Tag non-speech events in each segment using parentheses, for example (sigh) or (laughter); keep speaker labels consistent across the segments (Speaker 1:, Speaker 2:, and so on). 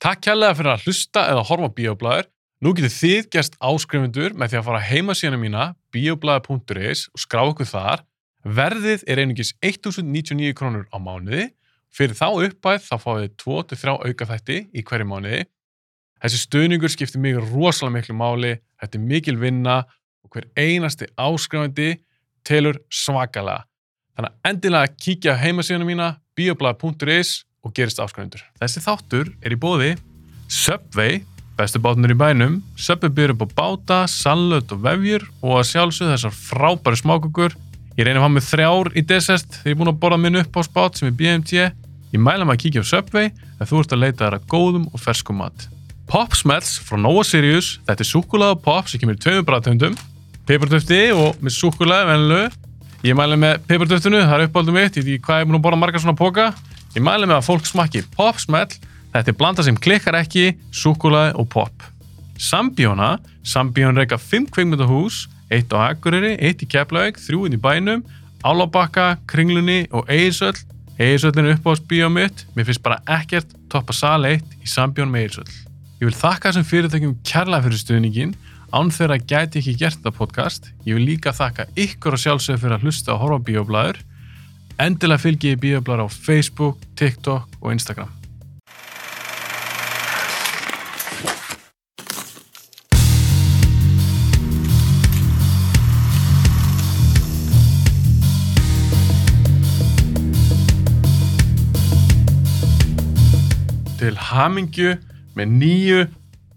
Speaker 1: Takk kærlega fyrir að hlusta eða horfa á Bíoblæður. Nú getur þið gerst áskrifundur með því að fara á heimasíðuna mína bioblæður.is og skrá okkur þar. Verðið er einungis 1.099 krónur á mánuði. Fyrir þá uppæð þá fáið þið 2-3 aukaþætti í hverju mánuði. Þessi stuðningur skiptir mig rosalega miklu máli, þetta er mikil vinna og hver einasti áskrifandi telur svakalega. Þannig að endilega kíkja á heimasíðuna mína bioblað.is og gerist áskrifundur. Þessi þáttur er í bóði Subway, bestu bátunur í bænum, Subway byrjur upp á báta, sallöt og vefjur og að sjálfsögðu þessar frábæri smákukur. Ég reyni að hafa með þrjár í desert þegar ég er búin að borða minn upp á spát sem er BMT. Ég mæla maður að kíkja á Subway þegar þú ert að leita þar að góðum og ferskum mat. Pop Smells frá Nova Sirius, þetta er súkulega pop sem kemur í tveimur bræðtöndum, pipartöfti og með súkulega venlu. Ég mæli með pipartöftinu, það er uppáldum mitt, ég veit ekki hvað ég er búin að borða margar svona póka. Ég mæli með að fólk smakki Pop Smell, þetta er blanda sem klikkar ekki, súkulega og pop. Sambjóna, Sambjón reyka 5 kveikmyndahús, 1 á Akureyri, 1 í Keflavík, 3 inn í bænum, Álabakka, Kringlunni og Eirsöll. Eirsöllin er uppáhaldsbíó mitt, mér finnst bara ekkert toppa sal 1 í Sambjón með Eirsöll. Ég vil þakka þessum fyrirtækjum kærlega fyrir stuðningin, án þeirra gæti ég ekki gert þetta podcast. Ég vil líka þakka ykkur og sjálfsögur fyrir að hlusta og horfa á bíoblæður. Endilega fylgi ég bíoblæður á Facebook, TikTok og Instagram. Til hamingju með nýju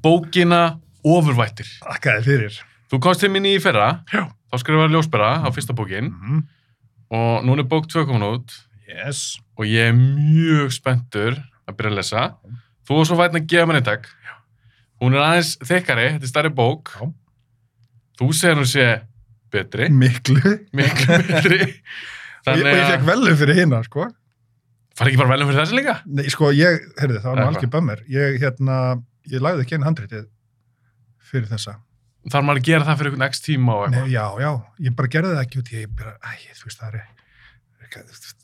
Speaker 1: bókina Ofurvættir.
Speaker 2: Þakka þér fyrir.
Speaker 1: Þú komst til minni í fyrra,
Speaker 2: Já.
Speaker 1: þá skrifaði ljósbera á fyrsta bókin
Speaker 2: Mhm.
Speaker 1: og núna er bók 2 komin út
Speaker 2: Yes.
Speaker 1: og ég er mjög spenntur að byrja að lesa. Þú var svo vætn að gefa mér einn takk. Hún er aðeins þekkari, þetta er stærri bók.
Speaker 2: Já.
Speaker 1: Þú segir hún sé betri,
Speaker 2: Miklu. (laughs)
Speaker 1: miklu betri.
Speaker 2: Þannig Og
Speaker 1: Þannig
Speaker 2: ég fekk
Speaker 1: að,
Speaker 2: velu fyrir hina, sko.
Speaker 1: far ekki bara velum fyrir þessi líka?
Speaker 2: Nei, sko, ég, heyrðu, það var nú
Speaker 1: Eða
Speaker 2: algjör bömmir. Ég, hérna, ég lagði ekki einn handritið fyrir þessa.
Speaker 1: Þarf maður að gera það fyrir einhvern x tíma og
Speaker 2: Nei,
Speaker 1: eitthvað?
Speaker 2: já, já, ég bara gerði það ekki út. Ég bara, æ, þú veist, það er,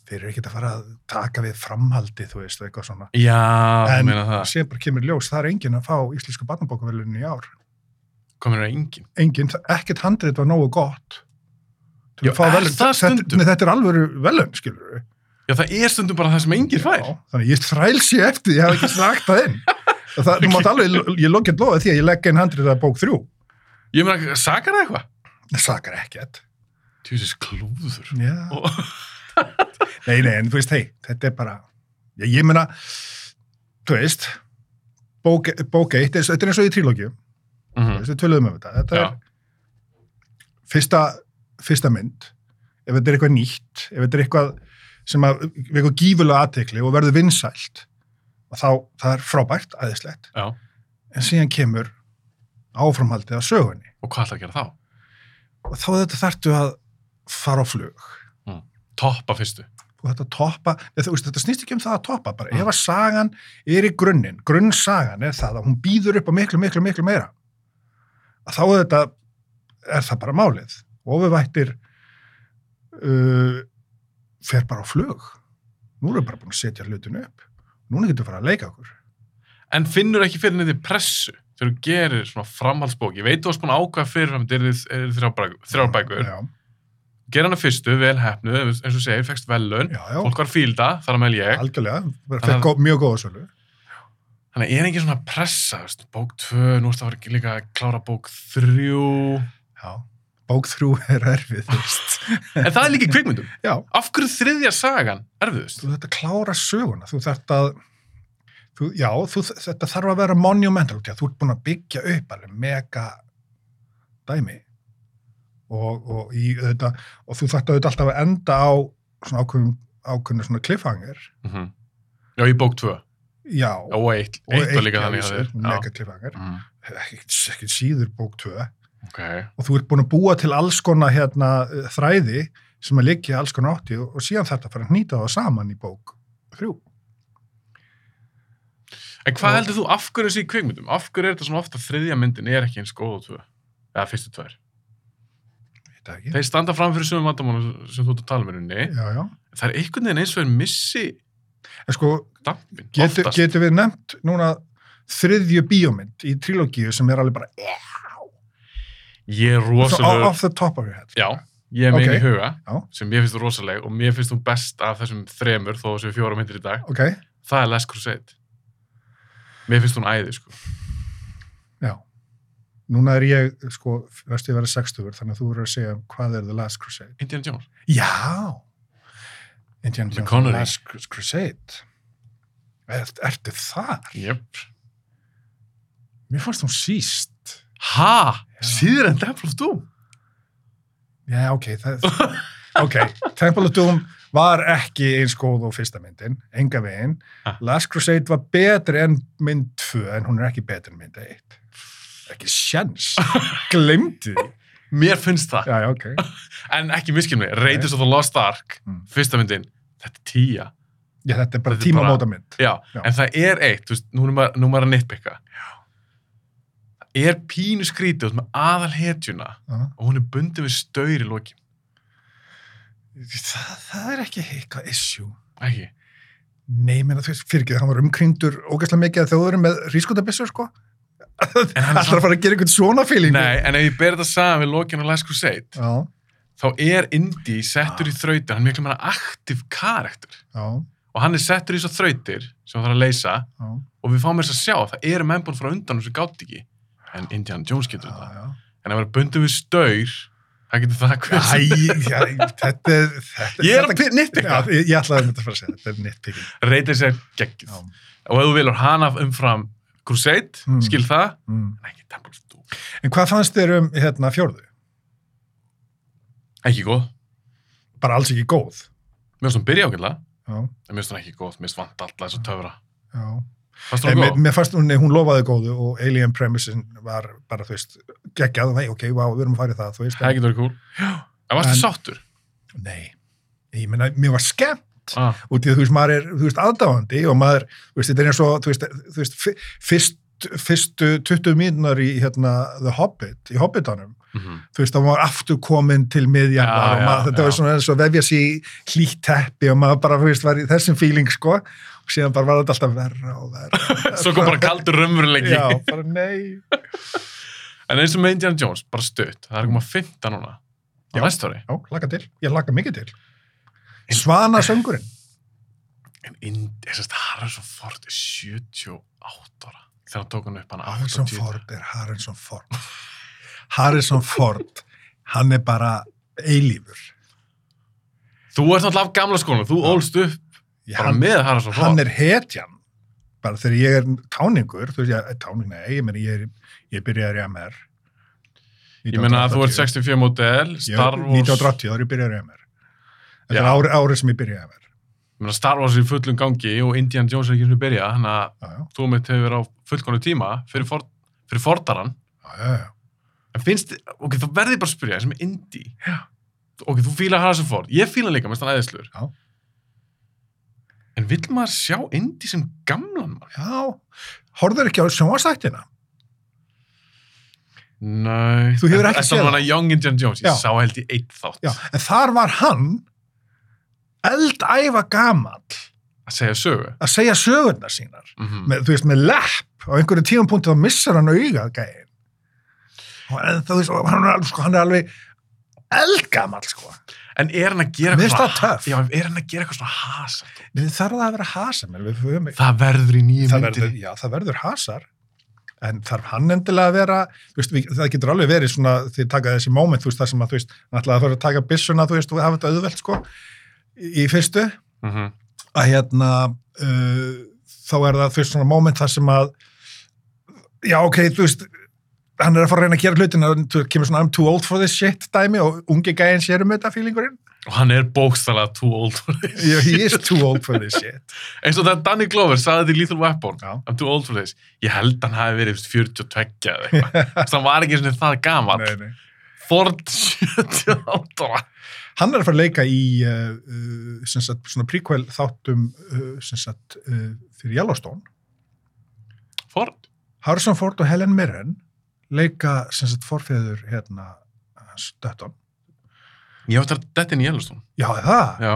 Speaker 2: þeir eru ekkert að fara að taka við framhaldi, þú veist, og eitthvað svona.
Speaker 1: Já, þú
Speaker 2: En-
Speaker 1: meina það.
Speaker 2: Sér bara kemur í ljós, það er enginn að fá íslensku barnabókavelunni í ár.
Speaker 1: Komir það enginn.
Speaker 2: Enginn, það- ekkert handrit var nógu gott. til
Speaker 1: Já,
Speaker 2: að fá
Speaker 1: er
Speaker 2: verðlaun.
Speaker 1: það
Speaker 2: Þetta-
Speaker 1: stundum?
Speaker 2: Nei, þetta er alvöru velun, skilur við.
Speaker 1: Já, það er stundum bara það sem enginn fær.
Speaker 2: Já, þannig ég þræls ég eftir, ég hef ekki sagt það inn. Og Það, þú mátt alveg, ég lók ekki lofa því að ég legg einn handrið að bók þrjú.
Speaker 1: Ég meina, sakar það eitthvað?
Speaker 2: Það sakar ekkert.
Speaker 1: Tjúsis klúður. (laughs)
Speaker 2: Já.
Speaker 1: Og-
Speaker 2: Nei, nei, en þú veist, hei, þetta er bara, ég, ég meina, þú veist, bók, bók eitt, þetta er eins og í trílókju, þú
Speaker 1: Mhm.
Speaker 2: veist, við töluðum um þetta. Þetta
Speaker 1: Já.
Speaker 2: er fyrsta, fyrsta mynd, ef þetta er eitthvað nýtt, ef þetta er eitthvað sem að, við eitthvað gífulega aðtekli og verður vinsælt, og þá, það er frábært, æðislegt.
Speaker 1: Já.
Speaker 2: en síðan kemur áframhaldið af sögunni
Speaker 1: Og hvað ætlar að gera þá?
Speaker 2: og þá þetta þartu að fara á flug
Speaker 1: Toppa fyrstu.
Speaker 2: og þetta toppa, eða, þú veist, þetta snýst ekki um það að toppa bara, ef að sagan er í grunninn grunnsagan er það að hún býður upp á miklu, miklu, miklu meira að þá er þetta er það bara málið og við vættir uh, fer bara á flug nú erum við bara búin að setja hlutinu upp núna getum við fara að leika okkur
Speaker 1: En finnur ekki fyrir neitt pressu þegar þú gerir svona framhaldsbók. Ég veit þú varst búin að ákvæða fyrirfram þetta eru er eh, þrjár bækur.
Speaker 2: já,
Speaker 1: Ger hana fyrstu, vel hefnu, eins og þú segir, fekst velun.
Speaker 2: já, já,
Speaker 1: Fólk var fílda, þar að meðal ég.
Speaker 2: algjörlega bara
Speaker 1: Þannig
Speaker 2: fekk gó- mjög góða sölu
Speaker 1: Þannig er ekki svona pressa, veist, bók 2, nú ertu að vera líka að klára bók
Speaker 2: (laughs)
Speaker 1: 3.
Speaker 2: Já, bók þrjú er erfið, þú veist.
Speaker 1: En það er líka í kvikmyndum.
Speaker 2: Já,
Speaker 1: Af hverju þriðja sagan erfiðust?
Speaker 2: þú þetta klára söguna, þú þarft að, þú, já, þú, þetta þarf að vera monumental, því að þú ert búin að byggja upp alveg mega dæmi og, og, í, þetta, og þú þarft að auðvitað alltaf að enda á svona ákveðum, ákveðum svona cliffhanger,
Speaker 1: Mm Já, í bók 2.
Speaker 2: já.
Speaker 1: Og eitt, eitt var líka þannig að þér. Já.
Speaker 2: Mega cliffhanger,
Speaker 1: Mm,
Speaker 2: ekkert ekkert síður bók tvö.
Speaker 1: ok.
Speaker 2: og þú ert búin að búa til alls konar hérna, eh, þræði sem að liggja alls konar átti og, og síðan þetta fara að hnýta það saman í bók þrjú.
Speaker 1: En hvað
Speaker 2: Og-
Speaker 1: heldur þú, af hverju þessi í kvikmyndum? Af hverju er þetta svona ofta þriðja myndin er ekki eins góð og tvö? Eða fyrstu tvær.
Speaker 2: Þetta ekki?
Speaker 1: Þeir standa fram fyrir sögum vandamálum sem þú ert að tala með henni.
Speaker 2: Já, já.
Speaker 1: Það er einhvern veginn eins og er missi
Speaker 2: En sko,
Speaker 1: dampin.
Speaker 2: getur
Speaker 1: oftast.
Speaker 2: getu við nefnt núna þriðju bíómynd í trilógíu sem er alveg bara eh,
Speaker 1: Ég er
Speaker 2: svo
Speaker 1: rosalega...
Speaker 2: off the top of your head.
Speaker 1: Já, ég er með
Speaker 2: Ok.
Speaker 1: einu í huga
Speaker 2: Já.
Speaker 1: sem mér finnst þú rosaleg og mér finnst þú best af þessum þremur þó þessum fjóra myndir í dag.
Speaker 2: Ok,
Speaker 1: Það er Last Crusade. Mér finnst hún æði, sko.
Speaker 2: já. Núna er ég, sko, verðstu ég verið 60 þannig að þú verður að segja hvað er The Last Crusade.
Speaker 1: Indiana Jones.
Speaker 2: Já. Indiana Jones and
Speaker 1: Connery.
Speaker 2: The Last Cru- Crusade. Er, ertu þar?
Speaker 1: Jöp.
Speaker 2: Mér fannst hún síst.
Speaker 1: Ha?
Speaker 2: Já.
Speaker 1: Síður en Temple of Doom?
Speaker 2: Já, ok, það, ok, Temple of Doom var ekki eins góð og fyrsta myndin, enga veginn.
Speaker 1: Ha.
Speaker 2: Last Crusade var betri en mynd 2, en hún er ekki betri en mynd 1. Ekki sjans, glemdi því.
Speaker 1: Mér finnst það.
Speaker 2: Já, já, ok.
Speaker 1: En ekki miskinn mig. Raiders of the Lost Ark,
Speaker 2: Mm.
Speaker 1: fyrsta myndin, þetta er tíja.
Speaker 2: Já, þetta er bara
Speaker 1: Þetta er bara-
Speaker 2: tímamóta mynd.
Speaker 1: Já,
Speaker 2: Já.
Speaker 1: en það er eitt, þú veist, nú er maður, nú er maður að nitpikka. Já. Það er pínu skrítið, þú veist, með aðal hetjuna og hún er bundið við staur í loki.
Speaker 2: Það, það er ekki heika issue.
Speaker 1: Ekki?
Speaker 2: Nei, menn að þú veist, fyrir ekki, hann var umkringdur ógæslega mikið að þjóðurum með rískotabissur, sko.
Speaker 1: En hann er
Speaker 2: Alltaf að fara að gera einhvern svona fílingu.
Speaker 1: Nei, en ef ég ber þetta saman við lokin á Last Crusade,
Speaker 2: Já, Ah.
Speaker 1: þá er Indy settur í þrautir, hann er miklu meira aktiv karakter.
Speaker 2: já,
Speaker 1: Og hann er settur í þessar þrautir sem hann þarf að leysa
Speaker 2: já.
Speaker 1: og við fáum þess að sjá að það eru mennbúin frá undan sem gátt ekki. En Indiana Jones
Speaker 2: já,
Speaker 1: getur þetta.
Speaker 2: já.
Speaker 1: En að vera bundið við staur, það getur það hver
Speaker 2: Æ,
Speaker 1: sem.
Speaker 2: já, þetta er... Þetta,
Speaker 1: Ég er
Speaker 2: þetta-
Speaker 1: að nitpicka.
Speaker 2: Já, ég, ég ætlaði að mynda að fara að segja, þetta er nitpicking.
Speaker 1: Reytið sér geggjuð.
Speaker 2: Já.
Speaker 1: Og ef þú vilur hana umfram Crusade,
Speaker 2: Mm.
Speaker 1: skil það,
Speaker 2: Mm.
Speaker 1: en ekki Temple of Doom.
Speaker 2: En hvað fannst þér um hérna fjórðu?
Speaker 1: Ekki góð.
Speaker 2: Bara alls ekki góð.
Speaker 1: Mér finnst hún byrja ákveðlega,
Speaker 2: Já,
Speaker 1: en mér finnst hún ekki góð, mér finnst vant alltaf þess að töfra.
Speaker 2: já.
Speaker 1: Fannst
Speaker 2: En
Speaker 1: hún
Speaker 2: mér,
Speaker 1: góð?
Speaker 2: mér fannst hún, nei, hún lofaði góðu og Alien Premisin var bara, þú veist, geggjað, nei, ok, vá, við erum að fara í það, þú veist.
Speaker 1: Það getur verið cool. Já. En varstu
Speaker 2: En-
Speaker 1: sáttur?
Speaker 2: Nei, ég meina, mér var skemmt.
Speaker 1: Ah.
Speaker 2: út í að þú veist, maður er, þú veist, aðdáðandi og maður, þú veist, þetta er eins og, þú veist, þú veist fi- fyrst, fyrstu 20 mínunar í, hérna, The Hobbit, í Hobbitanum,
Speaker 1: Mhm.
Speaker 2: þú veist, þá var aftur komin til miðjarnar
Speaker 1: Já,
Speaker 2: og maður,
Speaker 1: já,
Speaker 2: þetta
Speaker 1: já.
Speaker 2: var svona eins og vefja sér í hlýtt teppi og maður bara, þú veist, var í þessum feeling, sko, og síðan bara var þetta alltaf verra og verra.
Speaker 1: Svo kom bara kaldur raunveruleiki.
Speaker 2: Já, bara nei.
Speaker 1: En eins og með Indiana Jones, bara stutt. Það er komað 15 núna. Á
Speaker 2: Já.
Speaker 1: næsta ári.
Speaker 2: Já, laka til. Ég laka mikið til. Svana söngurinn.
Speaker 1: En Ind- ég sérst, Harrison Ford er 78 ára. Þegar hann tók hann upp hann
Speaker 2: Harrison
Speaker 1: 80.
Speaker 2: Ford er Harrison Ford. Harrison Ford, hann er bara eilífur.
Speaker 1: Þú ert náttúrulega af gamla skónu, þú
Speaker 2: Já.
Speaker 1: ólst upp
Speaker 2: Ég,
Speaker 1: bara
Speaker 2: hann,
Speaker 1: með Harrison Ford.
Speaker 2: hann er hetjan. Bara þegar ég er táningur, þú veist, ég, táning, nei, ég meina, ég, er, ég byrjaði í MR.
Speaker 1: Ég meina að þú ert 65 model, Star
Speaker 2: Ég-
Speaker 1: Wars...
Speaker 2: 1980, þá er ég byrjaði í MR. Þetta
Speaker 1: Já.
Speaker 2: er árið ári sem ég byrjaði í MR.
Speaker 1: Ég meina Star Wars er í fullum gangi og Indiana Jones er ekki sem við byrja, þannig að
Speaker 2: Já, já,
Speaker 1: þú mitt hefur verið á fullkonu tíma fyrir, for, fyrir fordaran.
Speaker 2: já, já, já.
Speaker 1: En finnst, þið- ok, þá verði ég bara að spyrja, eins og með Indi.
Speaker 2: Já.
Speaker 1: Ok, þú fílar Harrison Ford, ég fíla hann líka, mest hann æðislur.
Speaker 2: Já.
Speaker 1: En vill maður sjá Indi sem gamlan mann?
Speaker 2: Já, horður ekki á sjónvastættina.
Speaker 1: Nei.
Speaker 2: Þú hefur
Speaker 1: séð
Speaker 2: ekki
Speaker 1: það.
Speaker 2: séð
Speaker 1: Þetta var hann Young Indiana Jones, ég
Speaker 2: Já.
Speaker 1: sá held í eitt þátt.
Speaker 2: Já, en þar var hann eldæfa gamall
Speaker 1: Að segja sögu.
Speaker 2: að segja sögurnar sínar.
Speaker 1: Mm -hmm.
Speaker 2: með, þú veist, með lepp á einhverju tíum punktu þá missar hann augað gæðin og en, þú veist, og hann er alveg, sko, hann er alveg eldgamall, sko
Speaker 1: En er hann að gera
Speaker 2: Mér finnst
Speaker 1: eitthvað-
Speaker 2: það töff.
Speaker 1: Já, er hann að gera eitthvað svona hasa?
Speaker 2: Nei, það þarf það að vera hasar, menn, við höfum
Speaker 1: Það verður í nýju
Speaker 2: það
Speaker 1: myndinni.
Speaker 2: verður, já, það verður hasar en þarf hann endilega að vera þú veist, við, það getur alveg verið svona því taka þessi moment, þú veist, það sem að, þú veist hann ætlaði að fara að taka byssuna, þú veist, og hafa þetta auðvelt, sko í, í fyrstu
Speaker 1: Mm
Speaker 2: að hérna uh, þá er það þú veist svona moment þar sem að já ok, þú veist hann er að fara að reyna að gera hlutin að þú kemur svona I'm too old for this shit dæmi og ungi gæðin sér um
Speaker 1: (laughs)
Speaker 2: þetta fílingurinn
Speaker 1: Og hann er bókstælega too old for this.
Speaker 2: he is too old for this shit
Speaker 1: Eins og það Danny Glover sagði þetta í Lethal Weapon.
Speaker 2: já,
Speaker 1: I'm too old for this. Ég held hann hafi verið 42 eða eitthvað.
Speaker 2: (laughs)
Speaker 1: Þannig hann var ekki svona það gaman.
Speaker 2: nei, nei.
Speaker 1: Ford (laughs) 78 ára.
Speaker 2: hann er að fara að leika í uh, uh, sem sagt, svona prequel þáttum uh, sem sagt, uh, fyrir Yellowstone
Speaker 1: Ford?
Speaker 2: Harrison Ford og Helen Mirren leika sem sagt forfeður hérna hans Dutton
Speaker 1: Ég átti að þetta inn í Yellowstone.
Speaker 2: já, er það,
Speaker 1: Já.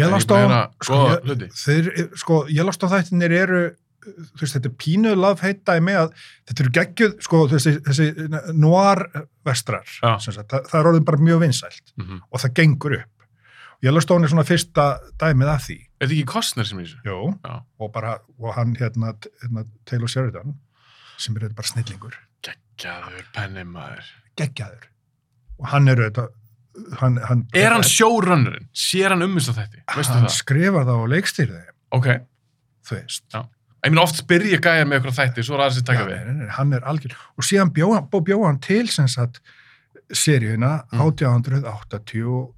Speaker 2: Yellowstone
Speaker 1: Ég meina,
Speaker 2: sko,
Speaker 1: Góða
Speaker 2: ég-
Speaker 1: hluti.
Speaker 2: þeir, sko, Yellowstone þættinir eru þú veist, þetta er pínuð lafheit dæmi að þetta eru geggjuð, sko, þessi, þessi noir vestrar,
Speaker 1: Já.
Speaker 2: sem sagt, það, það er orðin bara mjög vinsælt
Speaker 1: Mm -hmm.
Speaker 2: og það gengur upp. Yellowstone er svona fyrsta dæmið af því.
Speaker 1: Er þetta ekki Kostner sem er í þessu?
Speaker 2: Jó,
Speaker 1: Já.
Speaker 2: og bara, og hann hérna, hérna Taylor Sheridan, sem er bara snillingur,
Speaker 1: Gæður penni maður.
Speaker 2: geggjaður. Og hann er auðvitað, hann, hann,
Speaker 1: Er hann showrunnerinn? Sér hann um þess að þetta? Veistu
Speaker 2: hann
Speaker 1: það?
Speaker 2: skrifar það og leikstir þeim,
Speaker 1: Ok.
Speaker 2: þú veist.
Speaker 1: Ég minn oft spyrja gæjar með ykkur þætti, svo er aðeins að taka
Speaker 2: Já,
Speaker 1: við.
Speaker 2: nei, nei, nei, hann er algjör og síðan bjó, bjó, bjó hann til sem sagt seríuna
Speaker 1: Mm.
Speaker 2: 1880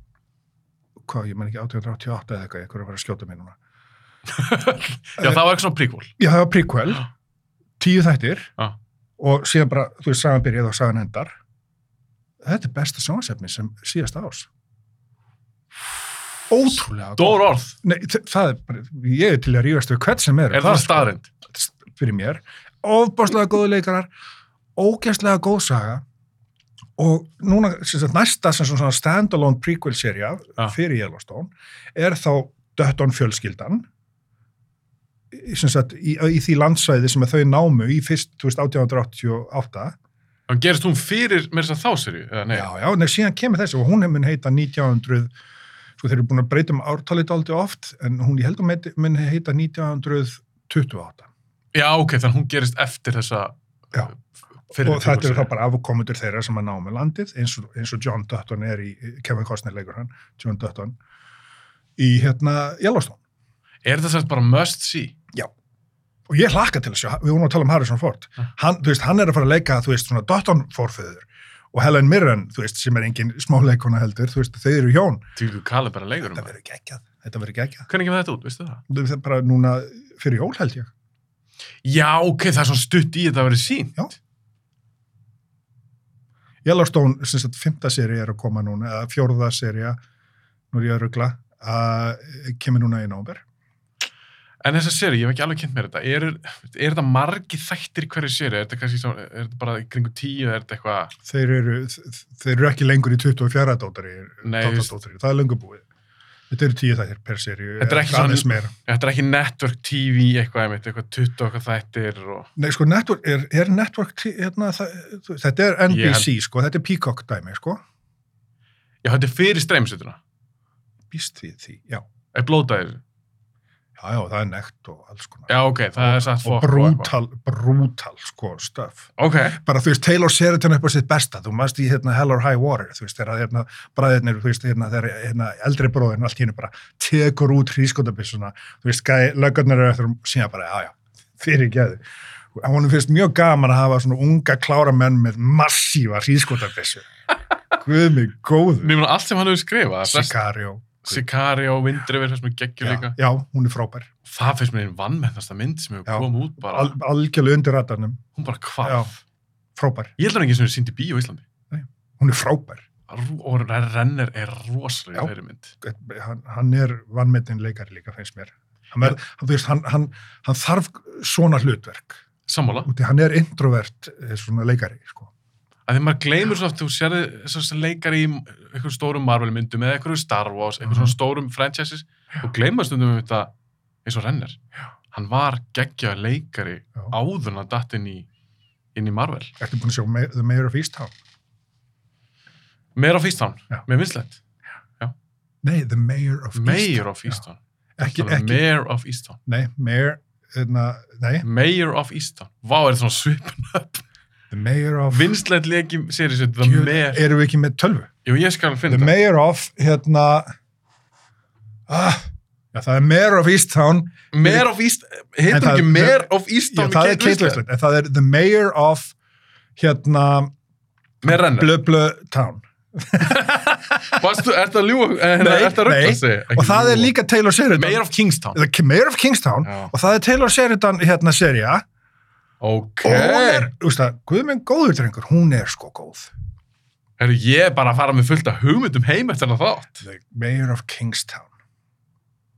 Speaker 2: hvað, ég menn ekki 1888 eða eitthvað, eitthvað er að fara að skjóta mér núna
Speaker 1: Já, það var eitthvað svona prequel.
Speaker 2: já, það var prequel,
Speaker 1: Já.
Speaker 2: tíu þættir
Speaker 1: Já.
Speaker 2: og síðan bara, þú veist, sagan byrjað og sagan endar þetta er besta sjónsefni sem síðast ás ótrúlega
Speaker 1: Dór
Speaker 2: gott.
Speaker 1: orð.
Speaker 2: Nei, þ- það er bara, ég er til að rífast við hvert sem er um
Speaker 1: Er það
Speaker 2: sko.
Speaker 1: staðrind?
Speaker 2: fyrir mér ofbáslega góðu leikarar ógæslega góð saga og núna sem sagt, næsta sem svona standalone prequel seria
Speaker 1: Já.
Speaker 2: fyrir Yellowstone er þá Dötton fjölskyldan í- sem sagt, í, í því landsvæði sem að þau námu í fyrst þú veist, 1888
Speaker 1: Hann gerist hún fyrir með þess að þá serju? Eða nei?
Speaker 2: já, já, nei, síðan kemur þessi og hún mun heita 1900 sko þeir eru búin að breyta um ártalið aldrei oft en hún ég held að hún heiti- mun heita 1928
Speaker 1: Já, ok, þannig hún gerist eftir þessa uh,
Speaker 2: Já.
Speaker 1: fyrir
Speaker 2: og þetta eru þá bara afkomendur þeirra sem að námi landið eins og, eins og John Dutton er í Kevin Costner leikur hann, John Dutton í hérna Yellowstone
Speaker 1: Er þetta sérst bara must see?
Speaker 2: og ég hlakka til að sjá, við vorum að tala um Harrison Ford
Speaker 1: Ah.
Speaker 2: hann, þú veist, hann er að fara að leika þú veist, svona Dutton forföður og Helen Mirren, þú veist, sem er engin smáleikona heldur, þú veist, þau eru hjón
Speaker 1: Týðu Kali bara leikur um
Speaker 2: þetta
Speaker 1: það.
Speaker 2: verður geggjað, þetta verður geggjað
Speaker 1: Hvernig kemur þetta út, veistu það?
Speaker 2: Þú veist, það er bara núna fyrir jól held ég
Speaker 1: Já, ok, það er svo stutt í þetta að vera sín.
Speaker 2: Yellowstone, sem sagt, fymta seri er að koma núna, eða fjórða seri nú er ég að ruggla kemur núna í nómber
Speaker 1: En þessa seri, ég hef ekki alveg kynnt mér þetta. Er, er þetta margi þættir í hverju seri? Er þetta kannski svo, er þetta bara í kringu tíu, er þetta eitthvað?
Speaker 2: þeir eru, þeir eru ekki lengur í 24 dótari,
Speaker 1: Nei,
Speaker 2: dótari,
Speaker 1: veist-
Speaker 2: það er lengur búið. Þetta eru tíu þættir per seríu.
Speaker 1: Þetta er ekki
Speaker 2: aðeins
Speaker 1: svona-
Speaker 2: meira.
Speaker 1: Þetta er ekki network TV eitthvað, einmitt, eitthvað 20 okkar þættir og...
Speaker 2: Nei, sko, network, er, er network, tí- hérna, það, þú- þetta er NBC, sko, þetta er Peacock dæmi, sko.
Speaker 1: Já, þetta er fyrir streymisutuna.
Speaker 2: Býst við því, já.
Speaker 1: Er blótaðið? þessu?
Speaker 2: Já, já, það er nekt og alls konar.
Speaker 1: Já, ok, það er satt
Speaker 2: og
Speaker 1: fokk eitthvað.
Speaker 2: brútal, brútal, sko, stöf.
Speaker 1: Ok,
Speaker 2: Bara, þú veist, Taylor Sheridan er upp á sitt besta, þú maðurst í, hérna, Hell or High Water, þú veist, þegar, hérna, bræðirnir, þú veist, hérna, þegar, hérna, eldri bróðin, allt hérna bara tekur út hrískotabissuna þú veist, gæ- löggurnar eru eftir um síðan bara, já, já, fyrir geðu. Hún finnst mjög gaman að hafa svona unga klára menn með
Speaker 1: (laughs)
Speaker 2: massífa hrískotabissu. Guð mig góður.
Speaker 1: mér meina allt sem hann hefur skrifað, flest-
Speaker 2: Sicario.
Speaker 1: Sicario, Vindrifir, það sem er geggjur
Speaker 2: Já,
Speaker 1: líka.
Speaker 2: já, hún er frábær.
Speaker 1: Það finnst mér einn vannmennasta mynd sem hefur
Speaker 2: Já.
Speaker 1: komið út bara,
Speaker 2: Al, algjörlega undir radarnum.
Speaker 1: hún bara hvað?
Speaker 2: Já. Frábær.
Speaker 1: Ég heldur ekki sem er sínd í bíó í Íslandi.
Speaker 2: Hún er frábær.
Speaker 1: Rú- Og Renner er rosalega
Speaker 2: Já.
Speaker 1: þeirri mynd.
Speaker 2: Hann, hann er vannmetinn leikari líka, finnst mér. Hann, er, hann, þú veist, hann, hann, hann þarf svona hlutverk.
Speaker 1: Sammála.
Speaker 2: Úti, hann er introvert eh, svona leikari, sko.
Speaker 1: Að því maður gleymur svo oft, þú sér þess að leikar í einhverjum stórum Marvel myndum eða einhverjum Star Wars, einhverjum svona
Speaker 2: Mhm.
Speaker 1: stórum franchises og gleymar stundum um þetta eins og Renner. Hann var geggja leikari
Speaker 2: Já.
Speaker 1: áður en að datt inn í, inn í Marvel.
Speaker 2: Ertu búin að sjá Ma- The Mayor of Easttown?
Speaker 1: Meir á Fístán,
Speaker 2: Já.
Speaker 1: með vinslegt.
Speaker 2: Nei, The Mayor of
Speaker 1: Meir á
Speaker 2: Easttown.
Speaker 1: Fístán.
Speaker 2: Já. Ekki, ekki,
Speaker 1: Meir á Fístán.
Speaker 2: nei, Mayor, na, nei,
Speaker 1: Mayor of Easttown. Vá, er það svona svipun upp.
Speaker 2: The Mayor of...
Speaker 1: Vinslet leki séri sér The
Speaker 2: Djöfull,
Speaker 1: Mayor.
Speaker 2: Erum við ekki með tölvu?
Speaker 1: Jú, ég skal finna
Speaker 2: The
Speaker 1: það.
Speaker 2: Mayor of, hérna... Ah, já, það er Mayor of Easttown.
Speaker 1: Mayor of Easttown.
Speaker 2: En
Speaker 1: Heitur
Speaker 2: það-
Speaker 1: ekki Mayor of
Speaker 2: Já,
Speaker 1: Easttown
Speaker 2: það er Kate Winslet, en það er The Mayor of, hérna...
Speaker 1: Með Renner.
Speaker 2: Blö, blö, town.
Speaker 1: Varstu, ertu að ljúa, er
Speaker 2: Nei,
Speaker 1: það að rögla
Speaker 2: nei.
Speaker 1: sig? Ekki
Speaker 2: Og það er
Speaker 1: ljúga.
Speaker 2: líka Taylor Sheridan.
Speaker 1: Mayor of Kingstown.
Speaker 2: The Mayor of Kingstown.
Speaker 1: Já.
Speaker 2: Og það er Taylor Sheridan, hérna, seria.
Speaker 1: Ok.
Speaker 2: Og hún er, þú veist það, Guðmund góður drengur, hún er sko góð.
Speaker 1: Herru, ég er bara að fara með fullt af hugmyndum heim eftir hann þátt.
Speaker 2: The Mayor of Kingstown.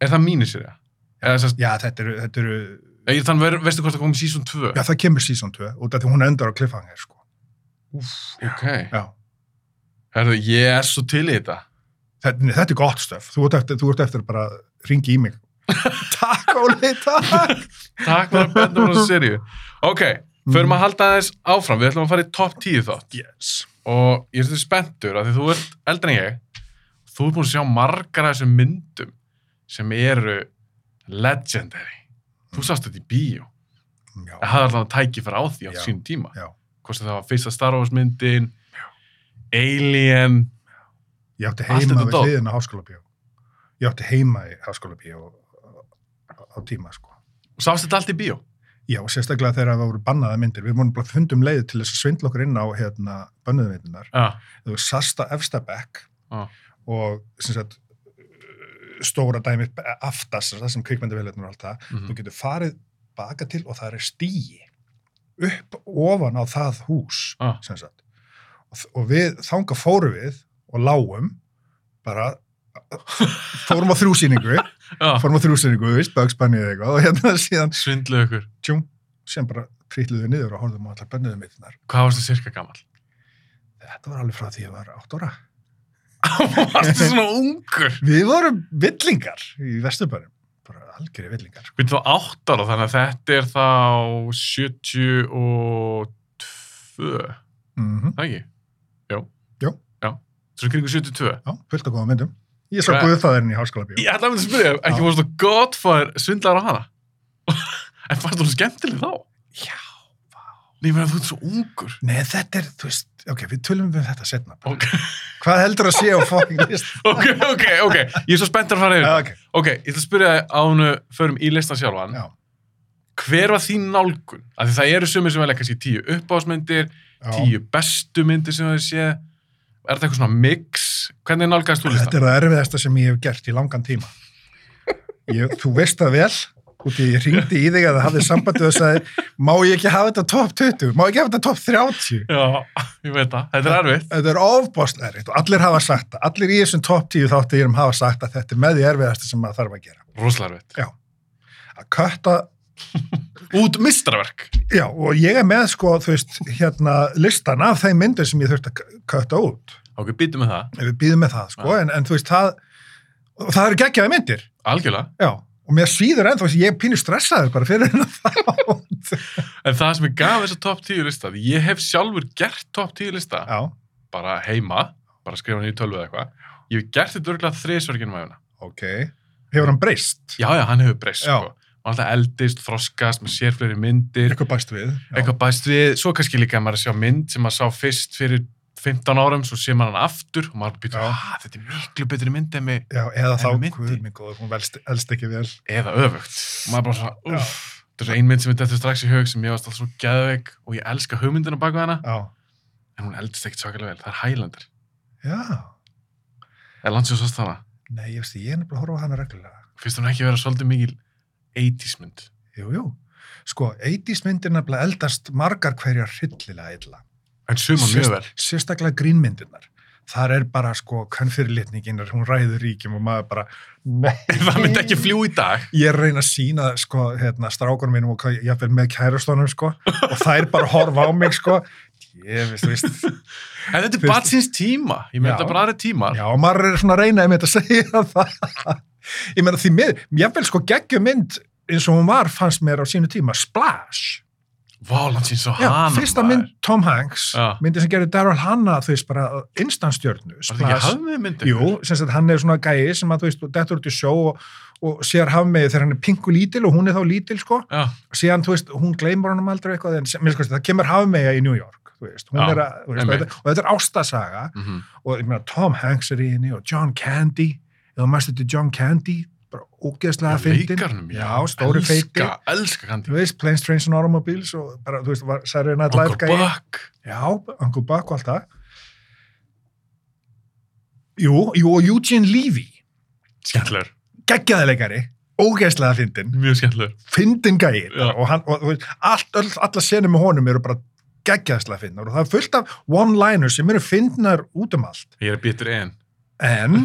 Speaker 1: Er það mínu sér það? Eða sérst,
Speaker 2: Já, þetta eru, þetta eru,
Speaker 1: ég er þann, ver- veistu hvort það komið season 2?
Speaker 2: já, það kemur season 2 út af því hún endar á cliffhanger, sko.
Speaker 1: Ok.
Speaker 2: Já.
Speaker 1: Herru, ég er svo til í þetta. (laughs)
Speaker 2: Þetta, nei, þetta er gott stöf. Þú ert eftir, þú ert eftir að bara ringi í mig. Takk Óli, takk.
Speaker 1: Takk fyrir að benda mér á serju. Ok, förum
Speaker 2: Mhm.
Speaker 1: að halda aðeins áfram. Við ætlum að fara í topp 10 þátt.
Speaker 2: Yes.
Speaker 1: Og ég er þetta spenntur af því þú ert eldri en ég. Þú ert búin að sjá margar af þessum myndum sem eru legendary. Þú sást þetta í bíó.
Speaker 2: Já.
Speaker 1: Það hafði alltaf tæki fyrir á því á
Speaker 2: Já.
Speaker 1: sínum tíma.
Speaker 2: Já.
Speaker 1: Hvort sem það var fyrsta Star Wars myndin, Alien,
Speaker 2: Ég átti
Speaker 1: Allt
Speaker 2: heima
Speaker 1: þetta
Speaker 2: við
Speaker 1: dót.
Speaker 2: hliðin á háskólabíó. Ég átti heima í háskólabíó á tíma, sko.
Speaker 1: og sást þetta allt í bíó.
Speaker 2: Já, og sérstaklega þegar það voru bannaða myndir. Við vorum bara fundum leið til þess að svindla okkur inn á hérna, bönnuðu myndirnar.
Speaker 1: Já,
Speaker 2: Þú veist, sasta efsta bekk
Speaker 1: Já.
Speaker 2: og sem sagt, stóra dæmi aftast, sem sagt, það sem kvikmyndavélarnar og allt það.
Speaker 1: mhm.
Speaker 2: Þú getur farið baka til og það er stíi upp ofan á það hús,
Speaker 1: Já.
Speaker 2: sem sagt. Og, og við þanga fórum við og lágum bara fórum á
Speaker 1: (laughs)
Speaker 2: þrjúsýningu
Speaker 1: Já,
Speaker 2: fórum á þrjúsýningu, þú veist, bögspannið eða eitthvað og hérna síðan,
Speaker 1: svindlu ykkur.
Speaker 2: tjúm, síðan bara trýtluðu niður og horfðum á allar bennuðum eitt
Speaker 1: Hvað varstu cirka gammal?
Speaker 2: Þetta var alveg frá því að ég var átt ára.
Speaker 1: (laughs) varstu svona ungur?
Speaker 2: Við vorum villingar í Vesturbænum, bara algjörði villingar.
Speaker 1: Við þá átt ára þannig að þetta er þá 72,
Speaker 2: Mm -hmm.
Speaker 1: það ekki? Jó.
Speaker 2: Jó.
Speaker 1: Já, svo kringu 72.
Speaker 2: Já, fullt af góða myndum. Ég sá
Speaker 1: Hva-
Speaker 2: guð það erinn í háskóla bíó.
Speaker 1: Ég ætla að mynda að spyrja, ekki
Speaker 2: Já.
Speaker 1: fórstu gott fyrir svindlar á hana? (laughs) en fannst þú skemmtileg þá?
Speaker 2: Já.
Speaker 1: Nei, ég meina þú ert svo ungur.
Speaker 2: Nei, þetta er, þú veist, ok, við tölum við þetta setna.
Speaker 1: Ok,
Speaker 2: Hvað heldur að sé á fucking
Speaker 1: (laughs)
Speaker 2: list?
Speaker 1: ok, ok, ok, ég er svo spenntur að fara yfir.
Speaker 2: Já, ok,
Speaker 1: Ok, ég ætla að spyrja þig ánu, förum í listan sjálfan.
Speaker 2: já.
Speaker 1: Hver var þín nálgun? Af því það eru sumir sem velja kannski tíu uppáðsmyndir,
Speaker 2: já.
Speaker 1: tíu bestu myndir sem þau sé er þetta eitthvað svona mix hvernig nálgæðist þú
Speaker 2: Þetta
Speaker 1: listan?
Speaker 2: er það erfiðasta sem ég hef gert í langan tíma. Ég, þú veist það vel, út í ég ringdi í þig að það hafði sambandið og sagði, má ég ekki hafa þetta top 20, má ég ekki hafa þetta top 30?
Speaker 1: Já, ég veit það, þetta er erfitt
Speaker 2: Þetta er ofbóðslega erfitt og allir hafa sagt það. Allir í þessum topp 10 þáttiðurum hafa sagt að þetta er með því erfiðasta sem maður þarf að gera.
Speaker 1: rosalega erfitt,
Speaker 2: Að kötta,
Speaker 1: út mistraverk
Speaker 2: já, og ég er með sko, þú veist, hérna, listan af þeim myndir sem ég þurft að k- kötta út.
Speaker 1: ok, býtum með það,
Speaker 2: Ef við býðum með það, sko,
Speaker 1: Já.
Speaker 2: en, en þú veist, það, og það eru geggjaði myndir,
Speaker 1: algjörlega
Speaker 2: já. Og mér síður ennþá, ég er pínu stressaður bara fyrir hennar (laughs) þátt.
Speaker 1: en það sem ég gaf þess að top 10 lista því ég hef sjálfur gert top 10 lista
Speaker 2: Já,
Speaker 1: bara heima, bara skrifa niður í tölvu eða eitthvað ég hef gert þetta örgulega þriðsverkinum aðeina
Speaker 2: ok. Hefur hann breyst?
Speaker 1: já, já, hann hefur breyst
Speaker 2: Já.
Speaker 1: sko. og alltaf eldist, þroskast, maður sér fleiri myndir
Speaker 2: Eitthvað bæst við. já.
Speaker 1: eitthvað bæst við, svo kannski líka að maður að sjá mynd sem maður sá fyrst fyrir 15 árum, svo sé maður hann aftur og maður býtur,
Speaker 2: Já.
Speaker 1: að þetta er miklu betri mynd en mig,
Speaker 2: Já, eða þá,
Speaker 1: En myndi.
Speaker 2: guð minn góður, hún velst, elst ekki vel.
Speaker 1: eða öfugt og maður bara svona,
Speaker 2: Já.
Speaker 1: uff, þetta er svo ein mynd sem er þetta strax í hug sem ég varst alltaf svo geðveik og ég elska hugmyndina bak við hana,
Speaker 2: Já,
Speaker 1: en hún eldist ekkit svakalega vel, það er Highlander,
Speaker 2: já.
Speaker 1: eða landsjóð sást hana
Speaker 2: Nei, ég veist, ég er nefnilega að horfa á hana reglulega.
Speaker 1: finnst hún ekki vera svolítið mikil 80s mynd,
Speaker 2: Jú, jú. Sko, 80s myndir nefnilega eldast margar hverjar hryllilega illa.
Speaker 1: en suma mjög
Speaker 2: Sérst-
Speaker 1: (laughs) vel
Speaker 2: Sérstaklega grínmyndirnar. Þar er bara, sko, kannfyrirlitningin er hún ræður ríkjum og maður bara, nei.
Speaker 1: það myndi ekki fljú í dag
Speaker 2: Ég er að reyna að sína, sko, hérna, strákunum mínum og hvað, ég er með kærastónum, sko, og þær bara horfa á mig, sko. Ég veist, veist.
Speaker 1: en þetta er
Speaker 2: Fyrst-
Speaker 1: bara síns tíma, ég meina
Speaker 2: Já.
Speaker 1: þetta er bara aðri tímar
Speaker 2: Já, og maður er svona að reyna einmitt að segja (laughs) það. Ég meina, því miður, ég vel, sko, geggjumynd eins og hún var, fannst mér á sínu tíma, Splash.
Speaker 1: vá, landsins og
Speaker 2: Já,
Speaker 1: hana
Speaker 2: fyrsta
Speaker 1: maður.
Speaker 2: mynd Tom Hanks,
Speaker 1: Já.
Speaker 2: myndi sem gerði Daryl Hanna, þú veist, bara instantstjörnu.
Speaker 1: var þetta ekki hafmið mynd
Speaker 2: Jú, sem sagt, hann er svona gæi sem að, þú veist, dettur út í sjó og, og sér hafmið þegar hann er pingu lítil og hún er þá lítil, sko.
Speaker 1: Já,
Speaker 2: Síðan, þú veist, hún gleymur honum aldrei eitthvað, en sem- mér skoðist, það kemur hafmið í New York, þú veist. Hún
Speaker 1: Já,
Speaker 2: er að, þú veist, og
Speaker 1: einmitt.
Speaker 2: þetta, og þetta er ástasaga
Speaker 1: mhm.
Speaker 2: og ég meina, Tom Hanks er í henni og John Candy, eða mæstu til John Candy, bara ógeðslega fyndin.
Speaker 1: Leikarnum,
Speaker 2: Já, stóri feiti.
Speaker 1: Elska, elska kandi.
Speaker 2: Þú veist, Planes, Trains and Automobiles og bara, þú veist, var Saturday Night Live
Speaker 1: Uncle
Speaker 2: gæi.
Speaker 1: Buck.
Speaker 2: Já, Uncle Buck og allt það. Jú, jú, og Eugene Levy,
Speaker 1: Skemmtilegur.
Speaker 2: geggjaðilegari, ógeðslega fyndin,
Speaker 1: Mjög skemmtilegur.
Speaker 2: fyndin gæi
Speaker 1: Já.
Speaker 2: og, hann, og þú veist, allt, all, alla senum með honum eru bara geggjaðslega fyndnar og það er fullt af one-liners sem eru fyndnar út um allt.
Speaker 1: Ég er bitur einn.
Speaker 2: En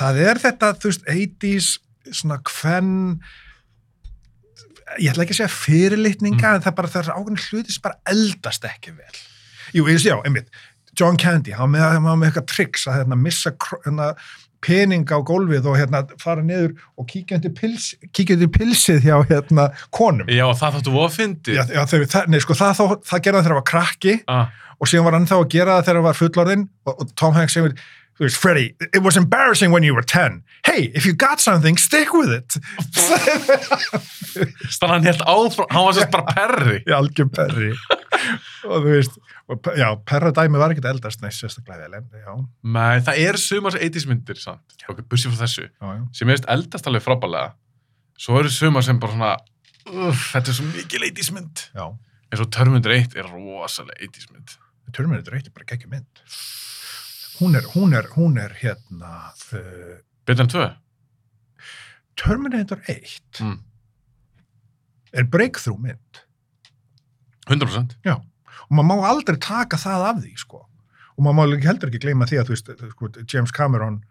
Speaker 2: það er þetta, þú veist, 80s, svona hvern, ég ætla ekki að segja fyrirlitninga, en það er bara, það er ákveðin hluti sem bara eldast ekki vel. Jú, ég sé á, einmitt, John Candy, hann var með, hann var með eitthvað triks að hérna, missa kr- hérna, pening á gólfið og hérna fara niður og kíkja undir, pils, kíkja undir pilsið hjá hérna konum.
Speaker 1: Já, það þáttu voða fyndið.
Speaker 2: Já, já, þau, það, nei, sko, það, þá, það gerða þegar það var krakki
Speaker 1: Ah,
Speaker 2: og síðan var hann þá að gera það þegar hann var fullorðinn og, og Tom Hanks segir þú veist, Freddy, it was embarrassing when you were 10 hey, if you got something, stick with it (laughs)
Speaker 1: Þannig að hann held áfram, hann var
Speaker 2: (laughs)
Speaker 1: sérst bara perri.
Speaker 2: í algjör perri og þú veist, og, pe- já, perradæmi var ekkert eldast neist sérstaklega vel, en já,
Speaker 1: Nei, það er sumars 80s myndir, sant? Ok, busið frá þessu.
Speaker 2: já, já
Speaker 1: Sem er eldast alveg frábælega. Svo eru sumar sem bara svona, uff, þetta er svo mikil 80s mynd.
Speaker 2: já,
Speaker 1: En svo Terminator 1 er rosalega 80s mynd.
Speaker 2: Terminator 1 er bara geggjum mynd hún er, hún er, hún er hérna uh,
Speaker 1: Betur en 2?
Speaker 2: Terminator 1
Speaker 1: Mm.
Speaker 2: er breakthrough mynd
Speaker 1: 100%.
Speaker 2: og maður má aldrei taka það af því sko. og maður má líka heldur ekki gleyma því að þú veist, sko, James Cameron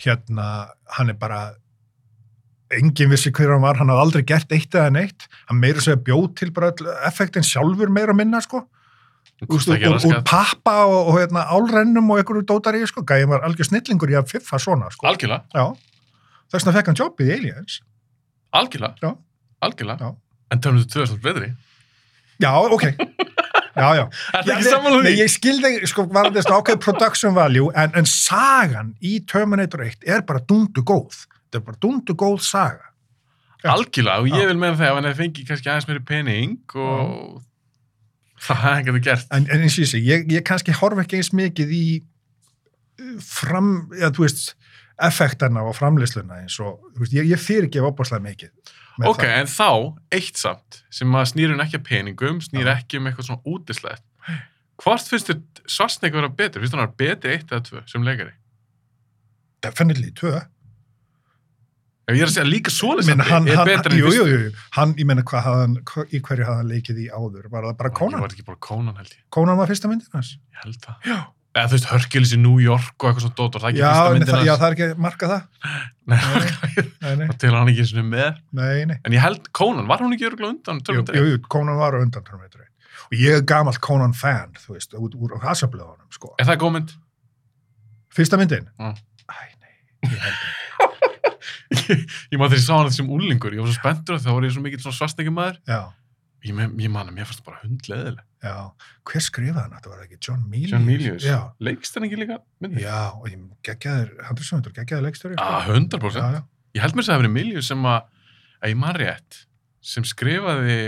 Speaker 2: hérna, hann er bara enginn vissi hver hann var hann hafði aldrei gert eitt eða neitt hann meira sér bjóð til bara öll effektin sjálfur meira að minna sko
Speaker 1: Úst,
Speaker 2: Úst, úr, úr pappa og, og hérna, álrennum og einhverju dótari sko, gæði var algjör snillingur í að fiffa svona sko.
Speaker 1: Algjörlega,
Speaker 2: Já. þess vegna fekk hann jobbið í Aliens
Speaker 1: algjörlega.
Speaker 2: Já.
Speaker 1: Algjörlega.
Speaker 2: Já.
Speaker 1: En Terminator 2 er svolítið betri.
Speaker 2: já, ok já, já,
Speaker 1: Er það
Speaker 2: Já,
Speaker 1: ekki
Speaker 2: nei,
Speaker 1: sammála
Speaker 2: nei,
Speaker 1: því?
Speaker 2: Ég skildi, sko, var þetta svona ákveð production value, en, en sagan í Terminator 1 er bara dundu góð. Þetta er bara dundu góð saga. Já.
Speaker 1: Algjörlega, og
Speaker 2: Já.
Speaker 1: ég vil meina það ef hann hefði fengið kannski aðeins meiri pening og það hefði hann getið gert.
Speaker 2: En, en eins og ég segi, ég, ég kannski horf ekki eins mikið í uh, fram, eða þú veist, effektana og framleysluna eins og, þú veist, ég, ég fyrirgef opaslega mikið. með
Speaker 1: Ok,
Speaker 2: það.
Speaker 1: en þá, eitt samt, sem að snýra hann ekki að peningum, snýra ekki um eitthvað svona útislegt. Hvort finnst þér Svarsneik vera betur? Finnst þér hann vera betri eitt eða tvö sem leikari?
Speaker 2: Definitely 2.
Speaker 1: Ef ég er að segja líka svoleiðs
Speaker 2: Menn hann,
Speaker 1: er
Speaker 2: hann,
Speaker 1: betra
Speaker 2: jú, jú, jú, hann, ég menna hvað hafði hann, hva- í hverju hafði hann leikið í áður? Var það bara
Speaker 1: Ég
Speaker 2: Conan?
Speaker 1: var ekki bara Conan, held ég.
Speaker 2: Conan var fyrsta myndin hans?
Speaker 1: Ég held það.
Speaker 2: Já.
Speaker 1: Eða þú veist, Hörgjulis í New York og eitthvað svona dótor, það er ekki
Speaker 2: Já,
Speaker 1: fyrsta
Speaker 2: en
Speaker 1: myndin
Speaker 2: það, já,
Speaker 1: hans.
Speaker 2: það er ekki markað það.
Speaker 1: Nei,
Speaker 2: Nei, nei,
Speaker 1: það telur hann ekki eins og með.
Speaker 2: nei, nei.
Speaker 1: En ég held, Conan, var hún ekki örgulega undan?
Speaker 2: Jú,
Speaker 1: Terminator
Speaker 2: jú, jú, Conan var á undan Terminator 1. Og ég er gamall Conan fan, þú veist, úr, úr hasaflöðunum, sko.
Speaker 1: Er það góð mynd? (laughs)
Speaker 2: Fyrsta myndin?
Speaker 1: Mm.
Speaker 2: Æ, nei, ég held ekki.
Speaker 1: ég maður þegar ég sá hann sem úlingur, ég var svo spenntur að þá var ég svo mikill svona svarsneikumæður.
Speaker 2: Já,
Speaker 1: Ég, me- ég man að mér fannst það bara hundleðileg.
Speaker 2: já. Hver skrifaði hann? Þetta var ekki John Milius.
Speaker 1: John Milius.
Speaker 2: Já,
Speaker 1: Leikst hann ekki líka myndið?
Speaker 2: já, og ég geggjaður, hann er sögundur, geggjaður leikstöri.
Speaker 1: Ah, 100%.
Speaker 2: Já, já.
Speaker 1: Ég held mér þess að það hefur Milius sem að, að ég man rétt, sem skrifaði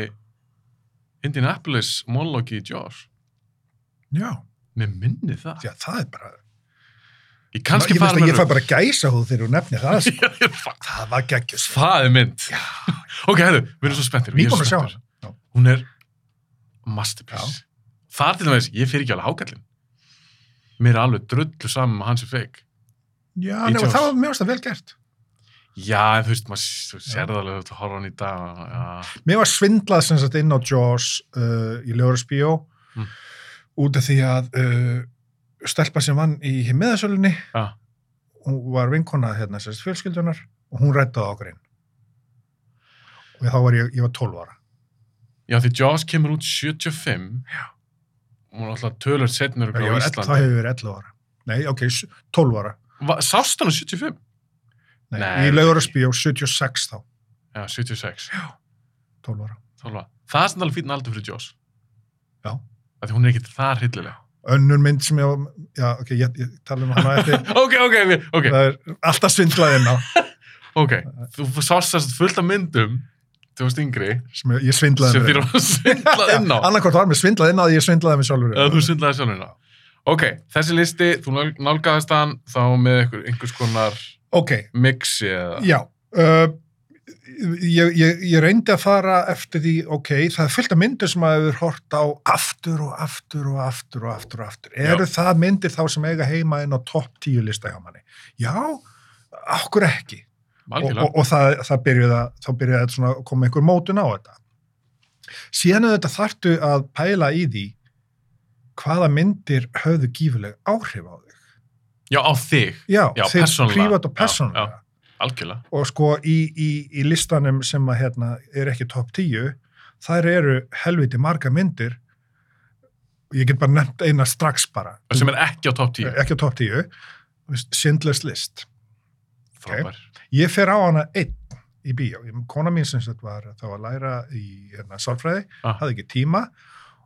Speaker 1: Indianapolis monologi í Jaws.
Speaker 2: Já,
Speaker 1: Mér minni það.
Speaker 2: já, það er bara...
Speaker 1: Ég kannski
Speaker 2: ég veist
Speaker 1: fara
Speaker 2: að ég fæ
Speaker 1: rugl.
Speaker 2: bara gæsa húð þegar hún nefnir það, sko.
Speaker 1: (laughs) Já, ég fa-
Speaker 2: það var geggjus.
Speaker 1: Það er mynd.
Speaker 2: Já.
Speaker 1: (laughs) Ok, hefðu, við erum svo spenntir. ég er svo
Speaker 2: Nýbúin að sjá
Speaker 1: spenntur.
Speaker 2: hann. Já.
Speaker 1: Hún er masterpiece. Það er til dæmis, ég fyrir ekki alveg hákallin. Mér er alveg drullu um saman með hans er feik.
Speaker 2: Já,
Speaker 1: Í
Speaker 2: nei, og
Speaker 1: Jaws.
Speaker 2: það var mjög ást vel gert.
Speaker 1: Já, en þú veist, maður s- þú
Speaker 2: Já.
Speaker 1: sér það alveg að þú horfa á hann í dag. og- Já.
Speaker 2: Mér var svindlað sem sagt inn á Jaws uh, í Ljóðarsbíó
Speaker 1: Mm.
Speaker 2: út af því að uh, stelpa sem vann í miðasölunni,
Speaker 1: Já.
Speaker 2: hún var vinkona hérna sem sagt fjölskyldunar og hún rættaði okkur inn. Og þá var ég, ég var 12 ára.
Speaker 1: Já, því Jaws kemur út 75.
Speaker 2: Já.
Speaker 1: Hún er alltaf tölur setnur
Speaker 2: Ég
Speaker 1: á
Speaker 2: var ell- Þá
Speaker 1: Íslandi.
Speaker 2: hefur ég verið 11 ára. Nei, ok, s- 12 ára.
Speaker 1: Va- Sást hann á 75?
Speaker 2: Nei,
Speaker 1: Nei,
Speaker 2: í Ljóðarsbíó 76 þá,
Speaker 1: Já, 76.
Speaker 2: 12 ára.
Speaker 1: 12 ára. Það er svona alveg fín aldur fyrir Jaws.
Speaker 2: Já.
Speaker 1: Af Því hún er ekkert það hryllilega.
Speaker 2: Önnur mynd sem ég var, já, ok, ég, ég tala um hana
Speaker 1: (laughs)
Speaker 2: eftir.
Speaker 1: Ok, ok, ok, ok.
Speaker 2: Það er alltaf svindlað inn á.
Speaker 1: ok. Þú sást þess fullt af myndum, þú varst yngri,
Speaker 2: Sem ég, ég svindlaði
Speaker 1: sem
Speaker 2: mér
Speaker 1: þér var svindlað
Speaker 2: (laughs)
Speaker 1: inn á.
Speaker 2: Annarkort var mér svindlað inn á því ég svindlaði mig sjálfur.
Speaker 1: Eða þú svindlaði sjálf inn á. Ok, þessi listi, þú nál- nálgaðist hann þá með einhver- einhvers konar
Speaker 2: Ok,
Speaker 1: mixi eða...
Speaker 2: já. Uh, ég, ég, ég reyndi að fara eftir því, ok, það er fullt af myndir sem maður hefur hort á aftur og aftur og aftur og aftur og aftur. Eru það myndir þá sem eiga heima inn á topp tíu lista hjá manni? Já, okkur ekki. og,
Speaker 1: Algjörlega.
Speaker 2: og, og það, það byrjuði að, þá byrjuði að svona koma einhver mótun á þetta. Síðan auðvitað þarftu að pæla í því hvaða myndir höfðu gífuleg áhrif á þig.
Speaker 1: Já, á þig.
Speaker 2: Já,
Speaker 1: Já,
Speaker 2: þeir
Speaker 1: persónulega.
Speaker 2: prívat og
Speaker 1: Já,
Speaker 2: persónulega.
Speaker 1: já. Algjörlega.
Speaker 2: Og sko í, í, í listanum sem að hérna er ekki topp 10, þær eru helviti marga myndir, ég get bara nefnt eina strax bara,
Speaker 1: Sem er ekki á topp 10.
Speaker 2: ekki á topp 10, Schindler's List.
Speaker 1: frábær.
Speaker 2: Ég fer á hana einn í bíó. Ég- Kona mín sem sagt var þá að læra í hérna, sálfræði,
Speaker 1: Ah.
Speaker 2: hafði ekki tíma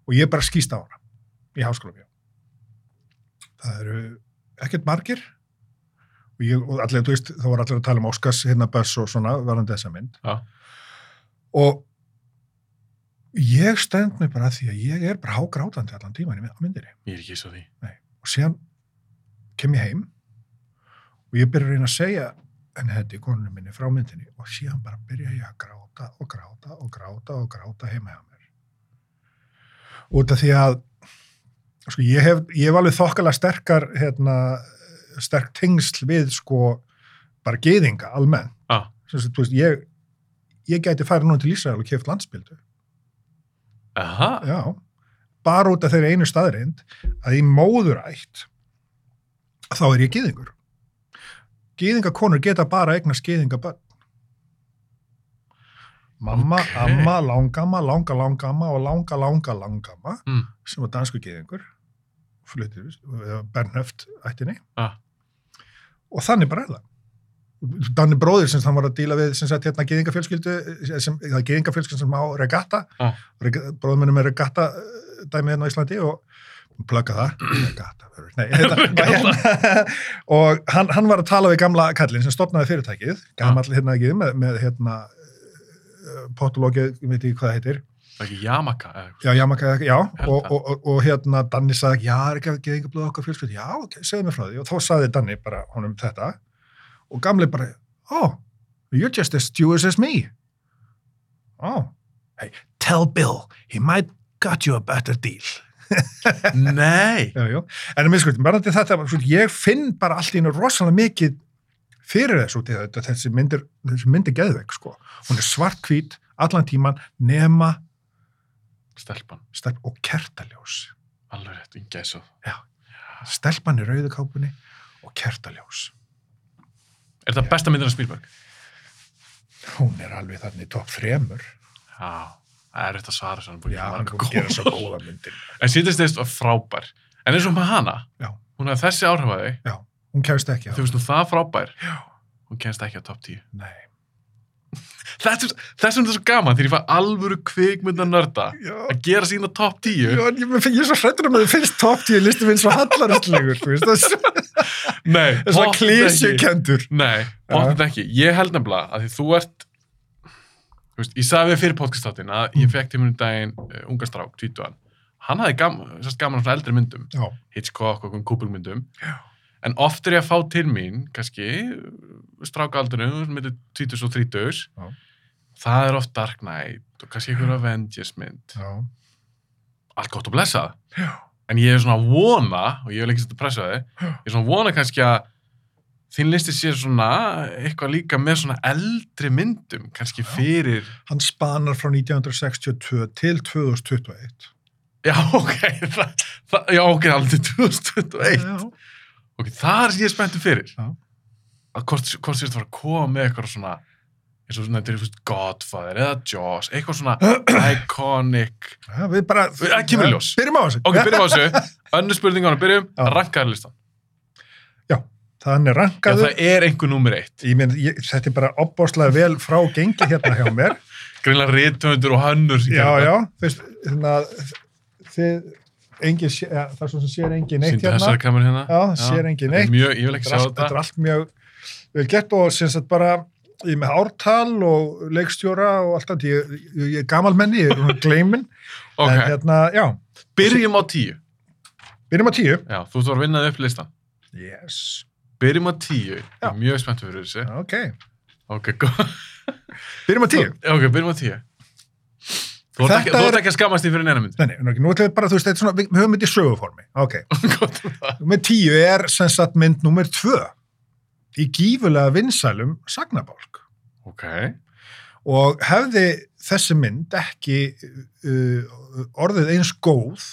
Speaker 2: og ég bara skýst á hana í háskóla bíó. Það eru ekkert margir og, ég, og allir, þú veist, þá var allir að tala um Óskars, hérna Böss og svona, varandi þessa mynd.
Speaker 1: Já.
Speaker 2: Og ég stend mig bara að því að ég er bara hágrátandi allan tíman í myndinni
Speaker 1: Ég er ekki svo því.
Speaker 2: og síðan kem ég heim og ég byrja að reyna að segja en þetta er konunum minni frá myndinni og síðan bara byrja ég að gráta og gráta og gráta og gráta heima hjá mér út af því að sko, ég, hef, ég hef alveg þokkalega sterkar hérna, sterk tengsl við sko bara geðinga almenn
Speaker 1: Ah.
Speaker 2: sem sagt, þú veist, ég, ég gæti farið núna til Ísrael og keft landsbyldu
Speaker 1: Aha,
Speaker 2: Já, bara út af þeirri einu staðreind að í móðurætt þá er ég gýðingur. Gýðingakonur geta bara eignast gýðingabönn. Mamma,
Speaker 1: Ókei.
Speaker 2: amma, langamma, langa, langamma og langa, langa, langamma
Speaker 1: Mm.
Speaker 2: sem var dansku gýðingur, flutir, Bernhöft ættinni
Speaker 1: Ah.
Speaker 2: og þannig bara er það. Danni bróðir sem hann var að díla við sem sagt hérna geðingafjölskyldu sem, það er geðingafjölskyldu sem á regatta
Speaker 1: Ah.
Speaker 2: Reg- bróðmennum er regatta eh, dæmið hérna á Íslandi og plugga það regatta, verður- nei, hérna, hérna, og hann, hann var að tala við gamla kallinn sem stopnaði fyrirtækið gamall hérna ekki með, með hérna potologið, ég veit ekki hvað það heitir
Speaker 1: það er ekki Yamaka. eða eitthvað.
Speaker 2: Já, Yamaka, já,
Speaker 1: Held
Speaker 2: og,
Speaker 1: það.
Speaker 2: og, og, og hérna Danni sagði, já, er ekki að geða yngur blöð okkar fjölskyld, já, ok, segðu mér frá því og þá sagði Danni bara honum þetta og gamli bara, oh, you're just as Jewish as me oh, hey, tell Bill he might got you a better deal (laughs)
Speaker 1: Nei.
Speaker 2: já, já, en mér skuldum, bara þetta sko, ég finn bara allt í hennu rosalega mikið fyrir þessu út í þetta þessi myndir, þessi myndir geðveik, sko hún er svart-hvít, allan tíman nema
Speaker 1: Stelpan,
Speaker 2: stelp og kertaljós
Speaker 1: alveg rétt, ég gæði svo.
Speaker 2: stelpan í rauðukápunni og kertaljós.
Speaker 1: Er það besta myndin af Spielberg?
Speaker 2: Hún er alveg þannig í topp þremur.
Speaker 1: Já, það er rétt að svara svona.
Speaker 2: Já, hann kom að gera svo góða myndir.
Speaker 1: En síðast eist var frábær. En eins og með hana,
Speaker 2: Já.
Speaker 1: hún hafði þessi áhrif að þig.
Speaker 2: Hún kemst ekki á.
Speaker 1: Þú veist nú það frábær,
Speaker 2: Já.
Speaker 1: hún kennst ekki á top 10.
Speaker 2: Nei.
Speaker 1: Þessum þessum er þetta svo gaman þegar ég fæ alvöru kvikmynda nörda
Speaker 2: Já.
Speaker 1: að gera sína top 10.
Speaker 2: Já, en ég, mér finn- ég er svo hrættur um að þið finnst topp tíu listu minn svo hallarastlegur, þú veist, það er svo-
Speaker 1: Nei,
Speaker 2: það er svo
Speaker 1: pottþétt ekki.
Speaker 2: klísjukendur.
Speaker 1: Nei, bóttið ekki. Ég held nefnilega að því þú ert þú veist, ég sagði við fyrir podcastáttinn að ég
Speaker 2: Mm.
Speaker 1: fekk til mjög daginn uh, unga strák, tvítuan. Hann hafði gaman, sérst gaman af svona eldri myndum,
Speaker 2: Já,
Speaker 1: Hitchcock og einhverjum kúpulmyndum.
Speaker 2: Já.
Speaker 1: En oft er ég að fá til mín, kannski, strákaldunum, myndið tvítus og þrítus.
Speaker 2: Já.
Speaker 1: Það er oft Dark Knight og kannski einhver Avengers mynd.
Speaker 2: já,
Speaker 1: Allt gott og blessað.
Speaker 2: já,
Speaker 1: En ég er svona að vona, og ég vil ekki setja pressa á þig, ég er svona að vona kannski að þín listi sé svona eitthvað líka með svona eldri myndum, kannski
Speaker 2: Já.
Speaker 1: fyrir...
Speaker 2: hann spanar frá 1962 til 2021.
Speaker 1: Já, ok, (laughs) það, það, já, ok, alveg til 2021.
Speaker 2: Já,
Speaker 1: Ok, það er sem ég er spenntur fyrir.
Speaker 2: Já.
Speaker 1: Að hvort, hvort sérst var að koma með eitthvað svona, eins og svona, þetta er fyrst Godfather eða Jaws, eitthvað
Speaker 2: (clears throat)
Speaker 1: svona iconic...
Speaker 2: Já, við bara...
Speaker 1: Það kemur í ljós.
Speaker 2: Byrjum á þessu.
Speaker 1: Ok, byrjum á þessu.
Speaker 2: (laughs)
Speaker 1: Önnur spurning á hana, byrjum,
Speaker 2: Já.
Speaker 1: rankaðarlistan.
Speaker 2: Þannig
Speaker 1: Já,
Speaker 2: rankaður.
Speaker 1: það er einhver númer eitt.
Speaker 2: Ég minn, ég, þetta er bara opbáslega vel frá gengi hérna hjá mér.
Speaker 1: Greinlega rítöndur og hönnur sem
Speaker 2: já,
Speaker 1: gerir
Speaker 2: já, þú veist, þannig að þið, engin, sé- ja, það er svo sem sér engin neitt
Speaker 1: Sýndu
Speaker 2: hérna.
Speaker 1: þessari kameru hérna.
Speaker 2: Já, sér
Speaker 1: Þetta
Speaker 2: engin
Speaker 1: er
Speaker 2: neitt.
Speaker 1: Mjög, ég vil ekki sjá
Speaker 2: Þetta er allt-
Speaker 1: þetta.
Speaker 2: þetta er allt mjög vel gert og sem sagt bara, ég er með ártal og leikstjóra og allt þetta, ég, ég, ég er gamalmenni, ég er gleimin, en
Speaker 1: (laughs) Ok,
Speaker 2: hérna, já,
Speaker 1: byrjum á tíu.
Speaker 2: byrjum á tíu.
Speaker 1: Já, þú ert að vinna þig upp listan.
Speaker 2: Yes,
Speaker 1: Byrjum á tíu. Ég
Speaker 2: Já.
Speaker 1: er mjög spennt fyrir þessu.
Speaker 2: ok,
Speaker 1: Ok, góð.
Speaker 2: byrjum á tíu.
Speaker 1: Ok, byrjum á tíu. Þú ert
Speaker 2: Þetta
Speaker 1: ekki, þú ert
Speaker 2: er-
Speaker 1: ekki að skammast því fyrir neina
Speaker 2: (laughs)
Speaker 1: myndi.
Speaker 2: Nei, nei, nú ætlum við bara, þú veist, þetta er svona, við við höfum þetta í söguformi, ok.
Speaker 1: Gott um það.
Speaker 2: Númer tíu er sem sagt mynd númer tvö í gífulega vinsælum sagnabálk.
Speaker 1: Ok,
Speaker 2: og hefði þessi mynd ekki uh, orðið eins góð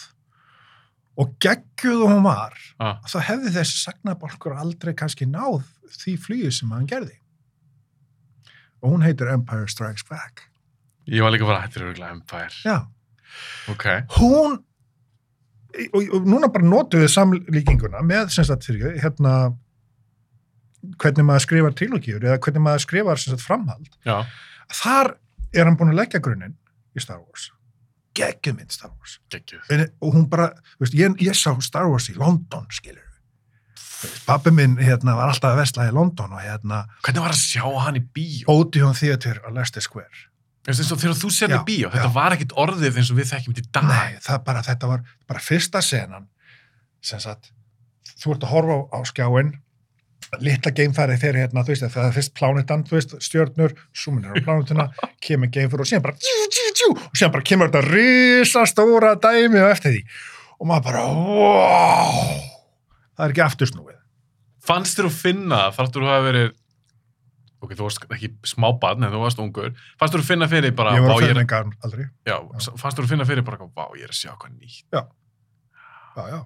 Speaker 2: og geggjuð og hún var
Speaker 1: ah,
Speaker 2: þá hefði þessi sagnabalkur aldrei kannski náð því flýju sem hann gerði og hún heitir Empire Strikes Back
Speaker 1: ég var líka bara hættir örgulega Empire.
Speaker 2: já,
Speaker 1: Ok,
Speaker 2: hún og, og núna bara notuðu samlíkinguna með sem sagt fyrir hérna hvernig maður skrifar trilogíur eða hvernig maður skrifar sem sagt, framhald
Speaker 1: já,
Speaker 2: þar er hann búin að leggja grunninn í Star Wars geggjum minn Star Wars
Speaker 1: geggjuð.
Speaker 2: en, og hún bara, þú veist, ég, ég sá Star Wars í London, skilur pappi minn hérna, var alltaf að vesla í London og hérna,
Speaker 1: Hvernig var að sjá hann í bíó?
Speaker 2: Odeon Theatre á Leicester Square
Speaker 1: Þú veist, eins og þegar þú sér hann í
Speaker 2: Já,
Speaker 1: bíó, þetta
Speaker 2: já.
Speaker 1: var ekkit orðið eins og við þekkjum þetta í dag.
Speaker 2: Nei, það bara, þetta var bara fyrsta senan sem sagt, þú ert að horfa á, á skjáin litla geimfæri þegar hérna, þú veist, það er fyrst plánetan, þú veist, stjörnur, súminir á
Speaker 1: (laughs)
Speaker 2: plánetuna, kemur geimfæri og síðan bara tjú, tjú, tjú, og síðan bara kemur þetta risa stóra dæmi og eftir því og maður bara, wow það er ekki aftur snúið
Speaker 1: Fannst þér að finna, þarftur þú að hafa verið, ok, þú varst ekki smábarn en þú varst ungur, fannst þér að finna fyrir bara,
Speaker 2: ég var
Speaker 1: vá,
Speaker 2: að
Speaker 1: ég er,
Speaker 2: ferða engan aldrei
Speaker 1: já, fannst þér að finna fyrir bara, vá, ég er að sjá hvað nýtt.
Speaker 2: já, já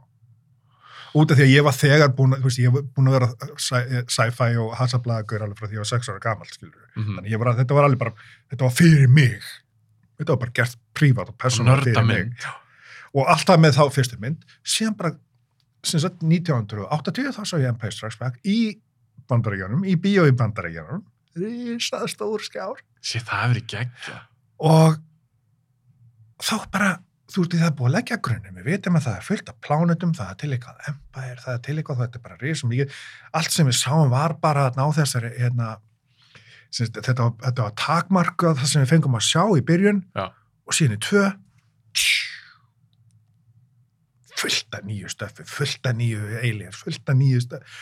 Speaker 2: út af því að ég var þegar búin að, þú veist, ég var búin að vera sci- sci-fi og hasablaðagur alveg frá því að ég var sex ára gamall, skilur
Speaker 1: Mm
Speaker 2: þannig Mhm. ég var að þetta var alveg bara þetta var fyrir mig þetta var bara gert prívat og persónal
Speaker 1: Nörda
Speaker 2: fyrir
Speaker 1: mynd.
Speaker 2: mig og alltaf með þá fyrstu mynd síðan bara sem sagt 1980 þá sá ég Empire Strikes Back í bandaríkjánum, í bíó í bandaríkjánum risað stór skjár
Speaker 1: Sér, það hefur verið geggja.
Speaker 2: og þá bara þú veist, það er búið að leggja grunnum við vitum að það er fullt af plánutum, það er til eitthvað Empire, það er til eitthvað, þetta er bara risum líkið allt sem við sáum var bara að ná þessari hérna, sem sagt, þetta, var, þetta var takmarkað það sem við fengum að sjá í byrjun
Speaker 1: Já.
Speaker 2: og síðan í tvö fullt af nýju stöfi fullt af nýju aliens, fullt af nýju stöfi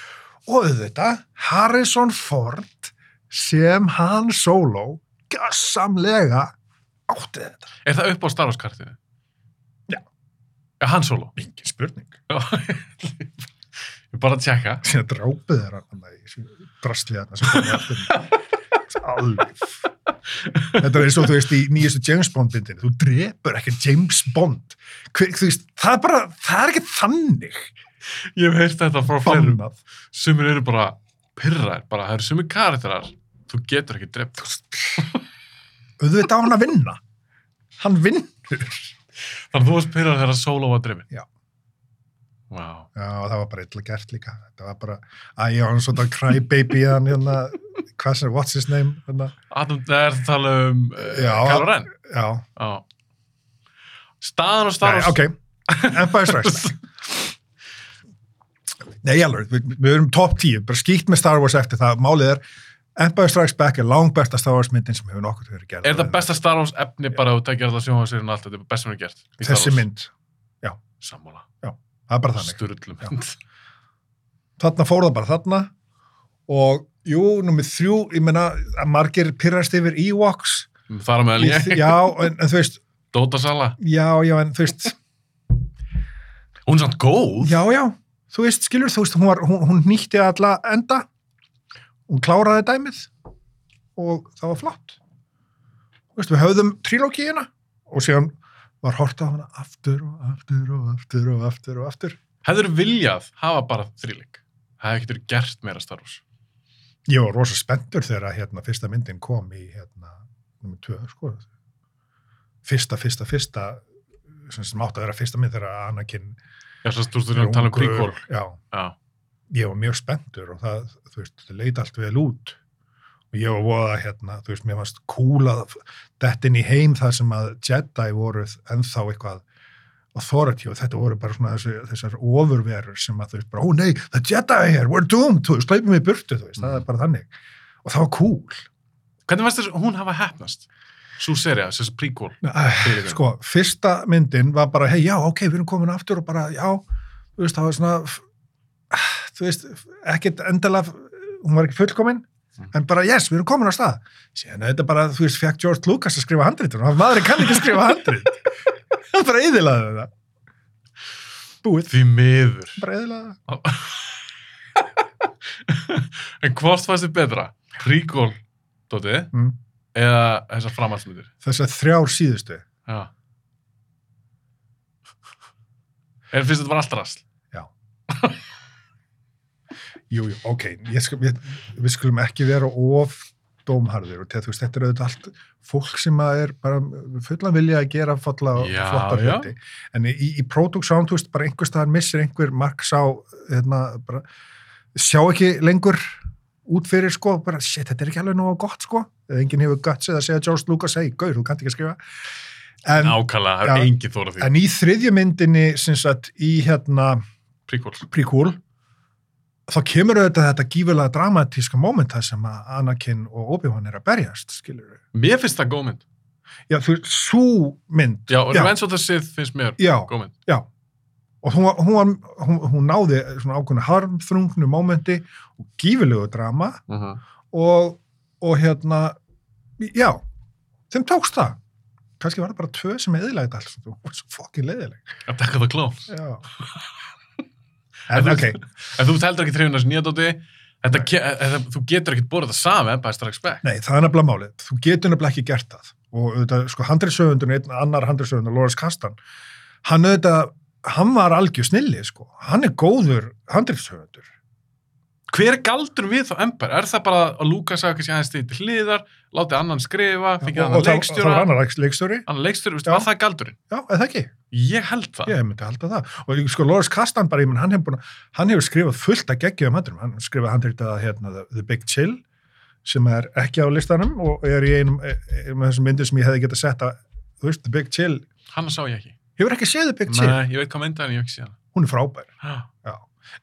Speaker 2: og þetta Harrison Ford sem hann solo gassamlega átti þetta
Speaker 1: Er það upp á Star Wars kartinu?
Speaker 2: Já.
Speaker 1: Já, hann solo.
Speaker 2: Engin spurning.
Speaker 1: Já. (laughs) ég er bara að tjekka.
Speaker 2: Síðan drápið þeirra hann í þessu drastli þarna sem komið aftur. Alveg. Þetta er eins og þú veist í nýjastu James Bond-bindinu. Þú drepur ekki James Bond. Hver, þú veist, það er bara, það er ekki þannig.
Speaker 1: Ég hef heyrt þetta frá fleirum.
Speaker 2: Bannað.
Speaker 1: Sumir eru bara pyrrar, bara það eru sumir karakterar. Þú getur ekki drept.
Speaker 2: Auðvitað á hann að vinna. Hann vinnur.
Speaker 1: Þannig að þú varst pyrrar þegar solo var drefin.
Speaker 2: Já.
Speaker 1: Vá. Wow.
Speaker 2: Já, það var bara illa gert líka. Það var bara, æ, já, hann svona crybaby hann hérna, hvað sem, what's his name? Hérna.
Speaker 1: Adam, það er að tala um uh,
Speaker 2: Já.
Speaker 1: Kylo Ren.
Speaker 2: Já,
Speaker 1: Já. Staðan og Star
Speaker 2: Nei,
Speaker 1: Wars.
Speaker 2: ok, Empire Strikes Back Nei, alveg, við, við erum top 10 bara skýtt með Star Wars eftir það, málið er Empire Strikes Back er langbesta Star Wars myndin sem hefur nokkuð verið gerð
Speaker 1: Er það besta Star Wars efni bara að þú tekir alltaf sjónvarsýrin allt? Þetta er best sem er gert. í Star
Speaker 2: Þessi
Speaker 1: Wars.
Speaker 2: mynd,
Speaker 1: Sammála.
Speaker 2: það er bara þannig
Speaker 1: Sturlum.
Speaker 2: Já. Þarna fór það bara þarna og jú, nummið þrjú, ég meina að margir pyrrast yfir Ewoks
Speaker 1: (laughs) Þar á meðal
Speaker 2: Í
Speaker 1: ég.
Speaker 2: þ- Já, en, en þú veist
Speaker 1: Dóta Sala.
Speaker 2: Já, já, en þú veist
Speaker 1: Hún er samt góð.
Speaker 2: Já, já, þú veist, skilur, þú veist, hún, var, hún, hún nýtti alla enda, hún kláraði dæmið og það var flott. Þú veist, við höfðum trilógíina og síðan var hort á hana aftur og aftur og aftur og aftur og aftur.
Speaker 1: Hefur viljað hafa bara þrýleik? Það hefur getur gert meira Star Wars.
Speaker 2: Ég var rosa spenntur þegar hérna, fyrsta myndin kom í hérna, nummer 2, sko. Fyrsta, fyrsta, fyrsta, sem sem átti að vera fyrsta mynd þegar Anakin...
Speaker 1: Já, svo stúrstu að tala um
Speaker 2: ungur-
Speaker 1: prequel.
Speaker 2: Já,
Speaker 1: Já.
Speaker 2: ég var mjög spenntur og það, þú veist, það leit allt vel út og ég var voða hérna, þú veist, mér varst kúlað þetta inn í heim þar sem að Jedi voru ennþá eitthvað authority og þetta voru bara svona þessi, þessar ofurverur sem að þú veist bara, ó nei, the Jedi are here, we're doomed, þú veist, sleipum við burtu, þú veist, það
Speaker 1: Mhm.
Speaker 2: er bara þannig og það var cool.
Speaker 1: Hvernig varst þess að hún hafa hefnast? Sú serja, þessi prequel.
Speaker 2: Æ, sko, fyrsta myndin var bara, hei, já, ok, við erum komin aftur og bara, já, þú veist, það var svona, f- ah, þú veist, ekkert endilega, hún var ekki fullkomin,
Speaker 1: Mm.
Speaker 2: en bara, yes, við erum komin á stað. Síðan er þetta bara, þú veist, fekk George Lucas að skrifa handrit, og maðurinn kann ekki að skrifa handrit. (laughs) Hann bara eðilaði það. Búið,
Speaker 1: Því miður.
Speaker 2: bara eðilaði það.
Speaker 1: En hvort fannst þið betra? Prequel, Dóti,
Speaker 2: Mm.
Speaker 1: eða þessar framhaldsmyndir?
Speaker 2: Þess að þrjár síðustu,
Speaker 1: Já. En finnst þetta var allt rast?
Speaker 2: jú, jú, ok, ég skal, ég, við skulum ekki vera of dómharður og þegar þú veist, þetta er auðvitað allt fólk sem að er bara fullan vilja að gera falla
Speaker 1: Já,
Speaker 2: flottar
Speaker 1: já.
Speaker 2: hluti en í, í production, þú veist, bara einhver staðar missir einhver mark sá hérna, bara, sjá ekki lengur út fyrir sko, bara, shit, þetta er ekki alveg nógu gott sko, eða enginn hefur guts eða segja George Lucas, hei, gaur, þú kannt ekki að skrifa en,
Speaker 1: Nákvæmlega, það
Speaker 2: Já.
Speaker 1: er engin þóra því.
Speaker 2: en í þriðju myndinni sem sagt, í hérna
Speaker 1: Prequels.
Speaker 2: prequel þá kemur auðvitað þetta gífurlega dramatíska momenta sem að Anakin og Obi-Wan er að berjast, skilur við.
Speaker 1: Mér finnst það góð mynd.
Speaker 2: Já, þú, svo mynd,
Speaker 1: Já,
Speaker 2: Já.
Speaker 1: Revenge of the Sith finnst mér
Speaker 2: já,
Speaker 1: góð mynd.
Speaker 2: já. Og hún, var- hún, var- hún, hún náði svona ákveðna harmþrungnu momenti og gífurlegu drama
Speaker 1: Mhm.
Speaker 2: og, og hérna, já, þeim tókst það. Kannski var það bara tvö sem eðilaði þetta alls. Þú (laughs) var svo fokkin leiðileg.
Speaker 1: Attack of the Clones.
Speaker 2: Já.
Speaker 1: En
Speaker 2: En,
Speaker 1: þú-
Speaker 2: ok,
Speaker 1: En þú ert heldur ekki trefin þessi nýja dóti. Þetta,
Speaker 2: Nei.
Speaker 1: ke- e- e- þú getur ekkert borðið það sami, Empire Strikes Back.
Speaker 2: Nei, það er nefnilega málið. Þú getur nefnilega ekki gert það. Og auðvitað, sko, handriðsöfundun, einn annar handriðsöfundur, Loris Kastan, hann auðvitað, hann var algjör snilli, sko. Hann er góður handriðsöfundur.
Speaker 1: Hver er galdur við þá Empire? Er það bara að Lucas hafa kannski aðeins stegið til hliðar, látið annan skrifa, fengið annan
Speaker 2: Það
Speaker 1: leikstjóra,
Speaker 2: var annar leiks- leikstjóri.
Speaker 1: annan leikstjóri, veistu,
Speaker 2: Já.
Speaker 1: var það galdurinn?
Speaker 2: Já, eða það ekki.
Speaker 1: Ég held það.
Speaker 2: Ég myndi halda það. Og ég- sko, Loris Kastan bara, ég menn, hann hefur, búin, að- hann hefur skrifað fullt að geggjum handriðum. Hann skrifað handriðað, hérna, The- The Big Chill, sem er ekki á listanum og er í einum, e- einum af þessum myndir sem ég hefði getað sett að, þú veist, The Big Chill.
Speaker 1: Hanna sá ég ekki.
Speaker 2: Hefur ekki séð The Big Chill?
Speaker 1: Nei, ég veit hvað mynda en ég hef ekki séð hana.
Speaker 2: Hún er frábær.
Speaker 1: Ha.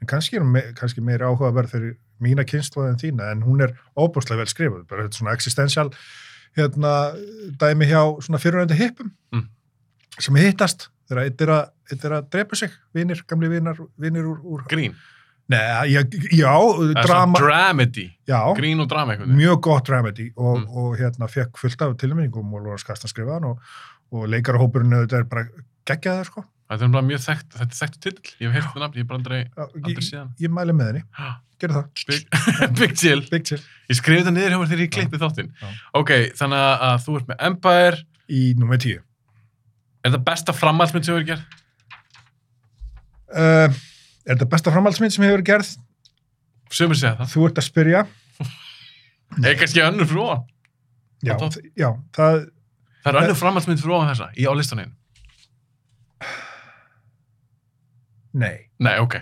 Speaker 2: en kannski er hún me kannski meira áhugaverð fyrir mína kynnslóð en þína, en hún er óbúslega vel skrifuð, bara þetta svona existential hérna, dæmi hjá svona fyrirvændi hippum
Speaker 1: Mm.
Speaker 2: sem hittast þegar eitt er, að, eitt er að drepa sig, vinir, gamli vinar, vinir úr, úr
Speaker 1: Grín.
Speaker 2: Nei, já, já
Speaker 1: Það er svona
Speaker 2: drama,
Speaker 1: Dramedy.
Speaker 2: já,
Speaker 1: Grín og drama einhvern veginn.
Speaker 2: mjög gott dramedy og,
Speaker 1: Mm.
Speaker 2: og hérna fekk fullt af tilmyndingum og Lóras Kastan skrifaðan og, og leikarahópurinn auðvitað er bara geggjaðar sko,
Speaker 1: Þetta er bara mjög þekkt, þetta er þekktu titill, ég hef heyrt það nafn, ég hef bara aldrei,
Speaker 2: Já,
Speaker 1: aldrei
Speaker 2: ég,
Speaker 1: séð hann.
Speaker 2: ég mæli með henni,
Speaker 1: Ha,
Speaker 2: gerðu það
Speaker 1: Big, (laughs) big chill.
Speaker 2: Big Chill
Speaker 1: Ég skrifið það niður hjá mér þegar ég klippið þáttinn.
Speaker 2: Já.
Speaker 1: Ok, þannig að- að þú ert með Empire,
Speaker 2: í nummer 10
Speaker 1: er það besta framhaldsmynd sem þú hefur gerð?
Speaker 2: uh, er þetta besta framhaldsmynd sem hefur verið gerð?
Speaker 1: Sumir segja það.
Speaker 2: Þú ert að spyrja.
Speaker 1: Eða kannski önnur frá hann. Á
Speaker 2: Já,
Speaker 1: topp.
Speaker 2: þ- já það,
Speaker 1: Það er önnur framhaldsmynd frá hann þessa, í á listaninn.
Speaker 2: nei,
Speaker 1: Nei, ok.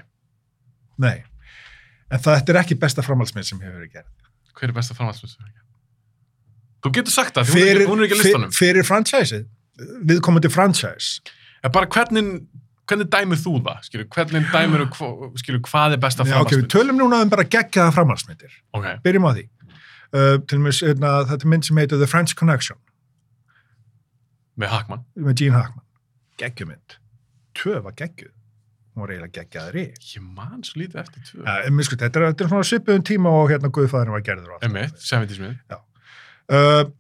Speaker 2: nei. En þetta er ekki besta framhaldsmynd sem hefur verið gerð.
Speaker 1: Hver er besta framhaldsmynd sem þú hefur gerð? Þú getur sagt það, því hún er ekki- hún er ekki á listanum.
Speaker 2: fyr- fyrir fransæsið, viðkomandi fransæs.
Speaker 1: En bara hvernig, hvernig dæmir þú það? Skilur, hvernig dæmir þú, hvo- skilur, hvað er besta
Speaker 2: Nei, ok, við
Speaker 1: framhaldsmynd?
Speaker 2: tölum núna um bara geggjaða framhaldsmyndir.
Speaker 1: Ok,
Speaker 2: Byrjum á því. Uh, til og með þetta er mynd sem heitir The French Connection
Speaker 1: með Hackman.
Speaker 2: með Gene Hackman. Geggjumynd. Tvö var geggjuð. Hún var eiginlega geggjaðri.
Speaker 1: Ég man svo lítið eftir tvö.
Speaker 2: Uh, en, sko, þetta, er, þetta er svona svipuðum tíma og hérna Guðfæðurinn var gerður. og allt.
Speaker 1: Emmett, 70s mið.
Speaker 2: Uh,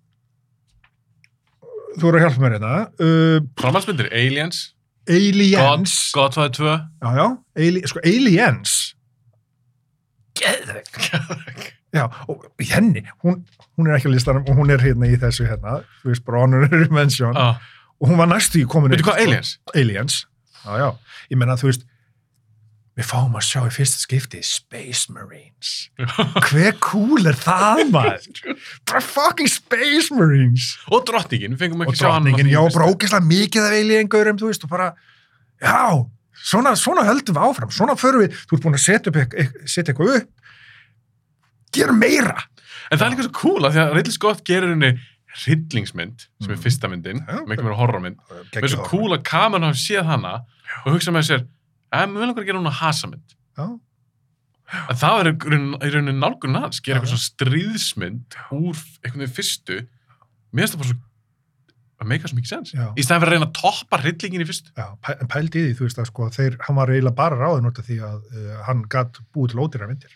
Speaker 2: þú voru að hjálpa mér hérna. Uh,
Speaker 1: Framhaldsmyndir, Aliens,
Speaker 2: aliens.
Speaker 1: Godfather 2.
Speaker 2: Já, já. Ali, sko, aliens. Geðveg. Já, og henni, hún, hún er ekki á listanum og hún er hérna í þessu hérna, þú veist, bara honorary mention.
Speaker 1: Ah.
Speaker 2: Og hún var næstu í komin
Speaker 1: Veitu hvað, Aliens?
Speaker 2: Aliens. Já, já. Ég menna, þú veist, við fáum að sjá í fyrsta skipti Space
Speaker 1: (laughs)
Speaker 2: Marines. Hver cool er það, maður? Bara fucking Space Marines.
Speaker 1: og drottningin, við fengum
Speaker 2: og
Speaker 1: ekki að sjá hann.
Speaker 2: drottningin, já, bara ógeðslega mikið af eilíðingaurum, þú veist, og bara já, svona, svona höldum við áfram svona förum við, þú ert búin að setja, upp, eitth- setja eitthvað upp gerum meira
Speaker 1: En það er líka svo cool að því að Ridley Scott gerir henni rillingsmynd, sem er
Speaker 2: Mm.
Speaker 1: fyrsta myndin,
Speaker 2: Já,
Speaker 1: miklu meira horrormynd. Það er svo
Speaker 2: Geggjað
Speaker 1: cool að kameran hafa séð hana og hugsa með sér, að mjög langar að gera hún að hasamynd.
Speaker 2: Já.
Speaker 1: En það er í raun- í rauninni nálgun hans, gera
Speaker 2: Já,
Speaker 1: eitthvað svona stríðsmynd úr einhvern veginn fyrstu. Mér finnst það bara svo, að meika svo mikið sens.
Speaker 2: Já.
Speaker 1: Í stæðan fyrir að reyna að toppa rillingin í fyrstu.
Speaker 2: Já, pæ- en pældi í því, þú veist að sko, þeir, hann var eiginlega bara ráðin út af því að uh, hann gatt búið til ódýra myndir.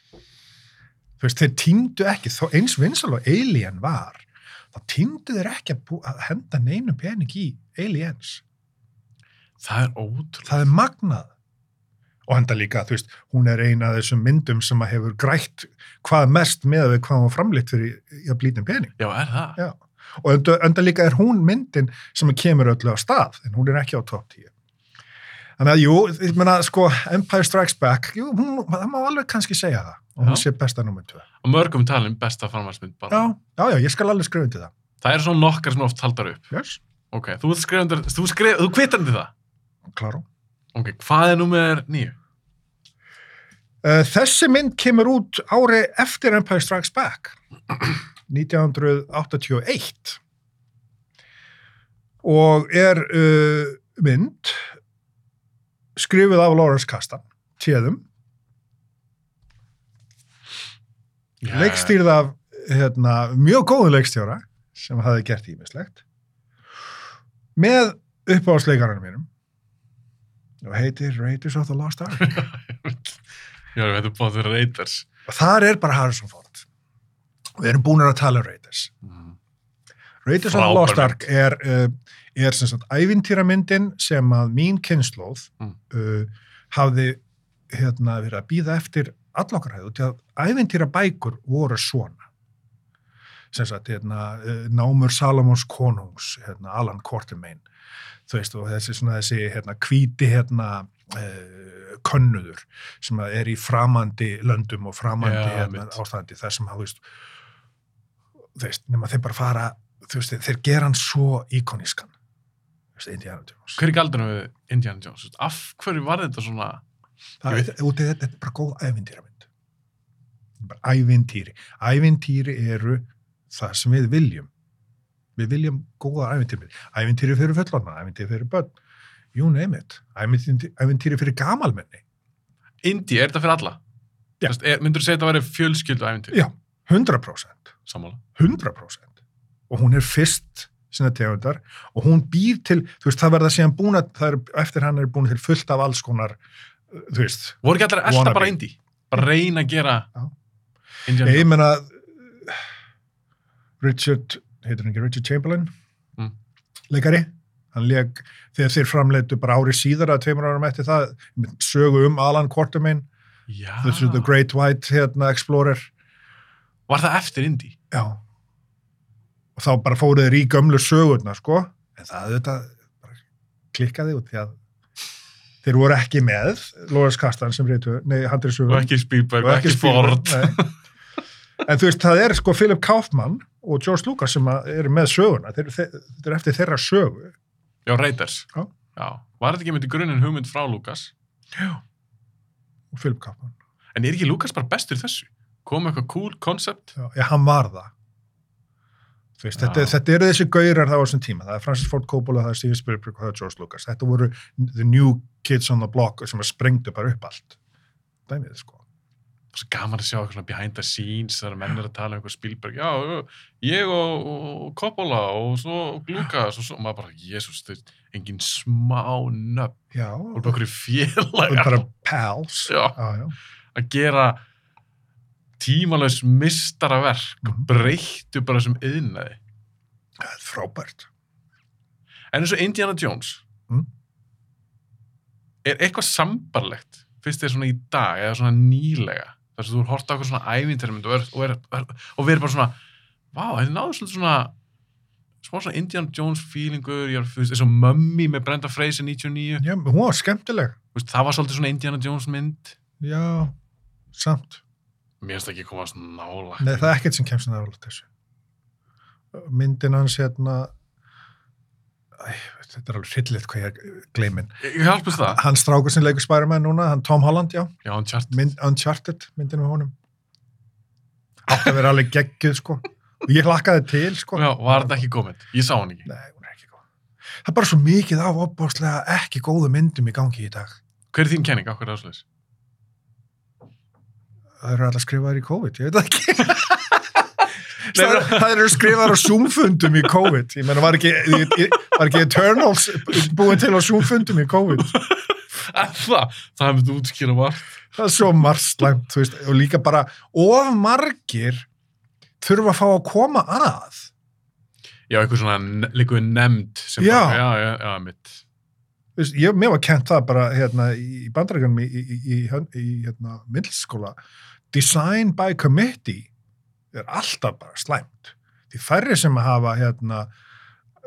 Speaker 2: Þú veist, þeir týndu ekki, þó eins vinsal og Alien var, þá týndu þeir ekki að, bú, að henda neinum pening í Aliens.
Speaker 1: Það er ótrúlega.
Speaker 2: það er magnað og henda líka, þú veist, hún er eina af þessum myndum sem að hefur grætt hvað mest með við hvað hún var framleitt fyrir í að blítin pening
Speaker 1: Já, er það?
Speaker 2: Já. og enda, enda líka er hún myndin sem kemur öllu á stað, en hún er ekki á top 10 þannig að jú, ég meina sko, Empire Strikes Back jú, hún, það má alveg kannski segja það og hún
Speaker 1: Já.
Speaker 2: sé besta nummer 2 já,
Speaker 1: Og mörgum talin besta framhalsmynd bara.
Speaker 2: já, já, ég skal alveg skrifa undir það
Speaker 1: Það eru svona nokkar sem oft haldar upp.
Speaker 2: yes,
Speaker 1: Ok, þú ert skrifundur, þú, skrif, þú kvitandi það.
Speaker 2: kláru
Speaker 1: Ok, hvað er númer nýju?
Speaker 2: Uh, þessi mynd kemur út ári eftir Empire Strikes Back (clears throat) 1981 og er uh, mynd skrifuð af Lawrence Kasdan téðum,
Speaker 1: Já.
Speaker 2: leikstýrð af hérna, mjög góðu leikstjóra sem hafði gert ímislegt með uppáhaldsleikarinn mínum og heitir Raiders of the Lost Ark
Speaker 1: Já, þetta er búin að vera reytars.
Speaker 2: og þar er bara Harrison Ford við erum búinir að tala um Raiders Raiders of the
Speaker 1: Frábær
Speaker 2: Lost
Speaker 1: mynd.
Speaker 2: Ark er, uh, er sem sagt ævintýramyndin sem að mín kynnslóð
Speaker 1: Mm.
Speaker 2: uh, hafði hérna verið að býða eftir allokkarhæðu til að ævintýrabækur voru svona sem sagt hérna uh, Námur Salomons konungs hérna Alan Quartermain þú veist og þessi svona þessi hérna hvíti hérna uh, könnuður sem að er í framandi löndum og framandi
Speaker 1: Já,
Speaker 2: hérna,
Speaker 1: mitt.
Speaker 2: ástandi þar sem að þú veist þú veist, nema þeir bara fara þú veist, þeir gera hann svo íkonískan þú veist, Indiana Jones
Speaker 1: Hver er galdurinn við Indiana Jones? Þú veist, Af hverju var þetta svona...
Speaker 2: það,
Speaker 1: ég
Speaker 2: er- út í þetta, þetta er bara góð ævintýramynd bara ævintýri ævintýri eru það sem við viljum við viljum góða ævintýramynd ævintýri fyrir fullorna, ævintýri fyrir börn you name it, ævintýri, ævintýri fyrir gamalmenni
Speaker 1: Indi, er þetta fyrir alla?
Speaker 2: Já.
Speaker 1: Þú veist, er- Myndirðu segja þetta að vera fjölskyldu æfintir?
Speaker 2: já, 100%
Speaker 1: Sammála.
Speaker 2: 100% og hún er fyrst sinna tegundar og hún býr til, þú veist, það verða síðan búin að, það er, eftir hann er búin til fullt af alls konar, uh, þú veist
Speaker 1: Voru ekki allir að elta
Speaker 2: Wannabe.
Speaker 1: bara Indi? Bara reyna að gera
Speaker 2: Já.
Speaker 1: Indiana
Speaker 2: ég,
Speaker 1: Jones?
Speaker 2: ég meina uh, Richard, heitir hann ekki Richard Chamberlain
Speaker 1: Mm.
Speaker 2: leikari hann leik, þegar þeir framleitu bara ári síðar að tveimur árum eftir það með sögu um Alan Quartermain
Speaker 1: Já.
Speaker 2: ah. the Great White hérna, Explorer
Speaker 1: Var það eftir Indi?
Speaker 2: Já. Og þá bara fóruð þeir í gömlu sögurnar, sko. En það auðvitað bara klikkaði út því að þeir voru ekki með Lóðars Kastan sem reytu, nei, handrið
Speaker 1: Og
Speaker 2: sögur.
Speaker 1: ekki Spielberg, og ekki Ford.
Speaker 2: Spielberg, Nei. En þú veist, það er sko Philip Kaufman og George Lucas sem að eru með söguna. Þeir, þeir, þeir eru eftir þeirra sögu.
Speaker 1: Já, Raiders.
Speaker 2: Já.
Speaker 1: Já. Var þetta ekki myndi grunin hugmynd frá Lucas?
Speaker 2: Og Philip Kaufman.
Speaker 1: En er ekki Lucas bara bestur í þessu? Kom með eitthvað cool concept?
Speaker 2: Já, já, hann var það. Þú veist, þetta,
Speaker 1: Já.
Speaker 2: þetta eru þessi gaurar þá á þessum tíma. Það er Francis Ford Coppola, það er Steven Spielberg og það er George Lucas. Þetta voru the new kids on the block sem að sprengdu bara upp allt. Dæmið, sko.
Speaker 1: Það er svo gaman að sjá eitthvað svona behind the scenes þegar menn er að tala um eitthvað Spielberg. Já, já, ég og, og Coppola og svo Lucas og svo. Maður bara, jésus, þú veist, engin smá nöfn.
Speaker 2: Já,
Speaker 1: Þú erum okkur
Speaker 2: og
Speaker 1: félagar
Speaker 2: bara pals.
Speaker 1: Já.
Speaker 2: Já, já.
Speaker 1: að gera tímalaus mistaraverk.
Speaker 2: Mhm.
Speaker 1: Breyttu bara þessum yðnaði.
Speaker 2: Það er frábært.
Speaker 1: En eins og Indiana Jones
Speaker 2: Mm.
Speaker 1: er eitthvað sambarlegt fyrst þér svona í dag eða svona nýlega þar sem þú hort á eitthvað svona ævintermynd og, er, og, er, er, og verður bara svona vá, þetta er náður svolítið svona smá svona Indiana Jones feelingur ég er þú veist, eins og Mummy með Brenda Fraser 99
Speaker 2: Já, hún var skemmtileg.
Speaker 1: þú veist, það var svolítið svona Indiana Jones mynd
Speaker 2: Já, samt.
Speaker 1: mér finnst ekki að koma svona nála
Speaker 2: Nei, það er ekkert sem kemst nála þessu. Myndin hans hérna... Æ, þetta er alveg hryllilegt hvað ég er gleimin.
Speaker 1: ég hjálpist það,
Speaker 2: Hann strákur sem leikur Spiderman núna, hann Tom Holland, já.
Speaker 1: já, hann tjart
Speaker 2: mynd, Uncharted myndin með honum átti að vera alveg geggjuð sko og ég hlakkaði til sko
Speaker 1: já, var þetta ekki komið, ég sá hann ekki
Speaker 2: Nei, hún er ekki góð það er bara svo mikið af opbáslega ekki góðu myndum í gangi í dag
Speaker 1: hver er þín kenning, okkur er ásleis
Speaker 2: það eru allar skrifaðir í COVID, ég veit það ekki
Speaker 1: Nei,
Speaker 2: það, það eru skrifaðir á Zoom-fundum í COVID ég menna var ekki, var ekki Eternals búin til á Zoom-fundum í COVID
Speaker 1: (laughs) það, það hefði þú útskýra var
Speaker 2: það er svo margslæmt, þú veist, og líka bara of margir þurfa að fá að koma að
Speaker 1: Já, eitthvað svona líkuð nefnd sem
Speaker 2: Já.
Speaker 1: bara, já, já, já, mitt.
Speaker 2: Þú veist, ég, mér var kent það bara hérna, í bandarækjanum í, í, í, í, í hérna, myndlskóla design by committee er alltaf bara slæmt því færri sem hafa hérna,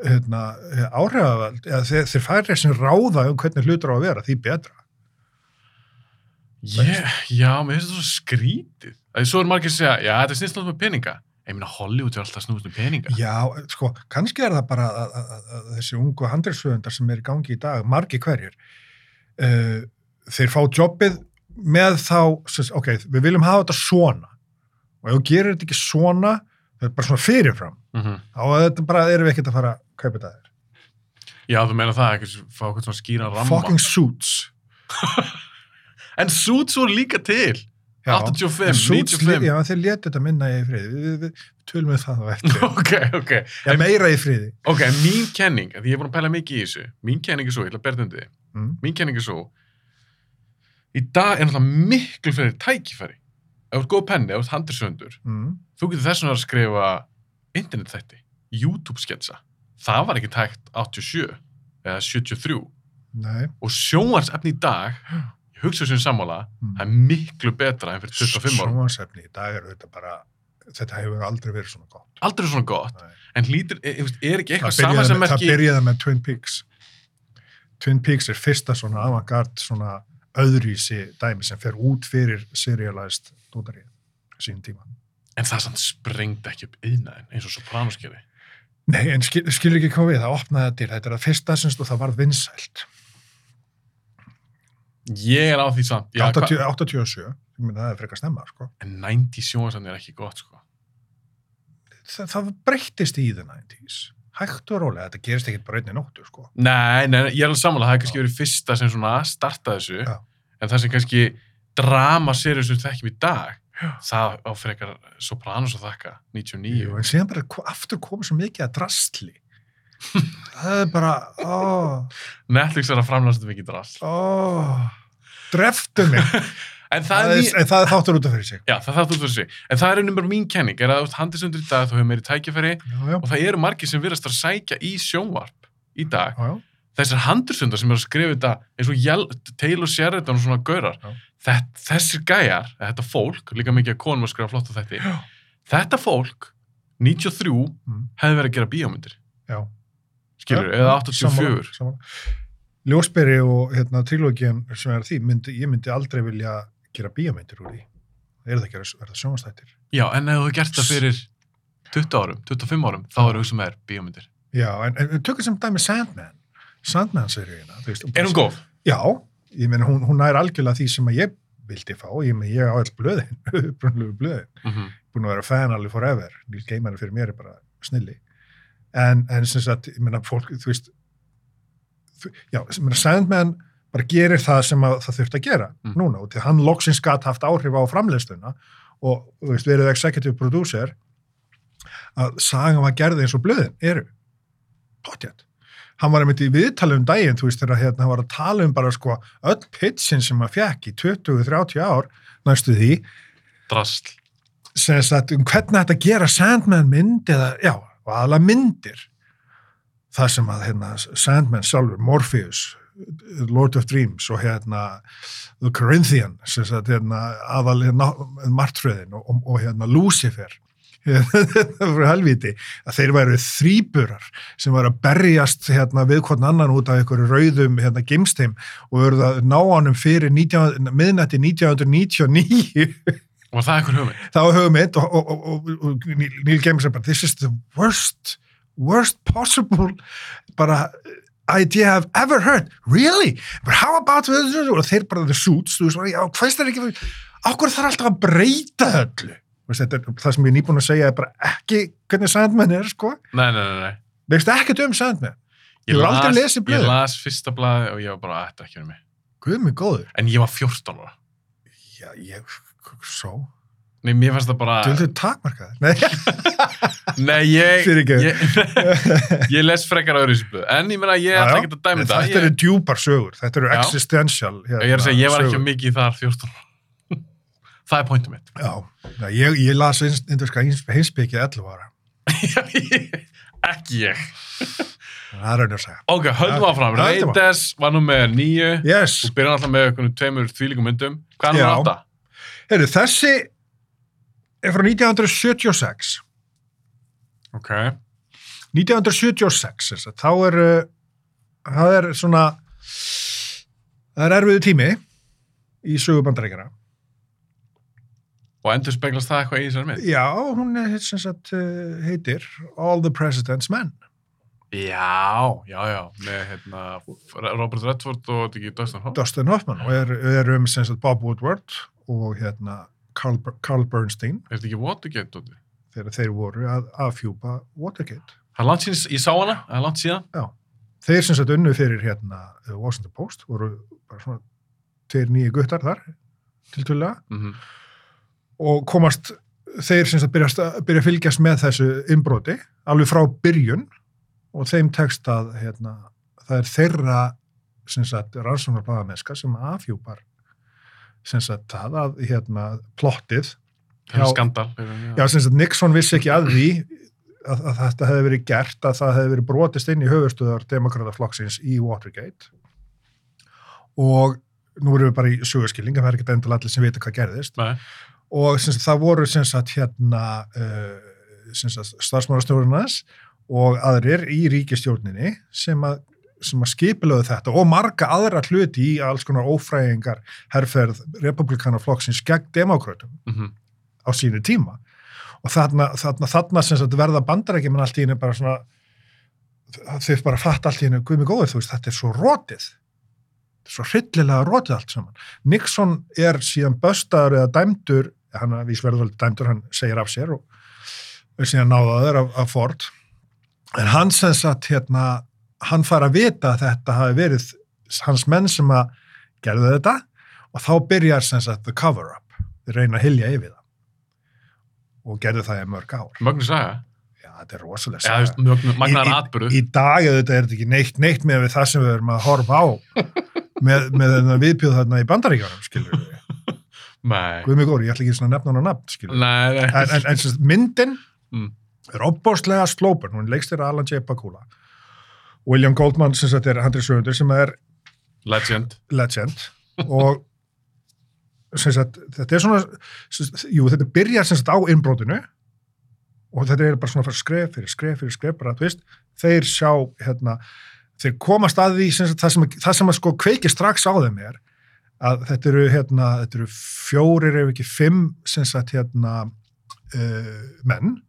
Speaker 2: hérna, áhrifavald eða þeir, þeir færri sem ráða um hvernig hlutur á að vera, því betra
Speaker 1: Ég, já, mér finnst þetta svo skrítið. Það er svo er margir að segja, já, þetta snýst alltaf með peninga. Ég meina, Hollywood er alltaf snúst með peninga.
Speaker 2: Já, sko, kannski er það bara að, að, að, að þessi ungu handriðsöfundar sem er í gangi í dag, margi hverjir, uh, þeir eh, fá jobbið með þá, sem sagt, ok, við viljum hafa þetta svona og ef þú gerir þetta ekki svona, það er bara svona fyrirfram
Speaker 1: Mm
Speaker 2: þá er þetta bara, erum við ekkert að fara að kaupa þetta þér.
Speaker 1: Já, þú meina það, ekki fá eitthvað svona skýra ramma.
Speaker 2: Fucking suits.
Speaker 1: En suits voru líka til.
Speaker 2: Já.
Speaker 1: 85,
Speaker 2: En suits,
Speaker 1: 95.
Speaker 2: Já, þeir létu þetta minna í friði. Við, við, við tölum við það á
Speaker 1: (laughs)
Speaker 2: eftir.
Speaker 1: (laughs) ok, ok.
Speaker 2: Já, meira í friði.
Speaker 1: Ok, en mín kenning, af því ég er búin að pæla mikið í þessu, mín kenning er svo, ég ætla að berða um því,
Speaker 2: Mm.
Speaker 1: mín kenning er svo, í dag er náttúrulega miklu fleiri tækifæri. Ef þú ert góð penni, ef þú ert handursöndur,
Speaker 2: Mm.
Speaker 1: þú getur þess vegna að skrifa internet þætti, YouTube-sketsa. Það var ekki tækt 87 eða 73
Speaker 2: Nei.
Speaker 1: og sjónvarsefni í dag, ég hugsa sem sammála,
Speaker 2: Mm.
Speaker 1: það er miklu betra enn fyrir 25 árum.
Speaker 2: Sjónvarsefni í dag er þetta bara, þetta hefur aldrei verið svona gott.
Speaker 1: Aldrei svona gott,
Speaker 2: Nei.
Speaker 1: en hlýtur, er, er ekki eitthvað
Speaker 2: byrjaði
Speaker 1: saman sem
Speaker 2: með,
Speaker 1: merki...
Speaker 2: það byrjaði með Twin Peaks. Twin Peaks er fyrsta svona avantgard svona öðrýsi dæmi sem fer út fyrir serialized dótarið sínum tíma.
Speaker 1: En það samt sprengdi ekki upp yðnaðin eins og Sopranos gerði.
Speaker 2: Nei, en skil, skilur ekki hvað við, það opnaði þetta til, þetta er það fyrsta semst og það varð vinsælt.
Speaker 1: Ég er á því samt. Já,
Speaker 2: 80, 87, ég myndi að það er frekar snemma, sko.
Speaker 1: hva- En 90 sjónvarsann er ekki gott, sko.
Speaker 2: Það, það breyttist í the 90s, hægt og rólega, þetta gerist ekkit bara einni nóttu, sko.
Speaker 1: Nei, nei, nei, ég er alveg sammála. Það er kannski verið fyrsta sem svona startaði þessu.
Speaker 2: Já.
Speaker 1: En það sem kannski dramaserjur sem við þekkjum í dag, það á frekar Sopranos að þakka, 99.
Speaker 2: Jú, en síðan bara ko- aftur komið svo mikið að drastli. það er bara, ó,
Speaker 1: Netflix er að framlæsta mikið drast.
Speaker 2: ó, dreftu mig.
Speaker 1: En (laughs) það,
Speaker 2: það,
Speaker 1: er...
Speaker 2: er,
Speaker 1: Mý...
Speaker 2: en það er þáttur út af fyrir sig.
Speaker 1: Já, það þarf þú fyrir sig. En það er einnig bara mín kenning. Er að þú ert handisundur í dag, þú hefur meiri tækifæri
Speaker 2: Já, já,
Speaker 1: og það eru margir sem virðast að sækja í sjónvarp í dag.
Speaker 2: já, já.
Speaker 1: þessar handursundar sem eru að skrifa þetta eins og Jel, Taylor Sheridan og svona gaurar
Speaker 2: Já.
Speaker 1: Þett, þessir gæjar, eða þetta fólk líka mikið að konum að skrifa flott á þetta
Speaker 2: Já.
Speaker 1: þetta fólk, 93
Speaker 2: Mm.
Speaker 1: hefði verið að gera bíómyndir
Speaker 2: já.
Speaker 1: skilur,
Speaker 2: Já,
Speaker 1: eða
Speaker 2: sammála,
Speaker 1: 84
Speaker 2: sammála. Ljósberi og hérna, trilógin sem er því, myndi, ég myndi aldrei vilja gera bíómyndir úr því. Það eru það að gera verða sjónastættir.
Speaker 1: já, en ef þú hefði gert það fyrir 20 árum, 25 árum, þá eru þessum er bíómyndir
Speaker 2: Já, en, en tökum sem dæmi Sandman. Sandman-seríuna. þú veist, um og-
Speaker 1: er hún góð?
Speaker 2: Já, ég meina hún, hún er algjörlega því sem að ég vildi fá. Ég meina ég á all blöðin, (laughs) upprunalegu blöðin.
Speaker 1: Mm -hmm.
Speaker 2: Búin að vera fan alveg forever. Neil Gaiman fyrir mér er bara snilli. En, en sem sagt, ég meina fólk, þú veist, þú, já, ég meina Sandman bara gerir það sem að, það þurft að gera
Speaker 1: Mm.
Speaker 2: núna og til hann loksins gat haft áhrif á framleiðsluna og þú veist, verið executive producer að sagan var gerði eins og blöðin eru potjætt hann var einmitt í viðtali um daginn þú veist þegar hérna, hann var að tala um bara sko öll pitchin sem hann fekk í 20-30 ár næstu því
Speaker 1: drasl
Speaker 2: sem sagt um hvernig þetta gera Sandman mynd eða, já, og aðalega myndir það sem að hérna, Sandman sjálfur, Morpheus Lord of Dreams og hérna The Corinthian sem sagt hérna aðal hérna martröðin og, og, og hérna Lucifer (laughs) frá helviti að þeir væru þrýburar sem væru að berjast hérna við hvort annan út af einhverju rauðum hérna gimsteim og voru að ná honum fyrir 19, miðnætti 1999
Speaker 1: var það einhver hugmynd?
Speaker 2: þá höfum við eitt og, og, og, og, og Neil- Neil Gaiman sem bara this is the worst worst possible bara uh, idea I've ever heard really, but how about og þeir bara the suits þú veist, og já, hvað er ekki okkur þarf alltaf að breyta öllu Þú veist, þetta, er- það sem ég er nýbúin að segja er bara ekki hvernig Sandman er sko
Speaker 1: nei, nei, nei, nei.
Speaker 2: veist ekkert um Sandman Ég hef aldrei lesið blöðin.
Speaker 1: ég las fyrsta blaði og ég var bara "Ah, þetta er ekki verið mig
Speaker 2: guð mig góður
Speaker 1: en ég var 14 ára
Speaker 2: já, ég, svo,
Speaker 1: Nei, mér fannst það bara...
Speaker 2: þú takmarkaður nei, (laughs)
Speaker 1: Nei, ég...
Speaker 2: fyrir ekki
Speaker 1: ég, ég (laughs) les frekar öðru í þessu blöð en ég meina ég
Speaker 2: Já,
Speaker 1: ætla
Speaker 2: já.
Speaker 1: ekki að dæmi um
Speaker 2: þetta
Speaker 1: það
Speaker 2: eru
Speaker 1: ég,
Speaker 2: djúpar sögur, þetta eru
Speaker 1: Já.
Speaker 2: existential hérna,
Speaker 1: ég er að segja, ég var ekki
Speaker 2: sögur.
Speaker 1: mikið þar 14 ára. (laughs) það er pointum mitt
Speaker 2: Já, já, ég, ég las indurska heimsbyggið 11 ára.
Speaker 1: (laughs) ekki ég
Speaker 2: En Það er raun að segja.
Speaker 1: ok, höldum áfram,
Speaker 2: Já, höldum áfram.
Speaker 1: Raiders var nú með nýju
Speaker 2: Yes,
Speaker 1: þú byrjar alltaf með einhvern tveimur þvílíkum myndum hvað er
Speaker 2: Já.
Speaker 1: nú átta?
Speaker 2: heyrðu, þessi er frá 1976.
Speaker 1: ok,
Speaker 2: 1976, þess að þá er, uh, það er svona, það er erfiðu tími í sögubandaríkjara.
Speaker 1: og endur speglast það eitthvað í þessari mynd
Speaker 2: eh, Já, hún er, sem sagt, uh, heitir All the President's Men.
Speaker 1: Já, já, já, með hérna, Robert Redford og þetta ekki Dustin Hoffman.
Speaker 2: Dustin Hoffman og er, er um sem sagt, Bob Woodward og hérna Carl, Bur- Carl Bernstein
Speaker 1: Er þetta ekki Watergate, Dóti?
Speaker 2: þegar þeir voru að afhjúpa Watergate.
Speaker 1: Það er langt síðan, ég sá hana, það er langt síðan.
Speaker 2: Þeir sem sagt unnu fyrir hérna uh, Washington Post voru bara svona tveir nýju guttar þar tiltölulega
Speaker 1: Mm
Speaker 2: og komast þeir sem sagt byrjast, að- byrja að fylgjast með þessu innbroti alveg frá byrjun og þeim tekst að hérna, það er þeirra sem sagt rannsóknarbladamennska sem afhjúpar sem sagt það að hérna plottið
Speaker 1: Það er
Speaker 2: Já.
Speaker 1: skandal. hefur hann,
Speaker 2: Já, sem sagt, Nixon vissi ekki að því að, að þetta hefði verið gert, að það hefði verið brotist inn í höfustöðar demokrataflokksins í Watergate og nú erum við bara í sögurskilning, en það er ekki endilega allir sem vita hvað gerðist
Speaker 1: Nei.
Speaker 2: og sem sagt, það voru sem sagt hérna uh, sem sagt, starfsmárastjórnarnas og aðrir í ríkistjórninni sem að sem að skipilöðu þetta og marga aðra hluti í alls konar ófræðingar herrferð republikanaflokksins gegn demokratum
Speaker 1: Mhm.
Speaker 2: á sínu tíma og þarna, þarna, þarna sem sagt verða bandarækjumenn allt í hennu bara svona þau bara fatt allt í hennu guðmi góði þú veist, þetta er svo rótið þetta er svo hryllilega rótið allt saman Nixon er síðan böstaður eða dæmdur, hann að vís verður alveg dæmdur hann segir af sér og er síðan náðaður af, af Ford en hann sem sagt hérna hann fær að vita að þetta hafi verið hans menn sem að gerðu þetta og þá byrjar sem sagt the cover up, þeir reyna að hilja yfir það og gerðu það í mörg ár.
Speaker 1: Mögnu saga.
Speaker 2: Já, þetta er rosalega
Speaker 1: Já, þú veist,
Speaker 2: saga.
Speaker 1: mögnu, magnaðar
Speaker 2: Í-
Speaker 1: atbyrðu.
Speaker 2: Í dag auðvitað er þetta ekki neitt, neitt með við það sem við erum að horfa á
Speaker 1: (laughs)
Speaker 2: með, með þennan viðbjóð þarna í bandaríkjarum, skilur við.
Speaker 1: Nei.
Speaker 2: Guð mig góri, ég ætla ekki svona að nefna hann á nafn, skilur við.
Speaker 1: Nei, nei.
Speaker 2: En, en, en sem sagt, myndin
Speaker 1: Mm.
Speaker 2: er opbóðslega slópar, hún leikst þér Alan J. Pakula. William Goldman, sem sagt, er handrið sögundur sem er
Speaker 1: Legend.
Speaker 2: legend og sem sagt, þetta er svona sem, sagt, jú, þetta byrjar sem sagt á innbrótinu og þetta er bara svona fyrir skref fyrir skref fyrir skref, bara þú veist þeir sjá, hérna þeir komast að því, sem sagt, það sem, það sem að sko kveiki strax á þeim er að þetta eru, hérna, þetta eru fjórir ef ekki fimm, sem sagt, hérna uh, menn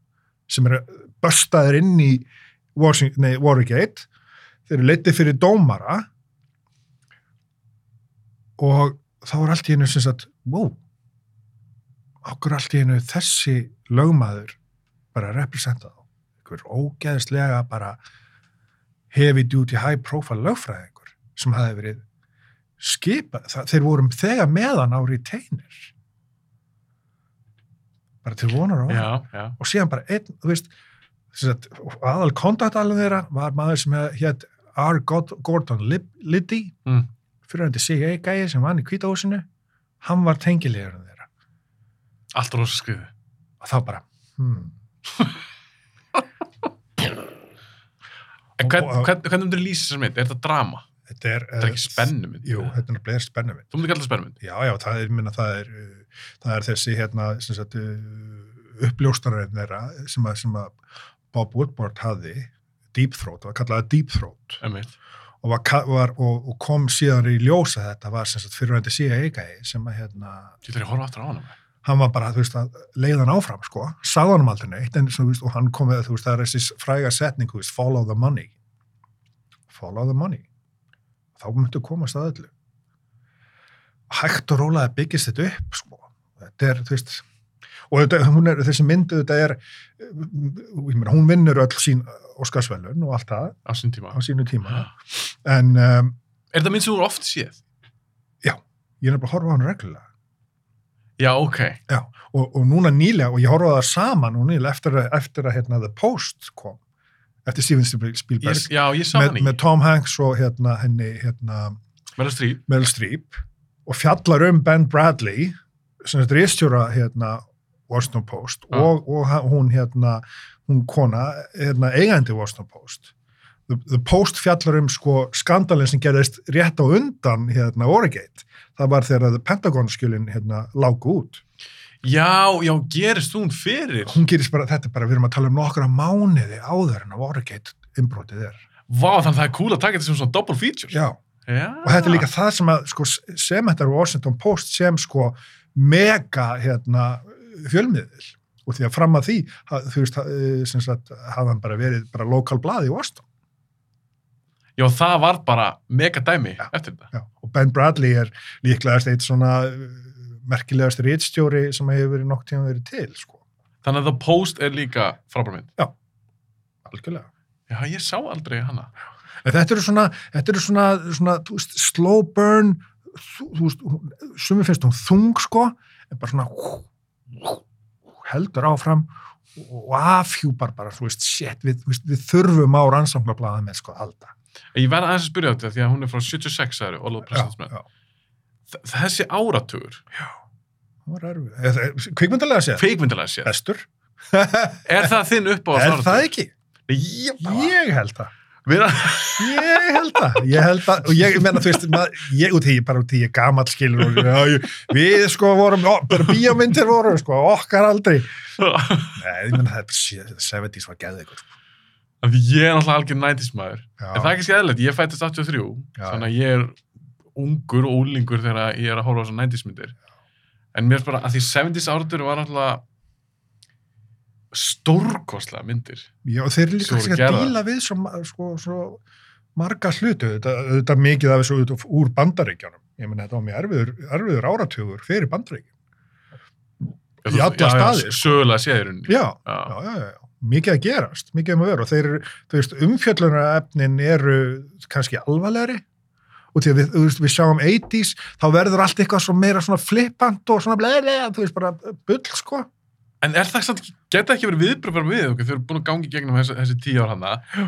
Speaker 2: sem eru börstaðir inn í Washington, nei, Watergate þeir eru leitið fyrir dómara og þá er allt í einu sem sagt, wow okkur allt í einu þessi lögmaður bara að representa þá einhver ógeðslega bara heavy duty high profile lögfræðingur sem hafi verið skipa, það, þeir vorum þegar meðan á retainer bara til vonar og vara
Speaker 1: Já, já.
Speaker 2: og síðan bara einn, þú veist sem sagt, aðal kontaktalinn þeirra var maður sem hétt R. God- Gordon Lib- Liddy
Speaker 1: Mm.
Speaker 2: fyrirhandi CIA gæi sem vann í kvítahúsinu hann var tengilegur þeirra
Speaker 1: Allt rosa skriði.
Speaker 2: og þá bara hmm.
Speaker 1: En hvern,
Speaker 2: Og- og-
Speaker 1: hvern, hvernig myndir lýsa þessar mynd? Er þetta drama?
Speaker 2: þetta er, eh,
Speaker 1: Þetta er ekki spennu mynd.
Speaker 2: jú, þetta er bleið spennu mynd
Speaker 1: Þú myndir kalla spennu mynd.
Speaker 2: já, já, það er, minna, það er, uh, það er þessi hérna, sem sagt, uh, uppljóstarinn þeirra sem að, sem að Bob Woodward hafði Deep Throat, það var kallaði Deep Throat
Speaker 1: Emil.
Speaker 2: og, var, ka- var, og, og kom síðan í ljósa þetta var sem sagt fyrirvændi CIA gæi sem að hérna,
Speaker 1: Þú ætlar að horfa aftur á hana. maður.
Speaker 2: hann var bara, þú veist, að leiða hann áfram, sko, sagði hann aldrei neitt en, svo, þú veist, og hann kom með, þú veist, það er þessi fræga setning, þú veist, follow the money follow the money þá myndu komast að öllu hægt og rólega byggist þetta upp, sko þetta er, þú veist og þetta, hún er, þessi myndu, þetta er ég meina, hún vinnur öll sín Óskarsvelun og allt það
Speaker 1: Á sín tíma.
Speaker 2: á sínu tíma
Speaker 1: Er
Speaker 2: en um,
Speaker 1: þetta mynd sem þú hefur oft séð?
Speaker 2: ég er nefnilega að horfa á hann reglulega
Speaker 1: Já, ok.
Speaker 2: og, og núna nýlega, og ég horfa á það saman núna nýlega eftir að, eftir að hérna, The Post kom, eftir Steven
Speaker 1: Ég,
Speaker 2: Spielberg
Speaker 1: já, ég sá
Speaker 2: með,
Speaker 1: hann í.
Speaker 2: með Tom Hanks og hérna, henni, hérna,
Speaker 1: Meryl Streep.
Speaker 2: Meryl Streep og fjallar um Ben Bradley sem þetta er ístjóra hérna, Washington Post
Speaker 1: Ah.
Speaker 2: og, og ha- hún hérna, hún kona hérna, eigandi Washington Post The, the Post fjallar um sko skandalinn sem gerðist rétt á undan hérna Origate, það var þegar að Pentagon skjölin hérna lágu út
Speaker 1: Já, já, gerist hún fyrir.
Speaker 2: hún gerist bara, þetta er bara, við erum að tala um nokkra mánuði áður en að Watergate innbrotið er.
Speaker 1: Vá, þannig að það er cool að taka þetta sem svona double feature.
Speaker 2: Já.
Speaker 1: Já.
Speaker 2: Og þetta er líka það sem að, sko, sem þetta er Washington Post sem, sko, mega, hérna, fjölmiðil. Og því að fram að því, ha- þú veist, ha- eh, sem sagt, hafði hann bara verið bara lokal blað í Washington.
Speaker 1: Já, það var bara mega dæmi
Speaker 2: Já.
Speaker 1: eftir þetta.
Speaker 2: Já, og Ben Bradley er líklegast eitt svona uh, merkilegast rítstjóri sem hefur verið nokk tíma verið til, sko.
Speaker 1: Þannig að The Post er líka frábærmynd.
Speaker 2: Algjörlega.
Speaker 1: Já, ég sá aldrei hana.
Speaker 2: En þetta eru svona, þetta eru svona, svona þú veist, slow burn, þú þú veist, sumi finnst hún þung, sko, en bara svona hú, hú, heldur áfram og afhjúpar bara, þú veist, shit, við, þú veist, við þurfum á rannsóknarblaða með, sko, alltaf.
Speaker 1: En Ég verða aðeins að spyrja þetta því að hún er frá 76 aðri, Olof Prestansmenn.
Speaker 2: já.
Speaker 1: Þessi áratugur,
Speaker 2: Það var erfið. Eða, eða, Kvikmyndalega séð.
Speaker 1: feikmyndilega séð,
Speaker 2: Bestur.
Speaker 1: er það þinn upp á
Speaker 2: er það ekki?
Speaker 1: Ég bara...
Speaker 2: Ég held það.
Speaker 1: Við erum-
Speaker 2: Ég held það, ég held það og ég menna, þú veist, maður, ég út í bara út í ég gamall skilur og já, ég, við sko vorum, ó, bara bíómyndir voru sko, okkar aldrei Nei, ég menna, það er shit, 70s var geðið ykkur
Speaker 1: Af því (laughs) Ég er náttúrulega algjör 90s maður. En það
Speaker 2: Já,
Speaker 1: er kannski eðlert, ég fættist 83,
Speaker 2: Já,
Speaker 1: þannig að ég er ungur og úlingur þegar ég er að horfa á þessar 90s myndir. En mér er bara að því 70s áratugur var náttúrulega stórkostlega myndir.
Speaker 2: já og þeir eru líka
Speaker 1: Svo
Speaker 2: kannski
Speaker 1: gerða.
Speaker 2: að díla við svo, ma- sko, svo marga hlutu þetta, þetta mikið af þessu út, úr bandaríkjánum ég menna, þetta var mjög erfiður, erfiður áratugur fyrir bandaríkjánum
Speaker 1: Já,
Speaker 2: Í
Speaker 1: þú-
Speaker 2: alla
Speaker 1: já,
Speaker 2: staði,
Speaker 1: Já,
Speaker 2: sko.
Speaker 1: sögulega séðurinn.
Speaker 2: Já, já,
Speaker 1: Já.
Speaker 2: já, já, já. mikið að gerast, mikið um að vera og þeir eru, þú veist, umfjöllunarefnin eru kannski alvarlegri og því að við, þú veist, við sjáum 80s þá verður allt eitthvað svo meira svona flippant og svona blæðilega, þú veist, bara bull, sko.
Speaker 1: En er það samt, geta ekki verið viðbröð bara við okkur, þau eru búin að gangi gegnum þessi, þessi tíu ár hann það.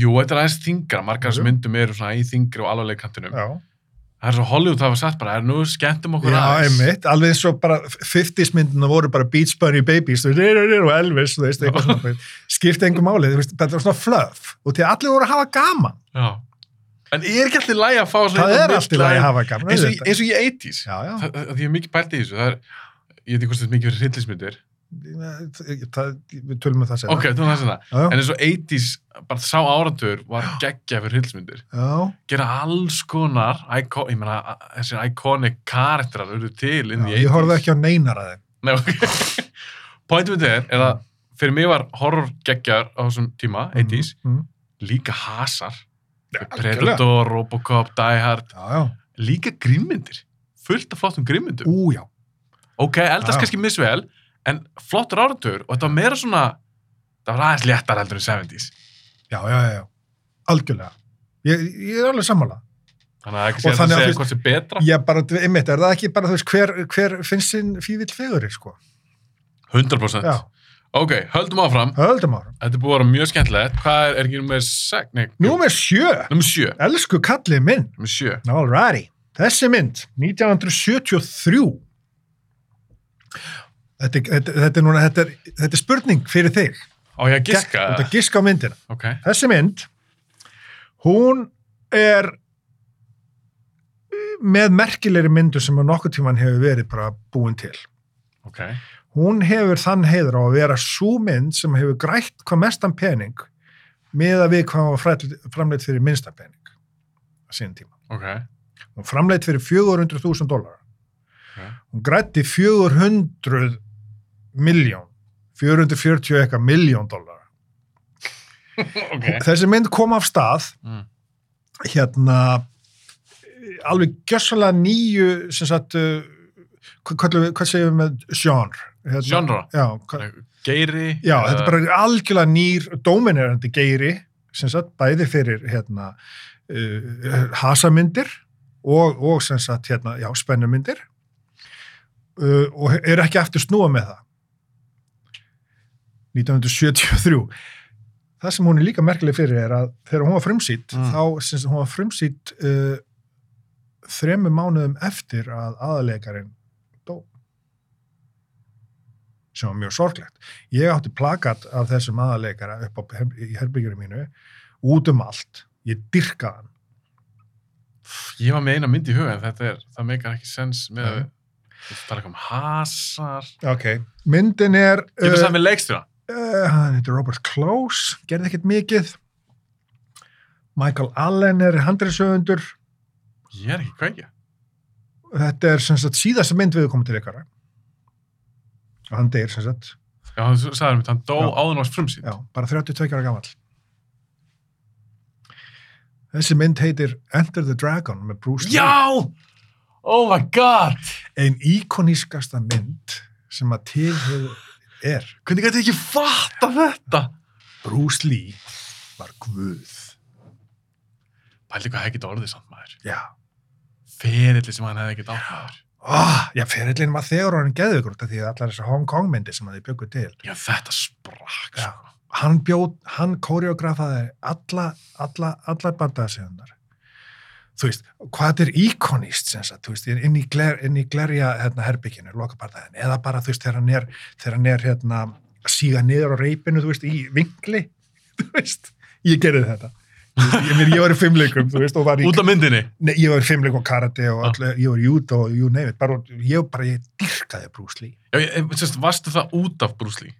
Speaker 1: Jú, þetta er aðeins þingra, margar
Speaker 2: Jú.
Speaker 1: þessi myndum eru svona í þingri og alvarleg kantinum.
Speaker 2: Já,
Speaker 1: Það er svo Hollywood hafa sagt bara, er nú skemmtum okkur
Speaker 2: já einmitt, alveg eins og bara 50s myndina voru bara Beach Bunny Babies, þú veist, er, er, er, og Elvis, þú veist, eitthvað svona, skipti engum máli, þú veist, þetta var svona fluff og því að allir voru að hafa gaman,
Speaker 1: Já. En er ekki allir lægi að fá svona...
Speaker 2: það
Speaker 1: hérna
Speaker 2: er allt í lagi
Speaker 1: millæg-
Speaker 2: að hafa gaman,
Speaker 1: eins og,
Speaker 2: auðvitað.
Speaker 1: eins og í 80s
Speaker 2: Já, já.
Speaker 1: það, það, því ég er mikið pælt í þessu það er, ég veit ekki hvort þetta er mikið fyrir hryllismyndir
Speaker 2: Það- það- við tölum um það segja
Speaker 1: ok, þú veist það,
Speaker 2: já,
Speaker 1: en eins og 80s bara sá áratur var geggja fyrir hryllismyndir
Speaker 2: já.
Speaker 1: gera alls konar icon, ég meina, a- þessir iconic karakterar eru til inn í Mm,
Speaker 2: Já, ég horfði ekki á neinar að þeim.
Speaker 1: Nei, ok. pointum við þér er að fyrir mig var horror geggjar á þessum tíma, 80s
Speaker 2: Mm, mm.
Speaker 1: líka hasar,
Speaker 2: algjörlega.
Speaker 1: Predator, Robocop, Die Hard
Speaker 2: Já, já.
Speaker 1: líka grímmyndir, fullt af flottum grímmyndum
Speaker 2: Ú, já.
Speaker 1: ok, eldast
Speaker 2: Já.
Speaker 1: kannski misvel en flottur áratur og þetta var meira svona það var aðeins léttar eldur en 70s
Speaker 2: Já, já, já, já. Algjörlega. Ég, ég er alveg sammála.
Speaker 1: þannig að ekki
Speaker 2: Og
Speaker 1: segja að
Speaker 2: þannig að
Speaker 1: segja
Speaker 2: fyrst-
Speaker 1: hvort sem betra
Speaker 2: Ég bara, einmitt, er það ekki bara, þú veist, hver, hver finnst sinn fívill fegurinn, sko?
Speaker 1: 100%
Speaker 2: Já,
Speaker 1: ok, höldum áfram,
Speaker 2: höldum ára.
Speaker 1: þetta er búið að vera mjög skemmtilegt hvað er, er ekki nummer 6? Nei,
Speaker 2: Númer sjö.
Speaker 1: nummer 7
Speaker 2: Elsku kallið minn.
Speaker 1: nummer 7,
Speaker 2: Alrighty. Þessi mynd, 1973. Þetta, er- þetta, þetta, er, núna, þetta, er, þetta er spurning fyrir þig.
Speaker 1: á ég að giska
Speaker 2: Þetta giska á myndina.
Speaker 1: ok,
Speaker 2: þessi mynd hún er eh, með merkilegri myndu sem að nokkuð tíman hefur verið bara búin til
Speaker 1: ok
Speaker 2: hún hefur þann heiður á að vera svo mynd sem hefur grætt hvað mestan pening með að við hvað hún var frædd- framleitt fyrir minnsta pening að síðan tíma.
Speaker 1: ok,
Speaker 2: Hún framleitt fyrir 400.000 dólar.
Speaker 1: Ok.
Speaker 2: Hún grætti 400 miljón, 440 eitthvað miljón dólar.
Speaker 1: ok
Speaker 2: Þessi mynd kom af stað
Speaker 1: mm.
Speaker 2: hérna alveg gjössalega nýju sem sagt uh, hvað, köllum við- hvað segjum við með genre hérna,
Speaker 1: genre,
Speaker 2: já, hva,
Speaker 1: geiri
Speaker 2: já þetta er bara algjörlega nýr dominerandi geiri sem sagt bæði fyrir hérna uh, hasamyndir og, og sem sagt hérna já spennumyndir uh, og er ekki aftur snúa með það 1973 það sem hún er líka merkileg fyrir er að þegar hún var frumsýtt
Speaker 1: Mm.
Speaker 2: þá sem sagt, hún var frumsýtt uh, þremur mánuðum eftir að aðalegarinn dó sem var mjög sorglegt ég átti plakat af þessum aðalegara upp á her í herbyggjuru mínu út um allt, ég dyrka hann
Speaker 1: ég var með eina mynd í huga en þetta er, það meikar ekki sens með að
Speaker 2: Nei.
Speaker 1: við tala ekki um hasar
Speaker 2: ok, myndin er
Speaker 1: getur
Speaker 2: uh,
Speaker 1: það með leikstjóra
Speaker 2: uh, hann heitir Robert Close, gerði ekkert mikið Michael Allen er handriðsöfundur
Speaker 1: ég er ekki kveikja
Speaker 2: þetta er sem sagt síðasta mynd við komum til ykkar og hann deyr sem sagt
Speaker 1: já, hann sagði mér, hann dó
Speaker 2: Já.
Speaker 1: áður náttúrulega frumsýnd
Speaker 2: já, bara 32 ára gamall Þessi mynd heitir Enter the Dragon með Bruce Lee.
Speaker 1: Já! Oh my god!
Speaker 2: Ein íkonískasta mynd sem að til hefur- er.
Speaker 1: Hvernig gæti ég ekki fatta þetta?
Speaker 2: Bruce Lee var guð.
Speaker 1: Pældi hvað hefði getað orðið samt maður.
Speaker 2: Já.
Speaker 1: Ferilli sem hann hefði getað átt maður.
Speaker 2: Ah, já, ferillin var þegar hann geðið ykkur því að allar þessar Hong Kong myndi sem að þið bjöggu til.
Speaker 1: Já, þetta sprakk.
Speaker 2: Já.
Speaker 1: sko.
Speaker 2: Hann bjóð, hann koreografaði alla, alla, alla bandaðsíðunar. Þú veist, hvað þetta er íkonist, sem sagt, þú veist, inn í, gler, inn í glerja hérna, herbygginu, lokabartaðin, eða bara, þú veist, þegar hann er, þegar hann er, hérna, að síga niður á reypinu, þú veist, í vinkli, (laughs) þú veist, ég gerði þetta. Þú veist, Ég, ég, ég var í fimmleikum, þú veist, og var í...
Speaker 1: sko. Út af myndinni.
Speaker 2: Nei, ég var í fimmleik og karate og
Speaker 1: Já.
Speaker 2: öllu, ég var í judo og you name it, bara, ég bara, ég dyrkaði Bruce Lee.
Speaker 1: Já, ég, ég- sérst, varstu það út af brúsli?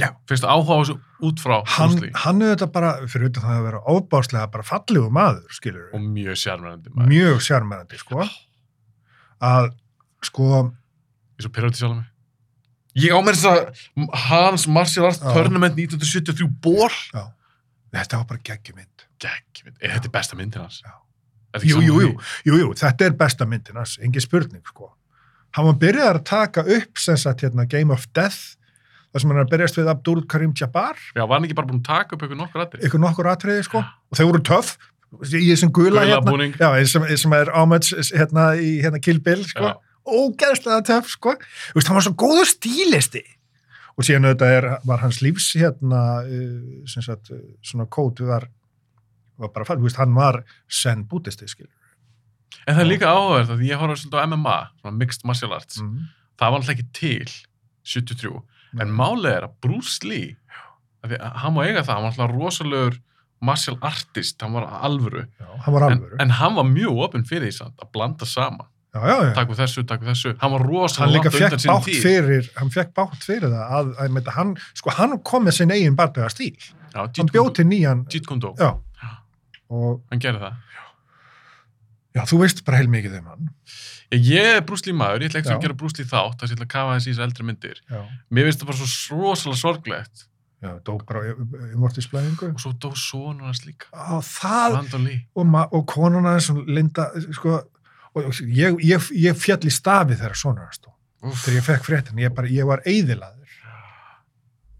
Speaker 2: Já.
Speaker 1: Fyrstu áhuga á þessu út frá
Speaker 2: Hann,
Speaker 1: brúsli?
Speaker 2: hann auðvitað bara, fyrir utan það að vera óbáslega bara fallegu maður, skilur
Speaker 1: Og mjög sjármennandi maður.
Speaker 2: mjög sjármærandi, sko,
Speaker 1: Oh.
Speaker 2: að, sko,
Speaker 1: Ég er svo pyrrandi sjálf mig. Ég ámer þess að Hans Martial Arts
Speaker 2: Já.
Speaker 1: Tournament 1973 ból.
Speaker 2: já, þetta var bara geggjumynd.
Speaker 1: Gekk, er Eh, þetta besta myndin hans?
Speaker 2: Já.
Speaker 1: Er þetta ekki
Speaker 2: Jú,
Speaker 1: saman
Speaker 2: jú,
Speaker 1: því?
Speaker 2: jú, jú, jú, þetta er besta myndin, hans, engin spurning, sko. Hann var byrjað að taka upp, sem sagt, hérna, Game of Death, þar sem hann er að byrjast við Abdul Karim Jabbar,
Speaker 1: Já, var hann ekki bara búinn að taka upp eitthvað nokkur aðri?
Speaker 2: ykkur nokkur atriði, sko, og þau voru töff, í þessum gula,
Speaker 1: Gula
Speaker 2: hérna,
Speaker 1: búning.
Speaker 2: Já, eins sem, eins sem er ámæts hérna í hérna Kill Bill, sko.
Speaker 1: Já.
Speaker 2: Ógeðslega töf, sko. Þú veist, hann var svo góður stílisti. Og síðan auðvitað er, var hans lífs hérna, uh, sem sagt, uh, svona kótu var, var bara fæll. Þú veist, hann var senn bútisti, skil.
Speaker 1: En það er líka áhugavert að ég horfa svolítið á MMA, svona mixed martial arts.
Speaker 2: Mm.
Speaker 1: Það var alltaf ekki til 73. Mm.
Speaker 2: Mm.
Speaker 1: En málið er að Bruce Lee, að því, að hann má eiga það, hann var alltaf rosalegur martial artist, hann var alvöru.
Speaker 2: Já, hann var
Speaker 1: En,
Speaker 2: alvöru.
Speaker 1: en hann var mjög opinn fyrir því samt, að blanda saman.
Speaker 2: já, já, já.
Speaker 1: Takk úr þessu, takk úr þessu. Hann var
Speaker 2: hann
Speaker 1: rosalega
Speaker 2: líka
Speaker 1: langt
Speaker 2: fekk
Speaker 1: undan sinni
Speaker 2: bátt
Speaker 1: tíð.
Speaker 2: fyrir, hann fekk bátt fyrir það að, að meita, hann, sko, hann kom með sinn eigin barndega stíl.
Speaker 1: Já, Jeet
Speaker 2: Hann
Speaker 1: Kune
Speaker 2: bjóð
Speaker 1: Do.
Speaker 2: til nýjan,
Speaker 1: Jeet Kune Do,
Speaker 2: já. Og,
Speaker 1: hann gerði það.
Speaker 2: já, þú veist bara heilmikið um hann.
Speaker 1: Ég ég er Bruce Lee maður, ég ætla ekki að
Speaker 2: Já.
Speaker 1: gera Bruce Lee þátt, þess að ég ætla að kafa þessi í þessar eldri myndir.
Speaker 2: Já.
Speaker 1: Mér finnst það bara svo rosalega sorglegt.
Speaker 2: Já, dó bara umvortisblæðingu.
Speaker 1: Og svo dó sonur hans líka.
Speaker 2: Á, það,
Speaker 1: Brandon Lee.
Speaker 2: og, ma- og konuna eins og Linda, sko, og og ég, ég, ég fjall í stafi þegar svona hans stóð.
Speaker 1: Úff.
Speaker 2: Þegar ég fekk fréttin, ég, bara, ég var eiðilaður.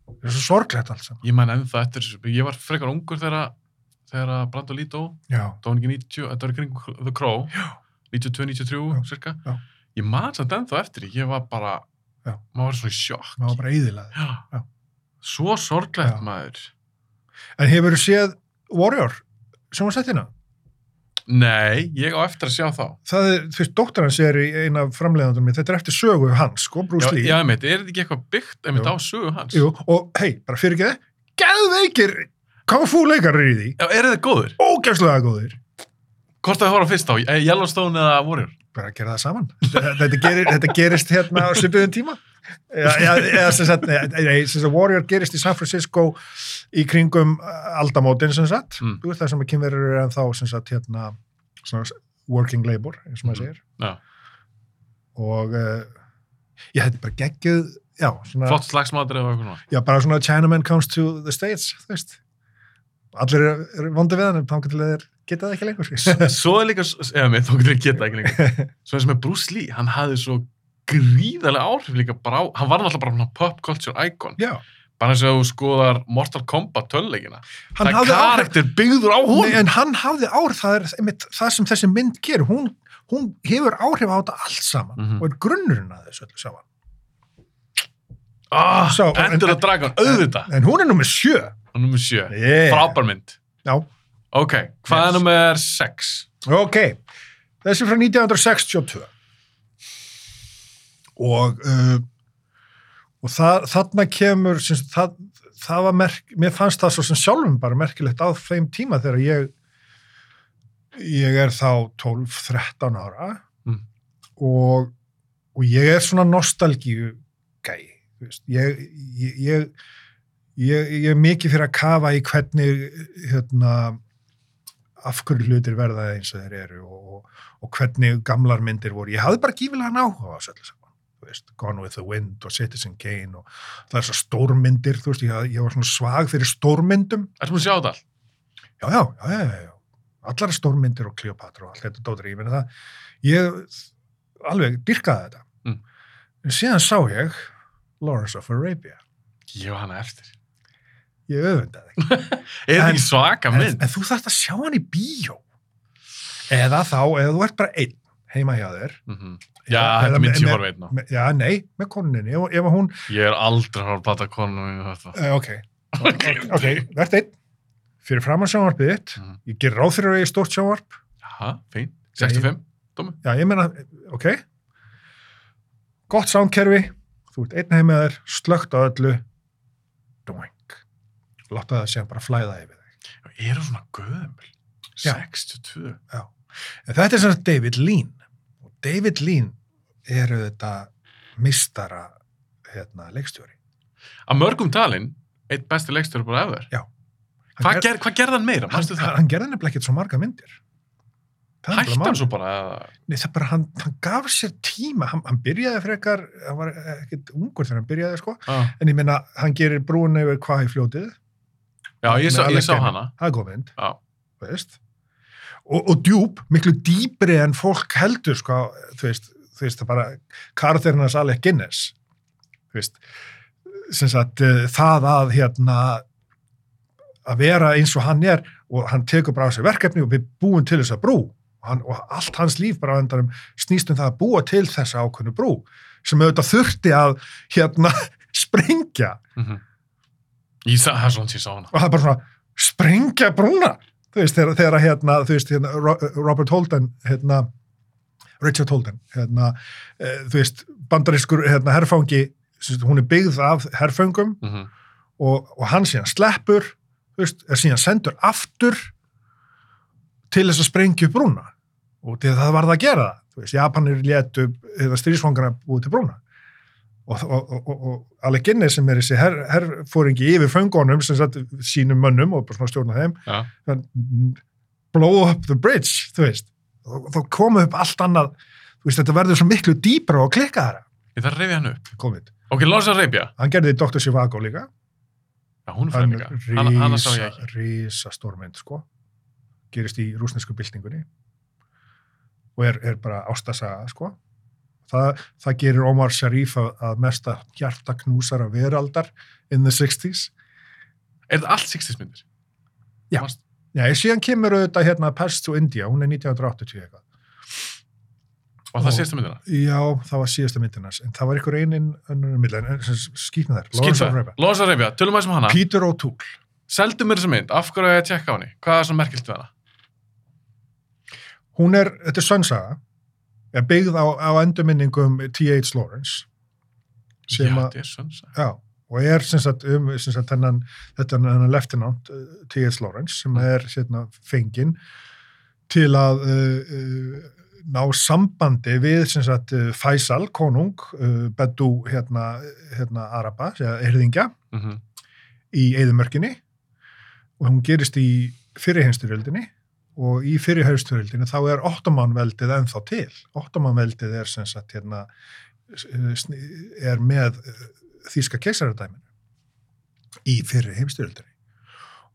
Speaker 2: Það er svo sorglegt alls saman.
Speaker 1: Ég man ennþá eftir þessu. Ég var frekar ungur þegar, þegar að Brandon Lee dó.
Speaker 2: Já,
Speaker 1: Það var ekki 90, þetta var í kring The Crow.
Speaker 2: Já.
Speaker 1: 92-93,
Speaker 2: Já.
Speaker 1: cirka.
Speaker 2: Já.
Speaker 1: Ég man samt ennþá eftir. því. Ég var bara,
Speaker 2: Já.
Speaker 1: maður var svona í sjokk.
Speaker 2: maður var bara eiðilaður.
Speaker 1: Já.
Speaker 2: Já.
Speaker 1: Svo sorglegt
Speaker 2: Já.
Speaker 1: maður.
Speaker 2: En hefur þú séð Warrior, sem var settina?
Speaker 1: Nei, ég á eftir að sjá þá.
Speaker 2: Það er, þú veist, dóttir hans er í eina framleiðandum minn, þetta er eftir sögu hans, sko,
Speaker 1: Já,
Speaker 2: Bruce Lee.
Speaker 1: já, meit, er þetta ekki eitthvað byggt einmitt
Speaker 2: Jú.
Speaker 1: á sögu hans?
Speaker 2: Jú, og hei, bara fyrir ekki það, geðveikir, kung fu leikarar í því,
Speaker 1: Já, er þetta góður?
Speaker 2: ógæslega góður.
Speaker 1: Hvort að þið horfa fyrst á, eh, Yellowstone eða Warrior?
Speaker 2: bara að gera það saman þetta, þetta gerir, þetta gerist hérna á svipiðum tíma eða, eða, eða sem sagt, nei, nei, sem sagt Warrior gerist í San Francisco í kringum uh, aldamótin sem sagt
Speaker 1: Mm.
Speaker 2: þú veist það sem að kynverður eru en þá sem sagt hérna svona, working labor eins og
Speaker 1: Mhm.
Speaker 2: maður segir
Speaker 1: Já.
Speaker 2: og uh, já, þetta er bara geggjuð já, svona,
Speaker 1: Flott slagsmátur eða eitthvað svona?
Speaker 2: já, bara svona Chinaman comes to the States þú veist allir eru er vondi við hann þá getur þeir geta það ekki
Speaker 1: (laughs)
Speaker 2: lengur
Speaker 1: svo er líka, eða mér þók til að geta ekki
Speaker 2: (laughs)
Speaker 1: lengur svo eins og með Bruce Lee, hann hafði svo gríðarlega áhrif líka bara á hann var náttúrulega bara svona pop culture icon
Speaker 2: já,
Speaker 1: bara eins og ef þú skoðar Mortal Kombat tölleikina,
Speaker 2: hann
Speaker 1: það er
Speaker 2: hafði áhrif
Speaker 1: karakter byggður á
Speaker 2: Nei,
Speaker 1: hún
Speaker 2: en hann hafði áhrif, það er einmitt, það sem þessi mynd gerir, hún, hún hefur áhrif á þetta allt saman
Speaker 1: Mhm.
Speaker 2: og er grunnurinn að þessu öllu saman.
Speaker 1: ah,
Speaker 2: Sá, en-
Speaker 1: Ender the Dragon, auðvitað
Speaker 2: En hún er nummið sjö.
Speaker 1: og nummer 7,
Speaker 2: Yeah.
Speaker 1: frábærmynd
Speaker 2: Já,
Speaker 1: ok, hvað
Speaker 2: Yes.
Speaker 1: er nummer 6?
Speaker 2: ok. Þessi er frá 1962. Og, uh, og það, þarna kemur, sem, sagt, það, það var merk, mér fannst það svo sem sjálfum bara merkilegt á þeim tíma þegar ég, ég er þá 12-13 ára. og, og ég er svona nostalgíu gæi þú veist. ég, ég, ég, ég, ég er mikið fyrir að kafa í hvernig hérna, af hverju hlutir verða eins og þeir eru og, og hvernig gamlar myndir voru ég hafði bara gífilega náhuga á þessu öllu saman þú veist, Gone with the Wind og Citizen Kane og það er svo stórmyndir þú veist, ég, ég var svona svag fyrir stórmyndum
Speaker 1: Ertu múin að sjá þetta? allt?
Speaker 2: já, já, já, já, já, já. allar stórmyndir og Kleopatra og allt þetta dóttir, ég meina það, ég alveg dyrkaði þetta.
Speaker 1: Mm.
Speaker 2: En síðan sá ég Lawrence of Arabia.
Speaker 1: Ég var hana eftir.
Speaker 2: Ég öfundaði ekki.
Speaker 1: Er þetta
Speaker 2: En-
Speaker 1: ekki svaka
Speaker 2: en,
Speaker 1: mynd?
Speaker 2: en þú þarft að sjá hann í bíó. Eða þá, eða þú ert bara einn heima hjá þér.
Speaker 1: Mhm.
Speaker 2: Eða-
Speaker 1: Já,
Speaker 2: eða
Speaker 1: þetta
Speaker 2: með-
Speaker 1: mynd ég
Speaker 2: með-
Speaker 1: horfa einn á.
Speaker 2: með- Já, nei, með konuninni. Ef, ef hún,
Speaker 1: Ég er aldrei að horfa að plata konum í þetta.
Speaker 2: uh, ok,
Speaker 1: (laughs) Ok,
Speaker 2: ok, verð einn. Fyrir fram að sjónvarpið þitt,
Speaker 1: Mhm.
Speaker 2: ég ger ráð fyrir að ég er stórt sjónvarp.
Speaker 1: Jaha, fín. 65?
Speaker 2: Já, ég meina, ok. Gott soundkerfi, þú ert einn heim með þér, slögt á öllu, doink. Láttu það séðan bara flæða yfir þig.
Speaker 1: Ég er svona göðumil.
Speaker 2: Já.
Speaker 1: 62.
Speaker 2: En þetta er sem sagt David Lean. Og David Lean eru þetta mistara hérna, leikstjóri.
Speaker 1: Að mörgum talin, eitt besti leikstur bara efer.
Speaker 2: Hann
Speaker 1: Hvað,
Speaker 2: ger-
Speaker 1: ger, hvað gerði hann meira? Manstu
Speaker 2: Hann,
Speaker 1: það?
Speaker 2: hann, hann gerði nefnilega ekkert svo marga myndir. Það er
Speaker 1: Hætti
Speaker 2: nefnilega
Speaker 1: hann
Speaker 2: málið.
Speaker 1: svo bara eða?
Speaker 2: Nei, það er bara, hann, hann gaf sér tíma, hann, hann byrjaði frekar, hann var ekkert ungur þegar hann byrjaði, sko,
Speaker 1: Ah.
Speaker 2: en ég minna, hann gerir brún yfir hvað í fljótið,
Speaker 1: Já, ég sá,
Speaker 2: Með
Speaker 1: ég
Speaker 2: Alec
Speaker 1: sá
Speaker 2: Guinness.
Speaker 1: hana.
Speaker 2: það er góð mynd,
Speaker 1: Já.
Speaker 2: þú veist, og, og djúb, miklu dýpri en fólk heldur, sko, þú veist, þú veist, það bara, karakternas Alec Guinness, þú veist, sem sagt, eh, það að, hérna, að vera eins og hann er og hann tekur bara á sig verkefni og við búum til þessa brú og, hann, og allt hans líf bara á endanum snýst um það að búa til þessa ákveðnu brú sem auðvitað þurfti að hérna (laughs) sprengja
Speaker 1: Mm Ég sá, það er svona sem ég sá hana.
Speaker 2: og það er bara svona sprengja brúna þú veist þegar, þegar að, hérna, þú veist hérna, Ro- Robert Holden hérna, Richard Holden hérna, e, þú veist bandarískur hérna, herfangi sem sagt, hún er byggð af herföngum
Speaker 1: Mm
Speaker 2: og, og hann síðan sleppur þú veist, er síðan sendur aftur til þess að sprengja upp brúna og til það varð að gera það þú veist, Japanir létu eða stríðsfangana búið til brúna og, og, og, og, og Alec Guinness sem er þessi her, herfóringi yfir föngunum sem sagt sínum mönnum og bara svona stjórna þeim
Speaker 1: Já.
Speaker 2: hann, blow up the bridge þú veist, og þá komu upp allt annað, þú veist, þetta verður svo miklu dýpra og klikka þeirra,
Speaker 1: Ég þarf að reyfi hann upp.
Speaker 2: komið,
Speaker 1: Ok, Lawrence Arabia.
Speaker 2: hann gerði Dr. Sivago líka
Speaker 1: Já, hún er
Speaker 2: hann
Speaker 1: fræðinga. Hanna, hanna sá ég
Speaker 2: er
Speaker 1: ekki.
Speaker 2: risa, risa stórmynd sko gerist í rúsnesku byltingunni og er, er bara ástasaga sko Þa, það gerir Omar Sharif að, að mesta hjartaknúsara veraldar in the 60s
Speaker 1: Er þetta allt 60s myndir?
Speaker 2: Já.
Speaker 1: Varst,
Speaker 2: Já, síðan kemur auðvitað hérna Pest to India, hún er 1980 eitthvað.
Speaker 1: var það
Speaker 2: Ó.
Speaker 1: síðasta myndina?
Speaker 2: Já, það var síðasta myndinars, en það var ykkur einin önnur myndin, en skýtna þær, Lawrence of
Speaker 1: Skilta.
Speaker 2: Arabia.
Speaker 1: Lawrence Arabia, tölum aðeins um hana.
Speaker 2: Peter O'Toole.
Speaker 1: Seldu mér þessa mynd, af hverju að ég að tjekka á henni? Hvað er svona merkilt við hana?
Speaker 2: hún er, þetta er sönnsaga er byggð á, á endurminningum T.H. Lawrence
Speaker 1: Já,
Speaker 2: sem að,
Speaker 1: þetta er sönsa.
Speaker 2: já, og er sem sagt um, sem sagt hennan þetta er hennan leftinant T.H.
Speaker 1: Mm.
Speaker 2: Lawrence sem er sérna fengin til að uh, uh, ná sambandi við sem sagt uh, Faisal, konung uh, Bedú, hérna, hérna Araba, eða erðingja
Speaker 1: Mm
Speaker 2: í Eðumörkinni og hún gerist í fyrirheimsturöldinni og í fyrirheimsturöldinni þá er ottomanveldið ennþá til. Ottomanveldið er sem sagt hérna s- eh, sni- er með eh, þýska keisaradæminu í fyrirheimsturöldinni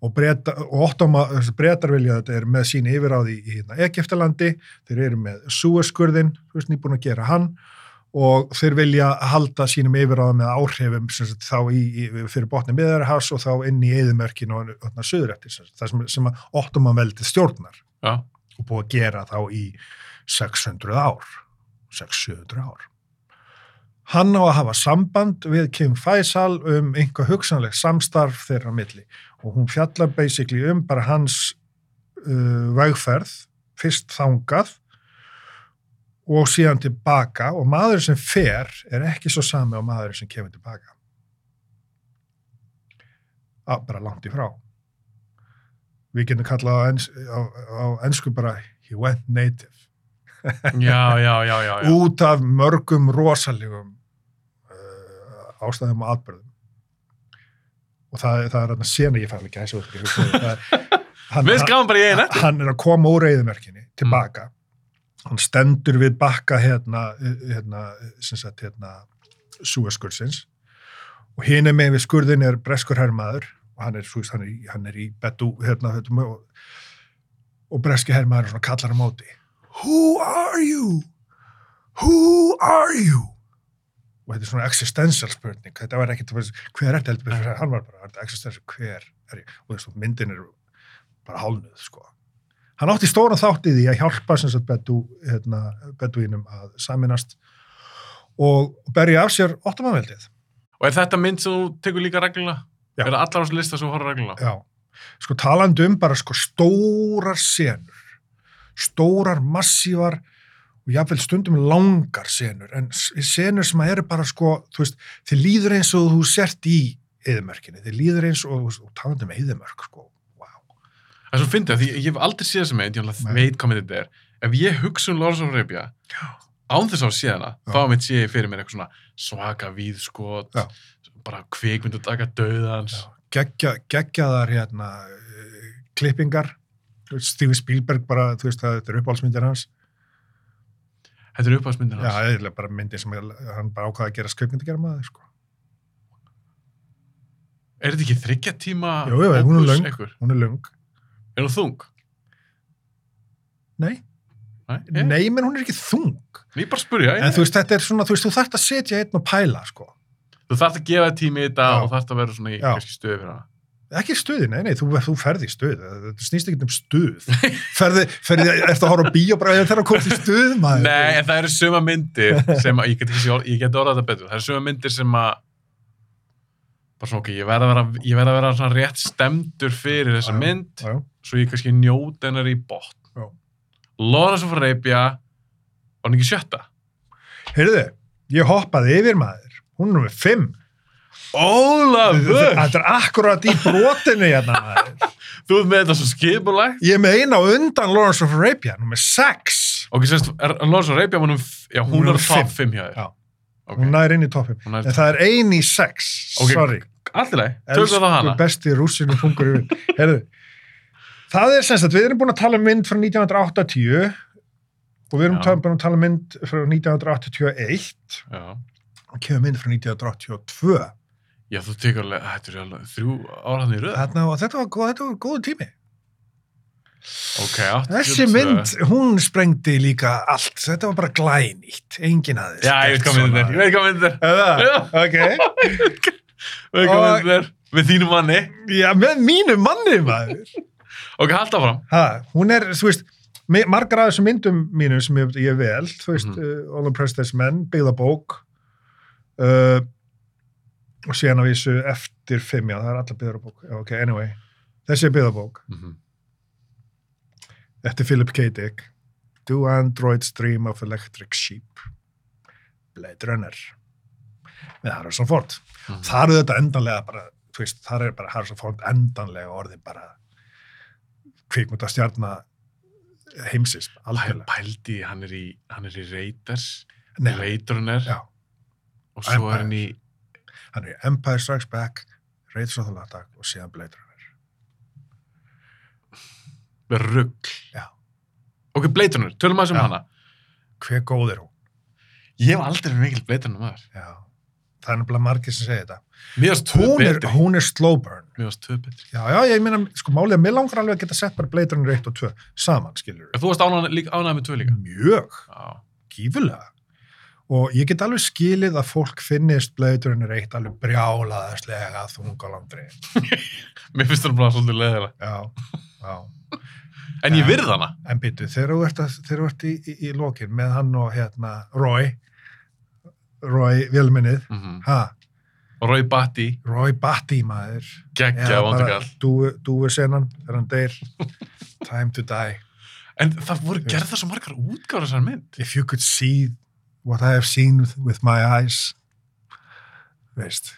Speaker 2: og, breta, og ottoma, bretar vilja þetta er með sín yfiráði í hérna, Egiptalandi, þeir eru með Súaskurðin, þú veist, nýbúin að gera hann og þeir vilja halda sínum yfiráða með áhrifum sem sagt, þá í, í, fyrir botni miðarhás og þá inn í eðumörkin og öðna söðurætti það sem, sem að ottomanveldið stjórnar
Speaker 1: Já.
Speaker 2: og búið að gera þá í 600 ár 600 ár hann á að hafa samband við Kim Faisal um einhver hugsanleg samstarf þeirra á milli og hún fjallar basically um bara hans uh, vegferð fyrst þangað og síðan tilbaka og maður sem fer er ekki svo sami og maður sem kemur tilbaka að, bara langt í frá við getum kallað á, ens, á, á ensku bara he went native
Speaker 1: Já, já, já, já, já.
Speaker 2: út af mörgum rosalegum uh, ástæðum og atbyrðum og það, það er þarna sena ég fara ekki að þessu upp, ég
Speaker 1: (laughs)
Speaker 2: hugsa um- það er- hann,
Speaker 1: Við skáum bara í eina.
Speaker 2: hann er að koma úr reyðumerkinni tilbaka hann stendur við bakka hérna, hérna, sem sagt, hérna súaskursins og hinn er með við skurðin er breskur herrmaður og hann er, svo, veist, hann er, í- hann er í betu hérna, hérna, og og breski herrmaður svona kallar á móti Who are you? Who are you? Og þetta er svona existential spurning, þetta var ekki hver er þetta heldur, betur, hann var bara var þetta existential, hver er ég? Og þessu myndin er bara hálnuð, sko. Hann átti stóran þátt í því að hjálpa sem sagt Bedú, hérna, Bedúinum að saminast og berja af sér ottomanveldið.
Speaker 1: Og er þetta mynd sem þú tekur líka reglulega?
Speaker 2: Já.
Speaker 1: Er það allar á þessu lista sem þú horfður reglulega?
Speaker 2: Já, sko talandi um bara sko stórar senur, stórar, massívar og jáfnveld stundum langar senur, en s- senur sem eru bara sko, þú veist, þið líður eins og þú sért í eðimörkinni, þið líður eins og, og talandi um eðimörk, sko, wow.
Speaker 1: Það er svo fyndið, af því ég hef aldrei séð þessa mynd, ég náttúrulega
Speaker 2: Nei.
Speaker 1: veit hvað mynd þetta er. Ef ég hugsa um Lawrence of Arabia, án þess að sé hana,
Speaker 2: Já.
Speaker 1: þá mitt sé ég fyrir mér eitthvað svona svaka víðskot,
Speaker 2: Já.
Speaker 1: bara kvikmynd og daga döðans.
Speaker 2: geggja, geggjaðar hérna eh, klippingar, Þú veist, Steven Spielberg bara, þú veist, það þetta er uppáhaldsmyndir hans,
Speaker 1: Þetta er uppáðsmyndin
Speaker 2: já,
Speaker 1: hans.
Speaker 2: eðlilega bara myndir sem er- hann bara ákvaða að gera sköpmyndi gera maður, sko.
Speaker 1: Er þetta ekki þryggja tíma
Speaker 2: Jú, jú, hún er löng.
Speaker 1: einhver?
Speaker 2: Hún er lung.
Speaker 1: Er hún þung?
Speaker 2: Nei,
Speaker 1: Nei, ég,
Speaker 2: nei, menn hún er ekki þung.
Speaker 1: ég bara spurja.
Speaker 2: En þú veist, þetta er svona, þú veist, þú þarft að setja einn og pæla, sko.
Speaker 1: þú þarft að gefa þér tími í þetta
Speaker 2: Já.
Speaker 1: og þarft að vera svona í
Speaker 2: Já.
Speaker 1: kannski stöðu fyrir hana.
Speaker 2: Ekki stuði, nei, nei, þú, þú ferði í stuð. Þetta snýst ekki um
Speaker 1: (laughs)
Speaker 2: stuð. ferði, ferði, eftir að horfa á bíó, bara þegar að komast í stuð, maður.
Speaker 1: Nei, en það eru suma myndir
Speaker 2: (laughs)
Speaker 1: sem að, ég get, ekki, ég get orðað þetta betur, það eru suma myndir sem að bara svona, ok, ég verð að vera, ég verð að vera svona rétt stemdur fyrir þessa
Speaker 2: Já, já.
Speaker 1: mynd,
Speaker 2: Já, já.
Speaker 1: svo ég kannski njóta hennar í botn.
Speaker 2: Já.
Speaker 1: Lawrence of Arabia, var hann ekki sjötta?
Speaker 2: Heyrðu, ég hoppaði yfir maður. Hún er með fimm.
Speaker 1: Ólafur!
Speaker 2: Þetta er akkurat í brotinu hérna, maður.
Speaker 1: Þú ert með þetta svo skipulegt.
Speaker 2: Ég er með eina á undan Lawrence of Arabia, nummer sex.
Speaker 1: Ok, sérst, er er Lawrence of Arabia, var hún, já,
Speaker 2: Hún
Speaker 1: hún
Speaker 2: er
Speaker 1: er
Speaker 2: fimm.
Speaker 1: top 5 hjá þér.
Speaker 2: Já.
Speaker 1: Ok,
Speaker 2: Hún nær inn í toppum.
Speaker 1: hún er
Speaker 2: En það er ein í sex,
Speaker 1: Ok,
Speaker 2: sorry.
Speaker 1: allir leið, tökum það hana.
Speaker 2: besti rússinu fungur yfir. Herðu, það er semst að við erum búin að tala um mynd frá 1980 og við erum
Speaker 1: Já.
Speaker 2: tala, búin að tala um mynd frá 1981
Speaker 1: Já.
Speaker 2: og kemur mynd frá 1982.
Speaker 1: Já, þú tekur alveg, ah, þetta er alveg þrjú áraðin í röð.
Speaker 2: Þarna, og þetta var, góð, þetta var góðu tími.
Speaker 1: Ok, 82.
Speaker 2: Þessi mynd, hún sprengdi líka allt. Þetta var bara glænýtt. Engin aðeins.
Speaker 1: Já, ég veit hvað myndin er, ég veit hvað myndin er, (laughs) Já.
Speaker 2: Ok.
Speaker 1: ég veit hvað
Speaker 2: Og-
Speaker 1: myndin er, með þínu manni.
Speaker 2: Já, með mínu manni, maður.
Speaker 1: Ok, halda fram.
Speaker 2: ha, hún er, þú veist me- margar af þessum myndum mínum sem ég, ég vel, þú veist
Speaker 1: Mhm.
Speaker 2: mm. uh, All the President's Men, Byggðabók uh, og síðan að vísu eftir fimm, já það er allar Byggðabók, ok, anyway þessi er Byggðabók, þetta er Philip K. Dick Do Androids Dream of Electric Sheep Blade Runner með Harrison Ford
Speaker 1: Mhm.
Speaker 2: þar er þetta endanlega bara þú veist, þar er bara Harrison Ford endanlega orðin bara kvikmynda stjarnar heimsins,
Speaker 1: Pæl-
Speaker 2: algjörlega
Speaker 1: Pældi, hann er í, hann er í Raiders,
Speaker 2: Nei,
Speaker 1: Raiderunar
Speaker 2: já,
Speaker 1: og svo er hann í,
Speaker 2: hann er í Empire Strikes Back Raiders of the Lost Ark og síðan Blade Runner
Speaker 1: með rugg.
Speaker 2: Já.
Speaker 1: Ok, Bleitunar, tölum aðeins um
Speaker 2: Já.
Speaker 1: hana.
Speaker 2: hver góð er hún?
Speaker 1: Ég hef aldrei verið mikil Bleitunar maður.
Speaker 2: Já. það er nefnilega margir sem segir þetta
Speaker 1: Mér varst tvö
Speaker 2: hún er,
Speaker 1: betri.
Speaker 2: hún er slow burn
Speaker 1: Mér varst tvö betri.
Speaker 2: já, já, ég meina, sko málið að mér langar alveg að geta sett bara Blade Runner 1 og 2 saman, skilur
Speaker 1: Ef Þú varst ánægð líka- ánægð með tvö
Speaker 2: Mm.
Speaker 1: líka.
Speaker 2: mjög
Speaker 1: Já.
Speaker 2: gífulega og ég get alveg skilið að fólk finnist bleiturinn er eitt alveg brjálaðaslega þungalandri
Speaker 1: Mér finnst hann bara svolítið leðilega.
Speaker 2: já, já.
Speaker 1: En ég
Speaker 2: Já.
Speaker 1: virð hana.
Speaker 2: en byttu, þegar þú ert, að, þegar þú ert í, í, í lokin með hann og hérna Roy Roy Vilminnið
Speaker 1: Mhm.
Speaker 2: ha,
Speaker 1: Og Roy Batty,
Speaker 2: Roy Batty maður
Speaker 1: geggja
Speaker 2: Eða
Speaker 1: vondugall.
Speaker 2: dúu, dúu senan þegar hann deyr time to die
Speaker 1: En það voru
Speaker 2: Þú
Speaker 1: gerða svo margar útgáður þessar mynd.
Speaker 2: if you could see what I have seen with, with my eyes veist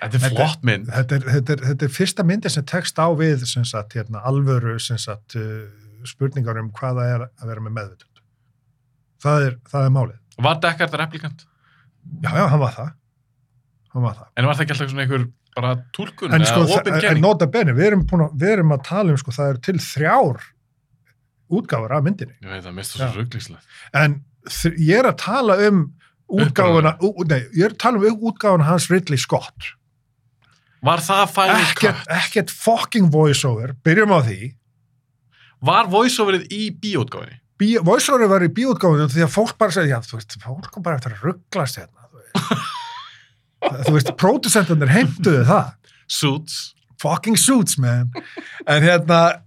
Speaker 1: Þetta er
Speaker 2: Þetta-
Speaker 1: flott mynd.
Speaker 2: þetta er, þetta, er, þetta er fyrsta myndi sem tekst á við sem sagt, hérna, alvöru sem sagt, uh, spurningar um hvað það er að vera með meðvitund. Það er, það er málið.
Speaker 1: Var Deckard replikant?
Speaker 2: Já, já, hann var það. Hann var það.
Speaker 1: En var það ekki alltaf svona einhver bara tólkun
Speaker 2: En, sko,
Speaker 1: eða
Speaker 2: það,
Speaker 1: opin
Speaker 2: en
Speaker 1: gerning?
Speaker 2: nota bene, við erum, búin að, við erum að tala um, sko, það eru til þrjár útgáfur af myndinni.
Speaker 1: Ég veit það, mest
Speaker 2: Já.
Speaker 1: þessu rugglingslegt.
Speaker 2: En þr- ég er að tala um útgáfuna, ú, nei, ég er að tala um útgáfuna hans Ridley Scott.
Speaker 1: Var það Final
Speaker 2: Ekkert, ekkert fucking voiceover, byrjum á því.
Speaker 1: Cut? Var voiceoverið í bíótgáfinni?
Speaker 2: Bí- voice-over var í bíóutgáfunum því að fólk bara segja, já, þú veist, fólk kom bara eftir að rugglast hérna, þú veist. þú veist, producentarnir heimtuðu það.
Speaker 1: Suits.
Speaker 2: Fucking suits, man. En hérna,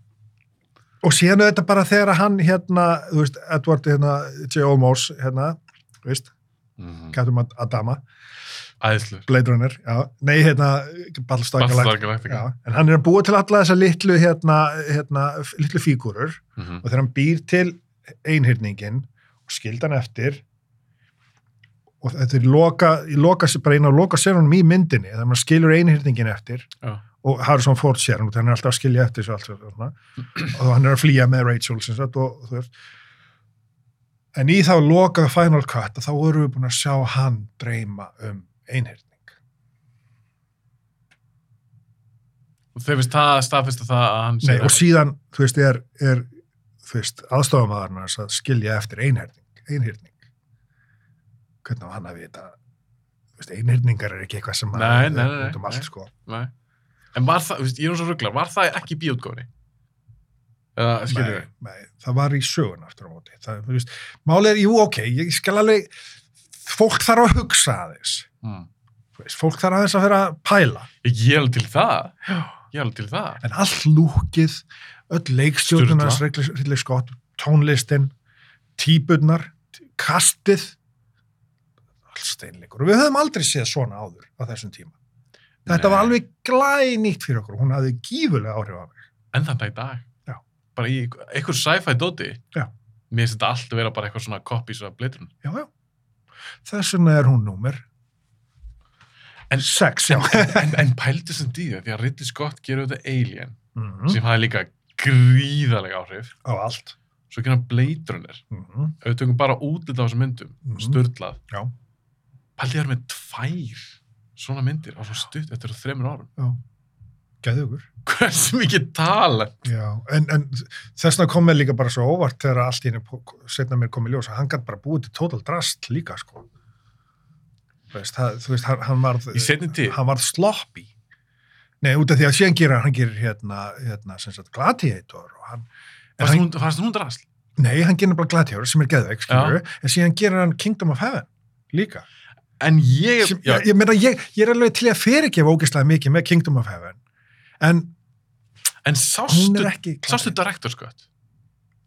Speaker 2: og síðan auðvitað bara þegar að hann hérna, þú veist, Edward hérna, J. Olmos, hérna, þú veist,
Speaker 1: Mm.
Speaker 2: Captain Ad- Adama,
Speaker 1: Æðslur.
Speaker 2: Blade Runner, já, nei, hérna, Ballstar Galactica.
Speaker 1: Bastargalaktika.
Speaker 2: Já, en hann er að búa til alla þessa litlu, hérna, hérna, f- litlu fígúrur
Speaker 1: Mhm.
Speaker 2: og þegar hann býr til einhyrningin og skildi hann eftir og þetta er loka, í loka, bara eina af loka sérunum í myndinni þegar hann skilur einhyrningin eftir
Speaker 1: Já.
Speaker 2: og Harrison Ford sér hann og hann er alltaf að skilja eftir svo allt svona, og hann er að flýja með Rachel sem sagt, og, þú veist en í þá loka Final Cut þá vorum við búin að sjá hann dreyma um einhyrning
Speaker 1: Og þeir finnst það, staðfinnst það að hann
Speaker 2: Nei,
Speaker 1: sé
Speaker 2: og
Speaker 1: það.
Speaker 2: síðan, þú veist, er, er þú veist, aðstofamæðarinn hans að skilja eftir einhyrning, einhyrning. Hvernig á hann að vita? Þú veist, einhyrningar er ekki eitthvað sem að
Speaker 1: Nei, nei, nei, nei,
Speaker 2: út um allt,
Speaker 1: nei.
Speaker 2: sko.
Speaker 1: Nei. En var það, þú veist, ég er svo rugglar, var það ekki í bíótgáfinni? Eða, skilur
Speaker 2: Nei, nei, það var í sögun aftur á móti. Það, þú veist, málið er, jú, ok, ég skal alveg, fólk þarf að hugsa aðeins.
Speaker 1: Mm.
Speaker 2: Þú veist, fólk þarf aðeins að vera að pæla.
Speaker 1: Ég er alveg til það.
Speaker 2: Já.
Speaker 1: Ég er alveg til það.
Speaker 2: En allt lúkið, öll leikstjórnarnas,
Speaker 1: Sturla.
Speaker 2: Ridley Scott, tónlistin, típurnar, kastið, allt steinleikur. Og við höfum aldrei séð svona áður á þessum tíma. Þetta var
Speaker 1: Nei.
Speaker 2: alveg glænýtt fyrir okkur. Hún hafði gífulega áhrif á mig.
Speaker 1: En þann dag í dag.
Speaker 2: Já.
Speaker 1: Bara í einhver sci-fi dóti.
Speaker 2: Já.
Speaker 1: Mér finnst þetta allt vera bara eitthvað svona copies af blitrun.
Speaker 2: Já, já. Þess vegna er hún númer
Speaker 1: En-
Speaker 2: sex, já.
Speaker 1: (laughs) En, en pældu sem dýða, því að Ridley Scott gerur þetta Alien,
Speaker 2: Mhm,
Speaker 1: sem hafði líka gríðalega áhrif.
Speaker 2: Á allt.
Speaker 1: Svo gerum bleitrunir.
Speaker 2: Mhm,
Speaker 1: Ef við tökum bara útlita á þessum myndum,
Speaker 2: Mhm.
Speaker 1: sturlað.
Speaker 2: Já.
Speaker 1: Pældu ég var með tvær svona myndir á svo stutt eftir þremur árum. (laughs)
Speaker 2: Já. Gæðu ykkur.
Speaker 1: Hversu mikið tala?
Speaker 2: Já, en, en þessna kom mér líka bara svo óvart þegar allt í henni setna mér kom í ljós að hann gætt bara búið til total drast líka, sko. Þú veist, það, þú veist hann, hann varð...
Speaker 1: Í seinni tíð?
Speaker 2: Hann varð sloppy. Nei, út af því að síðan gerir hann, hann gerir hérna, hérna, sem sagt, gladiator og hann... en
Speaker 1: Fannst
Speaker 2: hann
Speaker 1: hún, fannst hún drasl?
Speaker 2: nei, hann gerir bara gladiator sem er geðveik, skilur við, en síðan gerir hann Kingdom of Heaven líka.
Speaker 1: En ég...
Speaker 2: Sem,
Speaker 1: já,
Speaker 2: ég, ég meina, ég, ég er alveg til í að fyrirgefa ógeðslega mikið með Kingdom of Heaven, en
Speaker 1: en
Speaker 2: hún
Speaker 1: sástu,
Speaker 2: er ekki...
Speaker 1: sástu director cut?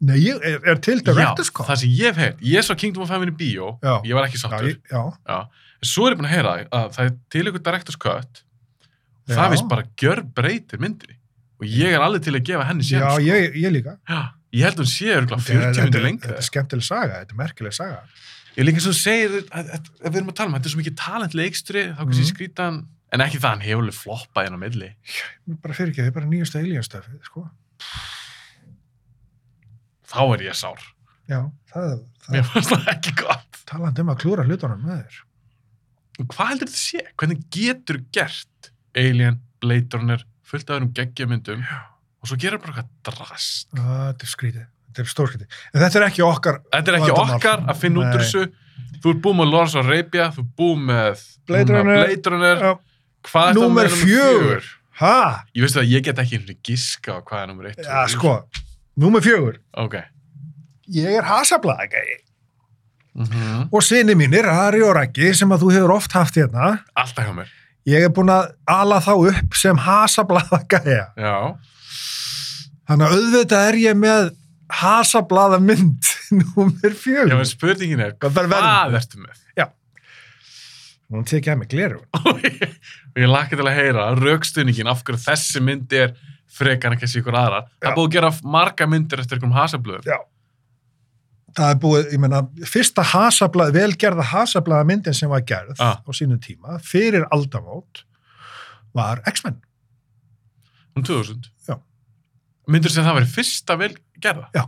Speaker 2: Nei, ég er, er til director, sko.
Speaker 1: Já, það sem ég hef heyrt. Ég sá Kingdom of Heaven í bíó,
Speaker 2: Já.
Speaker 1: ég var ekki
Speaker 2: Já,
Speaker 1: sáttur.
Speaker 2: ég- já,
Speaker 1: En svo er ég búin að heyra að það er til ykkur director's cut og
Speaker 2: Já.
Speaker 1: það veist bara gjör breytir myndinni. Og ég er alveg til að gefa henni
Speaker 2: já
Speaker 1: sér.
Speaker 2: ég, ég líka.
Speaker 1: Já, ég held að hún sé örgulega 40
Speaker 2: Þetta-
Speaker 1: myndir
Speaker 2: Þetta
Speaker 1: lengra.
Speaker 2: er skemmtileg saga, þetta er merkileg saga.
Speaker 1: Ég er líka eins og þú segir að, að, að, við erum að tala um, þetta er svo mikið talent leikstri, þá kannski mm.
Speaker 2: Mhm.
Speaker 1: skrítan, en ekki það hann hefur alveg floppað inn á milli.
Speaker 2: Mér Bara fyrir ekki, þetta er bara nýjasta alien-stöfið, sko.
Speaker 1: Þá er ég sár.
Speaker 2: Já, það, það
Speaker 1: Mér fannst það ekki gott.
Speaker 2: talandi um að klúra hlutunum með þér.
Speaker 1: En Hvað heldur þetta sé? Hvernig getur gert Alien, Blade Runner, fullt af um geggjamyndum og svo gerir bara eitthvað drast.
Speaker 2: Á, Þetta er skrítið, þetta er stórskrítið. En þetta er ekki okkar
Speaker 1: Þetta er ekki
Speaker 2: Vandamál.
Speaker 1: okkar að finna út úr
Speaker 2: Nei.
Speaker 1: þessu. Þú ert búið með Lawrence Arabia, þú ert búið með
Speaker 2: Blade
Speaker 1: núna
Speaker 2: Runner.
Speaker 1: Blade Runner.
Speaker 2: Já.
Speaker 1: Hvað er það
Speaker 2: Númer
Speaker 1: með
Speaker 2: fjögur. Ha?
Speaker 1: Ég veist að ég get ekki einhvern veginn giska á hvað er númer 1.
Speaker 2: Já, sko, númer fjögur.
Speaker 1: Ok.
Speaker 2: Ég er hasablaðagæi.
Speaker 1: Mm
Speaker 2: Og sinni mínir, Ari og Raggi, sem að þú hefur oft haft hérna,
Speaker 1: Alltaf hjá mér.
Speaker 2: ég er búin að ala þá upp sem hasablaðagæja.
Speaker 1: Já.
Speaker 2: Þannig að auðvitað er ég með hasablaða mynd (laughs) númer (laughs)
Speaker 1: Já,
Speaker 2: fjögur.
Speaker 1: en spurningin er,
Speaker 2: Hvað þarf
Speaker 1: hvað
Speaker 2: verður?
Speaker 1: ertu með?
Speaker 2: Hún tekið að mig gleru.
Speaker 1: og ég, og ég lakka til að heyra raukstunningin af hverju þessi myndi er frekar en kannski ykkur aðrar. Það
Speaker 2: Já.
Speaker 1: er búið að gera marga myndir eftir einhverjum hasablöðum.
Speaker 2: Já. Það er búið, ég meina, fyrsta hasablaða, velgerða hasablaða myndin sem var gerð
Speaker 1: Ah.
Speaker 2: á sínum tíma, fyrir aldamót, var X-Men.
Speaker 1: Um 2000.
Speaker 2: Já.
Speaker 1: Myndir sem það væri fyrsta vel gerða.
Speaker 2: Já.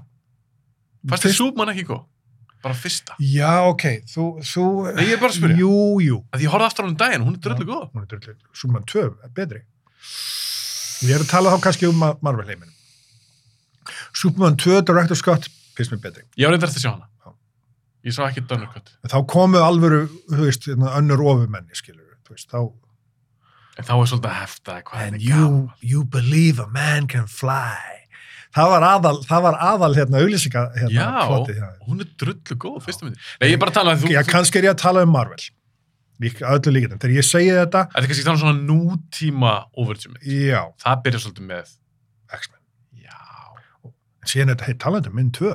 Speaker 1: Fast þið súpmann ekki góð. Bara fyrsta.
Speaker 2: Já, ok, þú, þú...
Speaker 1: Nei, ég er bara að spyrja.
Speaker 2: Jú, jú.
Speaker 1: Að ég horfði aftur á hún um daginn, hún er dröllu góð.
Speaker 2: Hún er drullið, Súman 2 er betri. Ég er að tala þá kannski um Ma- Marvel heiminum. Superman 2, Director Scott, finnst mér betri.
Speaker 1: Ég var reyndar eftir að sjá hana.
Speaker 2: Já.
Speaker 1: Ég sá ekki Dönnerkött.
Speaker 2: En þá komu alvöru, þú veist, hérna, önnur ofumenni, skilur við, þú veist, þá...
Speaker 1: En þá er svolítið að hefta hvað
Speaker 2: And
Speaker 1: er gaman.
Speaker 2: you, you believe a man can fly, það var aðal, það var aðal hérna, auglýsinga hérna,
Speaker 1: Já.
Speaker 2: plotið, já.
Speaker 1: Hún er drullu góð, fyrstu myndi. Nei, ég er bara að tala um að þú...
Speaker 2: Já,
Speaker 1: þú-
Speaker 2: kannski er ég að tala um Marvel Lík, að öllu líkindum, þegar ég segi þetta
Speaker 1: Þetta er kannski þannig svona nútíma overture mynd.
Speaker 2: já,
Speaker 1: Það byrjar svolítið með,
Speaker 2: X-Men
Speaker 1: já,
Speaker 2: en síðan er þetta, hei, talandi um mynd 2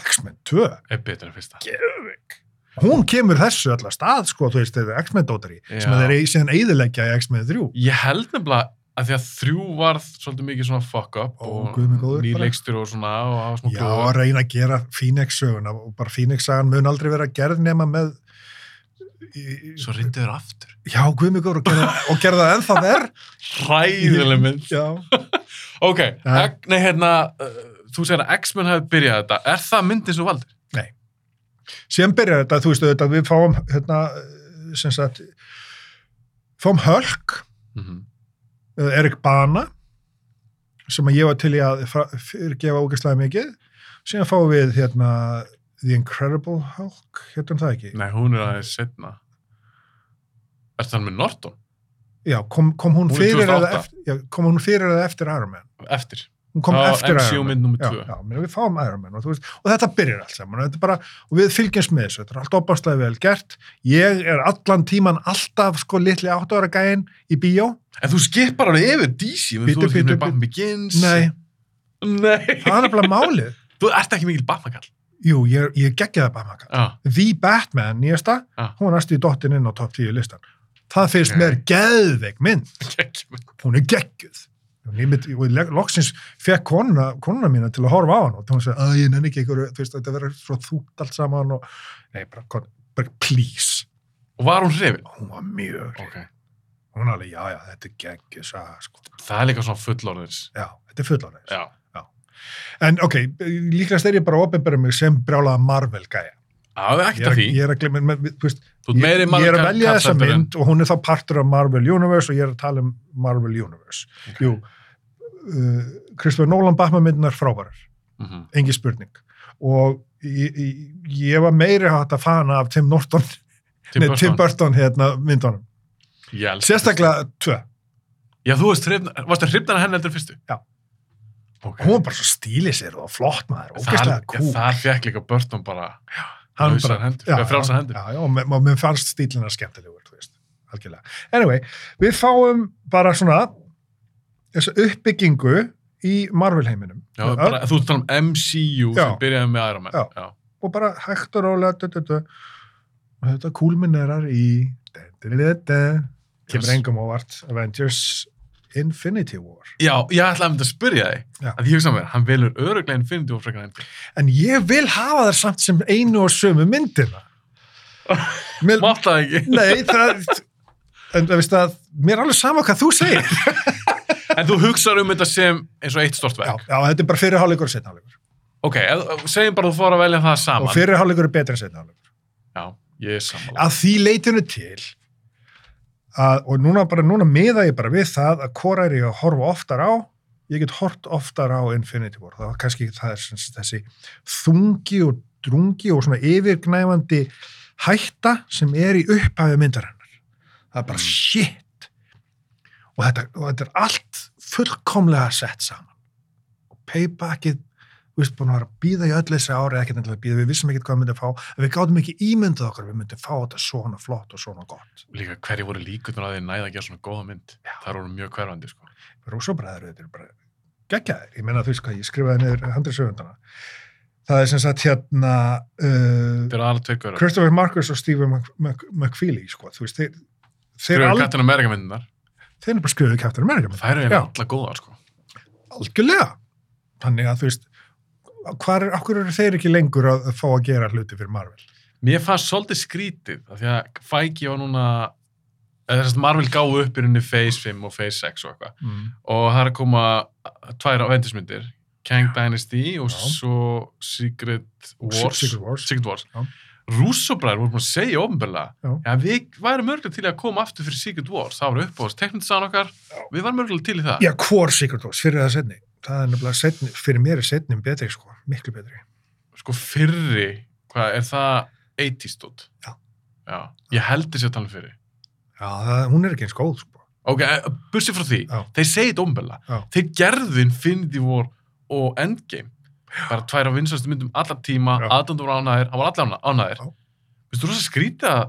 Speaker 2: X-Men 2,
Speaker 1: er betur en fyrsta.
Speaker 2: geðvik hún kemur þessu allar stað, sko, þú veist, þetta X-Men dótari, sem
Speaker 1: Já.
Speaker 2: þeir ei- síðan eigðileggja í X-Men 3
Speaker 1: Ég held nefnilega að því að þrjú varð svolítið mikið svona fuck up
Speaker 2: Ó,
Speaker 1: og
Speaker 2: guð minn góður,
Speaker 1: ný
Speaker 2: bara.
Speaker 1: leikstur og svona og hafa smá
Speaker 2: já, að
Speaker 1: glóður.
Speaker 2: reyna að gera Phoenix söguna og bara Phoenix sagan mun aldrei vera gerð nema með í-
Speaker 1: Svo reyndið þér aftur.
Speaker 2: já, guðmjögur og, gera- og gerða það ennþá
Speaker 1: (laughs)
Speaker 2: verð
Speaker 1: Hræðileg
Speaker 2: (laughs)
Speaker 1: mynd.
Speaker 2: já,
Speaker 1: Ok,
Speaker 2: Ja.
Speaker 1: ek, nei hérna, uh, þú segir að X-Men hafi byrjað þetta. Er það myndin sem þú valdir?
Speaker 2: síðan byrjar þetta, þú veist, þetta, við fáum hérna, sem sagt fáum Hulk
Speaker 1: Mm -hmm.
Speaker 2: eh, Erik Bana sem að ég var til í að fra- fyrirgefa ógæslega mikið síðan fáum við hérna The Incredible Hulk, hérna það ekki
Speaker 1: Nei, hún er aðeins setna. Er það með Norton?
Speaker 2: já, kom, kom hún,
Speaker 1: Hún er
Speaker 2: fyrir eða
Speaker 1: 2008.
Speaker 2: eftir, já, kom hún fyrir eða eftir Iron Man
Speaker 1: Eftir.
Speaker 2: hún kom
Speaker 1: Það var
Speaker 2: eftir
Speaker 1: MCU
Speaker 2: Iron Man
Speaker 1: mynd númer
Speaker 2: já,
Speaker 1: tvö.
Speaker 2: já, menn, við fáum Iron Man og, þú veist, og þetta byrjar allt saman og, þetta er bara, og við fylgjumst með þessu, þetta er allt opastlega vel gert ég er allan tíman alltaf sko litli áttu ára gæinn í bíó
Speaker 1: En þú skipar alveg yfir DC, menn þú
Speaker 2: Bíddu,
Speaker 1: ert ekki
Speaker 2: bíddu,
Speaker 1: með Batman Begins.
Speaker 2: nei,
Speaker 1: Nei.
Speaker 2: það er nefnilega málið
Speaker 1: Þú ert ekki mikil Batman-kall. Ah,
Speaker 2: jú, ég, er- ég geggja það bara maka
Speaker 1: Já. (laughs)
Speaker 2: The Batman nýjasta,
Speaker 1: Ah.
Speaker 2: hún er næstu í dottin inn á topp 10 listan. Það finnst
Speaker 1: Ok.
Speaker 2: mér geðveik mynd,
Speaker 1: Ekki með
Speaker 2: hún er geggjuð. Og ég mynd- og ég le- loksins fekk konuna, konuna mína til að horfa á hann og hún sagði að ég nenni ekki ykkur, þú veist, þetta verður svo þúkt allt saman og, nei, bara, kon- bara please.
Speaker 1: Og var hún hrifin?
Speaker 2: Hún var mjög,
Speaker 1: Ok.
Speaker 2: hún er alveg, já, já, þetta er geggjuð, sagði, sko.
Speaker 1: Það er líka svona fullorðins.
Speaker 2: Já, þetta er fullanæs.
Speaker 1: Já.
Speaker 2: En ok, líklegast er ég bara að opinbera mig sem brjálaða Marvel-gæja.
Speaker 1: Það er
Speaker 2: Ég
Speaker 1: ekkert
Speaker 2: er
Speaker 1: að
Speaker 2: að-
Speaker 1: því.
Speaker 2: ég er að glemma, menn, við- þú veist,
Speaker 1: Þú ert
Speaker 2: Ég,
Speaker 1: meiri
Speaker 2: ég er að
Speaker 1: Marvel-kall
Speaker 2: velja þessa
Speaker 1: heldur en-
Speaker 2: mynd og hún er þá partur af Marvel Universe og ég er að tala um Marvel Universe. Jú, uh, Kristofur Nólan Batman myndinar frábærar,
Speaker 1: Mhm.
Speaker 2: engi spurning. Og ég, ég, ég var meiri hægt að fana af Tim Norton,
Speaker 1: Tim
Speaker 2: nei, Tim
Speaker 1: Burton.
Speaker 2: Burton hérna myndunum.
Speaker 1: Ég elska
Speaker 2: Sérstaklega tvö.
Speaker 1: þetta. Já, þú varst hrifn- varstu hrifnar að henni heldur en fyrstu?
Speaker 2: Já.
Speaker 1: Ok.
Speaker 2: Hún var bara svo stílið sér og flott maður, ógeðslega
Speaker 1: Þar-
Speaker 2: kúl.
Speaker 1: Þar fekk líka Burton bara
Speaker 2: Hann
Speaker 1: lausar
Speaker 2: bara-
Speaker 1: hendur, eða frjálsar hendur.
Speaker 2: Já, já, og mér- og mér fannst stílina skemmtilegur, þú veist, algjörlega. Anyway, við fáum bara svona þessa uppbyggingu í Marvel heiminum.
Speaker 1: Já, bara, þú ert að tala um MCU sem
Speaker 2: Já.
Speaker 1: byrjaði með Iron Man.
Speaker 2: Já. Og bara hægt og rólega, dö, dö, dö. og þetta kúlminerar í dö, dö, dö, dö. kemur
Speaker 1: Yes.
Speaker 2: engum ávart Avengers Infinity War.
Speaker 1: Já, ég ætlaði að mynda að spyrja þig.
Speaker 2: Já.
Speaker 1: Að ég hugsa mér, hann velur öruglega Infinity War frekar en
Speaker 2: En ég vil hafa þær samt sem einu og sömu myndina. Mér,
Speaker 1: Máttaði ekki.
Speaker 2: nei, það... En það veist að, mér er alveg sama hvað þú segir.
Speaker 1: En þú hugsaður um þetta sem eins og eitt stort
Speaker 2: já,
Speaker 1: verk.
Speaker 2: já, þetta er bara fyrirháleikur og setnáleikur.
Speaker 1: Ok, ef- segjum bara að þú fór að velja það
Speaker 2: Og
Speaker 1: saman.
Speaker 2: fyrirháleikur er betri en setnáleikur.
Speaker 1: Já, ég er samanlega.
Speaker 2: Að því leitinu til að, og núna bara, núna miða ég bara við það að hvora er ég að horfa oftar á, ég get hort oftar á Infinity War. Það var kannski, það er sem sagt þessi þungi og drungi og svona yfirgnæfandi hætta sem er í upphæfi myndar hennar. Það er
Speaker 1: Mm.
Speaker 2: bara shit. Og þetta, og þetta er allt fullkomlega sett saman. Og paybackið, við veist, búin að vera að býða í öll þessi ári, ekkert endilega að býða, við vissum ekkert hvað við myndum að fá, en við gátum ekki ímyndað okkur, að við myndum fá þetta svona flott og svona gott.
Speaker 1: Líka hverju voru líkunar að þeir næða að gera svona góða mynd.
Speaker 2: Já.
Speaker 1: Það voru mjög hverfandi, sko.
Speaker 2: Rúsóbræður, þetta er bara geggjaðir. Ég menna, þú veist hvað, ég skrifaði niður handri sögundana. Það er sem sagt hérna... Uh,
Speaker 1: Þetta eru aðra tveir hverjar.
Speaker 2: Christopher Marcus og Steve Mc- Mc- McFeely, sko, þú veist, þeir, þeir,
Speaker 1: Skrifu
Speaker 2: al,
Speaker 1: Captain America myndunar.
Speaker 2: þeir eru bara skrifuðu Captain America mynd.
Speaker 1: Það eru
Speaker 2: Já.
Speaker 1: alltaf góða, sko.
Speaker 2: algjörlega. Þannig að þú veist, hvar, okkur eru þeir ekki lengur að fá að gera hluti fyrir Marvel?
Speaker 1: Mér fannst svolítið skrítið, af því að Feige var núna, eða þess að Marvel gáði upp í rauninni Phase 5 og Phase 6 og eitthvað.
Speaker 2: Mm.
Speaker 1: Og það er að koma tvær vendismyndir, Kang Dynasty og
Speaker 2: Já.
Speaker 1: svo Secret Wars.
Speaker 2: Secret Wars.
Speaker 1: Secret Wars.
Speaker 2: Já.
Speaker 1: Rússobræður voru búin að segja ofnbörlega,
Speaker 2: Já.
Speaker 1: já við værum örgulega til í að koma aftur fyrir Secret Wars, það voru uppáðast teknisaðan okkar, við værum örgulega til í það.
Speaker 2: Já, hvor Secret Wars, fyrir það setni. Það er nefnilega setni, fyrir mér er setni betri, sko, miklu betri.
Speaker 1: Sko fyrri, hvað er það 80s stótt?
Speaker 2: Já.
Speaker 1: Já, ég heldur sér að tala um fyrri.
Speaker 2: Já, það, hún er ekki eins góð, sko.
Speaker 1: Ok, bursið frá því,
Speaker 2: Já.
Speaker 1: þeir segið dómbella,
Speaker 2: Já.
Speaker 1: þeir gerðu Infinity War og Endgame bara tvær af vinsastu myndum allar tíma
Speaker 2: Já.
Speaker 1: aðdöndur var ánæðir, hann var allar ánæðir
Speaker 2: Já.
Speaker 1: finnst þú rosa skrítið að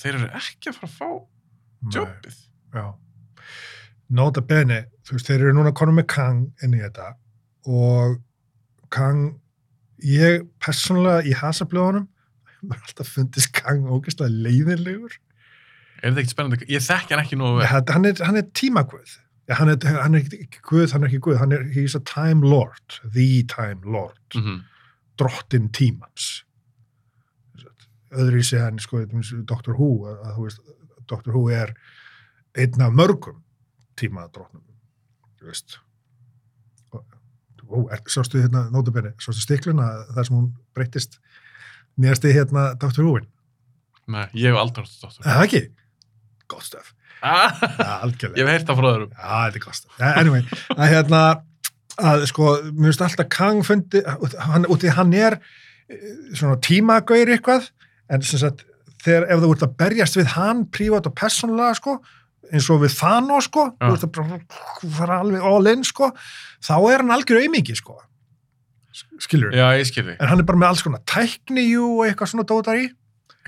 Speaker 1: þeir eru ekki að fara að fá
Speaker 2: Nei,
Speaker 1: jobbið
Speaker 2: já. Nota bene, þú veist, þeir eru núna konum með Kang inn í þetta og Kang, ég persónulega í hasablöðunum, (laughs) mér er alltaf fundist Kang ógeðslega leiðinlegur.
Speaker 1: er þetta ekkert spennandi, ég þekki hann ekki nógu vel
Speaker 2: Þetta- Hann er, hann er tímagvöð. Já, Hann er, hann er ekki ekki guð, hann er ekki guð, hann er, he's a time lord, the time lord.
Speaker 1: mm -hmm.
Speaker 2: drottin tímans öðru í sig hann sko, til dæmis Dr. Who að, að, þú veist, Dr. Who er einn af mörgum tímadrottnum þú veist og, ó, er, sástu hérna nótabenni, sástu stikluna þar sem hún breyttist nýjast í hérna Dr. Who-in,
Speaker 1: Nei, ég hef aldrei hort
Speaker 2: er
Speaker 1: þetta
Speaker 2: það ekki? gott stöf,
Speaker 1: ah,
Speaker 2: ja,
Speaker 1: (laughs) ég
Speaker 2: algjörlega
Speaker 1: hef heyrt það frá öðrum
Speaker 2: já, þetta er gott stöf anyway, að hérna að sko, mér finnst alltaf Kang fundi, hann, út í hann er eh, svona tímagaur eitthvað en sem sagt, þegar ef þú ert að berjast við hann prívat og persónulega sko, eins og við Thanos sko,
Speaker 1: Já.
Speaker 2: þú ert að bara fara alveg all in sko, þá er hann algjör aumingi sko skilur
Speaker 1: já, ég skil þig,
Speaker 2: en hann er bara með alls konar tækni jú og eitthvað svona dótar í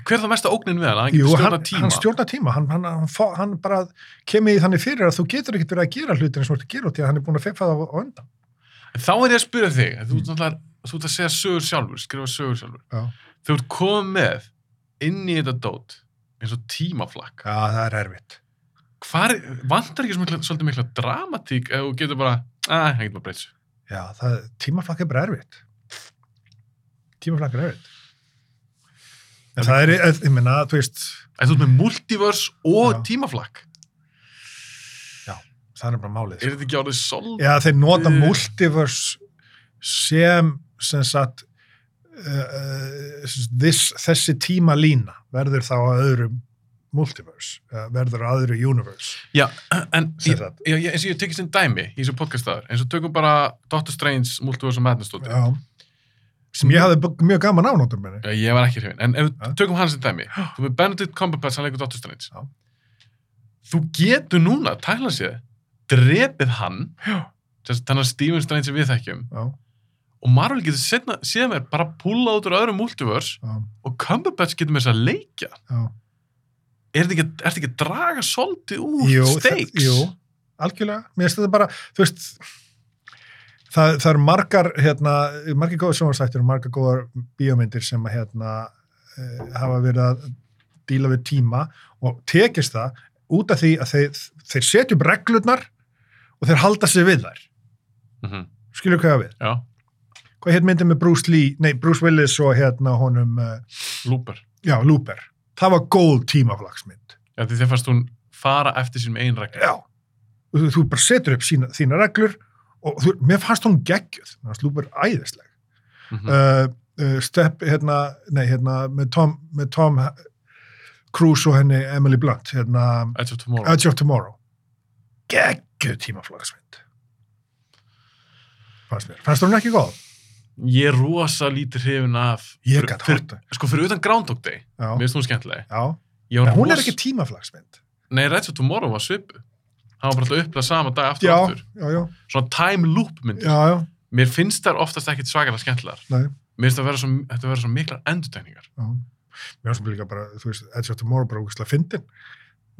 Speaker 1: hver er það mesta ógnin við hann, að hann
Speaker 2: Jú,
Speaker 1: getur
Speaker 2: hann,
Speaker 1: stjórna tíma
Speaker 2: hann stjórnar tíma hann, hann, hann, fá- hann bara kemur í þannig fyrir að þú getur ekkert verið að gera hlutin eins og þú ert að gera út í að hann er búin að feffa það á- á undan
Speaker 1: En þá er ég að spyrja þig, þú ert náttúrulega, þú ert að segja sögur sjálfur, skrifa sögur sjálfur.
Speaker 2: Já.
Speaker 1: Þú ert komið með inn í þetta dót, eins og tímaflakk.
Speaker 2: Já, það er erfitt.
Speaker 1: Hvar, vantar ekki svo mikla, svolítið mikla dramatík ef þú getur bara, að, hann getur bara breytsu.
Speaker 2: Já, það, tímaflakk er bara erfitt. Tímaflakk er erfitt. En það er, ég, ég minna, þú veist,
Speaker 1: En þú ert með multiverse og
Speaker 2: Já.
Speaker 1: tímaflakk.
Speaker 2: það er bara málið. sko.
Speaker 1: Er þetta ekki árið sol?
Speaker 2: Já, þeir nota
Speaker 1: Eh.
Speaker 2: multiverse sem, sem sagt, uh, this, þessi tíma lína verður þá að öðru multiverse, uh, verður að öðru universe.
Speaker 1: Já, en
Speaker 2: Sem
Speaker 1: ég,
Speaker 2: sagt.
Speaker 1: ég, ég, eins og ég tekist einn dæmi í þessu podcastaður, eins og tökum bara Doctor Strange multiverse og Madness dótið.
Speaker 2: Já. Sem ég hafði b- mjög gaman af nótum minni.
Speaker 1: Já, Eh, ég var ekki hrifin. En ef
Speaker 2: Ha?
Speaker 1: við tökum hans í dæmi, þú ert með Benedict Cumberbatch, hann leikur Dr. Strange.
Speaker 2: Já.
Speaker 1: Þú getur núna, tækla sér, drepið hann, þannig að Stephen Strange sem við þekkjum,
Speaker 2: Já,
Speaker 1: og Marvel getur setna, séð mér bara púla út úr öðrum multiverse
Speaker 2: já,
Speaker 1: og Cumberbatch getur með þess að leikja.
Speaker 2: já.
Speaker 1: Er þetta ekki, er þetta ekki að draga svolítið úr
Speaker 2: Jú,
Speaker 1: stakes?
Speaker 2: það- Jú, algjörlega. Mér finnst þetta bara, þú veist, það, það eru margar, hérna, margar góða sjónvarsættir og margar góðar bíómyndir sem að, hérna, eh, hafa verið að díla við tíma og tekist það út af því að þeir, þeir setja upp reglurnar og þeir halda sig við þær.
Speaker 1: Mhm,
Speaker 2: Skilur hvað ég á við?
Speaker 1: Já,
Speaker 2: Hvað hérna myndið með Bruce Lee, nei, Bruce Willis og hérna honum, eh,
Speaker 1: lúper.
Speaker 2: já, Looper. Það var góð tímaflagsmynd.
Speaker 1: Já, því þegar fannst hún fara eftir sínum einn regla.
Speaker 2: já, þú, þú bara setur upp sína, þína reglur og þú, mér fannst hún geggjöð, mér fannst Lúber æðisleg.
Speaker 1: Mhm.
Speaker 2: Uh, uh, Stepp, hérna, nei, hérna, með Tom, með Tom Cruise og henni Emily Blunt, hérna,
Speaker 1: Edge of Tomorrow.
Speaker 2: Edge of Tomorrow. Geggjöð tímaflagsmynd. Fannst mér. Fannst hún ekki góð?
Speaker 1: Ég er rosa lítið hrifin af...
Speaker 2: Ég
Speaker 1: fyrir-
Speaker 2: gætt
Speaker 1: fyrir-
Speaker 2: horta.
Speaker 1: Sko, fyrir utan Groundhog Day,
Speaker 2: Já,
Speaker 1: mér finnst hún skemmtileg.
Speaker 2: já.
Speaker 1: Ég var
Speaker 2: En hún er
Speaker 1: ros-
Speaker 2: ekki tímaflagsmynd.
Speaker 1: Nei, Red Hot Tomorrow var svipu. Hann var bara alltaf upplega sama dag aftur
Speaker 2: Já,
Speaker 1: og aftur.
Speaker 2: já, já,
Speaker 1: Svona time loop myndir.
Speaker 2: já, já,
Speaker 1: Mér finnst þær oftast ekkit svakalega skemmtilegar.
Speaker 2: nei.
Speaker 1: Mér finnst það vera svo, þetta vera svo miklar endurtegningar.
Speaker 2: Já. Mér fannst hún líka bara, þú veist, Edge of Tomorrow bara úkislega fyndin.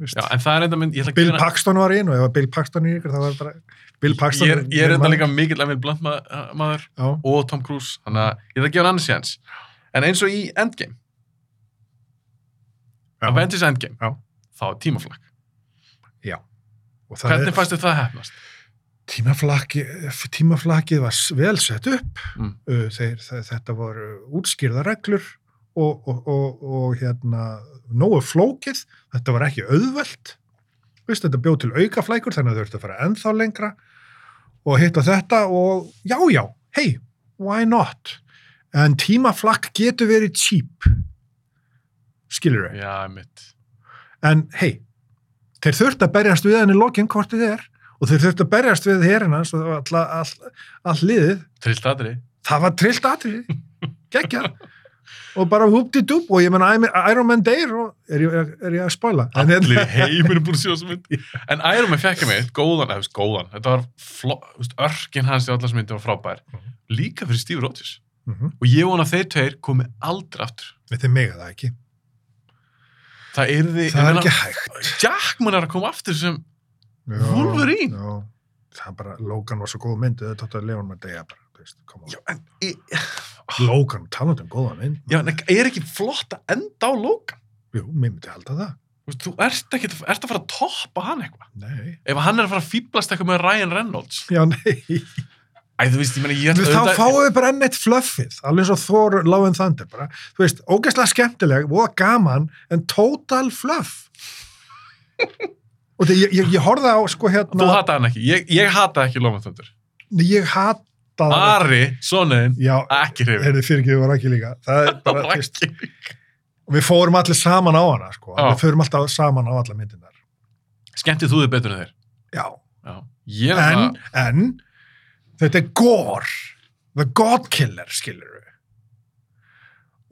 Speaker 2: Þú veist.
Speaker 1: Já, en það er enda mynd, ég ætla að
Speaker 2: Bill
Speaker 1: gera...
Speaker 2: Paxton var í einu, ef að Bill Paxton er ykkur, það var bara Bill Paxton.
Speaker 1: Ég er, ég er
Speaker 2: Bill
Speaker 1: enda
Speaker 2: Mann-
Speaker 1: líka mikill Emil Blunt ma- uh, maður
Speaker 2: Já,
Speaker 1: og Tom Cruise, þannig að ég ætla að gefa hann annars séns. En eins og í Endgame,
Speaker 2: já,
Speaker 1: Avengers Endgame,
Speaker 2: Já.
Speaker 1: þá er tímaflakk.
Speaker 2: og það
Speaker 1: Hvernig
Speaker 2: er,
Speaker 1: fannst þér það hefnast?
Speaker 2: tímaflaki, tímaflakið var s- vel sett upp,
Speaker 1: Mm.
Speaker 2: Uh, þeir, þe- þetta voru útskýrða reglur og, og, og, og hérna, nógu flókið, þetta var ekki auðvelt, veist, þetta bjóð til aukaflækur, þannig að þau ertu að fara ennþá lengra og hitta þetta og já, já, hei, why not? En tímaflakk getur verið cheap, skilur þau?
Speaker 1: Já, mitt.
Speaker 2: en hei, þeir þurft að berjast við hann í lokin hvort þið er og þeir þurft að berjast við herinn hans og all, all, all liðið,
Speaker 1: Trillt aðri.
Speaker 2: það var trillt atrið geggjað, og bara húpti-dúp og ég menna Iron Man deyr og er ég, er, er ég að spoila En hérna-
Speaker 1: Allir heiminn er búin að sjá þessu mynd. En Iron Man fekk ég mig, góðan, eða þú veist, góðan, þetta var fló, þú veist, örkin hans í allas myndi var frábær. Líka fyrir Steve Rogers.
Speaker 2: Mhm.
Speaker 1: Og ég vona að þeir tveir komi aldrei aftur.
Speaker 2: Þetta er mig að það ekki.
Speaker 1: Það yrði, ég
Speaker 2: Það er ekki
Speaker 1: meina,
Speaker 2: hægt.
Speaker 1: Jackman er að koma aftur sem,
Speaker 2: Já,
Speaker 1: Wolverine?
Speaker 2: Já. Það er bara, Logan var svo góð mynd, þetta tótt að Leon maður degja bara, þú veist, koma.
Speaker 1: já, en, ég-
Speaker 2: Logan, talandi um góða mynd.
Speaker 1: já, en er ekki flott að enda á Logan?
Speaker 2: Jú, mér myndi halda það.
Speaker 1: Þú veist, þú ert ekki, ert að fara að toppa hann eitthvað.
Speaker 2: Nei.
Speaker 1: Ef hann er að fara að fýblast eitthvað með Ryan Reynolds.
Speaker 2: Já, nei.
Speaker 1: Æ, þú veist, ég meina, ég
Speaker 2: Við þá fáum við bara enn eitt fluffið, alveg eins og Thor Love and Thunder bara. Þú veist, ógeðslega skemmtileg, voða gaman, en total fluff. Og þegar ég, ég, ég horfði á, sko,
Speaker 1: Þú
Speaker 2: hérna,
Speaker 1: hataði hann ekki, ég, ég hataði ekki Lóma Þöndur.
Speaker 2: ég hataði...
Speaker 1: Ari, sonniðin,
Speaker 2: Já,
Speaker 1: ekki hrifin.
Speaker 2: er þið fyrir ekki, við varum ekki líka. Það er bara, þú veist,
Speaker 1: Raggi.
Speaker 2: og við fórum allir saman á hana sko.
Speaker 1: Já.
Speaker 2: við fórum alltaf saman á alla myndinar
Speaker 1: Skemmtið þú þig betur en þeir.
Speaker 2: já,
Speaker 1: Já. Ég er
Speaker 2: en,
Speaker 1: það,
Speaker 2: en þetta er gore the god killer skilur við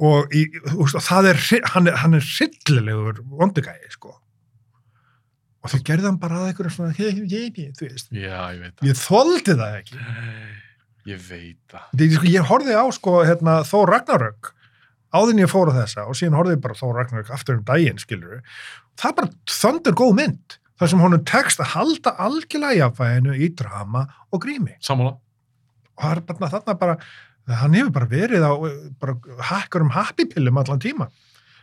Speaker 2: og, í, úst, og það er, hri- hann er hann er hryllilegur vondugæði sko og þau gerði hann bara að einhverjum svona hei, hei, hei, hei, þú veist
Speaker 1: já, ég veit það.
Speaker 2: ég þóldi það ekki
Speaker 1: Ég veit það.
Speaker 2: Því, sko, ég horfði á sko hérna, Þó Ragnarök áðin ég fóra þessa og síðan horfði ég bara á Þó Ragnarök aftur um daginn skilur það er bara þöndur góð mynd þar sem honum tekst að halda algjörlega jafnvæginu í drama og grími
Speaker 1: Sammála.
Speaker 2: og það er bara, þarna bara hann hefur bara verið á eh, bara hakkur um happy pillum allan tíma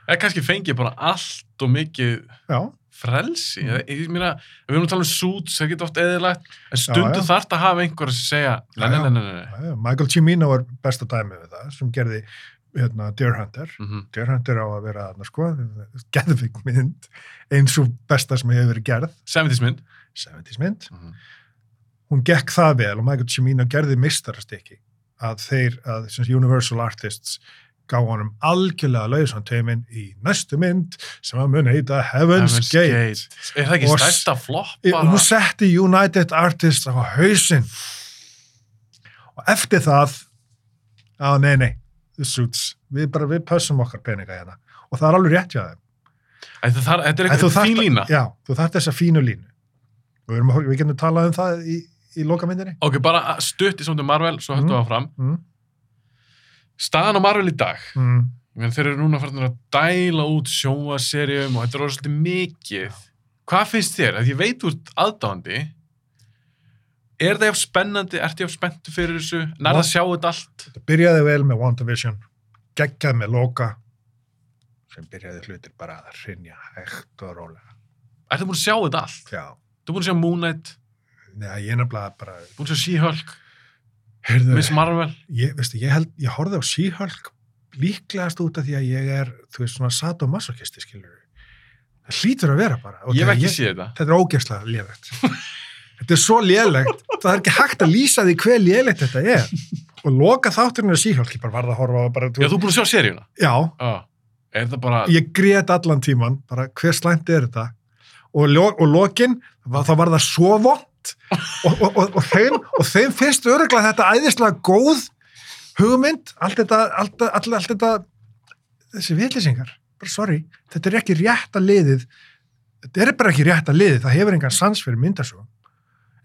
Speaker 1: Eða kannski fengið bara allt og mikið
Speaker 2: já,
Speaker 1: frelsi.
Speaker 2: Mm.
Speaker 1: Mm. Ég meina, ef við erum að tala um suits, það getur oft eðilegt, en
Speaker 2: já.
Speaker 1: stundu þarf að hafa einhver sem segja, nei,
Speaker 2: Já,
Speaker 1: nei,
Speaker 2: já.
Speaker 1: nei, nei, nei.
Speaker 2: já, Michael Cimino er besta dæmi við það sem gerði hérna, Deer Hunter
Speaker 1: Mhm.
Speaker 2: Deer Hunter á að vera þarna sko geðvig mynd eins og besta sem hefur verið gerð
Speaker 1: Semitismynd.
Speaker 2: 70s mynd
Speaker 1: Mhm.
Speaker 2: hún gekk það vel og Michael Cimino gerði mistarastykki að þeir, að sem sagt, Universal Artists gá honum algjörlega lausan teiminn í næstu mynd sem að mun heita Heaven's,
Speaker 1: Heaven's
Speaker 2: Gate.
Speaker 1: Er það ekki
Speaker 2: Og-
Speaker 1: stærsta flopp
Speaker 2: Ég-
Speaker 1: bara?
Speaker 2: Hún setti United Artists á hausinn og eftir það á nei nei, the suits við bara, við pössum okkar peninga hérna og það er alveg rétt hjá þeim
Speaker 1: Æ, það, þar- þetta er
Speaker 2: En þú
Speaker 1: eitthvað fín
Speaker 2: þarft-
Speaker 1: lína.
Speaker 2: Já, þú þarft þessa fínu línu og við, erum, að horfa- við getum talað um það í, í lokamyndinni
Speaker 1: Ok, bara stutt í samtum Marvel, svo höfum við
Speaker 2: Mm.
Speaker 1: áfram.
Speaker 2: mm.
Speaker 1: Staðan á Marvel í dag,
Speaker 2: Mm.
Speaker 1: ég menn þeir eru núna farin að dæla út sjóaserjum og þetta er orðið svolítið mikið. Hvað finnst þér? Þegar ég veit úr aðdáðandi, er það jafn spennandi, ertu jafn spenntu fyrir þessu, nær það að sjá þetta allt?
Speaker 2: Þetta byrjaði vel með WandaVision, geggjað með Loka, sem byrjaði hlutir bara að hrynja hægt og rólega.
Speaker 1: Ertu búin að sjá þetta allt?
Speaker 2: Já,
Speaker 1: Þú búin að sjá Moon Knight,
Speaker 2: neða, ég nefnilega bara,
Speaker 1: búin að sjá She-Hulk,
Speaker 2: heyrðu,
Speaker 1: Miss Marvel,
Speaker 2: ég, veistu, ég held, ég horfði á She-Hulk líklegast út af því að ég er, þú veist, svona sadomasochisti, skilur við. Það hlýtur að vera bara. og
Speaker 1: ég hef
Speaker 2: þegar
Speaker 1: ekki séð þetta.
Speaker 2: Þetta er ógeðslega lélegt. (laughs) þetta er svo lélegt, það er ekki hægt að lýsa því hver lélegt þetta er. Og Loka þátturinn er She-Hulk, ég bara varð að horfa á bara,
Speaker 1: Já, þú búin að sjá seríuna.
Speaker 2: já,
Speaker 1: Já. Er það bara,
Speaker 2: ég grét allan tíman bara hver slæmt er þetta og, ljó, og lokin, var, þá var það svo vond og, og, og, og, þeim, og þeim finnst öruglega þetta æðislega góð hugmynd allt þetta, allt, allt, allt þetta þessi vitlýsingar, bara sorry þetta er ekki rétta liðið þetta er bara ekki rétta liðið, það hefur engan sans fyrir myndasögu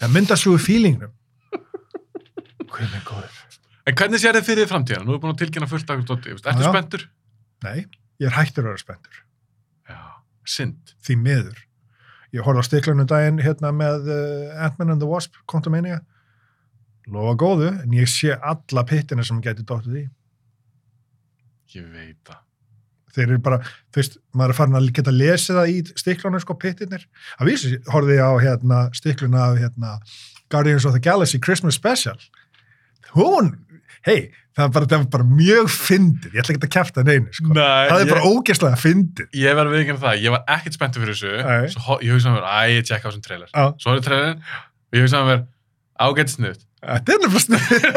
Speaker 2: eða myndasögu fílingnum hvað er með góður?
Speaker 1: en hvernig sér þið fyrir framtíðan? Nú er búin að tilkynna fullt af Doddi, ertu
Speaker 2: Já, já.
Speaker 1: spenntur?
Speaker 2: Nei, ég er hættur að vera spenntur
Speaker 1: Já, synd.
Speaker 2: því miður. Ég horfði á stiklunum daginn hérna með uh, Ant-Man and the Wasp, Quantumania. Lofa góðu, en ég sé alla pittina sem gæti dóttið í.
Speaker 1: Ég veit það.
Speaker 2: Þeir eru bara, þú veist, maður er farin að geta lesið það í stiklunum, sko, pittinir. Að vísu horfði ég á hérna, stikluna af hérna, Guardians of the Galaxy Christmas Special. Hún, hei, það var bara, það var bara mjög fyndið. Ég ætla ekki að kæfta neinu, sko.
Speaker 1: Nei,
Speaker 2: það er
Speaker 1: ég,
Speaker 2: bara ógeðslega fyndið.
Speaker 1: ég verði að viðkynna það, ég var ekkert spenntur fyrir þessu,
Speaker 2: Nei.
Speaker 1: svo ho- ég hugsaði með mér, æ, ég tjekka á þessum trailer.
Speaker 2: Já.
Speaker 1: Svo er trailerin, og ég hugsaði um með mér, ágætt
Speaker 2: (laughs)
Speaker 1: snuð.
Speaker 2: Þetta er nefnilega (laughs) snið.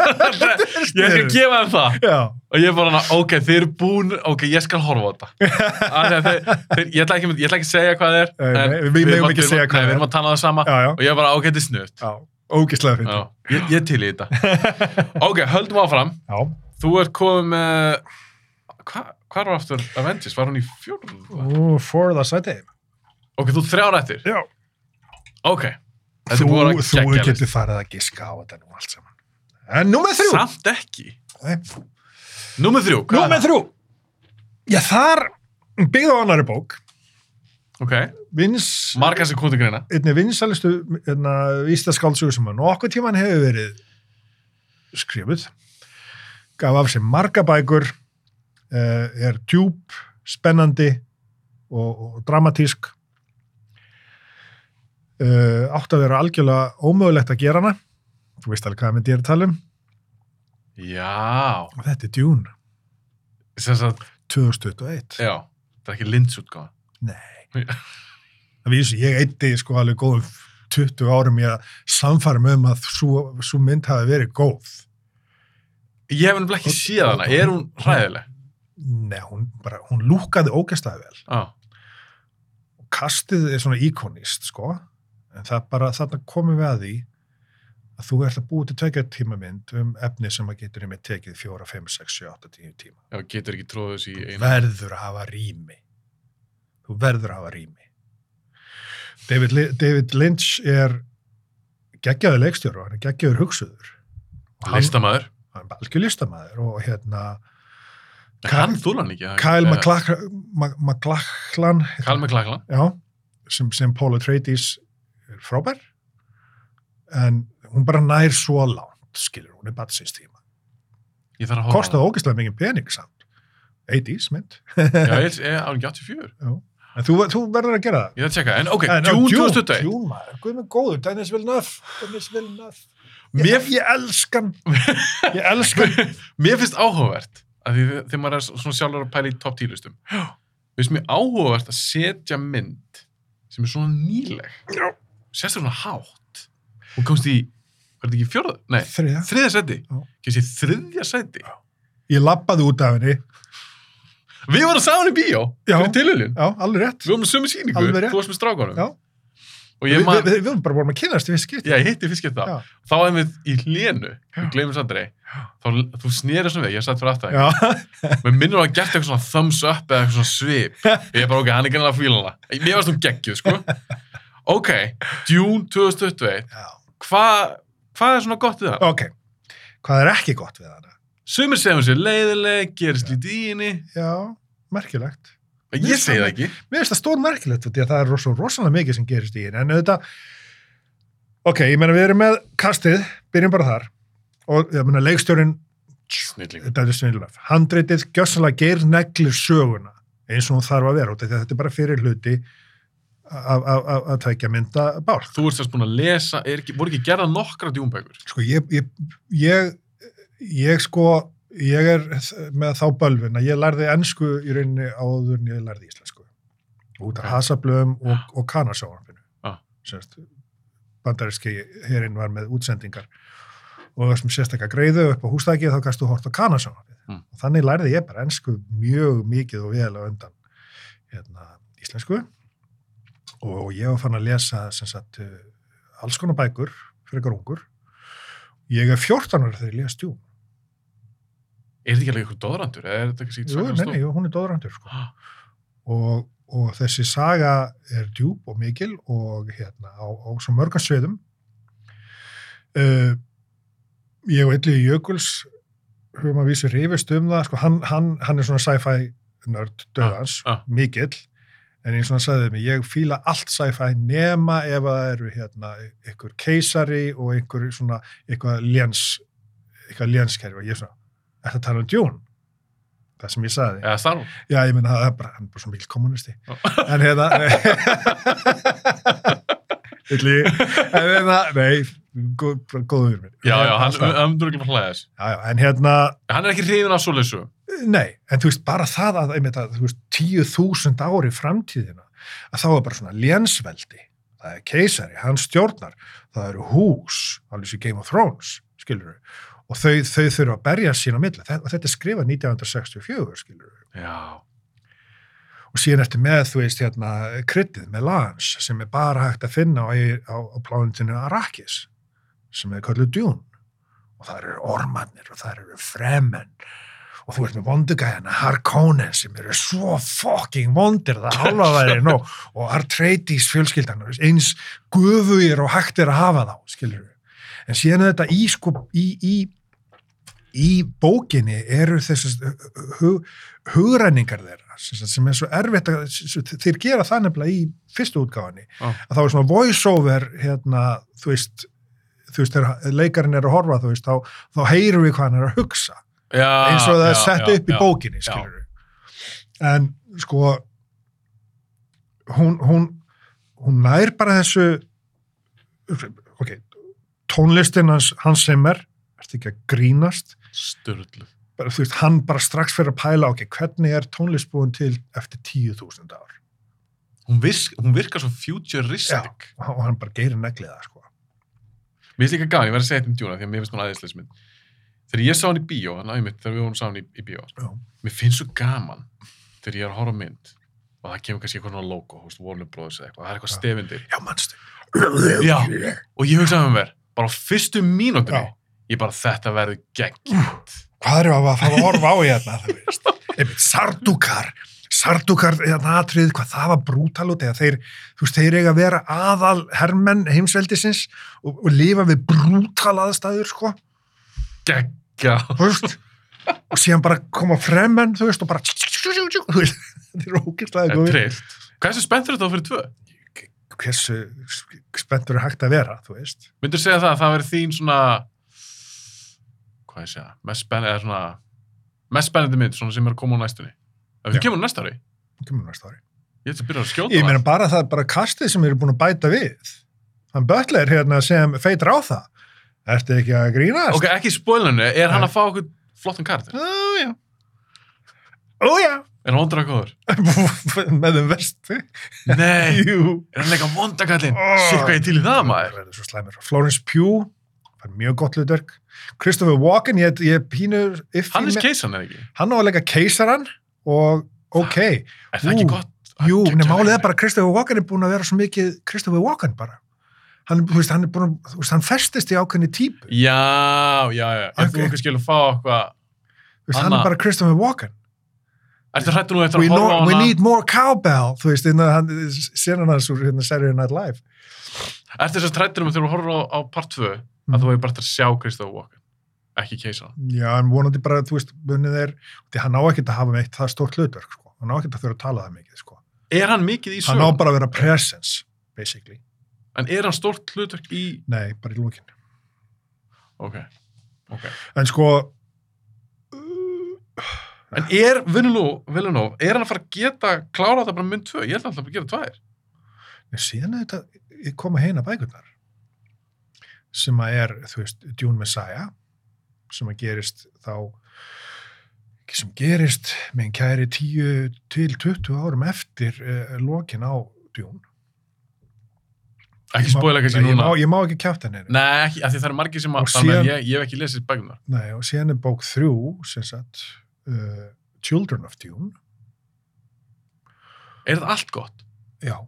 Speaker 1: ég skal gefa þeim það.
Speaker 2: Já.
Speaker 1: Og ég bara, hana, ok, þeir eru búin, ok, ég skal horfa á
Speaker 2: (laughs)
Speaker 1: þetta. Af því að þeir, þeir, ég, ætla ekki, ég ætla ekki að segja hvað það er.
Speaker 2: Nei,
Speaker 1: en
Speaker 2: nei, við megum
Speaker 1: erum
Speaker 2: ekki
Speaker 1: að-
Speaker 2: segja
Speaker 1: nei,
Speaker 2: hvað
Speaker 1: Við
Speaker 2: það er.
Speaker 1: erum að tala um það sama,
Speaker 2: já, já,
Speaker 1: og ég bara, ágætt snuð.
Speaker 2: já, ógislega fyrir
Speaker 1: Já, ég,
Speaker 2: (laughs)
Speaker 1: ég til í þetta. ok, höldum áfram.
Speaker 2: já,
Speaker 1: Þú ert komið með, hva- hvar var aftur Avengers? Var hún í fjórðu?
Speaker 2: Ú, for the sæti.
Speaker 1: Ok, þú þrjár eftir.
Speaker 2: Já.
Speaker 1: Ok. Þetta er
Speaker 2: Þú,
Speaker 1: búið að vera
Speaker 2: þú
Speaker 1: geggjað listi.
Speaker 2: getur farið að giska á þetta nú allt saman. En númer þrjú.
Speaker 1: Samt ekki.
Speaker 2: Nei.
Speaker 1: Númer þrjú. hvað er
Speaker 2: Númer þrjú. Já, þar byggðu á annari bók.
Speaker 1: það? Ok.
Speaker 2: Vins,
Speaker 1: Margar sem komið til greina.
Speaker 2: einni vinsalistu ístaskáldsögur sem að nokkuð tíman hefur verið skrifuð gaf af sér marga bækur eh, er djúp spennandi og, og dramatísk Eh, átt að vera algjörlega ómögulegt að gera hana þú veist alveg hvað myndi ég er að tala um
Speaker 1: Já.
Speaker 2: og þetta er Dune
Speaker 1: Þess að,
Speaker 2: 2021
Speaker 1: já. Það er ekki lindsútgáða.
Speaker 2: það vísu, ég eitti sko alveg góðum 20 árum ég að samfæra mig um að svo, svo mynd hafi verið góð
Speaker 1: Ég hef nefnilega ekki séð hana. Er hún hræðileg?
Speaker 2: Nei, hún, bara, hún lúkaði ógæstlega vel.
Speaker 1: Já.
Speaker 2: Kastið er svona íkonist, sko. En það bara, þarna komum við að því að þú ert að búið til tvekja tíma mynd um efni sem að getur með tekið fjóra, fimm, sex, sjö, átta, tíu tíma.
Speaker 1: Já, getur ekki tróðið þessi í
Speaker 2: Þú
Speaker 1: eina.
Speaker 2: verður að hafa rými. Þú verður að hafa rými. David, Li- David Lynch er geggjaður leikstjóru, hann er geggjaður hugsuður. Og hann-
Speaker 1: Listamæður.
Speaker 2: Hann er algjör listamæður og hérna...
Speaker 1: Hann þúlan ekki. eða-
Speaker 2: Kyle
Speaker 1: eða-
Speaker 2: MacLach- Ma- MacLachlan
Speaker 1: Kyle McLachlan.
Speaker 2: já, sem, sem Paul Atreides er frábær en hún bara nær svo langt, skilur, hún er bara síns tíma
Speaker 1: Ég þarf að horfa. á það.
Speaker 2: kostaði ógeðslega mikið pening samt 80s mynd
Speaker 1: Já, ég held- ég- á 84.
Speaker 2: en þú, þú verður að gera það
Speaker 1: Ég þarf að tjekka. En ok,
Speaker 2: En,
Speaker 1: Dune
Speaker 2: á,
Speaker 1: 2001.
Speaker 2: Dune, maður, guð með góðu, Dennis Villeneuve Dennis Villeneuve
Speaker 1: Mér
Speaker 2: ég, ég elskan ég elskan
Speaker 1: (laughs) Mér finnst áhugavert að því þegar maður er svona sjálfur að pæla í top 10 listum Mér finnst mér áhugavert að setja mynd sem er svona nýleg
Speaker 2: Já.
Speaker 1: sérstaklega svona hátt og komst í, var þetta ekki fjórða? Nei,
Speaker 2: þriða,
Speaker 1: þriðja seti
Speaker 2: Já.
Speaker 1: Kemst í þriðja seti
Speaker 2: ég labbaði út af henni
Speaker 1: Við vorum saman í bíó
Speaker 2: Já.
Speaker 1: fyrir tilhjulun
Speaker 2: já, alveg rétt
Speaker 1: Við vorum með sömu síningu,
Speaker 2: Alveg rétt.
Speaker 1: þú varst með strákanum
Speaker 2: Já.
Speaker 1: Og
Speaker 2: við,
Speaker 1: ég
Speaker 2: við,
Speaker 1: maður,
Speaker 2: við, við vorum bara vorum að kynast í fyrst skipti
Speaker 1: já, ég hitti fyrst geta
Speaker 2: Já.
Speaker 1: Þá er við í hlénu, við
Speaker 2: Já.
Speaker 1: gleymum sandri
Speaker 2: Já.
Speaker 1: Þá, þú snýrið svona við, ég satt fyrir aftan þig.
Speaker 2: já.
Speaker 1: Mér minnur að hann gert eitthvað svona thumbs up eða eitthvað svona
Speaker 2: (laughs)
Speaker 1: svip. Ég er bara, ok, hann er gænilega að fíla hana. Mér varst hún geggjuð, sko. Ok, Dune 2021.
Speaker 2: já, (laughs)
Speaker 1: Hvað hva er svona gott við hann?
Speaker 2: ok hvað er ekki gott við hana?
Speaker 1: Sumir segjum sér leiðileg, gerist lítið í henni.
Speaker 2: já, merkilegt
Speaker 1: Ég segi það ekki.
Speaker 2: Mér finnst það stór merkilegt því að það er rosa, rosalega mikið sem gerist í henni, en auðvitað, ok, ég meina við erum með kastið, byrjum bara þar, og ég meina leikstjórin,
Speaker 1: Snillingur.
Speaker 2: þetta er svinnilöf, handritið gjössalega geir neglir söguna eins og hún þarf að vera út, af því að þetta er bara fyrir hluti af- af af- að tækja mynda bálk.
Speaker 1: Þú ert sérst búin að lesa, er ekki, voru ekki gerða nokkra djúmbækur?
Speaker 2: Sko, ég, ég, ég, ég sko, ég er með þá bölvin að ég lærði ennsku í rauninni áður en ég lærði íslensku. Út
Speaker 1: Ok.
Speaker 2: af hasablöðum og, og kanasjónarfinu.
Speaker 1: Ah.
Speaker 2: Sérst, bandaríski herinn var með útsendingar og þessum sérstakka greiðu upp á hústækið þá kannst þú hort á kanasjónarfinu.
Speaker 1: Mm.
Speaker 2: Og þannig lærði ég bara ennsku mjög mikið og vel á undan hérna, íslensku og ég var fann að lesa sem sagt, eh, alls konar bækur frekar ungur ég er 14 ára þegar ég les Dune
Speaker 1: Er þetta ekki alveg ykkur dóðrandur? Eða er þetta ekki sýtt
Speaker 2: Jú, nei, nei, jú, hún er dóðrandur sko.
Speaker 1: Ah,
Speaker 2: og, og þessi saga er djúb og mikil og hérna á, á svo mörgum sviðum uh, ég og Illi Jökuls höfum að vísu rifist um það sko, hann, hann, hann er svona sci-fi nörd döðans,
Speaker 1: Ah, ah.
Speaker 2: mikill en eins og hann sagði mig, ég fíla allt sci-fi nema ef að það eru hérna ykkur keisari og ykkur svona, eitthvað léns eitthvað lénskerfi og ég svona, er það að tala um djún? það sem ég sagði
Speaker 1: Eða Star Wars?
Speaker 2: Já, ég meina, það er bara, hann er bara svo mikil kommunisti.
Speaker 1: Já.
Speaker 2: En hérna, Ylli, en hérna, nei, góð, bara góður mér.
Speaker 1: Já, já, hann
Speaker 2: já,
Speaker 1: hann myndur ekki að hlæða þess.
Speaker 2: já, en hérna,
Speaker 1: Hann er ekki hrifin af svoleiðsum.
Speaker 2: nei, en þú veist, bara það að, einmitt að, þú veist, tíu þúsund ári framtíðina, að þá er bara svona lénsveldi, það er keisari, hann stjórnar, það eru hús, alveg sem Game of Thrones, skilur við, og þau, þau þurfa að berja sín á milli, Þe- og þetta er skrifað 1964, skilur við.
Speaker 1: Já.
Speaker 2: og síðan ertu með, þú veist, hérna, kryddið með lans sem er bara hægt að finna á, á, á plánutinu Arrakis sem er kalluð djún og það eru ormannir og það eru fremenn og þú ert með vondugæðina Harkonnen sem eru svo fucking vondir það hálfaværi nú og Artreides fjölskyldan þú veist, eins guðugir og hægt er að hafa þá skilur við en síðan er þetta í sko í, í, í bókinni eru uh, þessast hug, hugræningar þeirra sem sagt, sem er svo erfitt að, s- s- þeir gera það nefnilega í fyrstu útgáfinni
Speaker 1: Já.
Speaker 2: að þá er svona voiceover hérna þú veist þú veist, þegar leikarinn er að horfa, þú veist, þá, þá heyrum við hvað hann er að hugsa
Speaker 1: já,
Speaker 2: eins og það
Speaker 1: Ah,
Speaker 2: er
Speaker 1: já,
Speaker 2: sett
Speaker 1: já,
Speaker 2: upp í
Speaker 1: já.
Speaker 2: bókinni skilur en sko hún, hún hún nær bara þessu ok tónlistin hans, hans sem er ert ekki að grínast
Speaker 1: Sturlu.
Speaker 2: bara, þú veist, hann bara strax fyrir að pæla ok, hvernig er tónlist búin til eftir 10.000 ár
Speaker 1: Hún, visk, hún virkar svo futuristic.
Speaker 2: og hann- og hann bara geirir negliða sko.
Speaker 1: Mér finnst líka gaman, ég verði að segja þetta um Duna, því að mér finnst hún aðeinsleisminn. Þegar ég sá hann í bíó, hann aðeins mitt, þegar við vorum saman í, í bíó,
Speaker 2: Já.
Speaker 1: mér finnst svo gaman þegar ég er að horfa á mynd og það kemur kannski eitthvað svona logo, húst, Warner Brothers eða eitthvað, það er eitthvað
Speaker 2: Já.
Speaker 1: stefindir.
Speaker 2: já, mannstu
Speaker 1: Já. Og ég hugsaði með mér, bara á fyrstu mínútinu,
Speaker 2: Já.
Speaker 1: ég bara þetta verður geggjant.
Speaker 2: hvað erum við að fara að horfa á hérna, þú veist. Einmitt, Sardukar, Sardukar, hérna atrið, hvað það var brútal út, eða þeir, þú veist, þeir eiga að vera aðal hermenn heimsveldisins og, og lifa við brútal aðstæður, sko,
Speaker 1: Geggja.
Speaker 2: þú veist, og síðan bara koma fremmenn, þú veist, og bara, þú veist, þetta er
Speaker 1: Þetta
Speaker 2: ógæstlega
Speaker 1: er
Speaker 2: góður.
Speaker 1: trillt. Hversu spenntur þetta fyrir tvö?
Speaker 2: Hversu spenntur er hægt að vera, þú veist.
Speaker 1: Myndur segja það að það verður þín svona hvað ég segja, mest spennandi eða svona, mest spennandi mynd svona sem er að koma á næstunni ef við
Speaker 2: Já.
Speaker 1: kemur á næsta ári,
Speaker 2: um Kemur næsta ári.
Speaker 1: ég ætla að byrja að skjóta
Speaker 2: Ég meina
Speaker 1: það.
Speaker 2: bara það, bara kastið sem eru búin að bæta við. Hann Böttler hérna sem feitir á það. Ertu ekki að grínast?
Speaker 1: ok, ekki í spoilinu, er hann
Speaker 2: Nei.
Speaker 1: að fá okkur flottan karakter,
Speaker 2: Ójá. Ójá.
Speaker 1: er hann vondur að góður
Speaker 2: (laughs) Með þeim vestu. (laughs)
Speaker 1: nei,
Speaker 2: Jú.
Speaker 1: er hann leika vondakallinn
Speaker 2: Ó.
Speaker 1: oh. sík Eh. hvað ég til í það maður
Speaker 2: Það er svo slæmur. Florence Pugh, það er mjög gott hlutverk. Christopher Walken, ég, ég pínur...
Speaker 1: hann er keisan eða ekki,
Speaker 2: Hann á að leika keisaran og ok.
Speaker 1: er það ekki
Speaker 2: Ú.
Speaker 1: gott
Speaker 2: Jú,
Speaker 1: Hann
Speaker 2: en
Speaker 1: geggjaður
Speaker 2: málið er
Speaker 1: leikari.
Speaker 2: bara að Christopher Walken er búin að vera svo mikið Christopher Walken bara. Hann, þú veist, hann er búin að, þú veist, hann festist í ákveðni típu.
Speaker 1: já, já, já, ef þú
Speaker 2: Ok.
Speaker 1: okkur skilur fá okkur
Speaker 2: Þú veist, hann
Speaker 1: Anna-
Speaker 2: er bara Christopher Walken.
Speaker 1: ertu hrættu nú eftir
Speaker 2: We,
Speaker 1: að horfa á
Speaker 2: know, we
Speaker 1: hana
Speaker 2: need more cowbell, þú veist, innan hann, senan hans úr hérna Saturday Night Live.
Speaker 1: ertu þess að hrættu nú þegar þú horfa á, á part 2 að
Speaker 2: Mm.
Speaker 1: þú hefur bara eftir að sjá Kristof Walken ekki keisan
Speaker 2: Já, en vonandi bara, þú veist, munið er, því hann á ekkert að hafa meitt það stórt hlutverk, sko. Hann á ekkert að þurfa að tala það mikið, sko.
Speaker 1: Er hann mikið í
Speaker 2: Hann á
Speaker 1: sögum?
Speaker 2: bara að vera presence, basically.
Speaker 1: En er hann stórt hlutverk í...
Speaker 2: Nei, bara í lókinu.
Speaker 1: Ok. Ok.
Speaker 2: En sko,
Speaker 1: En er Vilunov, Vilunov, er hann að fara að geta klára þetta bara mynd tvö? Ég held að hann ætli að gera tvær.
Speaker 2: en síðan er þetta, ég kom að heina bækurnar, sem að er, þú veist, Dune Messiah, sem að gerist þá, sem gerist, minn kæri, 10 til 20 árum eftir uh, lókin á Dune.
Speaker 1: Ekki
Speaker 2: Ég má-
Speaker 1: spóla kannski
Speaker 2: Nei, ég
Speaker 1: núna.
Speaker 2: má- Ég má ekki kjáta henni.
Speaker 1: Nei, ekki, af því það eru margir sem að...
Speaker 2: Og
Speaker 1: Þannig að
Speaker 2: síðan-
Speaker 1: ég, ég hef ekki lesið bækunar.
Speaker 2: Nei, og síðan er bók þrjú, sem sagt, uh, Children of Dune.
Speaker 1: Er þetta allt gott?
Speaker 2: Já.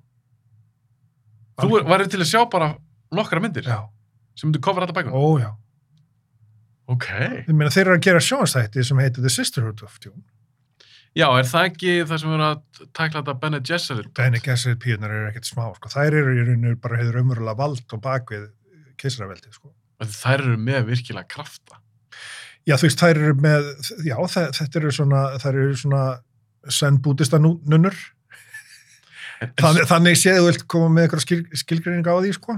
Speaker 1: Þú er, værið til að sjá bara nokkra myndir
Speaker 2: Já,
Speaker 1: sem myndu kofra þetta bækunar.
Speaker 2: ó já.
Speaker 1: Ok.
Speaker 2: Ég meina, þeir eru að gera sjónstætti sem heitir The Sisterhood of Dune.
Speaker 1: Já, er það ekki það sem er að tækla þetta Bene Gesserit?
Speaker 2: Dæni Gesserit píunar eru ekkert smá, sko. Þær eru í rauninu bara hefur umverulega vald og bakvið keisaraveldið, sko.
Speaker 1: Þær eru með virkilega krafta.
Speaker 2: Já, þú veist, þær eru með, já, þe- þetta eru svona, þær eru svona sendbútista nunnur. Þannig, þannig séðu vilt koma með eitthvað skil, skilgreining á því, sko.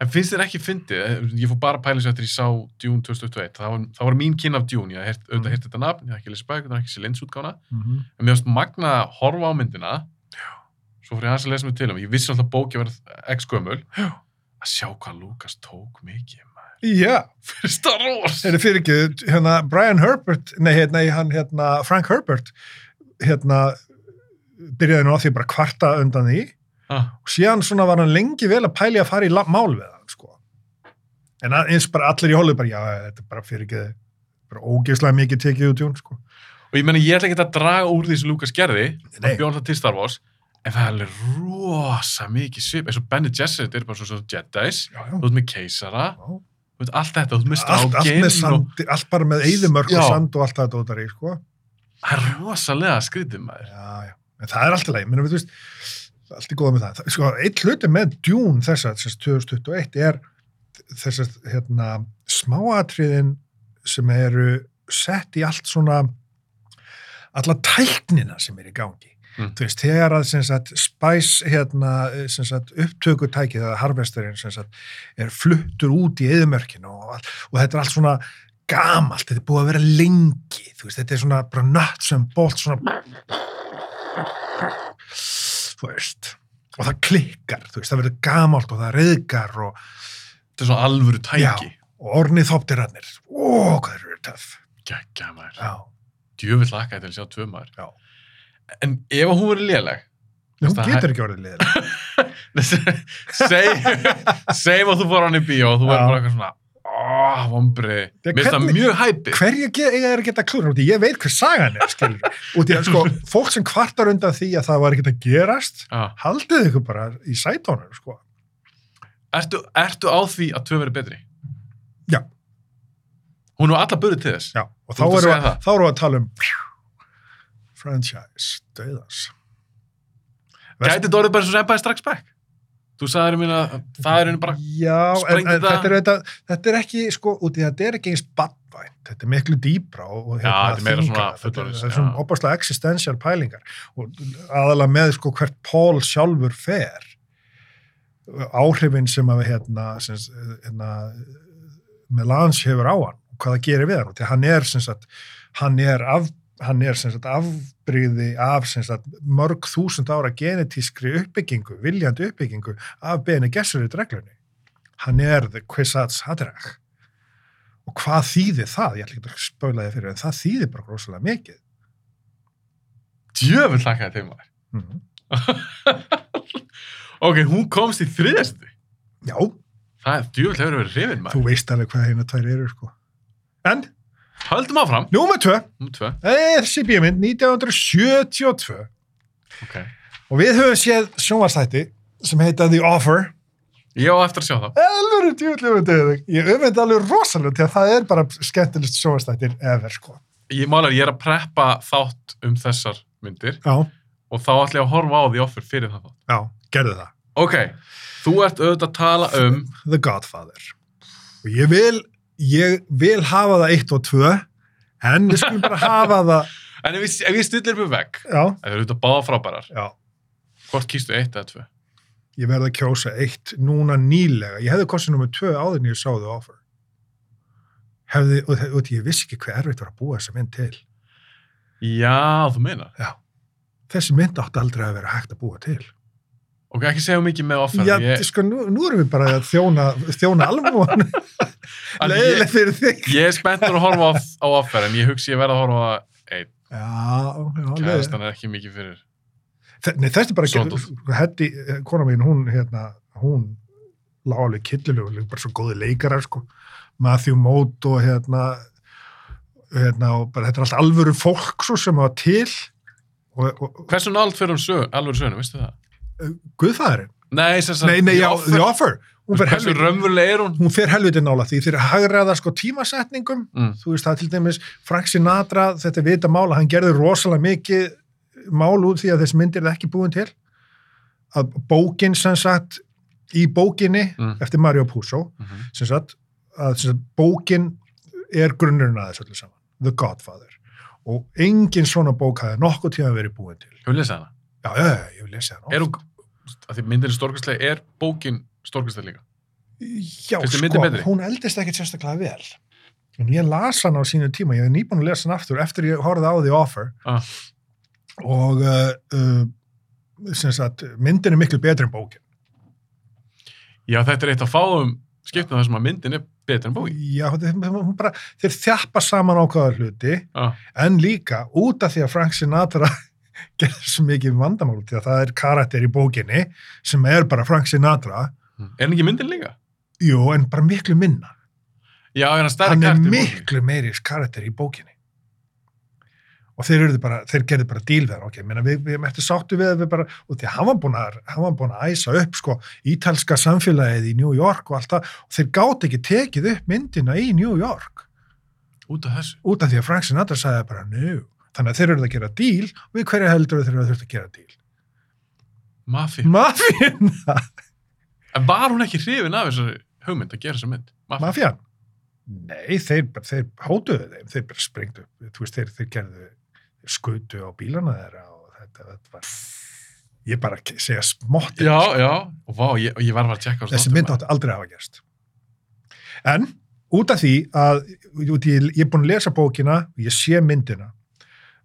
Speaker 1: En finnst þér ekki fyndið, Eh, ég fór bara að pæla þessu eftir ég sá Dune 2021, það var, það var mín kynna af Dune, ég hef heyrt- auðvitað
Speaker 2: Mm.
Speaker 1: heyrt þetta nafn, ég hef ekki lesið bækur, það er ekki sér linsútgána,
Speaker 2: Mm -hmm.
Speaker 1: en mér varst magna að horfa á myndina, svo fór ég hans að lesa mig til um, ég vissi alltaf bókið var x gömul, að sjá hvað Lucas tók mikið, maður,
Speaker 2: Já.
Speaker 1: fyrir Star Wars.
Speaker 2: Þetta fyrir ekki, hérna, Brian Herbert, nei, hérna, hann, hérna, Frank Herbert, hérna, byrjaði nú á því bara að kvarta undan því
Speaker 1: Ah,
Speaker 2: og síðan svona var hann lengi vel að pæli að fara í la- mál við hann, sko. En að- eins bara allir í hólu bara, já, þetta er bara fyrir ekki, bara ógeðslega mikið tekið út í hún, sko.
Speaker 1: og ég menna, ég ætla ekki að draga úr því sem Lucas gerði,
Speaker 2: Nei.
Speaker 1: hann bjóð alltaf til Star Wars, en það er alveg rosa mikið svip, eins og Bene Gesserit er bara svo, svo Jedi's,
Speaker 2: Já, já.
Speaker 1: þú ert með keisara,
Speaker 2: Já,
Speaker 1: þú Þú veit, allt þetta, þú veist, með
Speaker 2: allt, allt með
Speaker 1: strákin og
Speaker 2: sandi, allt bara með eyðumörk
Speaker 1: Já.
Speaker 2: og sand og allt það dótar í, sko.
Speaker 1: það er rosalega skrítið maður.
Speaker 2: Já, já, en það er allt í lagi, menn við veist, allt í góða með það. Sko, eitt hluti með Dune þessa, þess 2021 er þess að, hérna, smáatriðin sem eru sett í allt svona, alla tæknina sem er í gangi.
Speaker 1: Mm.
Speaker 2: Þú veist, þegar að, sem sagt, Spice, hérna, sem sagt, upptökutækið, eða harvesterinn, sem sagt, er fluttur út í eðumörkinu og, allt- og þetta er allt svona gamalt, þetta er búið að vera lengi, þú veist, þetta er svona bara nuts and bolts, svona þú veist, og það klikkar, þú veist, það verður gamalt og það reyðgar og,
Speaker 1: Þetta er svona alvöru tæki.
Speaker 2: og ornið þóptirarnir, ó, hvað þeir eru töff,
Speaker 1: Gækja maður.
Speaker 2: já,
Speaker 1: Djöfull lakaði til að sjá tvö maður.
Speaker 2: já.
Speaker 1: En ef hún verið léleg, (laughs)
Speaker 2: Hún
Speaker 1: Það-
Speaker 2: getur ekki orðið liðið.
Speaker 1: segjum segjum að þú fór hann í bíó og þú verður
Speaker 2: Já.
Speaker 1: bara eitthvað svona, áh, vombriði.
Speaker 2: Já,
Speaker 1: Mér finnst það
Speaker 2: hvernig-
Speaker 1: mjög hæpið.
Speaker 2: Hverju ge- eiga þeir að geta klúður? Úti, ég veit hver sagan er, skilur. Úti,
Speaker 1: (laughs)
Speaker 2: sko, fólk sem kvartar undan því að það var ekkert að gerast,
Speaker 1: Já.
Speaker 2: haldið ykkur bara í sætónum, sko.
Speaker 1: Ertu, ertu á því að tvö verið betri?
Speaker 2: Já.
Speaker 1: Hún var alla burið til þess.
Speaker 2: Já, og þá
Speaker 1: Þú ert að
Speaker 2: erum
Speaker 1: segja
Speaker 2: við-
Speaker 1: það?
Speaker 2: þá erum við að tala um franchise, döðans. Verst-
Speaker 1: Gæti þetta orðið bara eins og rempaði strax back? Þú sagði mér að það er einu bara
Speaker 2: Já, en,
Speaker 1: sprengdi
Speaker 2: en
Speaker 1: það.
Speaker 2: þetta, er, þetta, þetta er ekki, sko, úti, þetta er ekki eins badvænt, þetta er miklu dýbra og, og
Speaker 1: Já, þetta er meira svona
Speaker 2: þyngra. þetta, er-
Speaker 1: fullorðins,
Speaker 2: þetta er
Speaker 1: já.
Speaker 2: svona opaslega existential pælingar og aðalega með, sko, hvert Paul sjálfur fer áhrifin sem að, hérna, sem, hérna Melange hefur á hann og hvað það gerir við hann, því að hann er, sem sagt, hann er af hann er sem sagt afbríði af sem sagt mörg þúsund ára genetískri uppbyggingu, viljandi uppbyggingu af Bene Gesserit reglunni. Hann er the Kvisats Haderach. Og hvað þýðir það? Ég ætla ekki að spöla þið fyrir en það þýðir bara rosalega mikið.
Speaker 1: djöfull lakaði til maður.
Speaker 2: Mm.
Speaker 1: Ok, hún komst í þriðastu.
Speaker 2: Já,
Speaker 1: Það er djöfull hefur verið hrifin
Speaker 2: þú
Speaker 1: maður.
Speaker 2: veist alveg hvað hérna tvær eru sko. En,
Speaker 1: Haldum áfram.
Speaker 2: númer tvö,
Speaker 1: Nú tvö.
Speaker 2: eh, þessi bíómynd 1972
Speaker 1: Ok.
Speaker 2: og við höfum séð sjónvarsætti sem heita The Offer
Speaker 1: Ég á eftir að sjá það.
Speaker 2: alveg djúðlega öfund þig. Ég öfund alveg rosalega til að það er bara skemmtilegst sjóastættir ever, sko.
Speaker 1: Ég málar, ég er að preppa þátt um þessar myndir
Speaker 2: Já,
Speaker 1: og þá ætla ég að horfa á því offer fyrir það þátt.
Speaker 2: já, gerðu það.
Speaker 1: Ok, þú ert auðvitað að tala um...
Speaker 2: The Godfather. Og ég vil, ég vil hafa það eitt og tvö, en við skulum bara hafa
Speaker 1: (laughs)
Speaker 2: það,
Speaker 1: En ef ég, ef ég stillir mig vekk,
Speaker 2: já,
Speaker 1: það eru auðvitað báða frábærar.
Speaker 2: já,
Speaker 1: Hvort kýstu eitt eða tvö?
Speaker 2: ég verði að kjósa eitt núna nýlega. Ég hefði kostið nummer tvö áður en ég sá The Offer. Hefði, og, og ég vissi ekki hver erfitt var að búa þessa mynd til.
Speaker 1: Já, þú meina.
Speaker 2: Já. Þessi mynd átti aldrei að vera hægt að búa til.
Speaker 1: Ok, ekki segja of mikið með offer.
Speaker 2: Já,
Speaker 1: ég,
Speaker 2: sko, nú, nú erum við bara að þjóna, þjóna alvon,
Speaker 1: (laughs) en ég,
Speaker 2: leiðilegt fyrir þig.
Speaker 1: ég er spenntur að horfa á, á offer, en ég hugsi ég verð að horfa á einn.
Speaker 2: Já, já, leiðilegt.
Speaker 1: Kæðastan er ekki mikið fyrir.
Speaker 2: Þe- Nei, þetta er bara ekki,
Speaker 1: Sondótt.
Speaker 2: hætti, kona mín, hún, hérna, hún lág alveg killilegu, líka bara svo góði leikarar, sko, Matthew Moat og hérna, hérna, og bara þetta er allt alvöru fólk, svo, sem var til, og, og
Speaker 1: Hversu nált fyrir um sög, alveg söguna, veistu það?
Speaker 2: guðfæðurinn,
Speaker 1: Nei, sem sagt,
Speaker 2: nei, nei,
Speaker 1: The
Speaker 2: já,
Speaker 1: Offer-
Speaker 2: The Offer, hún fer
Speaker 1: Hversu
Speaker 2: helviti,
Speaker 1: raunveruleg er hún?
Speaker 2: hún fer helviti nála því, þeir hagraða, sko, tímasetningum,
Speaker 1: Mm.
Speaker 2: þú veist, það er til dæmis, Frank Sinatra, þetta er vita mála, hann gerði rosalega mikið mál út því að þessi myndir er ekki búin til að bókin sem sagt í bókinni
Speaker 1: Mm.
Speaker 2: eftir Mario Puzo
Speaker 1: Mhm.
Speaker 2: sem sagt, að sem sagt, bókin er grunnurinn að þessu öllu saman The Godfather og engin svona bók hafi nokkuð tíma verið búin til
Speaker 1: Hefur lesið hana?
Speaker 2: já, já, já, ég hef lesið hann
Speaker 1: Er hún, að því myndin er stórkastlega, er bókin stórkastlega líka?
Speaker 2: Já,
Speaker 1: Finnst þér myndin
Speaker 2: sko,
Speaker 1: betri?
Speaker 2: hún eldist ekkert sérstaklega vel. En ég las hann á sínu tíma, ég hef nýbúin að lesa hann aftur eftir ég horfði á The Offer
Speaker 1: Ah.
Speaker 2: og uh, uh, sem sagt, myndin er miklu betri en bókin.
Speaker 1: Já, þetta er eitt af fáum skiptum þar sem að myndin er betur en bókin.
Speaker 2: Já, þeir, hún bara, þeir þjappa saman ákvaðar hluti
Speaker 1: Ah.
Speaker 2: en líka út af því að Frank Sinatra (laughs) gerði svo mikið vandamál því að það er karakter í bókinni sem er bara Frank Sinatra
Speaker 1: Er hann ekki í myndin líka?
Speaker 2: jú, en bara miklu minna
Speaker 1: Já, er hann stærri
Speaker 2: hann er
Speaker 1: karakter í bókinni?
Speaker 2: miklu meiri karakter í bókinni og þeir, urðu bara, þeir gerðu bara díl við hann, ok, menna, við, við mættu sáttu við, að við bara, og því að hann var búinn að, hann var búinn að æsa upp sko, ítalska samfélagið í New York og allt það, og þeir gátt ekki tekið upp myndina í New York
Speaker 1: út af þessu.
Speaker 2: út af því að Frank Sinatra sagði bara nú, þannig að þeir eru að gera díl og við hverja heldur þeir eru að þurft að gera díl
Speaker 1: Mafi.
Speaker 2: Mafína,
Speaker 1: En var hún ekki hrifin af þessari hugmynd að gera þessa mynd? Mafi.
Speaker 2: mafían Nei, þeir, bara- þeir hótuðu þeim þeir bara sprengdu, þú veist, þeir, þeir gerðu skutu á bílana þeirra og þetta, þetta var ég bara ke- segja smotti
Speaker 1: Já, já. Og vá, ég, og ég var bara að tjekka á
Speaker 2: þessi mynd átti aldrei að hafa gerst en út af því að út í, ég er búin að lesa bókina og ég sé myndina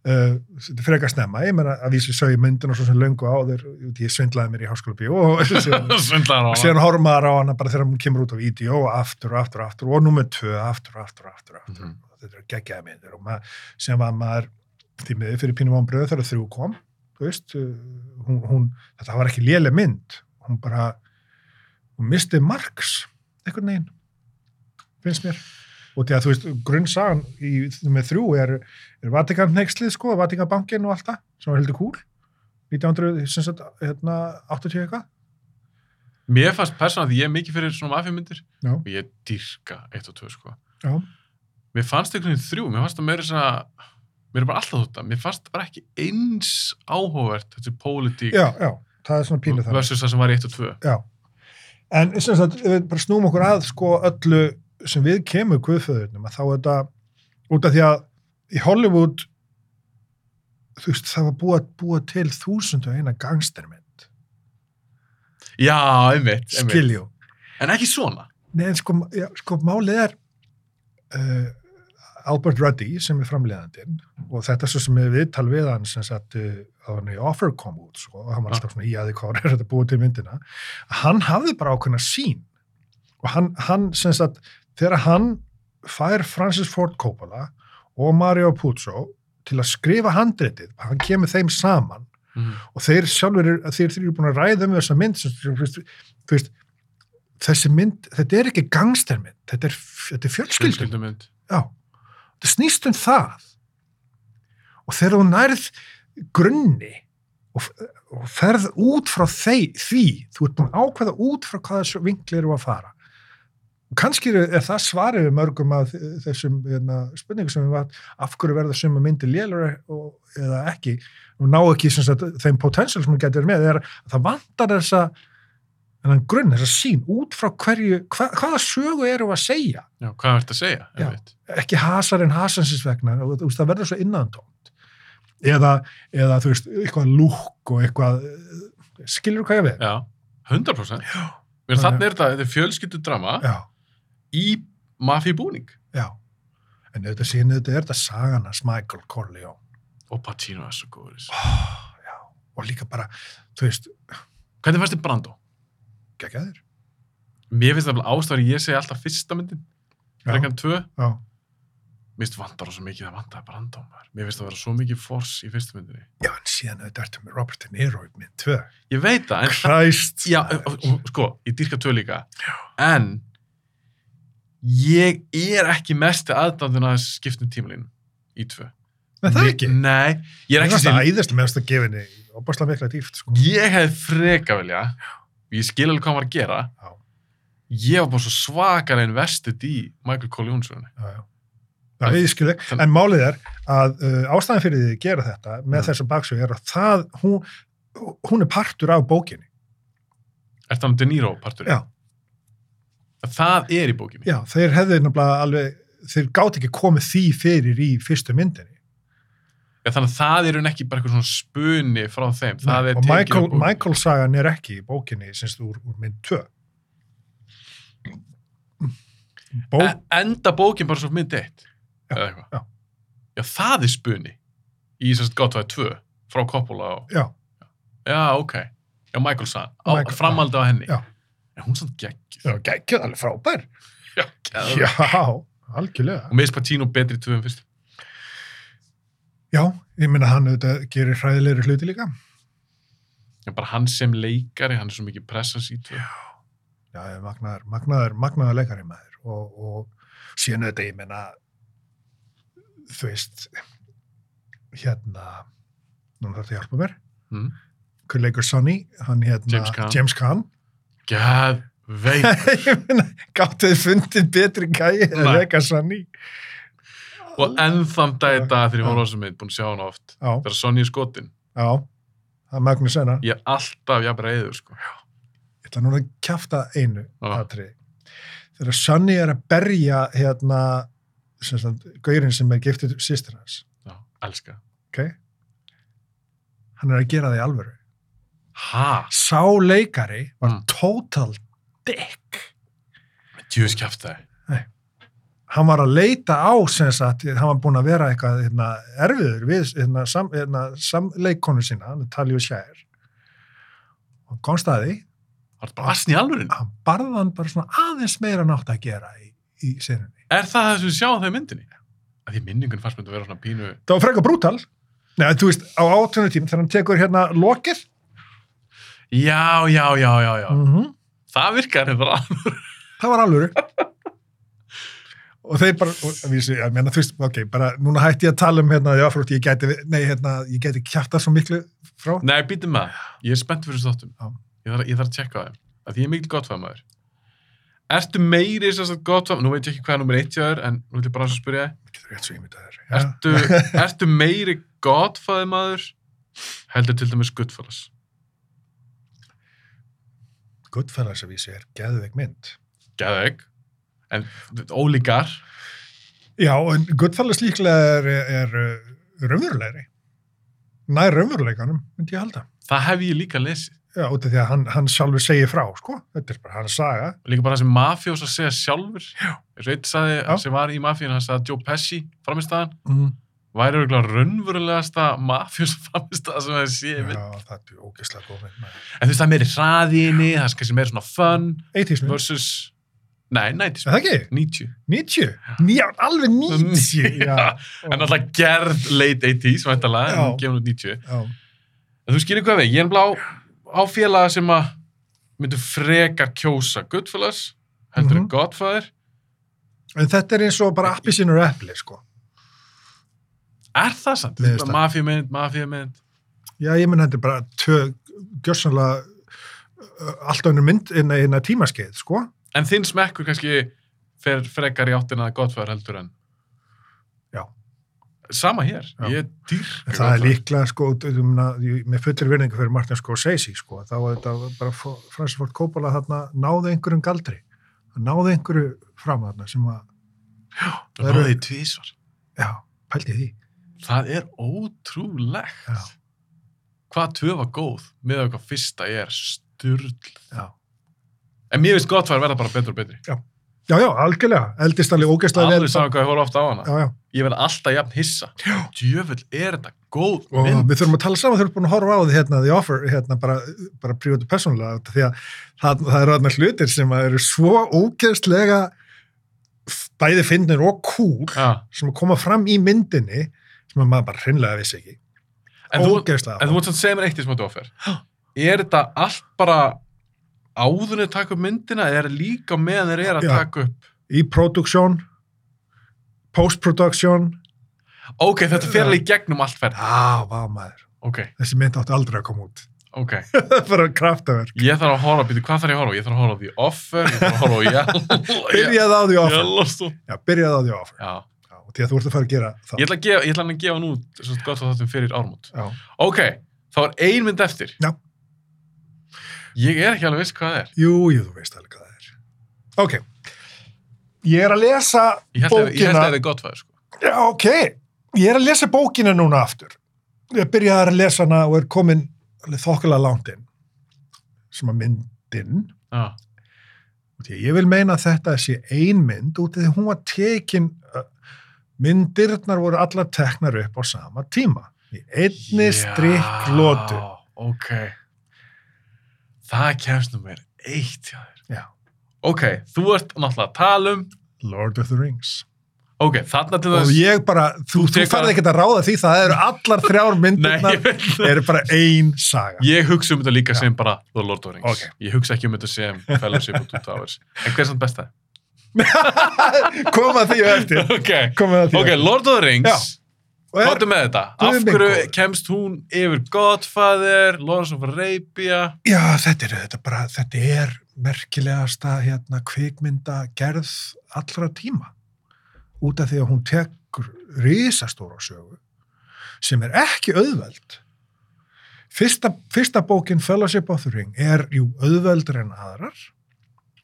Speaker 2: uh, þetta er frekar snemma, ég meina að vísi sögja myndina svo sem löngu áður, út í ég svindlaði mér í háskóla bíó (laughs) og síðan,
Speaker 1: (laughs) Svindlar á hana.
Speaker 2: síðan horfum maður á hana bara þegar hún kemur út á vídeo og aftur og aftur og aftur og nummer tvö, aftur og aftur og aftur, og aftur.
Speaker 1: Mhm.
Speaker 2: þetta er geggjaði myndir og maður, sem var maður því miður fyrir pínum án bröðu þegar þrjú kom þú veist, uh, hún, hún þetta var ekki léleg mynd hún bara, hún misti marks einhvern veginn finnst mér og því að þú veist, grunnsagan í, með þrjú er, er Vatikanneikslið sko, Vatikanbankin og allt það sem var heldur kúl 1980 hérna, eitthvað
Speaker 1: Mér fannst persónan að ég er mikið fyrir svona mafi myndir
Speaker 2: Já.
Speaker 1: og ég dýrka eitt og tvö sko.
Speaker 2: Já.
Speaker 1: Mér fannst einhvern veginn þrjú, mér fannst það meira svona, mér er bara alltaf þetta, mér fannst bara ekki eins áhugavert þessi pólitík
Speaker 2: já, já, það er svona pínu það
Speaker 1: versus það sem var í eitt og tvö.
Speaker 2: já. en sem sagt, ef við bara snúum okkur að sko öllu sem við kemur guðföðurnum að þá er þetta út af því að í Hollywood þú veist, það var búa, búa til þúsund og eina gangstermynd
Speaker 1: Já, einmitt, einmitt.
Speaker 2: skiljú
Speaker 1: En ekki svona.
Speaker 2: Nei, en sko, já, sko málið er uh, Albert Ruddy sem er framleiðandinn og þetta er svo sem við tal við hann sem sagt uh, að hann í offer kom út sko, og hann var alltaf svona í aði hvað (laughs) er þetta búið til myndina hann hafði bara ákveðna sín og hann, hann sem sagt þegar hann fær Francis Ford Coppola og Mario Puzo til að skrifa handritið hann kemur þeim saman
Speaker 1: Mm.
Speaker 2: og þeir sjálfur, eru- þeir þeir eru búin að ræða um þessa mynd sem, þú veist, þú veist, þessi mynd, þetta er ekki gangstermynd, þetta er, þetta er fjölskyldum
Speaker 1: Fjölskyldumynd.
Speaker 2: já, þetta snýst um það og þegar þú nærð grunni og, og ferð út frá þei, því, þú ert búin að ákveða út frá hvaða svo vinkli eru að fara og kannski er, er það svarið við mörgum af þessum hérna, spurningum sem við varum, af hverju verða suma myndir lélur eða ekki og ná ekki sem sagt, þeim potential sem þú getur með, er að það vantar þessa þennan grunn, þessa sín út frá hverju, hva, hvaða sögu eru að segja
Speaker 1: Já, hvað er þetta að segja?
Speaker 2: Já.
Speaker 1: Einmitt.
Speaker 2: ekki hasarinn hasansins vegna og þú veist, það verður svo innantómt eða, eða þú veist, eitthvað lúk og eitthvað eh, skilur hvað ég við
Speaker 1: Já, 100%. Já.
Speaker 2: Já,
Speaker 1: Þannig er þetta, þetta er fjölskyldudrama
Speaker 2: já,
Speaker 1: í mafíbúning
Speaker 2: já. en þetta síðan þetta er þetta sagan hans Michael Corleone
Speaker 1: og Pacino er svo góður. í þessu.
Speaker 2: oh, já. og líka bara, þú veist
Speaker 1: Hvernig fannst þið Brando?
Speaker 2: geggjaðir
Speaker 1: Mér finnst það alveg ástæður ég segi alltaf fyrsta myndin,
Speaker 2: já,
Speaker 1: frekkan tvö.
Speaker 2: já,
Speaker 1: Mér finnst vandar svo mikið að vandaði Brando maður. Mér finnst það vera svo mikið fors í fyrsta myndinni.
Speaker 2: já, en síðan þetta ertu með Robert De Niro í mynd 2
Speaker 1: Ég veit það, en
Speaker 2: Christ
Speaker 1: Já,
Speaker 2: maður.
Speaker 1: og- og- sko, ég dýrka tvö líka en ég er ekki mest aðdandun að skiptum tímalínu í tvö
Speaker 2: Nei, það er ekki
Speaker 1: Mér- Nei, ég er
Speaker 2: það
Speaker 1: ekki
Speaker 2: er
Speaker 1: sem,
Speaker 2: það æðislega meðast að gefa henni og bara slá mikla dýft sko.
Speaker 1: ég hefði freka vilja ég skil alveg hvað hann var að gera
Speaker 2: Já.
Speaker 1: ég var bara svo svakar en vestið í Michael Cole Jónsson
Speaker 2: já, já. Já, ég skil þig.
Speaker 1: Þann-
Speaker 2: En málið er að uh, ástæðan fyrir því að gera þetta með
Speaker 1: Mm.
Speaker 2: mm. þessa baksögu er að það, hún, hún er partur af bókinni.
Speaker 1: Er það hann De Niro partur?
Speaker 2: Já.
Speaker 1: Það er í bókinni?
Speaker 2: Já, þeir hefðu nefnilega alveg, þeir gátt ekki komið því fyrir í fyrstu myndinni.
Speaker 1: Já, Þannig að það er hún ekki bara eitthvað svona spuni frá þeim það er
Speaker 2: og
Speaker 1: tekið úr
Speaker 2: Michael,
Speaker 1: bókinni.
Speaker 2: Michael sagan er ekki í bókinni, syns þú, úr, úr mynd 2. Bó,
Speaker 1: En- E, enda bókin bara svo mynd eitt
Speaker 2: Já,
Speaker 1: eða eitthvað
Speaker 2: já.
Speaker 1: já, það er spuni í þess að gott það er tvö frá Coppola og
Speaker 2: já,
Speaker 1: já, ok, já, Michael Sann á,
Speaker 2: Michael,
Speaker 1: framaldi á henni
Speaker 2: já.
Speaker 1: en hún sann geggjuð
Speaker 2: já, geggjað alveg frábær.
Speaker 1: (laughs) Já, geðveikt.
Speaker 2: Já, algjörlega.
Speaker 1: og meðs Patino betri í tvö en fyrst
Speaker 2: Já, ég minna hann auðvitað gerir hræðilegri hluti líka.
Speaker 1: já, bara hann sem leikari, hann er svo mikið pressans í tvö
Speaker 2: Já, ég er magnaður, magnaður, magnaður leikari maður og, og síðan auðvitað, ég menna, þú veist, hérna, núna þarf það að hjálpa mér,
Speaker 1: Mm.
Speaker 2: hver leikur Sonny, hann hérna,
Speaker 1: James Caan.
Speaker 2: James Caan. (laughs)
Speaker 1: Gæð veit.
Speaker 2: ég meina, gáttu þið fundið betri gæi en
Speaker 1: Nei.
Speaker 2: leika Sonny?
Speaker 1: og ennþann dag í dag þegar ég
Speaker 2: Já.
Speaker 1: var rosa mynd, búin að sjá hana oft.
Speaker 2: Já,
Speaker 1: Þegar Sonny er skotin.
Speaker 2: já, það er Magnus Senna.
Speaker 1: Ég er alltaf jafn reyður, sko.
Speaker 2: Ég ætla núna að kjafta einu
Speaker 1: Já.
Speaker 2: atriði. Þegar Sonny er að berja hérna, sem sagt, gaurinn sem er giftið sýstir hans,
Speaker 1: Já, elska.
Speaker 2: ok? Hann er að gera það í alvöru.
Speaker 1: Ha?
Speaker 2: Sá leikari var
Speaker 1: Mm.
Speaker 2: total dick.
Speaker 1: Djúvis kjæft það.
Speaker 2: Hann var að leita á, sem sagt, hann var búinn að vera eitthvað hérna, erfiður við hérna, sam, hérna, samleikonu sína, hann er talið og sjæðir. Hann komst að því,
Speaker 1: Var þetta bara asn í alvörinu?
Speaker 2: hann barði hann bara svona aðeins meira nátt að gera í, í senunni.
Speaker 1: Er það það sem við sjáum það í myndinni? Að því minningun fannst mér þetta vera svona pínu...
Speaker 2: Það var frekar brútal. Nei, þú veist, á átunum tíma þegar hann tekur hérna lokið.
Speaker 1: Já, já, já, já, já.
Speaker 2: -hmm.
Speaker 1: Það virkar þetta bara. (laughs)
Speaker 2: Það var alvöru. og þeir bara, og, vísi, ég meina, þú veist, ok, bara núna hætti ég að tala um hérna, já, frútt, ég gæti, við- nei, hérna, ég gæti kjæfta svo miklu frá.
Speaker 1: Nei, býtum með það. Ég er spennt fyrir þessum
Speaker 2: Já.
Speaker 1: þáttum. Ég þarf, ég þarf að tjekka á þeim. Af því ég er mikil gottfæðamæður. Ertu meiri sem sagt gottfæðamæður? Nú veit ég ekki hvað er nummer eitt hjá þér, en nú ætlum ég bara að spyrja þig.
Speaker 2: Getur rétt svo ímyndaður.
Speaker 1: Ertu, ertu meiri gottfæðamæður? Heldur til dæmis guttfælas.
Speaker 2: Guttfælarsavísi er geðveik mynd.
Speaker 1: Gæðeg. En ólíkar.
Speaker 2: Já, en Guttfælars líklega er, er uh, raunverulegri. Nær raunveruleikanum, myndi ég halda.
Speaker 1: Það hef ég líka lesið.
Speaker 2: Já, út af því að hann, hann sjálfur segir frá, sko. Þetta er bara hans saga.
Speaker 1: Og líka bara það sem mafjós að segja sjálfur. Já. Eins og eitt sagði,
Speaker 2: Já.
Speaker 1: sem var í mafíinu, hann sagði að Joe Pesci, framistæðan,
Speaker 2: Mm.
Speaker 1: væri örgulega raunverulegasta mafjós framistæða sem það sé. Já.
Speaker 2: Já, það er ógeðslega góð mynd. maður.
Speaker 1: En þú veist, það er meiri hraðinni, það er kannski meiri svona fun
Speaker 2: 80s mynd.
Speaker 1: versus, nei, 90s,
Speaker 2: Er það ekki?
Speaker 1: 90.
Speaker 2: 90? Nýja, alveg 90?
Speaker 1: Um, Já. En alltaf gerð late 80s, væntalega, en
Speaker 2: Já.
Speaker 1: gefin út 90.
Speaker 2: Já.
Speaker 1: En þú skilur hvað við, ég er blá á félaga sem að myndu frekar kjósa Goodfellas, heldur mm
Speaker 2: Mhm.
Speaker 1: Godfather.
Speaker 2: En þetta er eins og bara appi sínur epli, sko.
Speaker 1: Er það sant?
Speaker 2: Mér finnst það.
Speaker 1: Mafíumynd, mafíumynd.
Speaker 2: Já, ég menn þetta er bara tö, gjössanlega allt önnur mynd inn að, inn að tímaskeið, sko.
Speaker 1: En þinn smekkur kannski fer frekar í áttina að Godfather heldur en.
Speaker 2: Já.
Speaker 1: Sama hér,
Speaker 2: Já.
Speaker 1: ég dýrka
Speaker 2: En það er
Speaker 1: Godfather.
Speaker 2: líklega, sko, út- út um að- ég- með fullri verðingu fyrir Martin Scorsese, sko. Þá var þetta bara fó- Francis Ford Coppola þarna náði einhverjum galdri. Hann náði einhverju fram þarna sem að,
Speaker 1: Það er því tvísvar.
Speaker 2: já, pældi því.
Speaker 1: Það er ótrúlegt.
Speaker 2: Já.
Speaker 1: Hvað tvö var góð með eitthvað fyrsta er styrl.
Speaker 2: Já.
Speaker 1: En mér finnst gott var að verða bara betur og betri.
Speaker 2: Já, já, algjörlega. Eldist alveg ógeðslega
Speaker 1: Alveg saman hvað ég horf ofta á hana.
Speaker 2: Já, já.
Speaker 1: Ég verð alltaf jafn hissa.
Speaker 2: Já.
Speaker 1: Djöfull er þetta góð
Speaker 2: og
Speaker 1: mynd.
Speaker 2: við þurfum að tala saman, þurfum búin að horfa á því hérna, The Offer, hérna, bara, bara prívat og persónulega, því að það, það eru þarna hlutir sem að eru svo ógeðslega f- bæði fyndnir og cool
Speaker 1: Já.
Speaker 2: sem koma fram í myndinni sem að maður bara hreinlega vissi ekki
Speaker 1: En þú,
Speaker 2: ógeðslega
Speaker 1: en þú mútt að segja mér eitt í smáttu offer. Er þetta allt bara áðunni að taka upp myndina eða er líka meðan þeir eru að
Speaker 2: Já.
Speaker 1: taka upp?
Speaker 2: í production post-production
Speaker 1: Ok, þetta
Speaker 2: Já.
Speaker 1: fer alveg í gegnum allt ferð.
Speaker 2: já, vá maður,
Speaker 1: Ok,
Speaker 2: þessi mynd átti aldrei að koma út (laughs)
Speaker 1: ok.
Speaker 2: bara kraftaverk
Speaker 1: Ég þarf að horfa, býtu, hvað þarf ég að horfa? á? Ég þarf að horfa á The Offer, ég þarf að horfa á
Speaker 2: (laughs)
Speaker 1: Yellow-
Speaker 2: byrjaði á því offer,
Speaker 1: Yellowstone.
Speaker 2: já, byrjaði á því offer
Speaker 1: Já,
Speaker 2: já, og því að þú ert að fara að gera
Speaker 1: ég
Speaker 2: það
Speaker 1: ætla að gefa, ég ætla hann að gefa hann út svo gott að þáttum fyrir ármót.
Speaker 2: já.
Speaker 1: Ok, þá er ein mynd eftir.
Speaker 2: Já.
Speaker 1: Ég er ekki alveg viss hvað það er.
Speaker 2: Jú, jú, þú veist alveg hvað það er. Ok. Ég er að lesa
Speaker 1: Ég held að ég held
Speaker 2: bókina.
Speaker 1: að það er gott fæður, sko.
Speaker 2: Já, ok. Ég er að lesa bókina núna aftur. Ég byrjaði að lesa hana og er komin alveg þokkilega langt inn. Sem að myndin.
Speaker 1: Já,
Speaker 2: Því að ég vil meina að þetta sé ein mynd út af því að hún var tekin, uh, myndirnar voru allar teknar upp á sama tíma. Í einni strikk lótu.
Speaker 1: Já, ok. Það kemst nú mér eitt hjá þér.
Speaker 2: Já.
Speaker 1: Ok, þú ert náttúrulega að tala um,
Speaker 2: Lord of the Rings.
Speaker 1: ok, þarna til
Speaker 2: Og
Speaker 1: þess.
Speaker 2: ég bara, þú,
Speaker 1: Þú
Speaker 2: þú
Speaker 1: tekur-
Speaker 2: ferði ekkert að ráða því, það eru allar
Speaker 1: (laughs)
Speaker 2: þrjár
Speaker 1: Nei,
Speaker 2: myndirnar
Speaker 1: ég veit það.
Speaker 2: er bara ein saga.
Speaker 1: Ég hugsa um þetta líka
Speaker 2: Já.
Speaker 1: sem bara The Lord of the Rings.
Speaker 2: Ok.
Speaker 1: Ég hugsa ekki um þetta
Speaker 2: (laughs)
Speaker 1: sem Fellowship og Two Towers. En hver er samt besta?
Speaker 2: Koma því á eftir.
Speaker 1: Ok,
Speaker 2: (laughs) Koma því á
Speaker 1: ok,
Speaker 2: eftir.
Speaker 1: Lord of the Rings.
Speaker 2: Já. Og er-
Speaker 1: Hvað er með þetta?
Speaker 2: Guð
Speaker 1: Af
Speaker 2: minn
Speaker 1: hverju
Speaker 2: góður.
Speaker 1: kemst hún yfir Godfather, Lawrence of Arabia?
Speaker 2: Já, þetta er, þetta, er bara, þetta er merkilegasta hérna, kvikmynda gerð allra tíma út af því að hún tekur risastóra sögu sem er ekki auðveld. Fyrsta, fyrsta bókin Fellowship of the Ring er jú auðveldur en aðrar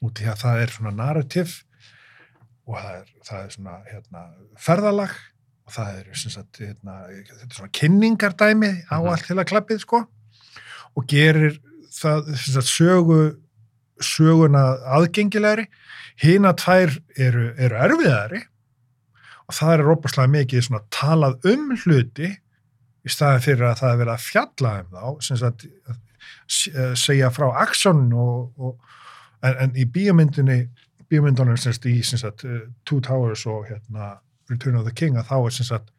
Speaker 2: út af því að það er svona narrativ og það er, það er svona hérna, ferðalag og það er sem sagt, hérna, þetta er svona kynningardæmi á
Speaker 1: Mhm.
Speaker 2: allt til að klappið sko og gerir það sem sagt, sögu, söguna aðgengilegri hina tvær eru, eru erfiðari og það er rópaslega mikið svona talað um hluti í staðin fyrir að það er verið að fjalla um þá sem sagt s- eh, segja frá aksjónin og, og en, en í bíómyndinni bíómyndunum sem sagt í sem sagt eh, Two Towers og hérna Return of the King að þá er sem sagt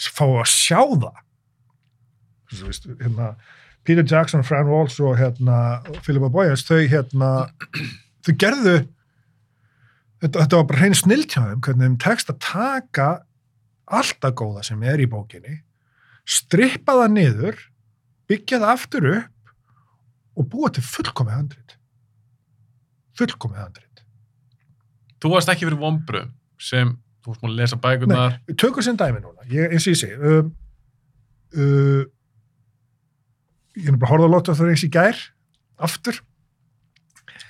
Speaker 2: s- fá að sjá það Þú veist, hérna Peter Jackson, Fran Walsh og hérna Philippa Boyens, þau hérna þau gerðu þetta, þetta var bara hrein snill hjá þeim hvernig þeim tekst að taka alltaf góða sem er í bókinni strippa það niður byggja það aftur upp og búa til fullkomið handrit fullkomið handrit
Speaker 1: Þú varst ekki fyrir vombru sem þú varst múin að lesa bækurnar.
Speaker 2: Við tökum sem dæmi núna, ég, eins og ég segi um, uh, ég er bara að horfa að lotta það eins í gær aftur,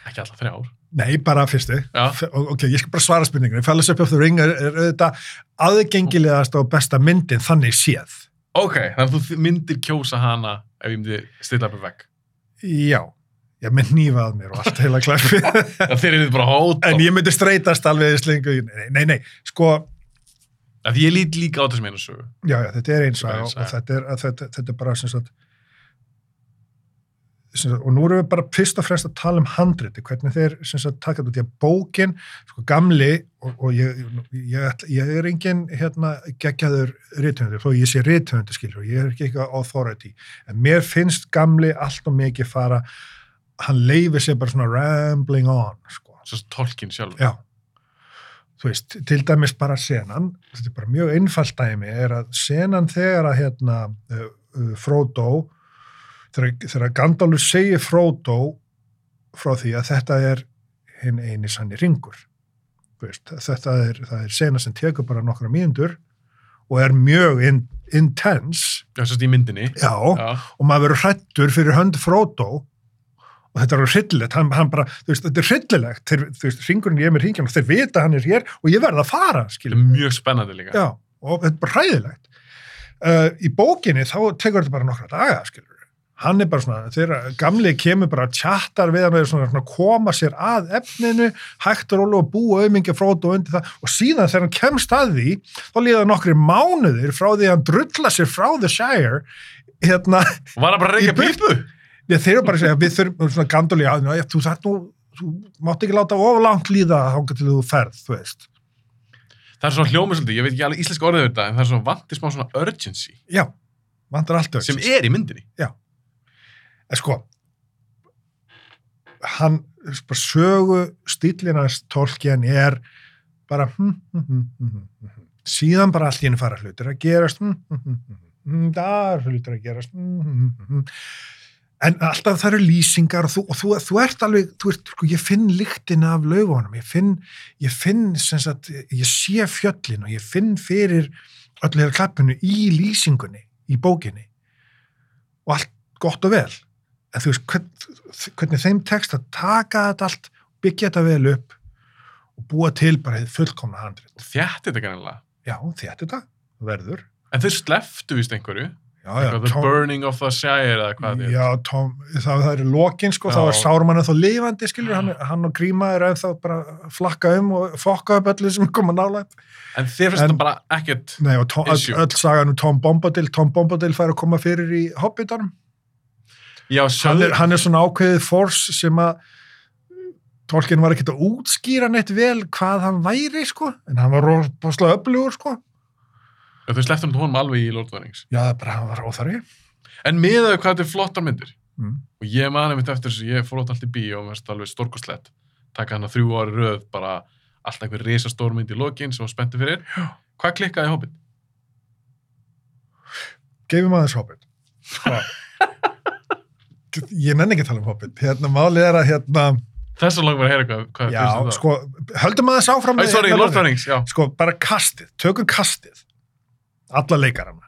Speaker 1: Ekki alltaf þrjár.
Speaker 2: nei bara fyrstu
Speaker 1: Já.
Speaker 2: F- ok, ég skal bara svara spurningunni Fellowship of the Ring er, er auðvitað aðgengilegast og besta myndin þannig séð
Speaker 1: Ok, þannig að þú myndir kjósa hana ef ég myndi stilla upp í vegg.
Speaker 2: já, ég með nýfað mér og allt heila klæfi
Speaker 1: (laughs) Það þeir eru bara hóta.
Speaker 2: en
Speaker 1: En ég...
Speaker 2: ég myndi streytast alveg í slingu nei, nei, nei, sko
Speaker 1: ég lít líka á þessum einu sögu.
Speaker 2: já, já, þetta er eins
Speaker 1: Þetta er
Speaker 2: og,
Speaker 1: ein
Speaker 2: og
Speaker 1: saga.
Speaker 2: þetta, er, að þetta, þetta er bara sem sagt, sem sagt og nú erum við bara fyrst og fremst að tala um handriti, hvernig þeir sem sagt taka þetta út í að bókin, sko gamli og, og ég, ég, ætla- ég er engin hérna geggjaður rithöfundur, þó ég sé rithöfundur skilur og ég er ekki eitthvað authority, en mér finnst gamli allt og mikið fara hann leifir sér bara svona rambling on, sko
Speaker 1: Svo tolkin sjálf.
Speaker 2: Já. Þú veist, til dæmis bara senan, þetta er bara mjög einfalt dæmi, er að senan þegar að hérna uh, uh, Frodo, þegar, þegar Gandalf segir Frodo frá því að þetta er hinn eini sanni ringur. Þú Veist, þetta er, það er sena sem tekur bara nokkra mínundur og er mjög in, intense.
Speaker 1: Já, svo í myndinni.
Speaker 2: Já
Speaker 1: Já.
Speaker 2: og maður verður hrættur fyrir hönd Frodo og þetta er alveg hryllilegt hann, hann bara, þú veist, þetta er hryllilegt þeir, þú veist, ringurinn ég er með ringjan og þeir vita hann er hér og ég verð að fara,
Speaker 1: Þetta
Speaker 2: skilum
Speaker 1: er mjög spennandi líka.
Speaker 2: já, og þetta er bara hræðilegt uh, í bókinni þá tekur þetta bara nokkra daga, skilur hann er bara svona, þegar gamli kemur bara tjattar við hann og er svona, svona koma sér að efninu, hægt og rólu og búa auðmingi Frodo undir það og síðan þegar hann kemst að því, þá líða nokkri mánuðir frá því að hann drulla sér frá The Shire hérna,
Speaker 1: Var það bara að
Speaker 2: Í
Speaker 1: reykja
Speaker 2: burtu.
Speaker 1: pípu?
Speaker 2: Ég, þeir eru bara að segja, við þurfum svona gandoli að, já, þú þarf nú, þú mátt ekki láta ofurlangt líða þángar til þú ferð, þú veist.
Speaker 1: Það er svona hljómið svolítið, ég veit ekki alveg íslenska orðið við þetta, en það er svona vantið smá svona urgency
Speaker 2: Já, vantar allt öll.
Speaker 1: sem er í myndinni.
Speaker 2: En sko, hann, bara sögu stílinans tólkjan er bara, hm, hm, hm, hm, hm, hm, síðan bara allt í henni fara hlutir að gerast, hm, hm, hm, hm, hm, þar hlutir að gerast, hm, hm, hm, hm. En alltaf það eru lýsingar og þú, og þú, þú ert alveg, þú ert, sko, ég finn lyktina af laugunum, ég finn, ég finn, sem sagt, ég sé fjöllin og ég finn fyrir öllu hér klappinu í lýsingunni, í bókinni og allt gott og vel en þú veist hvern, hvernig þeim tekst að taka þetta allt byggja þetta vel upp og búa til bara þið fullkomna handrit
Speaker 1: Og þjætti þetta kannilega.
Speaker 2: já, þetta þetta verður
Speaker 1: En þeir sleftu víst einhverju.
Speaker 2: já, já,
Speaker 1: Eitthvað, the
Speaker 2: Tom,
Speaker 1: burning of the shire eða hvað þetta er.
Speaker 2: já, Tom, það, það er lokin sko, þá
Speaker 1: Já.
Speaker 2: er Sárumann þá lifandi skilur, hann, hann og Gríma er ennþá bara að flakka um og fokka upp öllu sem koma nálægt
Speaker 1: En þeir finnst
Speaker 2: En-
Speaker 1: þetta bara ekkert.
Speaker 2: Nei, og Tom, öll,
Speaker 1: Issue.
Speaker 2: öll sagan um Tom Bombadil Tom Bombadil fær að koma fyrir í Hobbitanum
Speaker 1: Já,
Speaker 2: hann
Speaker 1: sjöður.
Speaker 2: er, hann er svona ákveðið force sem að Tolkien var ekkert að útskýra neitt vel hvað hann væri, sko, en hann var rosalega öflugur, sko.
Speaker 1: Þau sleftu hann honum alveg í Lord of the Rings.
Speaker 2: Já, það er bara hann var óþarfi.
Speaker 1: En miðaðu hvað þetta er flottar myndir.
Speaker 2: Mm.
Speaker 1: Og ég man einmitt eftir þessu, ég fór átt allt í bíó og verðst alveg stórkoslegt. Taka hann að þrjú ári röð, bara allt einhver risastór mynd í lokin sem var spennti fyrir. Já. Hvað klikkaði í hópin?
Speaker 2: gefum aðeins hobbit. Sko. ég nenni ekki að tala um hobbit. Hérna, málið er að, hérna,
Speaker 1: Þess að langar að heyra hvað, hvað
Speaker 2: já,
Speaker 1: finnst um það.
Speaker 2: sko, höldum aðeins
Speaker 1: Æ,
Speaker 2: áfram. með
Speaker 1: sorry,
Speaker 2: hérna
Speaker 1: Lord of the
Speaker 2: orðin.
Speaker 1: Rings, já.
Speaker 2: Sko, bara kastið, tökum kastið. Alla leikarana.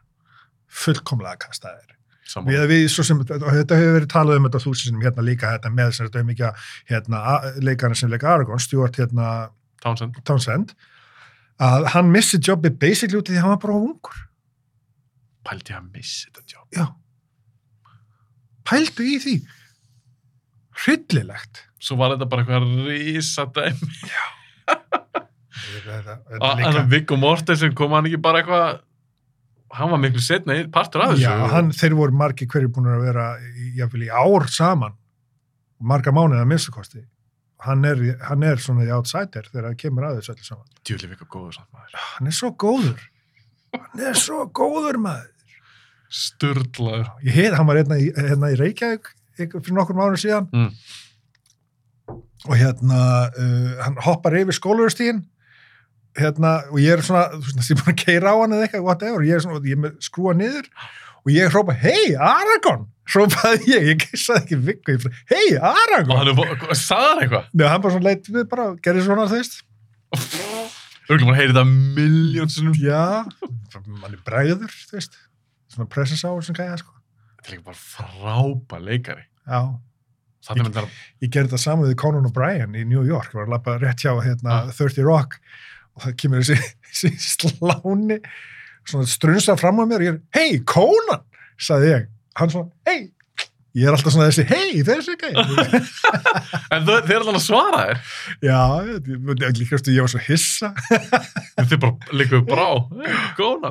Speaker 2: Fullkomlega kastaðir.
Speaker 1: Sammála.
Speaker 2: Við, við, svo sem, og þetta hefur verið talað um þetta þúsinsinum hérna líka, hérna með sem þetta er mikið hérna, leikarna sem leika Aragorn, Stuart, hérna,
Speaker 1: Townsend.
Speaker 2: Townsend, að hann missi jobbi basically út í því að hann var bara of ungur.
Speaker 1: Pældi ég að missi þetta jobb.
Speaker 2: Já. Pældu í því. Hryllilegt.
Speaker 1: Svo var þetta bara eitthvað risadæmi.
Speaker 2: Þetta- þetta- þetta
Speaker 1: Þannig
Speaker 2: líka-
Speaker 1: að Viggo Mortensen kom hann ekki bara eitthvað, hann var miklu setna partur af þessu.
Speaker 2: Já, hann, þeir voru margi hverju búin að vera í- jafnvel í ár saman, marga mánuðið að minnstakosti. Hann er, hann er svona í outsider þegar það kemur að þessu öllu saman.
Speaker 1: Djúli Viggo góður samt maður.
Speaker 2: Hann er svo góður. Hann er svo góður maður.
Speaker 1: Sturlaður.
Speaker 2: Ég heit, hann var hérna í, hérna í Reykjavík ykkur- fyrir nokkur mánuð síðan
Speaker 1: Mm.
Speaker 2: og hérna, uh, hann hoppar yfir skólaugustíðin hérna, og ég er svona, þú veist, ég er búin að keira á hann eða eitthvað, whatever, og ég er svona, ég er með skrúa niður og ég hrópa, hei, Aragorn, hrópaði ég, ég kissaði ekki vikku, ég fyrir, hei,
Speaker 1: Og
Speaker 2: Aragorn,
Speaker 1: hann er,
Speaker 2: (laughs)
Speaker 1: vo- sagði hann eitthvað?
Speaker 2: Nei, hann bara svona leitt við bara, gerði svona, þú veist,
Speaker 1: Örgum hann heyri þetta miljón sinnum.
Speaker 2: já, mann er bregður, þú veist, svona presence á sem gæða, sko,
Speaker 1: Þetta er líka bara frábæ leikari.
Speaker 2: já.
Speaker 1: Þannig myndi hann
Speaker 2: ég gerði það saman við Conan O'Brien í New York, ég var að lappa rétt hjá hérna,
Speaker 1: Ah.
Speaker 2: 30 Rock og það kemur þessi, (laughs) þessi sláni svona strunsa fram á mér og ég er, hei, Conan, sagði ég hann svona, hei, ég er alltaf svona þessi, hei, þessi gæði
Speaker 1: En þau- þeir eru alltaf að svara þér.
Speaker 2: já, ég, ég, ég, ég var svo hissa
Speaker 1: En Þið bara líkuðu brá. Eh, Góna.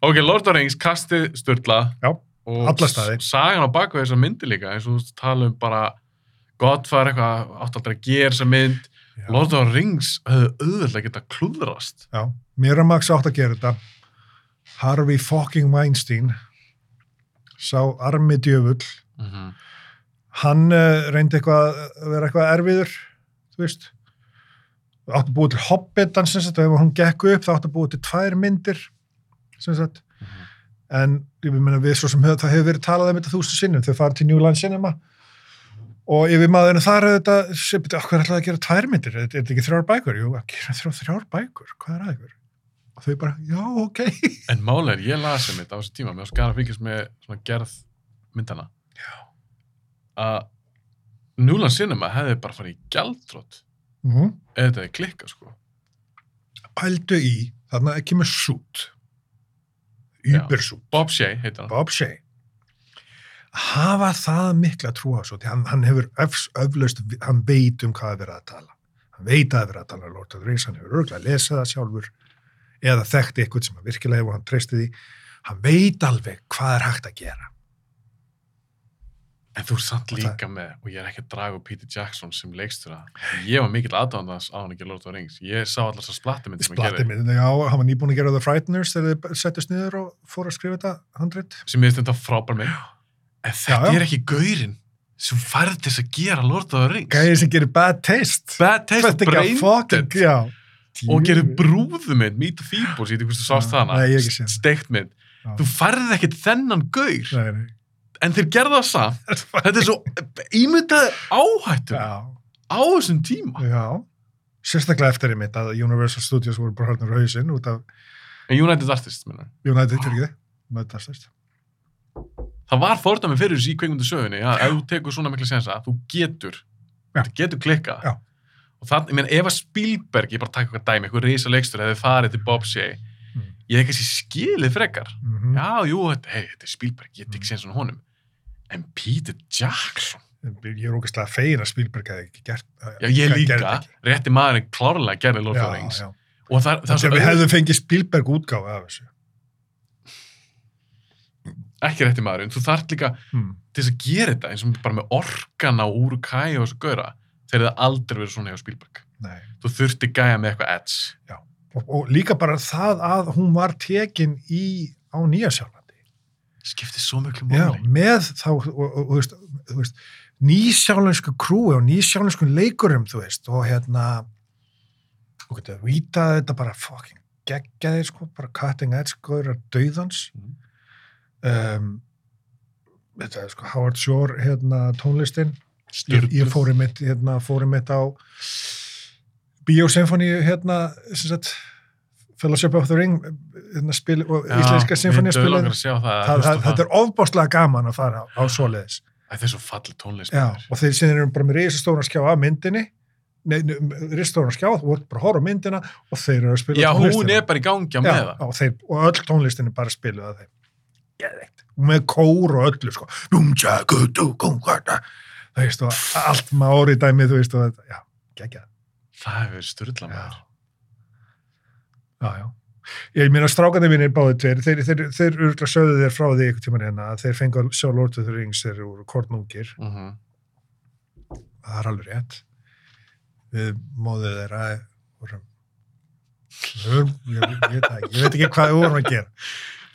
Speaker 1: Ok, Lord of the Rings, kastið Sturla.
Speaker 2: Já,
Speaker 1: og
Speaker 2: alla staði.
Speaker 1: s- Sagan á baku þessar myndi líka, eins og þú tala um bara Godfather eitthvað, átt aldrei að gera þessa mynd.
Speaker 2: Já.
Speaker 1: Lord of the Rings höfðu auðvitað geta klúðrast.
Speaker 2: já, Miramax átt að gera þetta Harvey fucking Weinstein sá armi djöfull
Speaker 1: Mm -hmm.
Speaker 2: hann uh, reyndi eitthvað að vera eitthvað erfiður þú veist átti að búið til Hobbitan sem sagt og ef hún gekk upp þá átti að búið til tvær myndir sem sagt en ég meina við svo sem hef, það hefur verið talað um þetta þúsund sinnum þau fara til New Line Cinema og yfir maðurinn þar er þetta sem betur, hvað er alltaf að gera tvær myndir er, er þetta ekki þrjár bækur? Jú, að gera þrjár, þrjár bækur hvað er aðeins? og þau bara, já, ok
Speaker 1: En málega er, ég lasi mitt á þessu tíma, mér var skara fylgjast með svona gerð myndana. Já. Að Núlan Cinema hefði bara farið í gjaldrótt
Speaker 2: mm.
Speaker 1: eða þetta hefði klikkað, sko.
Speaker 2: pældu í, þarna ekki með sút
Speaker 1: Já.
Speaker 2: ybersút
Speaker 1: Bob Shea heitir hann.
Speaker 2: Bob Shea hafa það mikla trú á svo því hann, hann hefur öfs, öflust hann veit um hvað er verið að tala hann veit að er verið að tala um Lord of the Rings hann hefur örgulega lesið það sjálfur eða þekkti eitthvað sem hann virkilega hefur og hann treysti því hann veit alveg hvað er hægt að gera
Speaker 1: En þú er samt
Speaker 2: Og það-
Speaker 1: líka með, og ég er ekki að draga úr Peter Jackson sem leikstur að, ég var mikill aðdáðandans á hann ekki Lord of the Rings. Ég sá allar þessar splattimyndir sem hann
Speaker 2: splatið
Speaker 1: gerði,
Speaker 2: minn, já, hann var nýbúin að gera The Frighteners þegar þið settust niður og fór að skrifa þetta handrit
Speaker 1: sem ég veist þetta frábær mynd. En þetta
Speaker 2: Já, já.
Speaker 1: er ekki gaurinn sem færði til þess að gera Lord of the Rings.
Speaker 2: gæði sem gerir bad taste
Speaker 1: Bad taste og
Speaker 2: Þetta ekki að fucking-
Speaker 1: braindead.
Speaker 2: já.
Speaker 1: Og gerir
Speaker 2: Djöfull.
Speaker 1: brúðumynd, Meet the Feebles, ég veit ekki hvort þú sást þarna.
Speaker 2: Mm. Já, nei, ég hef ekki séð hana.
Speaker 1: Steikt mynd.
Speaker 2: Já.
Speaker 1: Þú færði ekkit þennan gaur,
Speaker 2: Nei, nei.
Speaker 1: en þeir gerða það samt. (laughs) Þetta er svo ímyndaði áhættu
Speaker 2: já
Speaker 1: á þessum tíma.
Speaker 2: Já, sérstaklega eftir einmitt að Universal Studios voru bara hörnur hausinn út af
Speaker 1: En United Artists, minna. Ah.
Speaker 2: United, fyrir ekki þið? United Artists.
Speaker 1: það var fordæmi fyrir þessu í kveikmyndasögunni að ef þú tekur svona mikla sensa, þú getur
Speaker 2: Já.
Speaker 1: þú getur klikkað
Speaker 2: Já.
Speaker 1: og þannig, ég meina, ef að Spielberg, ég bara takk eitthvað dæmi, eitthvað reysa leikstur hefði farið til Bob Shea
Speaker 2: Mm.
Speaker 1: ég hef kannski skilið frekar
Speaker 2: Mm
Speaker 1: já, jú, þetta, hey, þetta er Spielberg, ég tek
Speaker 2: Mm.
Speaker 1: sensa honum en Peter Jackson
Speaker 2: Ég er ógæslega fegin að Spielberg hefði ekki gert
Speaker 1: já, ég
Speaker 2: gerði
Speaker 1: líka,
Speaker 2: þetta ekki.
Speaker 1: rétti maðurinn klárlega gerði Lord of the Rings
Speaker 2: Já, já.
Speaker 1: og það, það er
Speaker 2: Þegar
Speaker 1: svo
Speaker 2: við
Speaker 1: auð-
Speaker 2: hefðum fengið Spielberg útgáfa af þessu.
Speaker 1: ekki rétti maðurinn, þú þarft líka
Speaker 2: Mm.
Speaker 1: til þess að gera þetta eins og bara með orkana úr kæ og þessu gauðra þegar það aldrei verið svona hjá Spielberg
Speaker 2: Nei.
Speaker 1: þú þurfti gæja með eitthvað edge
Speaker 2: Og, og líka bara það að hún var tekin í, á Nýja Sjálflandi.
Speaker 1: skiptir svo miklu
Speaker 2: Já,
Speaker 1: máli
Speaker 2: með þá, og, og, og, þú veist, þú veist, nýsjálensku krúi og nýsjálensku leikurum, þú veist, og hérna, og getur að vita þetta bara fucking geggjaði, sko, bara cutting edge, skoður að dauðans.
Speaker 1: Mhm.
Speaker 2: um, þetta er sko Howard Shore hérna tónlistin ég,
Speaker 1: Sturlu.
Speaker 2: ég fóri mitt hérna, fóri mitt á Bíósymfóníu hérna sem sagt Fellowship of the Ring hérna, spil, og
Speaker 1: Já,
Speaker 2: íslenska symfóníu
Speaker 1: Mér döðlangar
Speaker 2: spilin
Speaker 1: að sjá það.
Speaker 2: það,
Speaker 1: hlusta
Speaker 2: það,
Speaker 1: á
Speaker 2: þetta er ofbáslega gaman að fara á, á svoleiðis
Speaker 1: Þetta er svo falli tónlist.
Speaker 2: Já,
Speaker 1: maður.
Speaker 2: og þeir sem eru bara með risastóran skjá af myndinni nei, risastóran skjá, þú ert bara að horfa á myndina og þeir eru að spila
Speaker 1: Já, hún
Speaker 2: tónlistina.
Speaker 1: er bara í gangi á með
Speaker 2: Já, og, þeir, og öll tónlistin er bara spiluð að þeim Geðveikt. og með kór og öllu sko. Búm, tja, gu, dú, gú, gú, da. það veist og allt mári dæmið þú veist og þetta, já, geggjað
Speaker 1: Það hefur verið styrla
Speaker 2: já.
Speaker 1: maður.
Speaker 2: já, já ég meina strákanir mínir báði tveir þeir, þeir, þeir örgulega sögðu þér frá því einhvern tímann hérna að þeir fengu að sjá Lord of the Rings þeir eru kornungir,
Speaker 1: Mm
Speaker 2: það er alveg rétt við móðið þeirra vorum við vorum, ég, ég, veit það ekki, ég veit ekki hvað við vorum að gera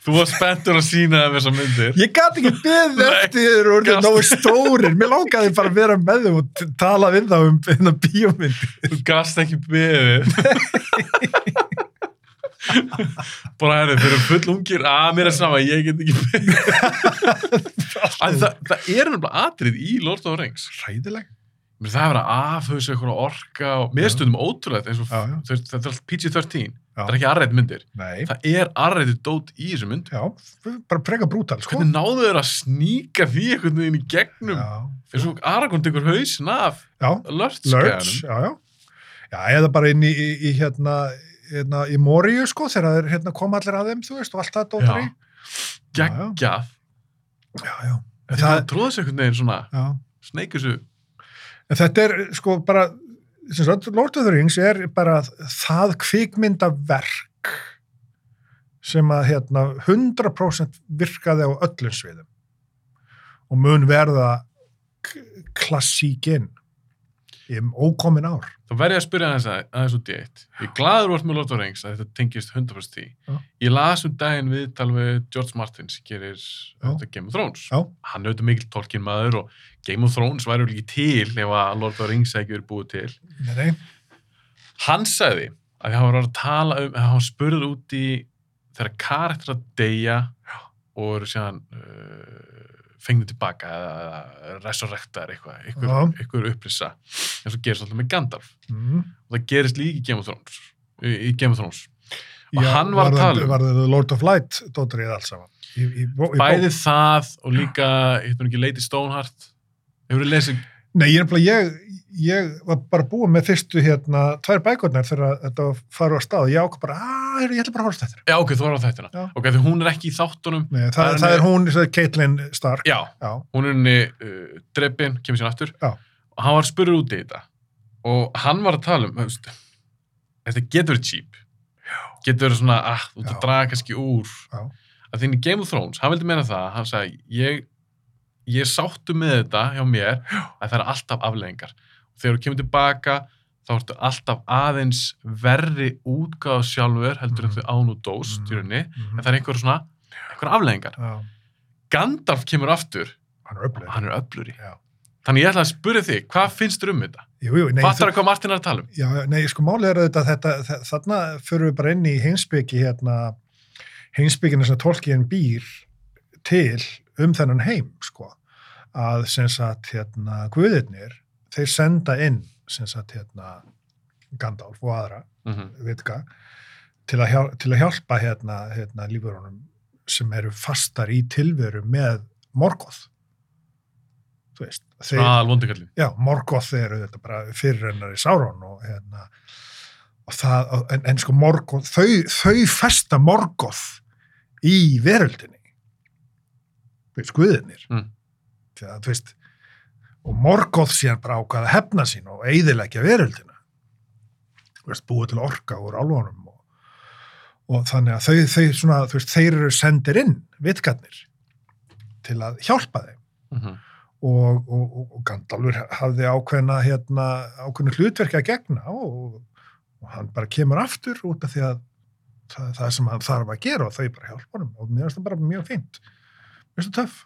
Speaker 1: Þú var spenntur að sína það með þessar myndir.
Speaker 2: Ég gat ekki beðið
Speaker 1: Nei,
Speaker 2: eftir þér og orðið
Speaker 1: gast.
Speaker 2: náðu stórir. Mér langaði bara að vera með þeim og t- tala við þá um hérna bíómynd.
Speaker 1: Þú gast ekki beðið. bara herri, þeir eru full ungir að mér er sama, ég get ekki beðið. En það, það er nefnilega atrið í Lord of the Rings.
Speaker 2: Ræðileg.
Speaker 1: Mér það er að vera afhauðs eitthvað orka og mér
Speaker 2: Já.
Speaker 1: stundum ótrúlegt eins og
Speaker 2: Já, já.
Speaker 1: þeir- þetta er allt PG-13.
Speaker 2: Já.
Speaker 1: Það er ekki aðrætt myndir.
Speaker 2: Nei.
Speaker 1: Það er aðrættu dót í þessu mynd.
Speaker 2: Já, f- bara prega brútal, sko.
Speaker 1: Hvernig náðu þeir að sníka því einhvern veginn í gegnum?
Speaker 2: Já,
Speaker 1: eins og Aragorn tekur hausin af
Speaker 2: já. Lurch,
Speaker 1: lörtskæðanum
Speaker 2: já, já. Já, eða bara inn í, í, í hérna, hérna, í Moríu, sko, þegar þeir hérna kom allir að þeim, þú veist, og allt það dóttar í.
Speaker 1: geggjað
Speaker 2: Já, já. En
Speaker 1: það
Speaker 2: það,
Speaker 1: tróðs einhvern veginn svona
Speaker 2: já.
Speaker 1: sneikur svo
Speaker 2: En þetta er sko bara, sem sagt, Lord of the Rings er bara það kvikmyndaverk sem að hérna 100% virkaði á öllum sviðum og mun verða k- klassíkin í ókomin ár.
Speaker 1: þá verð ég að spyrja aðeins, að- aðeins út í eitt ég er glaður vart með Lord of the Rings að þetta tengist 100% í
Speaker 2: Já.
Speaker 1: ég las um daginn viðtal við George Martin sem gerir auðvitað Game of Thrones
Speaker 2: Já,
Speaker 1: hann er auðvitað mikil tolkin maður og Game of Thrones væri vel ekki til ef að Lord of the Rings hefði ekki verið búið til
Speaker 2: nei, nei,
Speaker 1: hann sagði að hann var að tala um að hann spurði út í þegar karakter að deyja og eru síðan uh, fengnir tilbaka eða, eða resurrektar eitthvað,
Speaker 2: Já.
Speaker 1: eitthvað, eitthvað upprissa eins og gerist alltaf með Gandalf
Speaker 2: mm.
Speaker 1: og það gerist líka í Game of Thrones í, í Game of Thrones og
Speaker 2: Já,
Speaker 1: hann var að
Speaker 2: varðandi-
Speaker 1: tala um
Speaker 2: varðandi Lord of Light, dóttir ég alls saman. Í, í, í, í
Speaker 1: bæði það og líka hittum ekki Lady Stoneheart hefur þið lesið
Speaker 2: Nei, ég, er nefnilega- ég, ég var bara búin með fyrstu hérna, tvær bækurnar þegar þetta var farið á stað. Ég ákvað bara, að ég ætla bara að horfa þetta.
Speaker 1: já ok, þú var á þættina
Speaker 2: Já.
Speaker 1: ok, því hún er ekki í þáttunum
Speaker 2: Nei, það,
Speaker 1: Það er
Speaker 2: það, er
Speaker 1: mjög-
Speaker 2: hún, það er Caitlin Stark.
Speaker 1: já,
Speaker 2: Já,
Speaker 1: hún er henni uh, dreppin, kemur sér aftur
Speaker 2: Já.
Speaker 1: og hann var spurður út í þetta og hann var að tala um þú veist, þetta getur verið cheap já. getur verið svona ah, þú ert
Speaker 2: Já.
Speaker 1: að draga kannski úr
Speaker 2: Já.
Speaker 1: að þinn í Game of Thrones, hann vildi meina það hann sagði, ég, ég sáttu með þetta hjá mér að það er alltaf afleðingar og þegar þú kemur tilbaka þá ertu alltaf aðeins verri útgáð sjálfur heldur en
Speaker 2: Mhm.
Speaker 1: þau án og dóst
Speaker 2: Mhm.
Speaker 1: í rauninni en
Speaker 2: Mhm.
Speaker 1: það er einhver svona, einhver afleðingar
Speaker 2: já.
Speaker 1: Gandalf kemur aftur
Speaker 2: hann er upplegð.
Speaker 1: hann er öflur í.
Speaker 2: Já.
Speaker 1: Þannig ég ætla að spyrja þig, hvað finnst þér um þetta?
Speaker 2: Jú, jú, nei,
Speaker 1: Fattar það hvað Martin er að tala um?
Speaker 2: þú- já, nei, sko málið er auðvitað þetta, þa- þarna förum við bara inn í heimsbyggi hérna, heimsbyggina sem tólkiðin býr til um þennan heim, sko, að sem sagt, hérna, guðirnir, þeir senda inn, sem sagt, hérna, Gandalf og aðra,
Speaker 1: Mm
Speaker 2: vitka til að, hjál, til að hjálpa hérna, hérna lífurunum sem eru fastar í tilveru með morgoth þú veist þeir,
Speaker 1: Aðal vondukallin.
Speaker 2: já, morgoth eru þetta bara fyrirrennar í Sáron og hérna og það, og- en, en sko morgoth þau, þau festa morgoth í veröldinni þú veist, guðinir
Speaker 1: Mm.
Speaker 2: Þegar, þú veist og morgoth síðan bara ákvaða hefna sín og eiðilegja veröldina þú veist, búið til orka úr álvanum og, og þannig að þau, þau svona, þú veist, þeir eru sendir inn vitkarnir til að hjálpa þeim
Speaker 1: Mm -hmm.
Speaker 2: og, og, og- og Gandalfur hafði ákveðna hérna, ákveðna hlutverki að gegna og, og hann bara kemur aftur út af því að það, það sem hann þarf að gera og þau bara hjálpa honum og mér finnst það bara mjög fínt mér finnst það töff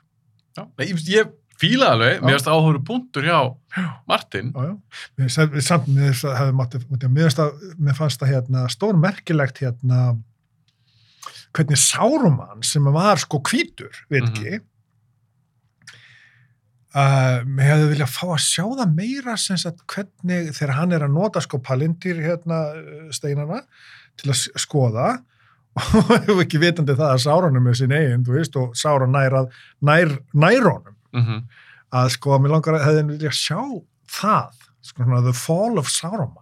Speaker 1: Nei, ég, ég fíla alveg, mér finnst áhóru punktur hjá Martin.
Speaker 2: já, já. Mér finnst það- samt mér finnst það hefði mátt út af mér finnst það mér fannst það hérna stórmerkilegt hérna hvernig Sáruman sem var sko hvítur, veit
Speaker 1: Mhm.
Speaker 2: ekki uh, mér hefði viljað fá að sjá það meira sem sagt hvernig þegar hann er að nota sko palindir hérna eh, steinana til að s- skoða og (laughs) hefur ekki vitandi það að Sáranum er sín eigin, þú veist, og Sáran nær að nær, nær honum
Speaker 1: mhm,
Speaker 2: að sko að mér langar að hefði vilja sjá það, sko svona The Fall of Sauron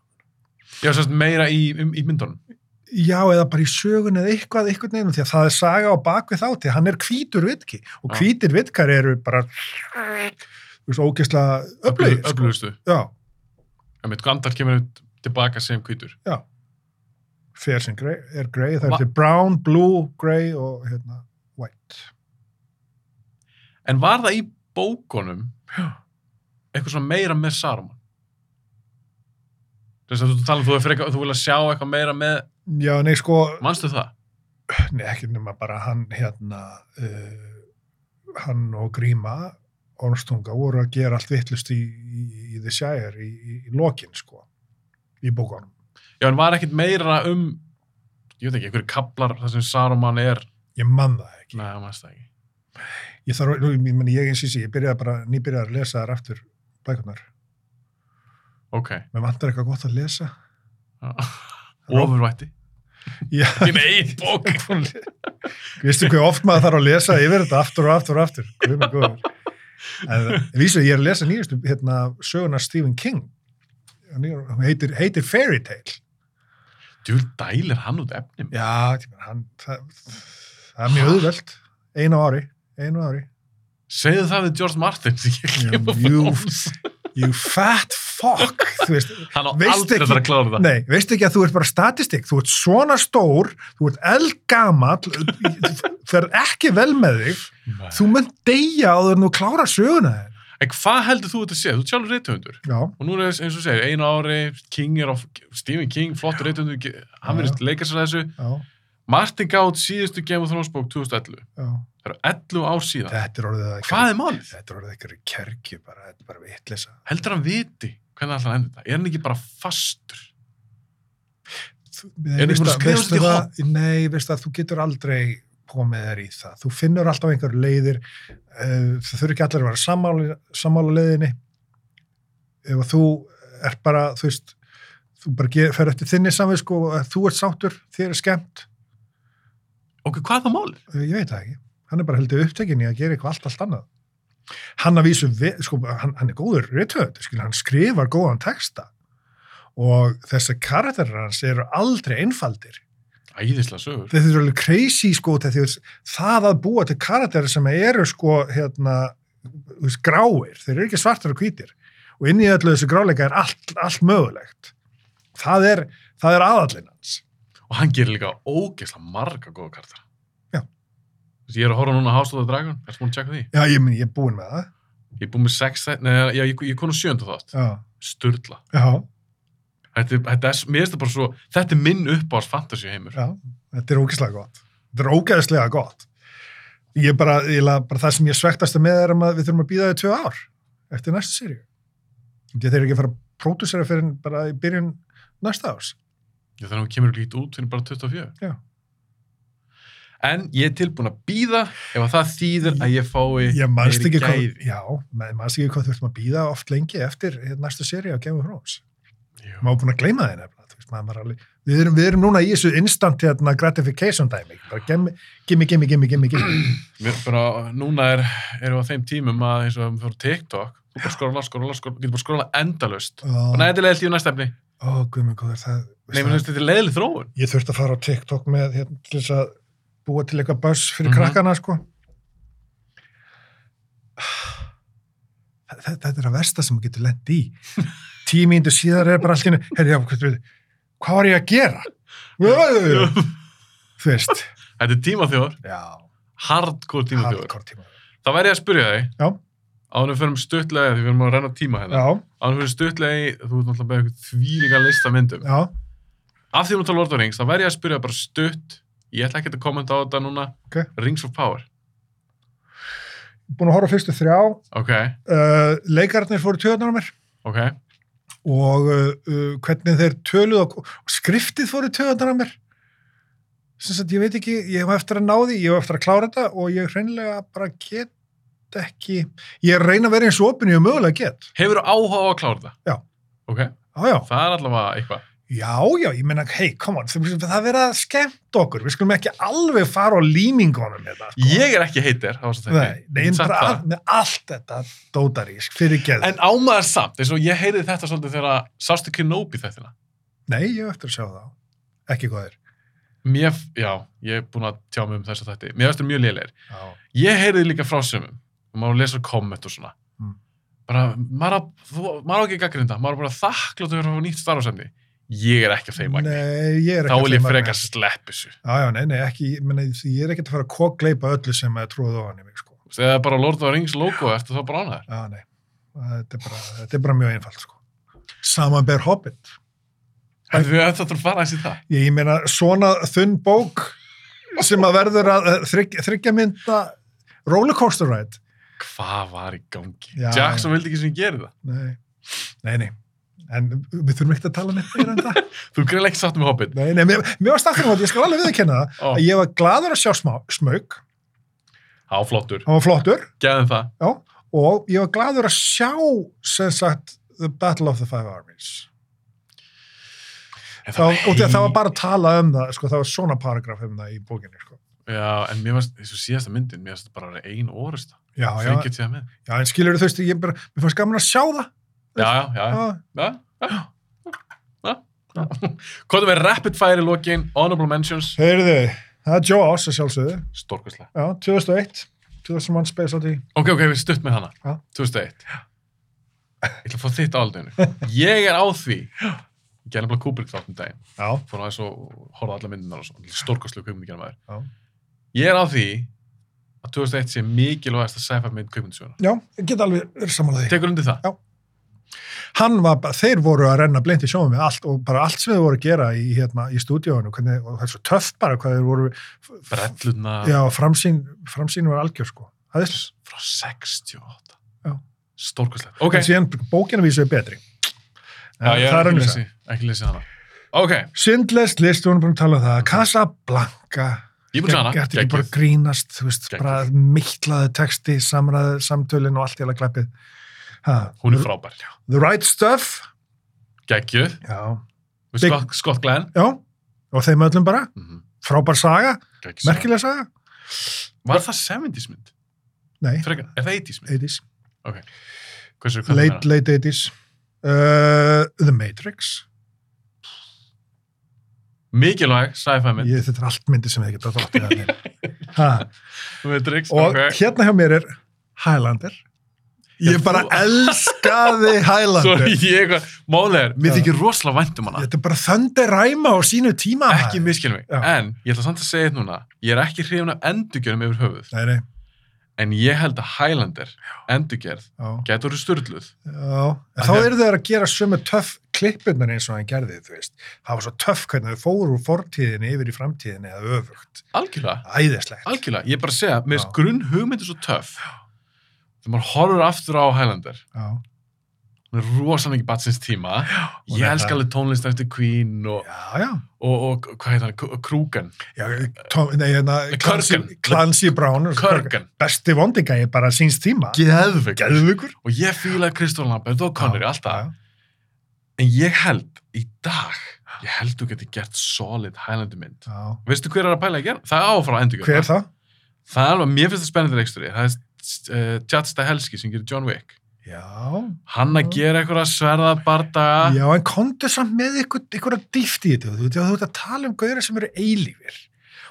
Speaker 1: já, sérst meira í, í, í myndunum
Speaker 2: já eða bara í sögun eða eitthvað eitthvað nefnum því að það er saga á bakvið þá því að hann er hvítur vitki og
Speaker 1: Já.
Speaker 2: hvítir vitkar eru bara þú veist ógeðslega öflugir sko.
Speaker 1: öflugustu,
Speaker 2: já,
Speaker 1: en mitt Gandalf kemur einmitt tilbaka sem hvítur
Speaker 2: já fair sem grey, er grey það
Speaker 1: Va-
Speaker 2: er til brown, blue, grey og hérna white
Speaker 1: en var það í bókunum
Speaker 2: Já.
Speaker 1: eitthvað svona meira með Saruman þess að þú tala um, þú, er frekar, þú vilja sjá eitthvað meira með
Speaker 2: já nei sko,
Speaker 1: manstu það?
Speaker 2: nei, ekki nema bara hann hérna uh, hann og Gríma Ornstunga voru að gera allt vittlust í, í, í The Shire í, í, í lokin sko, í bókanum
Speaker 1: já, en var ekkit meira um ég veit ekki, einhverju kaplar þar sem Saruman er
Speaker 2: ég man það ekki
Speaker 1: neða, manstu það ekki
Speaker 2: ég þarf, nú, ég, meni, ég eins og ég sé, ég byrjaði bara nýbyrjaði að lesa þar aftur bækunar
Speaker 1: (laughs) ok,
Speaker 2: mér vantar eitthvað gott að lesa
Speaker 1: ofurvætti
Speaker 2: já,
Speaker 1: ég með einn (laughs) bók
Speaker 2: veistu hvað oft maður þarf að lesa yfir þetta aftur og aftur og aftur Guð minn góður. en vísu, ég er að lesa nýjastu hérna, söguna Stephen King Hann er- hún heitir, heitir Fairy Tale
Speaker 1: djúl dælir hann út efnum
Speaker 2: já, tíma, hann, það, það er mjög auðvelt einu ári, einu ári
Speaker 1: segðu það við George Martin sem ég
Speaker 2: Já,
Speaker 1: kemur
Speaker 2: jú.
Speaker 1: frá Oz.
Speaker 2: you fat fuck þú veist,
Speaker 1: hann á
Speaker 2: Veist
Speaker 1: aldrei
Speaker 2: ekki-
Speaker 1: þetta að klára það
Speaker 2: Nei, veistu ekki að þú ert bara statistik, þú ert svona stór, þú ert eldgamall, þú ferð ekki vel með þig,
Speaker 1: Nei.
Speaker 2: þú munt deyja áður en þú klárar söguna þér.
Speaker 1: en hvað heldur þú þetta sé? þú ert sjálfur reythundur
Speaker 2: Já,
Speaker 1: og nú er þess eins og segir, einu ári King er á, Stephen King, flottur reythundur hann
Speaker 2: Já.
Speaker 1: verðist leika sér að þessu
Speaker 2: já,
Speaker 1: Martin gátt síðustu Game of Thrones bók 2011
Speaker 2: já.
Speaker 1: það eru 11 ár síðan
Speaker 2: Þetta er orðið að...
Speaker 1: hvað er málið?
Speaker 2: Þetta er orðið eitthvað kerkju bara, þetta er bara vitlisa.
Speaker 1: heldur hann viti hvernig alltaf endur þetta? er hann ekki bara fastur? Er þið búin að skrifa þetta í
Speaker 2: Nei, veistu að þú getur aldrei komið þér í það. Þú finnur alltaf einhverju leiðir, uh, það þurfi ekki allir að vera sammála, sammála leiðinni. Ef að þú er bara, þú veist, þú bara ger, fer eftir þinni samvið, sko, þú ert sáttur, þér er skemmt,
Speaker 1: ok, hvað er það málið?
Speaker 2: Eh, ég veit það ekki. Hann er bara heldur upptekin í að gera eitthvað allt, allt annað. Hann að vísu, ve- sko, hann, hann er góður rithöfund, skil, hann skrifar góðan texta og þessi karakterar hans eru aldrei einfaldir.
Speaker 1: æðislega sögur
Speaker 2: þetta er alveg crazy sko þetta er það að búa til karakterir sem eru sko hérna þú veist, gráir, þeir eru ekki svartar og hvítir og inn í öllu þessu gráleika er allt, allt mögulegt það er, það er aðallinn hans
Speaker 1: og hann gerir líka ógeðslega marga góða kartar
Speaker 2: Já.
Speaker 1: Þessi, ég er að horfa núna á House of the Dragon erst múin að tjekka því?
Speaker 2: já ég, meni, ég er búinn með það
Speaker 1: ég er búin með sex þætt- nei, já, ég, ég er konum sjöndu þátt
Speaker 2: já,
Speaker 1: sturla
Speaker 2: já,
Speaker 1: þetta, er- þetta er, mér finnst það bara svo þetta er minn uppáhast fantasy heimur
Speaker 2: já. þetta er ógeðslega gott þetta er ógeðslega gott ég er bara, ég la, bara það sem ég svektast með er um að við þurfum að býða þau tvö ár eftir næstu sériu þeir eru ekki að fara að pródúsera fyrir bara í byrjun næsta árs
Speaker 1: Já, þannig að hún kemur ekki ít út fyrir bara 24.
Speaker 2: Já.
Speaker 1: En ég er tilbúin að býða ef að það þýðir að ég fái
Speaker 2: ég manst
Speaker 1: meiri
Speaker 2: ekki hvað,
Speaker 1: gæði.
Speaker 2: já, ma- manst ekki hvað þurftum að býða oft lengi eftir hérna, næstu séri á Game of Thrones.
Speaker 1: Jú.
Speaker 2: Maður var búin að gleyma þeir nefnilega, þú veist, maður var alveg, við erum, við erum núna í þessu instant hérna gratification dæmi, bara gemmi, gemmi, gemmi, gemmi, gemmi, gemmi.
Speaker 1: Mér bara, núna er, erum við á þeim tímum að eins og við fyrir TikTok, þú bara skrolla, skrolla, skrolla, getur bara skrolla endalaust. Og Nei,
Speaker 2: Ó,
Speaker 1: þetta er leiðilegt í næsta efni.
Speaker 2: ó, guðmur góður, það,
Speaker 1: Nei,
Speaker 2: veist
Speaker 1: mér
Speaker 2: það,
Speaker 1: finnst þetta er leiðileg þróun.
Speaker 2: ég þurfti að fara á TikTok með, hérna, til þess að búa til eitthvað buzz fyrir
Speaker 1: Mhm.
Speaker 2: krakkana, sko. Þetta, þetta er að versta sem maður getur lent (laughs) í. Tíu mínútur síðar er bara allt í hennu, herri, já, hvað, við- hvað var ég að gera? þú veist
Speaker 1: þetta er tímaþjóður,
Speaker 2: já,
Speaker 1: hardcore tímaþjóður.
Speaker 2: hardcore tíma
Speaker 1: Það væri ég að spyrja þig,
Speaker 2: Já.
Speaker 1: ánum við förum stuttlega, því við erum að renna á tíma hérna,
Speaker 2: já,
Speaker 1: ánum við förum stuttlega í, þú ert náttúrulega með eitthvað þvílíka lista af myndum.
Speaker 2: já,
Speaker 1: af því að við erum að tala um Lord of the Rings, þá verð ég að spyrja bara stutt ég ætla ekki að kommenta á þetta núna
Speaker 2: Ok.
Speaker 1: Rings of Power,
Speaker 2: búin að horfa á fyrstu þrjá
Speaker 1: ok,
Speaker 2: uh, leikarnir fóru töðunar á mér
Speaker 1: ok
Speaker 2: og uh, uh, hvernig þeir töluð og, og skriftið fóru töðunar á mér sem sagt, ég veit ekki, ég hef eftir að ná því ég hef eftir að klára þetta og ég hreinlega bara get ekki ég reyna að vera eins og opinn ég mögulega get
Speaker 1: Hefur áhuga á að klára það?
Speaker 2: Já.
Speaker 1: Ok,
Speaker 2: já, já,
Speaker 1: það er allavega eitthvað.
Speaker 2: já, já, ég meina hei, come on, það það verða að skemmt okkur við skulum ekki alveg fara á límingunum þetta, sko.
Speaker 1: Ég er ekki heitir, það var svo
Speaker 2: Nei, nei, en
Speaker 1: Samt
Speaker 2: bara
Speaker 1: það.
Speaker 2: að, með allt þetta dótarísk, fyrir geð
Speaker 1: En ámaður samt, eins og ég heyrði þetta svolítið þegar að sástu Kenobi þættina.
Speaker 2: Nei, ég hef eftir að sjá þá ekki góðir
Speaker 1: Mér, já, ég er búin að tjá mig um þessa þætti. Mér finnst þau mjög lélegir.
Speaker 2: já,
Speaker 1: Ég heyrði líka frá sumum og maður lesa komment og svona.
Speaker 2: Mm.
Speaker 1: Bara, maður á þú- maður á ekki að gaggrinda, maður á bara þakklátt að vera á nýtt starfsefni. Ég er ekki að þeim magni.
Speaker 2: nei, ég er
Speaker 1: Þá
Speaker 2: ekki
Speaker 1: vil
Speaker 2: að
Speaker 1: ég
Speaker 2: þeim
Speaker 1: frekar
Speaker 2: magni.
Speaker 1: slepp þessu.
Speaker 2: Já, já, nei, nei, ekki, ég meina, ég er ekkert að fara að kokleipa öllu sem er trúið ofan í mig, sko.
Speaker 1: Þegar bara Lord of the Rings logo, ertu þá bara ánæður?
Speaker 2: Já, nei, þetta er bara, þetta er bara mjög einfalt, sko. Samanber Hobbit.
Speaker 1: En við ættum að fara aðeins í það.
Speaker 2: Ég, ég meina, svona þunn bók sem að verður að eh, þrygg, þryggja mynda rollercoaster ride.
Speaker 1: Hvað var í gangi?
Speaker 2: Já.
Speaker 1: Jackson vildi ekki sem ég gerði það.
Speaker 2: Nei, nei, nei. En við þurfum ekkert að tala neitt meira en það.
Speaker 1: Þú greiði ekki satt með Hobbit.
Speaker 2: Nei, nei, mér, mér var stakkar um þetta, ég skal alveg viðurkenna það.
Speaker 1: Ó,
Speaker 2: að Ég var gladur að sjá smá, smög,
Speaker 1: á, flottur.
Speaker 2: hann var flottur,
Speaker 1: Gæðum það.
Speaker 2: já, og ég var gladur að sjá, sem sagt, The Battle of the Five Armies.
Speaker 1: En
Speaker 2: þá, og því að það var
Speaker 1: hei-
Speaker 2: bara að tala um það sko, það var svona paragraf um það í bókinni sko.
Speaker 1: Já, en mér varst, eins og síðasta myndin, mér varst bara að vera ein orðust.
Speaker 2: já, já,
Speaker 1: Fengið til það með.
Speaker 2: já, en skilur þú veist ég bara, mér fannst gaman að sjá það
Speaker 1: Já, já, já.
Speaker 2: já,
Speaker 1: já, já. já. já. Kvotum við rapid fire í lokin, honorable mentions,
Speaker 2: heyrðu, það er Joe Oss að sjálfsögðu,
Speaker 1: stórkvæslega.
Speaker 2: já, 2001 2001 Space Odyssey
Speaker 1: Ok, ok, við stutt með hana.
Speaker 2: Já.
Speaker 1: 2001. Ég ætla að fá þitt áldinu. Ég er á því. Ég gerði bara Kubrick þátt um daginn.
Speaker 2: já,
Speaker 1: Fór aðeins og horfði á allar myndinar og svona. Stórkvæslega kveikmyndi gerði maður.
Speaker 2: já,
Speaker 1: Ég er á því að 2001 sé mikilvægast að sci-fi mynd kveikmyndisjóna.
Speaker 2: já ég get alveg verið samanlega því
Speaker 1: Tekur undir það?
Speaker 2: hann var, bara, þeir voru að renna blind í sjónum með allt og bara allt sem þeir voru að gera í, hérna, í stúdíóinu, hvernig, og það er svo töff bara hvað þeir voru,
Speaker 1: Brelluna
Speaker 2: já, framsýn framsýn var algjör sko, það er
Speaker 1: frá 68.
Speaker 2: Já.
Speaker 1: Stórkvæslega. Ok.
Speaker 2: en síðan bókinavísu er betri
Speaker 1: Já, ég er
Speaker 2: Það er
Speaker 1: ekki
Speaker 2: önnur
Speaker 1: lesið, ekki lesið hana. Ok,
Speaker 2: Sindlest list, við vorum búin að tala um það Casablanca
Speaker 1: ég búið hana,
Speaker 2: Gert ekki bara að
Speaker 1: geggjuð.
Speaker 2: grínast, þú veist,
Speaker 1: Geggjuð.
Speaker 2: bara meittlaði texti, samræði, samtölin og allt í alveg klappið. Ha,
Speaker 1: Hún er frábær.
Speaker 2: The Right Stuff,
Speaker 1: Geggjuð,
Speaker 2: já,
Speaker 1: við
Speaker 2: Big-
Speaker 1: Scott, Scott Glenn.
Speaker 2: já, og þeim öllum bara,
Speaker 1: Mm -hmm.
Speaker 2: frábær saga, merkilega saga,
Speaker 1: Var það 70s mynd?
Speaker 2: nei,
Speaker 1: Frekar, er það 80s mynd?
Speaker 2: 80s,
Speaker 1: Hversu, hvað
Speaker 2: late,
Speaker 1: það er?
Speaker 2: late 80s, uh, The Matrix,
Speaker 1: Mikilvæg sci-fi mynd,
Speaker 2: ég, þetta er allt myndi sem þið geta þátt í það. hérna.
Speaker 1: (laughs)
Speaker 2: Ha,
Speaker 1: Matrix,
Speaker 2: og
Speaker 1: ok.
Speaker 2: hérna hjá mér er Highlander, ég
Speaker 1: Já,
Speaker 2: bara
Speaker 1: þú- (laughs)
Speaker 2: elskaði
Speaker 1: Svo
Speaker 2: Highlander.
Speaker 1: ég eitthvað, málega er, mér
Speaker 2: Já.
Speaker 1: þykir rosalega vænt um hana.
Speaker 2: Þetta er bara þöndir ræma á sínu tíma.
Speaker 1: Ekki
Speaker 2: maður.
Speaker 1: miskil mig,
Speaker 2: um Já.
Speaker 1: en ég ætla samt að segja þetta núna, ég er ekki hrifin af endurgjörum yfir höfuð,
Speaker 2: Nei, nei,
Speaker 1: en ég held að Highlander, endurgerð,
Speaker 2: já.
Speaker 1: getur þú styrluð.
Speaker 2: Já, en
Speaker 1: Af
Speaker 2: þá
Speaker 1: því að-
Speaker 2: eru þeir að gera sömu töff klippurnar eins og hann gerði, þú veist. Það var svo töff hvernig þau fóru úr fortíðinni yfir í framtíðinni eða öfugt.
Speaker 1: Algjörlega.
Speaker 2: Æðislegt.
Speaker 1: Algjörlega, ég er bara að segja, mér finnst
Speaker 2: Já.
Speaker 1: grunn hugmyndir svo töff þegar maður horfur aftur á Highlander
Speaker 2: Já,
Speaker 1: hún er rosalega mikið batsins tíma
Speaker 2: hún
Speaker 1: ég
Speaker 2: er
Speaker 1: elska
Speaker 2: það.
Speaker 1: alveg tónlist eftir Queen og,
Speaker 2: já, já.
Speaker 1: og, og, hvað heit hann, K- Krúgan
Speaker 2: já tó, nei, hérna,
Speaker 1: Nei,
Speaker 2: Clancy,
Speaker 1: Kurgan.
Speaker 2: Clancy Brown.
Speaker 1: Körgan,
Speaker 2: Besti vondingægi bara síns tíma.
Speaker 1: geðvig
Speaker 2: Geðvökur.
Speaker 1: og ég fílaði Kristofan Lambert og Connery, allt það
Speaker 2: Já,
Speaker 1: en ég held, í dag ég held þú geti gert solid Highlander mynd
Speaker 2: já.
Speaker 1: veistu hver er að pæla að gera? það er áfra endur
Speaker 2: Hver er það?
Speaker 1: það er alveg, mér finnst það spennandi reiksturi það er uh, Chad Stahelski sem gerir John Wick
Speaker 2: Já.
Speaker 1: hann að gera eitthvað sverðabardaga
Speaker 2: Já, en komdu samt með ykkur, ykkur að dýft í þetta, þú veit, þú ert að tala um gauðra sem eru eilífir.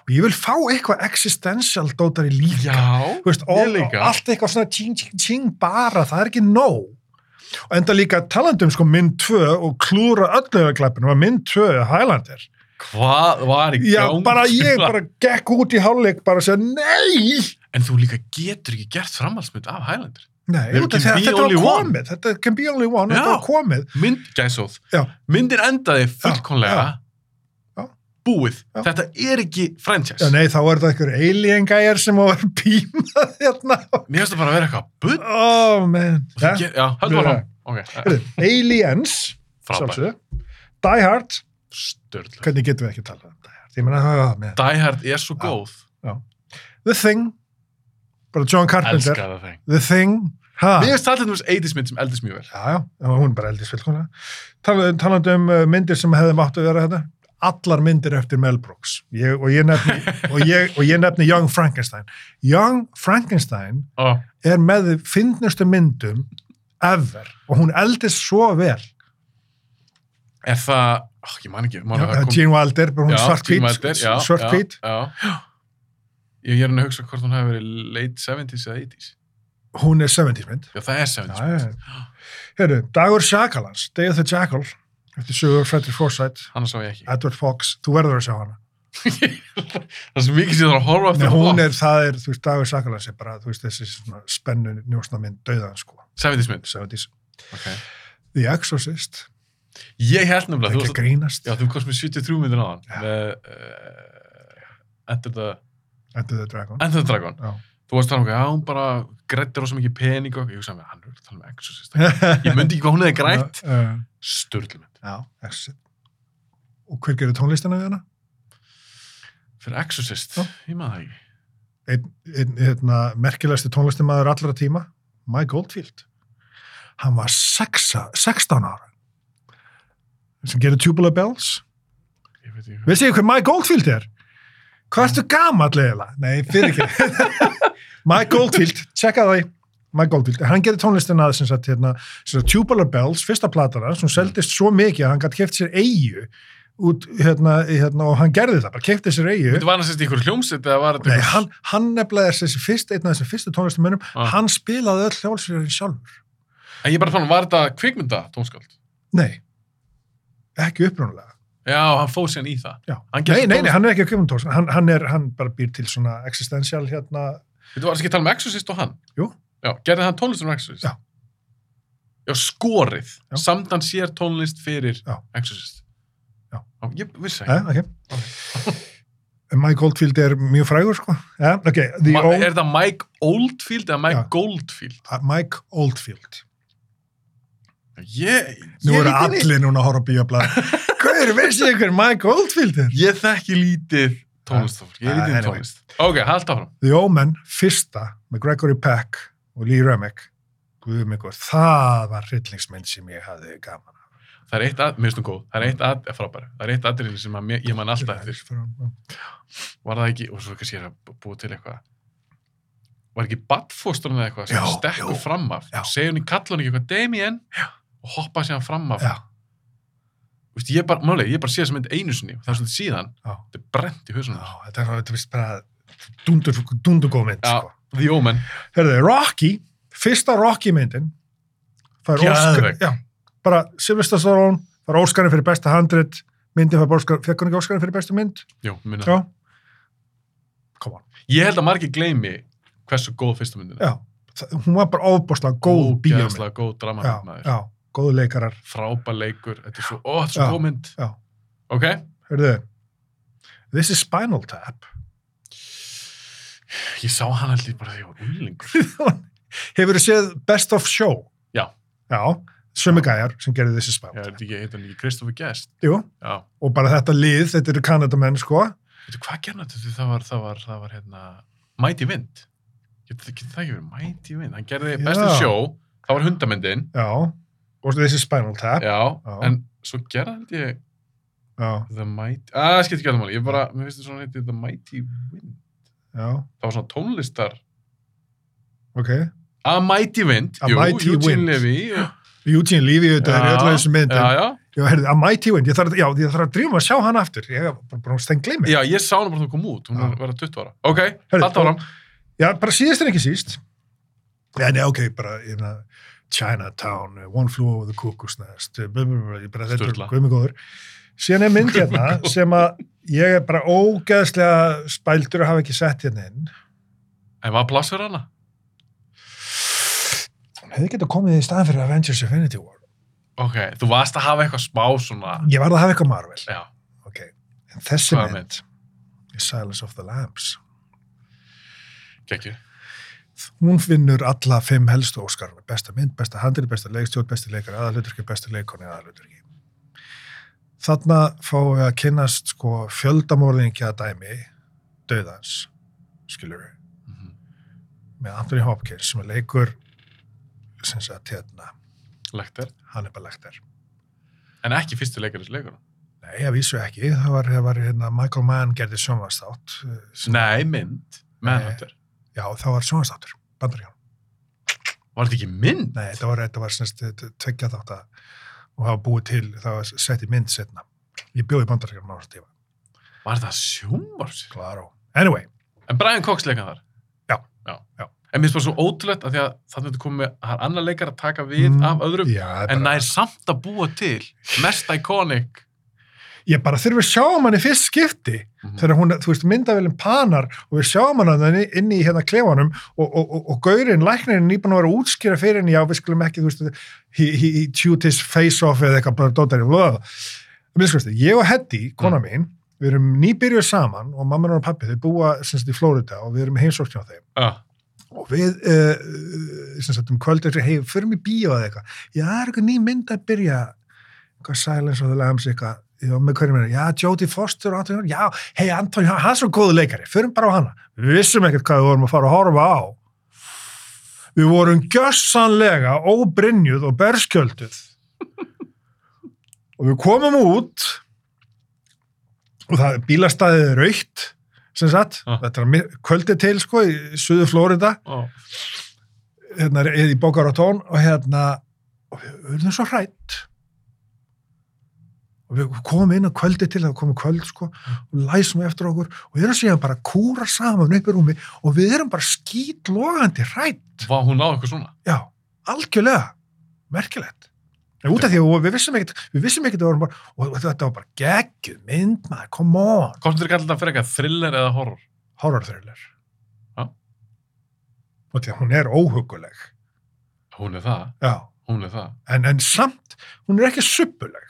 Speaker 2: Og ég vil fá eitthvað existential dótari líka.
Speaker 1: Já,
Speaker 2: Þú veist,
Speaker 1: Ég
Speaker 2: all,
Speaker 1: líka.
Speaker 2: allt eitthvað svona ting, ting, ting bara, það er ekki nóg. Og enda líka talandi um sko mynd 2 og klúra öllu yfir klappinu var mynd 2 Highlander.
Speaker 1: hvað var í
Speaker 2: Já,
Speaker 1: gangi?
Speaker 2: bara ég bara gekk út í hálfleik bara að segja nei!
Speaker 1: En þú líka getur ekki gert framhaldsmynd af Highlander.
Speaker 2: Nei,
Speaker 1: There
Speaker 2: út
Speaker 1: can
Speaker 2: af því að
Speaker 1: be
Speaker 2: þetta var
Speaker 1: only one.
Speaker 2: komið, þetta can be only one,
Speaker 1: Já.
Speaker 2: þetta var komið.
Speaker 1: Mynd, gæsóð,
Speaker 2: Já.
Speaker 1: myndin endaði fullkonlega
Speaker 2: já, já.
Speaker 1: búið.
Speaker 2: Já.
Speaker 1: Þetta er ekki franchise.
Speaker 2: Já, nei, þá er þetta einhver alien gæjar sem var (laughs) pímað hérna.
Speaker 1: Mér finnst það bara að vera eitthvað bull.
Speaker 2: Oh, man.
Speaker 1: Ja? Já, höldu
Speaker 2: Mjög
Speaker 1: var hann. Ok,
Speaker 2: Heyrðu, Aliens,
Speaker 1: frábær.
Speaker 2: sjálfsögðu. Die Hard,
Speaker 1: Störðlega.
Speaker 2: hvernig getum við ekki talað um Die Hard? ég meina það var með
Speaker 1: Die Hard er svo
Speaker 2: Já.
Speaker 1: góð.
Speaker 2: The Thing, bara John Carpenter
Speaker 1: Elskar það þeng.
Speaker 2: The Thing, ha
Speaker 1: Mér finnst það til dæmis 80s mynd sem eldist mjög vel.
Speaker 2: já, já, já, hún er bara eldist fullkomlega Tal- talandi um uh, myndir sem hefði mátt að vera þetta allar myndir eftir Mel Brooks ég, og, ég nefni,
Speaker 1: (laughs)
Speaker 2: og, ég, og ég nefni Young Frankenstein Young Frankenstein
Speaker 1: Oh.
Speaker 2: er með finnustu myndum ever og hún eldist svo vel
Speaker 1: Er það, oh, ég man ekki, man
Speaker 2: Já, Gene Wilder, bara hún
Speaker 1: Wilder,
Speaker 2: svart-hvít
Speaker 1: já, já,
Speaker 2: svart-hvít,
Speaker 1: Já, Ég er hann að hugsa hvort hún hefði verið late 70s eða 80s.
Speaker 2: hún er 70s mynd
Speaker 1: Já, það er 70s.
Speaker 2: Já, já. Heru, Dagur Sjakalans, Day of the Jackal eftir sögur Fredrik Forsyth
Speaker 1: Hann sá ég ekki. (laughs)
Speaker 2: Edward Fox, þú verður að sjá hana
Speaker 1: það er svo mikið sem ég þarf að horfa
Speaker 2: Nei,
Speaker 1: eftir
Speaker 2: hún er, það er, þú veist, Dagur Sakalans er bara, þú veist, þessi svona spennu njósna mynd döðan, sko,
Speaker 1: 70s mynd.
Speaker 2: 70s
Speaker 1: Okay.
Speaker 2: The Exorcist,
Speaker 1: Ég held nefnilega,
Speaker 2: ekki
Speaker 1: þú,
Speaker 2: að
Speaker 1: varst-
Speaker 2: grínast
Speaker 1: já, þú komst með 73 myndin á hann.
Speaker 2: Já.
Speaker 1: Uh, Enter the,
Speaker 2: Enter the Dragon
Speaker 1: Enter the Dragon.
Speaker 2: Já.
Speaker 1: Þú varst að tala um hvað, já, hún bara grætti rosa mikið pening og ég hugsaði með, hann er að tala um Exorcist. Ég myndi ekki hvað hún hefði
Speaker 2: (laughs)
Speaker 1: grætt.
Speaker 2: Uh,
Speaker 1: Sturlmynd.
Speaker 2: Já, Exorcist Og hver gerir tónlistina við hana?
Speaker 1: Fyrir Exorcist,
Speaker 2: Já.
Speaker 1: ég maður það ekki.
Speaker 2: Einn, einn, hérna, merkilegasti tónlistamæður allra tíma, Mike Oldfield Hann var sexa, 16 ára sem gerir Tubular Bells
Speaker 1: Ég veit ekki hvað.
Speaker 2: Veist ég hver Mike Oldfield er? Hvað ertu gamall eiginlega? Nei, fyrir ekki. (laughs) Mike Oldfield, tjekka það í. Mike Oldfield, hann gerir tónlistina að sem sagt, hérna, sem sagt, Tubular Bells, fyrsta platana, sem seldist svo mikið að hann gætt keft sér eigu út, hérna, í- hérna, og hann gerði það, bara kefti sér eigu.
Speaker 1: Þetta var hann sérst í ykkur hljómsveit eða var þetta
Speaker 2: Nei,
Speaker 1: einhver-
Speaker 2: hann, hann nefnilega er þessi fyrst, einn af þessum fyrstu tónlistamönnum,
Speaker 1: Ah.
Speaker 2: hann spilaði öll hljóðsverðin sjálfur.
Speaker 1: En ég er bara fann, var þetta kvikmynda tónskáld?
Speaker 2: Nei, ekki upprónulega.
Speaker 1: Já, hann fór síðan í það.
Speaker 2: Já.
Speaker 1: Hann
Speaker 2: Nei,
Speaker 1: gerði
Speaker 2: nei, nei,
Speaker 1: tónlist.
Speaker 2: hann er ekki að kjöfum tónlist, hann, hann er, hann bara býr til svona existential, hérna,
Speaker 1: Þú varst ekki að tala um Exorcist og hann?
Speaker 2: Jú.
Speaker 1: Já, gerði hann tónlist um Exorcist?
Speaker 2: Já.
Speaker 1: Já, skorið.
Speaker 2: Já.
Speaker 1: Samt hann sér tónlist fyrir
Speaker 2: Já.
Speaker 1: Exorcist.
Speaker 2: Já.
Speaker 1: Ég vissi ekki.
Speaker 2: Eh, okay. (laughs) Mike Oldfield er mjög frægur sko yeah, okay. The
Speaker 1: Ma,
Speaker 2: old,
Speaker 1: er það Mike Oldfield eða Mike
Speaker 2: Já.
Speaker 1: Goldfield?
Speaker 2: Mike Oldfield
Speaker 1: Ég, ég,
Speaker 2: Nú eru
Speaker 1: veit ekki.
Speaker 2: allir núna að horfa á
Speaker 1: (laughs)
Speaker 2: bíoblað Hver, veistu ykkur Mike Oldfield er?
Speaker 1: Ég þekki lítið tónlistafólk. Ég
Speaker 2: Ah,
Speaker 1: er lítið um
Speaker 2: anyway.
Speaker 1: tónlist. Ok, haldt áfram.
Speaker 2: The Omen, fyrsta með Gregory Peck og Lee Remick Guðmyggur, það var hryllingsmynd sem ég hafði gaman af.
Speaker 1: Það er eitt að, mér finnst hún góð, það er eitt að, frábæri, það er eitt aðriðin sem að, mér- ég man alltaf eftir. var það ekki, og svo kannski er að búa til eitthvað var ekki badfóstrun eða eitthvað sem
Speaker 2: Já,
Speaker 1: stekkur
Speaker 2: jú.
Speaker 1: fram af
Speaker 2: Já.
Speaker 1: segja hún í kallun ekki eitthvað Damien
Speaker 2: Já.
Speaker 1: og hoppa síðan fram af
Speaker 2: Já,
Speaker 1: Vist, ég, bara, máli, ég bara sé þess mynd einu sinni og það er svona síðan,
Speaker 2: já,
Speaker 1: þetta er brent í
Speaker 2: já,
Speaker 1: hausunum
Speaker 2: þetta er þetta er bara dundur, dundur góð mynd
Speaker 1: Já.
Speaker 2: sko.
Speaker 1: The Omen,
Speaker 2: Herðu, Rocky, fyrsta Rocky myndin fær Óskar
Speaker 1: Geðveik.
Speaker 2: já, bara Sylvester Stallone fær Óskarinn fyrir besta handrit myndin fær bara Óskar, fekk hún ekki Óskarinn fyrir besta mynd
Speaker 1: Jú, minna
Speaker 2: já, come on
Speaker 1: ég held að margir gleymi hversu góð fyrsta myndin er
Speaker 2: já, það, hún var bara ofbúrslega góð bíómynd
Speaker 1: Ógeðslega góð drama
Speaker 2: já, já, góðu leikarar
Speaker 1: frábær leikur, þetta er svo, ó, þetta er
Speaker 2: Já.
Speaker 1: svo góð mynd
Speaker 2: Já.
Speaker 1: ok,
Speaker 2: Herðu, This is Spinal Tap (laughs)
Speaker 1: ég sá hann held ég bara því að ég var úlingur
Speaker 2: hefur þú séð Best of Show
Speaker 1: Já.
Speaker 2: já, sömu gæjar sem gerði This is
Speaker 1: ég
Speaker 2: Spinal
Speaker 1: veit
Speaker 2: Tap
Speaker 1: ekki, heitir hann ekki Kristoffer Guest
Speaker 2: Jú,
Speaker 1: já,
Speaker 2: og bara þetta lið, þetta eru kanadamenn sko
Speaker 1: Veitu, hvað gerði þetta? Því Það var, það var, það var hérna, Mighty Wind. Getur getur það ekki verið Mighty Wind? Hann gerði Best in
Speaker 2: Já.
Speaker 1: Show, það var hundamyndin,
Speaker 2: já, og This is Spinal Tap
Speaker 1: já,
Speaker 2: Já.
Speaker 1: en svo gerði held ég
Speaker 2: Já,
Speaker 1: The Mighty, að, það skiptir ekki að það máli, ég bara, mér finnst þetta svona heiti The Mighty Wind.
Speaker 2: já,
Speaker 1: Það var svona tónlistar,
Speaker 2: ok.
Speaker 1: A Mighty Wind,
Speaker 2: A
Speaker 1: jú,
Speaker 2: Mighty
Speaker 1: Eugene
Speaker 2: Wind.
Speaker 1: Levy,
Speaker 2: (gasps)
Speaker 1: og-
Speaker 2: Eugene Levy auðvitað er í
Speaker 1: Já,
Speaker 2: öllu þessu mynd.
Speaker 1: já,
Speaker 2: Já,
Speaker 1: já,
Speaker 2: já. heyrðu, A Mighty Wind, ég þarf, að- já, ég þarf að drífa að sjá hann aftur. Ég hef bara búin að stengla gleymið.
Speaker 1: já, ég sá hana bara þú kom út, hún
Speaker 2: Já.
Speaker 1: var að vera 20 ára. Ok,
Speaker 2: Heyrðu,
Speaker 1: halda áram,
Speaker 2: Já, bara síðast en ekki síst. Já, nei, ok, bara, ég meina, Chinatown, eh, One Flew Over the Cuckoo's Nest, eh, blah, blah, blah, ég bara þetta
Speaker 1: Sturla.
Speaker 2: er guðmi góður. Síðan er mynd hérna sem að ég er bara ógeðslega spældur að hafa ekki sett hérna inn.
Speaker 1: en var pláss fyrir hana?
Speaker 2: Hún hefði getað komið í staðan fyrir Avengers Infinity War.
Speaker 1: Ok, þú varst að hafa eitthvað smá svona,
Speaker 2: Ég varð að hafa eitthvað Marvel.
Speaker 1: já,
Speaker 2: Ok, en þessi
Speaker 1: Ah. Hvaða
Speaker 2: mynd, mynd? Silence of the Lambs.
Speaker 1: geggjur.
Speaker 2: hún vinnur alla fimm helstu Óskarna, besta mynd, besta handrið, besta leikstjórn, besta leikar, aðalhuturki, besta leikon í aðalhuturki. Þarna fáum við að kynnast sko fjöldamorðingja dæmi döðans, skilur við,
Speaker 1: Mhm.
Speaker 2: með Anthony Hopkins sem er leikur sem sagt hérna,
Speaker 1: Lekter.
Speaker 2: hann er bara lektar.
Speaker 1: En ekki fyrstu leikar þessu leikar.
Speaker 2: Nei, að vísu ekki, það var, það var hérna, Michael Mann gerði sjónvastátt.
Speaker 1: Nei, mynd.
Speaker 2: Nei.
Speaker 1: Menhunter.
Speaker 2: Já, það var sjónvastáttur, bandaríkan.
Speaker 1: Var þetta ekki mynd?
Speaker 2: Nei, þetta var, þetta var semst tveggja þátt að og hafa búið til, það var sett í mynd setna. Ég bjóði bandaríkjum á þessu tíma.
Speaker 1: Var þetta sjónvars?
Speaker 2: Klaro. Anyway,
Speaker 1: En Brian Cox leikar þar?
Speaker 2: Já.
Speaker 1: Já.
Speaker 2: Já.
Speaker 1: En mér finnst bara svo ótrúlegt að því að þannig að þetta komið, það er annar leikar að taka við
Speaker 2: Mm,
Speaker 1: af öðrum,
Speaker 2: já, það er
Speaker 1: en
Speaker 2: bara-
Speaker 1: það er samt að búa til mest iconic.
Speaker 2: ég bara þurfi að sjá um hann í fyrst skipti
Speaker 1: Mhm.
Speaker 2: þegar hún, þú veist, myndavélum panar og við sjáum hann hann inn í hérna klefanum og, og, og, og gaurinn, læknirinn nýbúin að vera að útskýra fyrir henni, já, við skulum ekki, þú veist he, he, he chewed his face off eða eitthvað bara dótari, blöð Minnskusti, ég og Heddi, kona mín, við erum nýbyrjuð saman og mamma hennar og pappi þau búa sem sagt í Flórida og við erum heimsóknir á þeim
Speaker 1: Já.
Speaker 2: og við uh, sem sagt um kvöld eftir hey, förum í bíó eða eitthvað já, það er eitthvað ný mynd að byrja eitthvað Silence of the Lambs eitthvað já, með hverjum er, já, Jodie Foster og Anthony já, hei, Anthony, hann er svo góð leikari förum bara á hana, við vissum ekkert hvað við vorum að fara að horfa á við vorum gjössanlega óbrinjuð og berskjölduð og við komum út og það bílastæðið er raukt sem sagt,
Speaker 1: Ah.
Speaker 2: þetta er mi- kvöldið til sko í suðu Flórida
Speaker 1: Ó.
Speaker 2: hérna, eða í bókar og tón og hérna og við verðum svo hrætt og við komum inn að kvöldi til það komum kvöld sko og læsum eftir okkur og við erum síðan bara að kúra saman upp í rúmi og við erum bara skítlogandi hrætt
Speaker 1: Vá, hún náði eitthvað svona.
Speaker 2: já, algjörlega merkilegt En út af því að við vissum ekkert, við vissum ekkert að við vorum bara, og þetta var bara geggjuð mynd, maður, come on,
Speaker 1: Hvort myndir kallar þetta fyrir eitthvað thriller eða horror?
Speaker 2: horror thriller.
Speaker 1: Já.
Speaker 2: Og því að hún er óhuguleg.
Speaker 1: Hún er það,
Speaker 2: Já.
Speaker 1: hún er það.
Speaker 2: en, en samt, hún er ekki suppuleg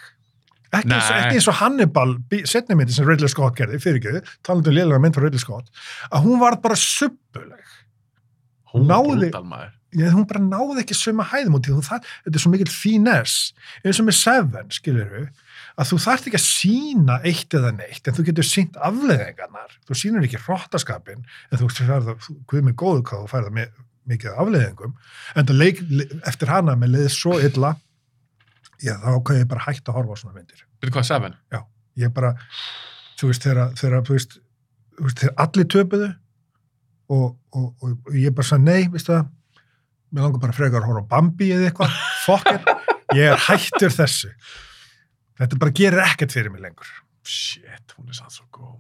Speaker 2: ekki, eins-
Speaker 1: Nei.
Speaker 2: ekki eins og Hannibal setni myndi sem Ridley Scott gerði fyrir ekki, talandi um lélega mynd frá Ridley Scott að hún var bara suppuleg
Speaker 1: Hún er
Speaker 2: Náði-
Speaker 1: brutal maður.
Speaker 2: Ég, hún bara náði ekki söma hæðum út í því þú þarf, þetta er svo mikill finess eins og með Seven, skilur við að þú þarft ekki að sína eitt eða neitt en þú getur sínt afleðingarnar þú sýnir ekki hróttaskapin en þú færða, guð mig góðu hvað þú færða með mikið af afleðingum en það leik, le- eftir hana með leið svo illa já, þá ákveð ég bara hægt að horfa á svona myndir
Speaker 1: Byrðu hvað, Seven?
Speaker 2: ég bara, þú veist, þegar, þegar þú veist, þú veist, þegar allir töpuðu og, og, og, og ég bara sagði nei, veistu það mér langar bara frekar að horfa á Bambi eða eitthvað fuck it, ég er hættur þessu þetta bara gerir ekkert fyrir mig lengur
Speaker 1: Shit, hún er sann svo góð.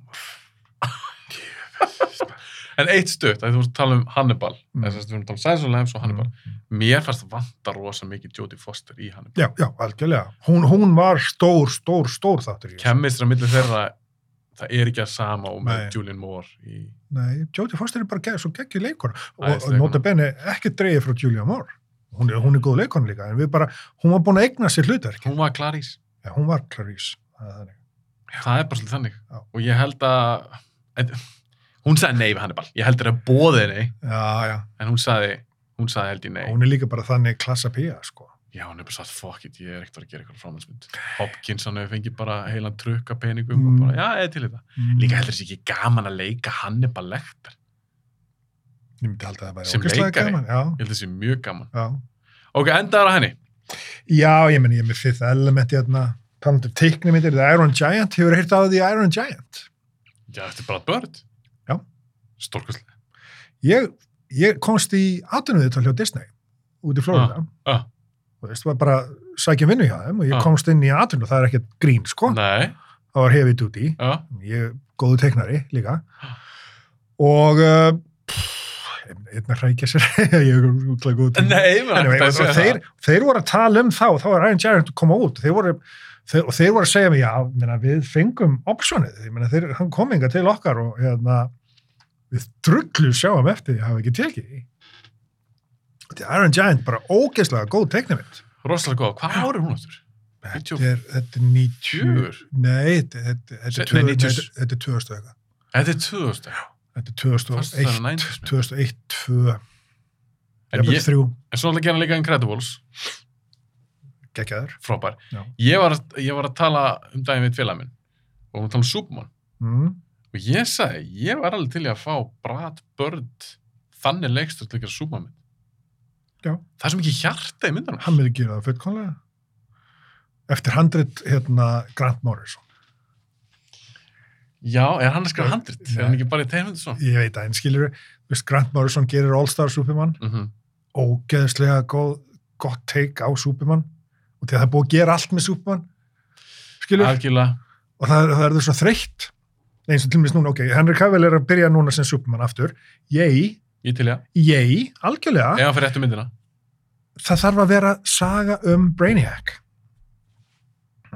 Speaker 1: maður. en eitt stutt, að þú varst að tala um Hannibal,
Speaker 2: Mm.
Speaker 1: eða þess að við erum að tala um Sæsson Lems og Hannibal. Mér fannst vanta rosa mikið Jodie Foster í Hannibal.
Speaker 2: já, já, algjörlega, hún, hún var stór, stór, stór þáttur í þessu.
Speaker 1: Kemmistra millir þeirra, það er ekki að sama og með
Speaker 2: Nei.
Speaker 1: Julian Moore í...
Speaker 2: nei, Jodie Foster er bara geð, svo geggjur leikon og
Speaker 1: Æðisleikona.
Speaker 2: nota benni ekki dreigið frá Julia Moore hún er, hún er góð leikon líka, en við bara hún var búin að eigna sér hlutverki,
Speaker 1: Hún var Clarice.
Speaker 2: já, hún var Clarice það er þannig
Speaker 1: Það er bara svolítið þannig.
Speaker 2: Já.
Speaker 1: Og ég held að... en- Hún sagði nei við Hannibal. Ég held þeirra bóðið nei,
Speaker 2: Já, já,
Speaker 1: en hún sagði, hún sagði held ég nei.
Speaker 2: hún er líka bara þannig klassa pía, sko.
Speaker 1: Já, hann er bara satt, fuck it, ég er ekkert að fara að gera eitthvað framhaldsmynd. Hopkins, hann hefur fengið bara heilan trukk af peningum
Speaker 2: Mm.
Speaker 1: og bara, já, eða til í það. Líka heldur þessi ekki gaman að leika Hannibal Lecter.
Speaker 2: Ég myndi halda að það væri
Speaker 1: Sem
Speaker 2: ógeðslega
Speaker 1: leikari.
Speaker 2: gaman,
Speaker 1: Ég held þessi mjög gaman.
Speaker 2: Já, já.
Speaker 1: Ok, endaður á henni.
Speaker 2: Já, ég meni, ég er með fifth element hérna, talandur teikni myndir, The Iron Giant, hefur hýrt á því Iron Giant.
Speaker 1: Já, þetta er bara börn.
Speaker 2: Já.
Speaker 1: Stórkustlega.
Speaker 2: Ég, ég komst í atvinnuðið til hjá Disney, út í Florida,
Speaker 1: Ah,
Speaker 2: og veist, var bara sækja vinnu hjá þeim og ég
Speaker 1: Já.
Speaker 2: komst inn í atvinnuð, það er ekkert grín, sko.
Speaker 1: nei,
Speaker 2: Það var heavy duty.
Speaker 1: já,
Speaker 2: ég er góðu teiknari líka
Speaker 1: Ah.
Speaker 2: og uh, pff, einn að hrækja sér (laughs) ég er útlæg góðu teiknari
Speaker 1: Nei, maður,
Speaker 2: Anyway,
Speaker 1: það
Speaker 2: og,
Speaker 1: sé
Speaker 2: og þeir, þeir voru að tala um þá og þá var Iron Giant að koma út þeir voru, þeir, og þeir voru að segja mig já, meina, við fengum optionið ég meina, þeir, hann kom inga til okkar og hérna, við drullu sjáum eftir því að hafa ekki tekið því. Því að Iron Giant bara ógeðslega góð teiknamind
Speaker 1: rosalega góð. Hvað árið hún áttur?
Speaker 2: þetta er, þetta er 90
Speaker 1: Tjúr.
Speaker 2: nei, þetta, þetta, þetta,
Speaker 1: Nei,
Speaker 2: er 2000
Speaker 1: 90s.
Speaker 2: þetta, þetta er 2000 og eitthvað
Speaker 1: Þetta er 2000.
Speaker 2: Þetta er
Speaker 1: Fannst það
Speaker 2: 2001,
Speaker 1: 90s mynd?
Speaker 2: 2001, 2,
Speaker 1: En, ég,
Speaker 2: 3.
Speaker 1: en svo ætla að gera líka Incredibles.
Speaker 2: geggjaður.
Speaker 1: frábær.
Speaker 2: Já.
Speaker 1: Ég var, ég var að tala um daginn við félag minn og hún var að tala um Superman
Speaker 2: Mm.
Speaker 1: og ég sagði, ég var alveg til í að fá Brad Bird þannig leikstur til að gera Superman mynd.
Speaker 2: Já.
Speaker 1: Það er svo mikið hjarta í myndunum.
Speaker 2: Hann myndi gera það fullkomlega. Eftir handrit, hérna, Grant Morrison.
Speaker 1: Já, er hann að skrifa handrit?
Speaker 2: Nei.
Speaker 1: Er hann ekki bara í tegmyndu svona?
Speaker 2: Ég veit að, en skilur við, veist, Grant Morrison gerir All-Star Superman,
Speaker 1: Mm
Speaker 2: ógeðslega góð, gott take á Superman, og því að það er búið að gera allt með Superman, skilur við,
Speaker 1: Algjörlega.
Speaker 2: og það, það er það svo þreytt, eins og til minnst núna, ok, Henry Cavill er að byrja núna sem Superman aftur, ég,
Speaker 1: Ég til ég.
Speaker 2: ég, algjörlega,
Speaker 1: Ef hann fyrir eftir myndina.
Speaker 2: það þarf að vera saga um Brainiac.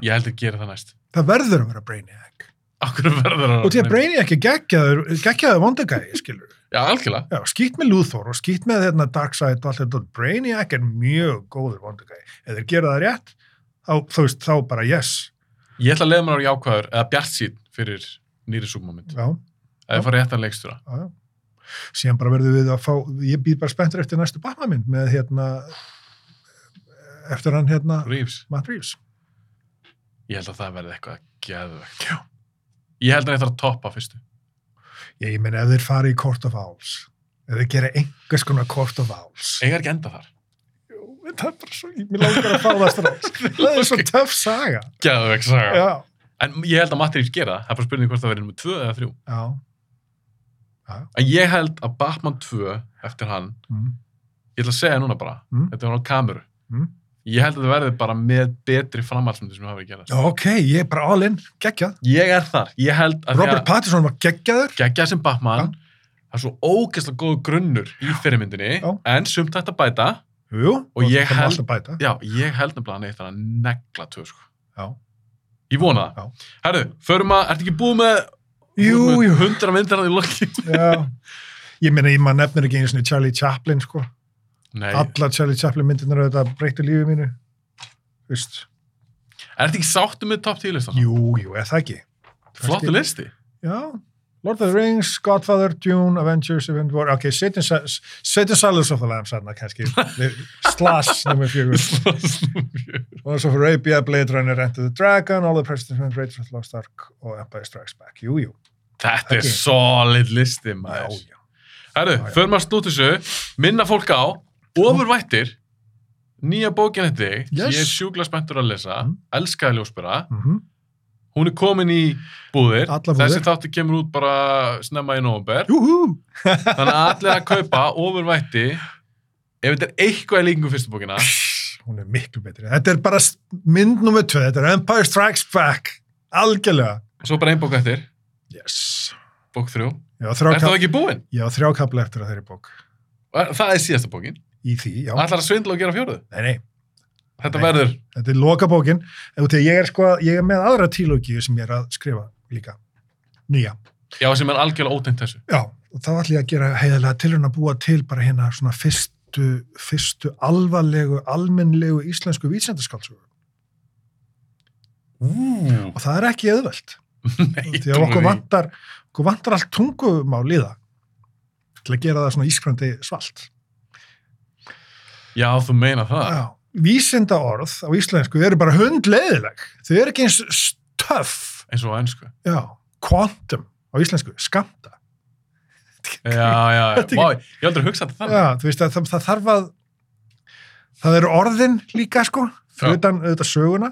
Speaker 1: Ég held að gera það næst.
Speaker 2: Það verður að vera Brainiac.
Speaker 1: Akkur verður hann.
Speaker 2: Og því að Brainiac er geggjaður, geggjaður vondagæði, skilur.
Speaker 1: Já, algjörlega.
Speaker 2: Já, skýtt með Luthor og skýtt með hérna, Darkseid og allt þetta. Brainiac er mjög góður vondagæði. Ef þeir gera það rétt, þá, þú veist, þá bara yes.
Speaker 1: Ég ætla að leiða mér á jákvæður, eða bjart sín fyrir nýri súpmómynd.
Speaker 2: Já, já,
Speaker 1: Eða ég fara réttan leikstjóra.
Speaker 2: já. Síðan bara verður við að fá, ég býð bara spenntur eftir næstu Batman-mynd með hérna, eftir hann hérna,
Speaker 1: Reeves.
Speaker 2: Matt Reeves.
Speaker 1: Ég held að það verði eitthvað geðvegt. Já. Ég held að ég þarf að toppa fyrstu.
Speaker 2: Ég, ég meina, ef þeir fari í Court of Owls, ef þeir gera einhvers konar Court of Owls.
Speaker 1: Egar ekki enda þar.
Speaker 2: Jú, en það er bara svo, mér langar að fá það strax. (laughs) það er svo töff saga.
Speaker 1: Geðvegt saga.
Speaker 2: Já.
Speaker 1: En ég held að Matt Reeves gera það. Það er bara spurning hvort það verði nummer 2 eða 3.
Speaker 2: Já.
Speaker 1: En ég held að Batman 2 eftir hann,
Speaker 2: Mm.
Speaker 1: ég ætla að segja núna bara,
Speaker 2: Mm.
Speaker 1: þetta var á kameru.
Speaker 2: Mm.
Speaker 1: Ég held að það verði bara með betri framhaldsmyndir sem hafa verið gerðast.
Speaker 2: Já, ok, ég er bara all in, geggjað.
Speaker 1: Ég er þar. Ég held að
Speaker 2: Robert Pattinson var geggjaður.
Speaker 1: geggja sem Batman það er svo ógeðslega góður grunnur í fyrirmyndinni,
Speaker 2: Já.
Speaker 1: en sumt hægt að bæta
Speaker 2: Jú,
Speaker 1: Og ég
Speaker 2: það má
Speaker 1: held-
Speaker 2: alltaf bæta.
Speaker 1: já, ég held nefnilega að hann eitt að negla tvö sko.
Speaker 2: Já.
Speaker 1: ég vona það herru, förum að, ertu ekki búið með
Speaker 2: Jú,
Speaker 1: með
Speaker 2: jú.
Speaker 1: hundra myndir hann í lokki
Speaker 2: Já. Ég meina, ég maður nefnir ekki einu sinni Charlie Chaplin, sko.
Speaker 1: nei,
Speaker 2: Alla Charlie Chaplin myndirnar auðvitað breyttu lífið mínu. Vist.
Speaker 1: ertu ekki sáttu með top 10 listan
Speaker 2: Jú, jú, eða það ekki.
Speaker 1: flottu listi,
Speaker 2: Já. Lord of the Rings, Godfather, Dune, Avengers, Event War, ok, Satan Silence of the Lambs, þarna kannski, Slash, nummer fjögur. Lawrence of Arabia, Blade Runner, Enter the Dragon, All the President's Men, Raiders of the Lost Ark og Empire Strikes Back. Jú, jú.
Speaker 1: þetta er
Speaker 2: Ok.
Speaker 1: solid listi maður,
Speaker 2: Já, já.
Speaker 1: herru,
Speaker 2: Já, já.
Speaker 1: förum að snúti þessu minna fólk á, ofurvættir nýja bókin þetta
Speaker 2: Yes.
Speaker 1: ég er sjúkla spenntur að lesa
Speaker 2: Mm.
Speaker 1: elskaði ljósbyrra
Speaker 2: Mm
Speaker 1: Hún er komin í búðir.
Speaker 2: Allar
Speaker 1: Þessi
Speaker 2: búðir.
Speaker 1: þáttu kemur út bara snemma í november.
Speaker 2: Júhú!
Speaker 1: Þannig að allir að kaupa ofurvætti ef þetta er eitthvað í líkingu fyrstu bókina.
Speaker 2: Hún er miklu betri. Þetta er bara s- mynd nummið tvö, þetta er Empire Strikes Back. Algjörlega.
Speaker 1: Svo bara ein bók eftir,
Speaker 2: Yes.
Speaker 1: bók þrjú.
Speaker 2: Ég á þrjá,
Speaker 1: Er það
Speaker 2: kap
Speaker 1: ekki búinn?
Speaker 2: ég á þrjá kapla eftir að þeirri bók.
Speaker 1: Er- Það er síðasta bókin.
Speaker 2: Í því, já.
Speaker 1: Allar að svindla og gera fjóruð.
Speaker 2: Nei, nei.
Speaker 1: Þetta
Speaker 2: Nei.
Speaker 1: verður,
Speaker 2: Þetta er lokabókin. Þegar ég er sko, ég er með aðra tílókíu sem ég er að skrifa líka. Nýja.
Speaker 1: já sem er algjörlega ótengt þessu.
Speaker 2: Já, og þá ætlum ég að gera heiðilega tilraun að búa til bara hérna svona fyrstu, fyrstu alvarlegu, almennlegu íslensku vísendaskaldsögu.
Speaker 1: Ú,
Speaker 2: Og það er ekki auðvelt.
Speaker 1: nei,
Speaker 2: Því að okkur vantar, okkur vantar allt tungumál í það til að gera það svona ískrandi svalt.
Speaker 1: Já, þú meina það.
Speaker 2: Já, vísenda orð á íslensku eru bara hundleiðileg. Þau eru ekki eins stöff.
Speaker 1: Eins og á ennsku.
Speaker 2: Já, quantum á íslensku, skamta.
Speaker 1: Já, já, já.
Speaker 2: (laughs) Þetta er
Speaker 1: Vá, ég aldrei hugsa þetta þannig.
Speaker 2: Já, þú veist að það, það þarf að það eru orðin líka sko
Speaker 1: Já.
Speaker 2: fyrir utan auðvitað söguna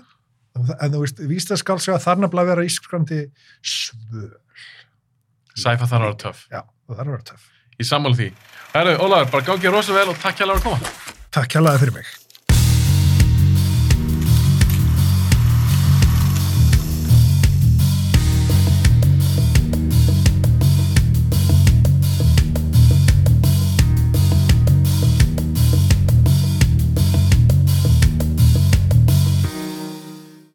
Speaker 2: en þú veist, vístaskaldsöga þarf nefnilega að vera ískrandi svör
Speaker 1: Sæfa þar að vera töff.
Speaker 2: Já, það þarf að vera töff
Speaker 1: Í sammála því. Herru, Ólafur, bara gangi þér rosa vel og takk hjá að koma.
Speaker 2: Takk hjá fyrir mig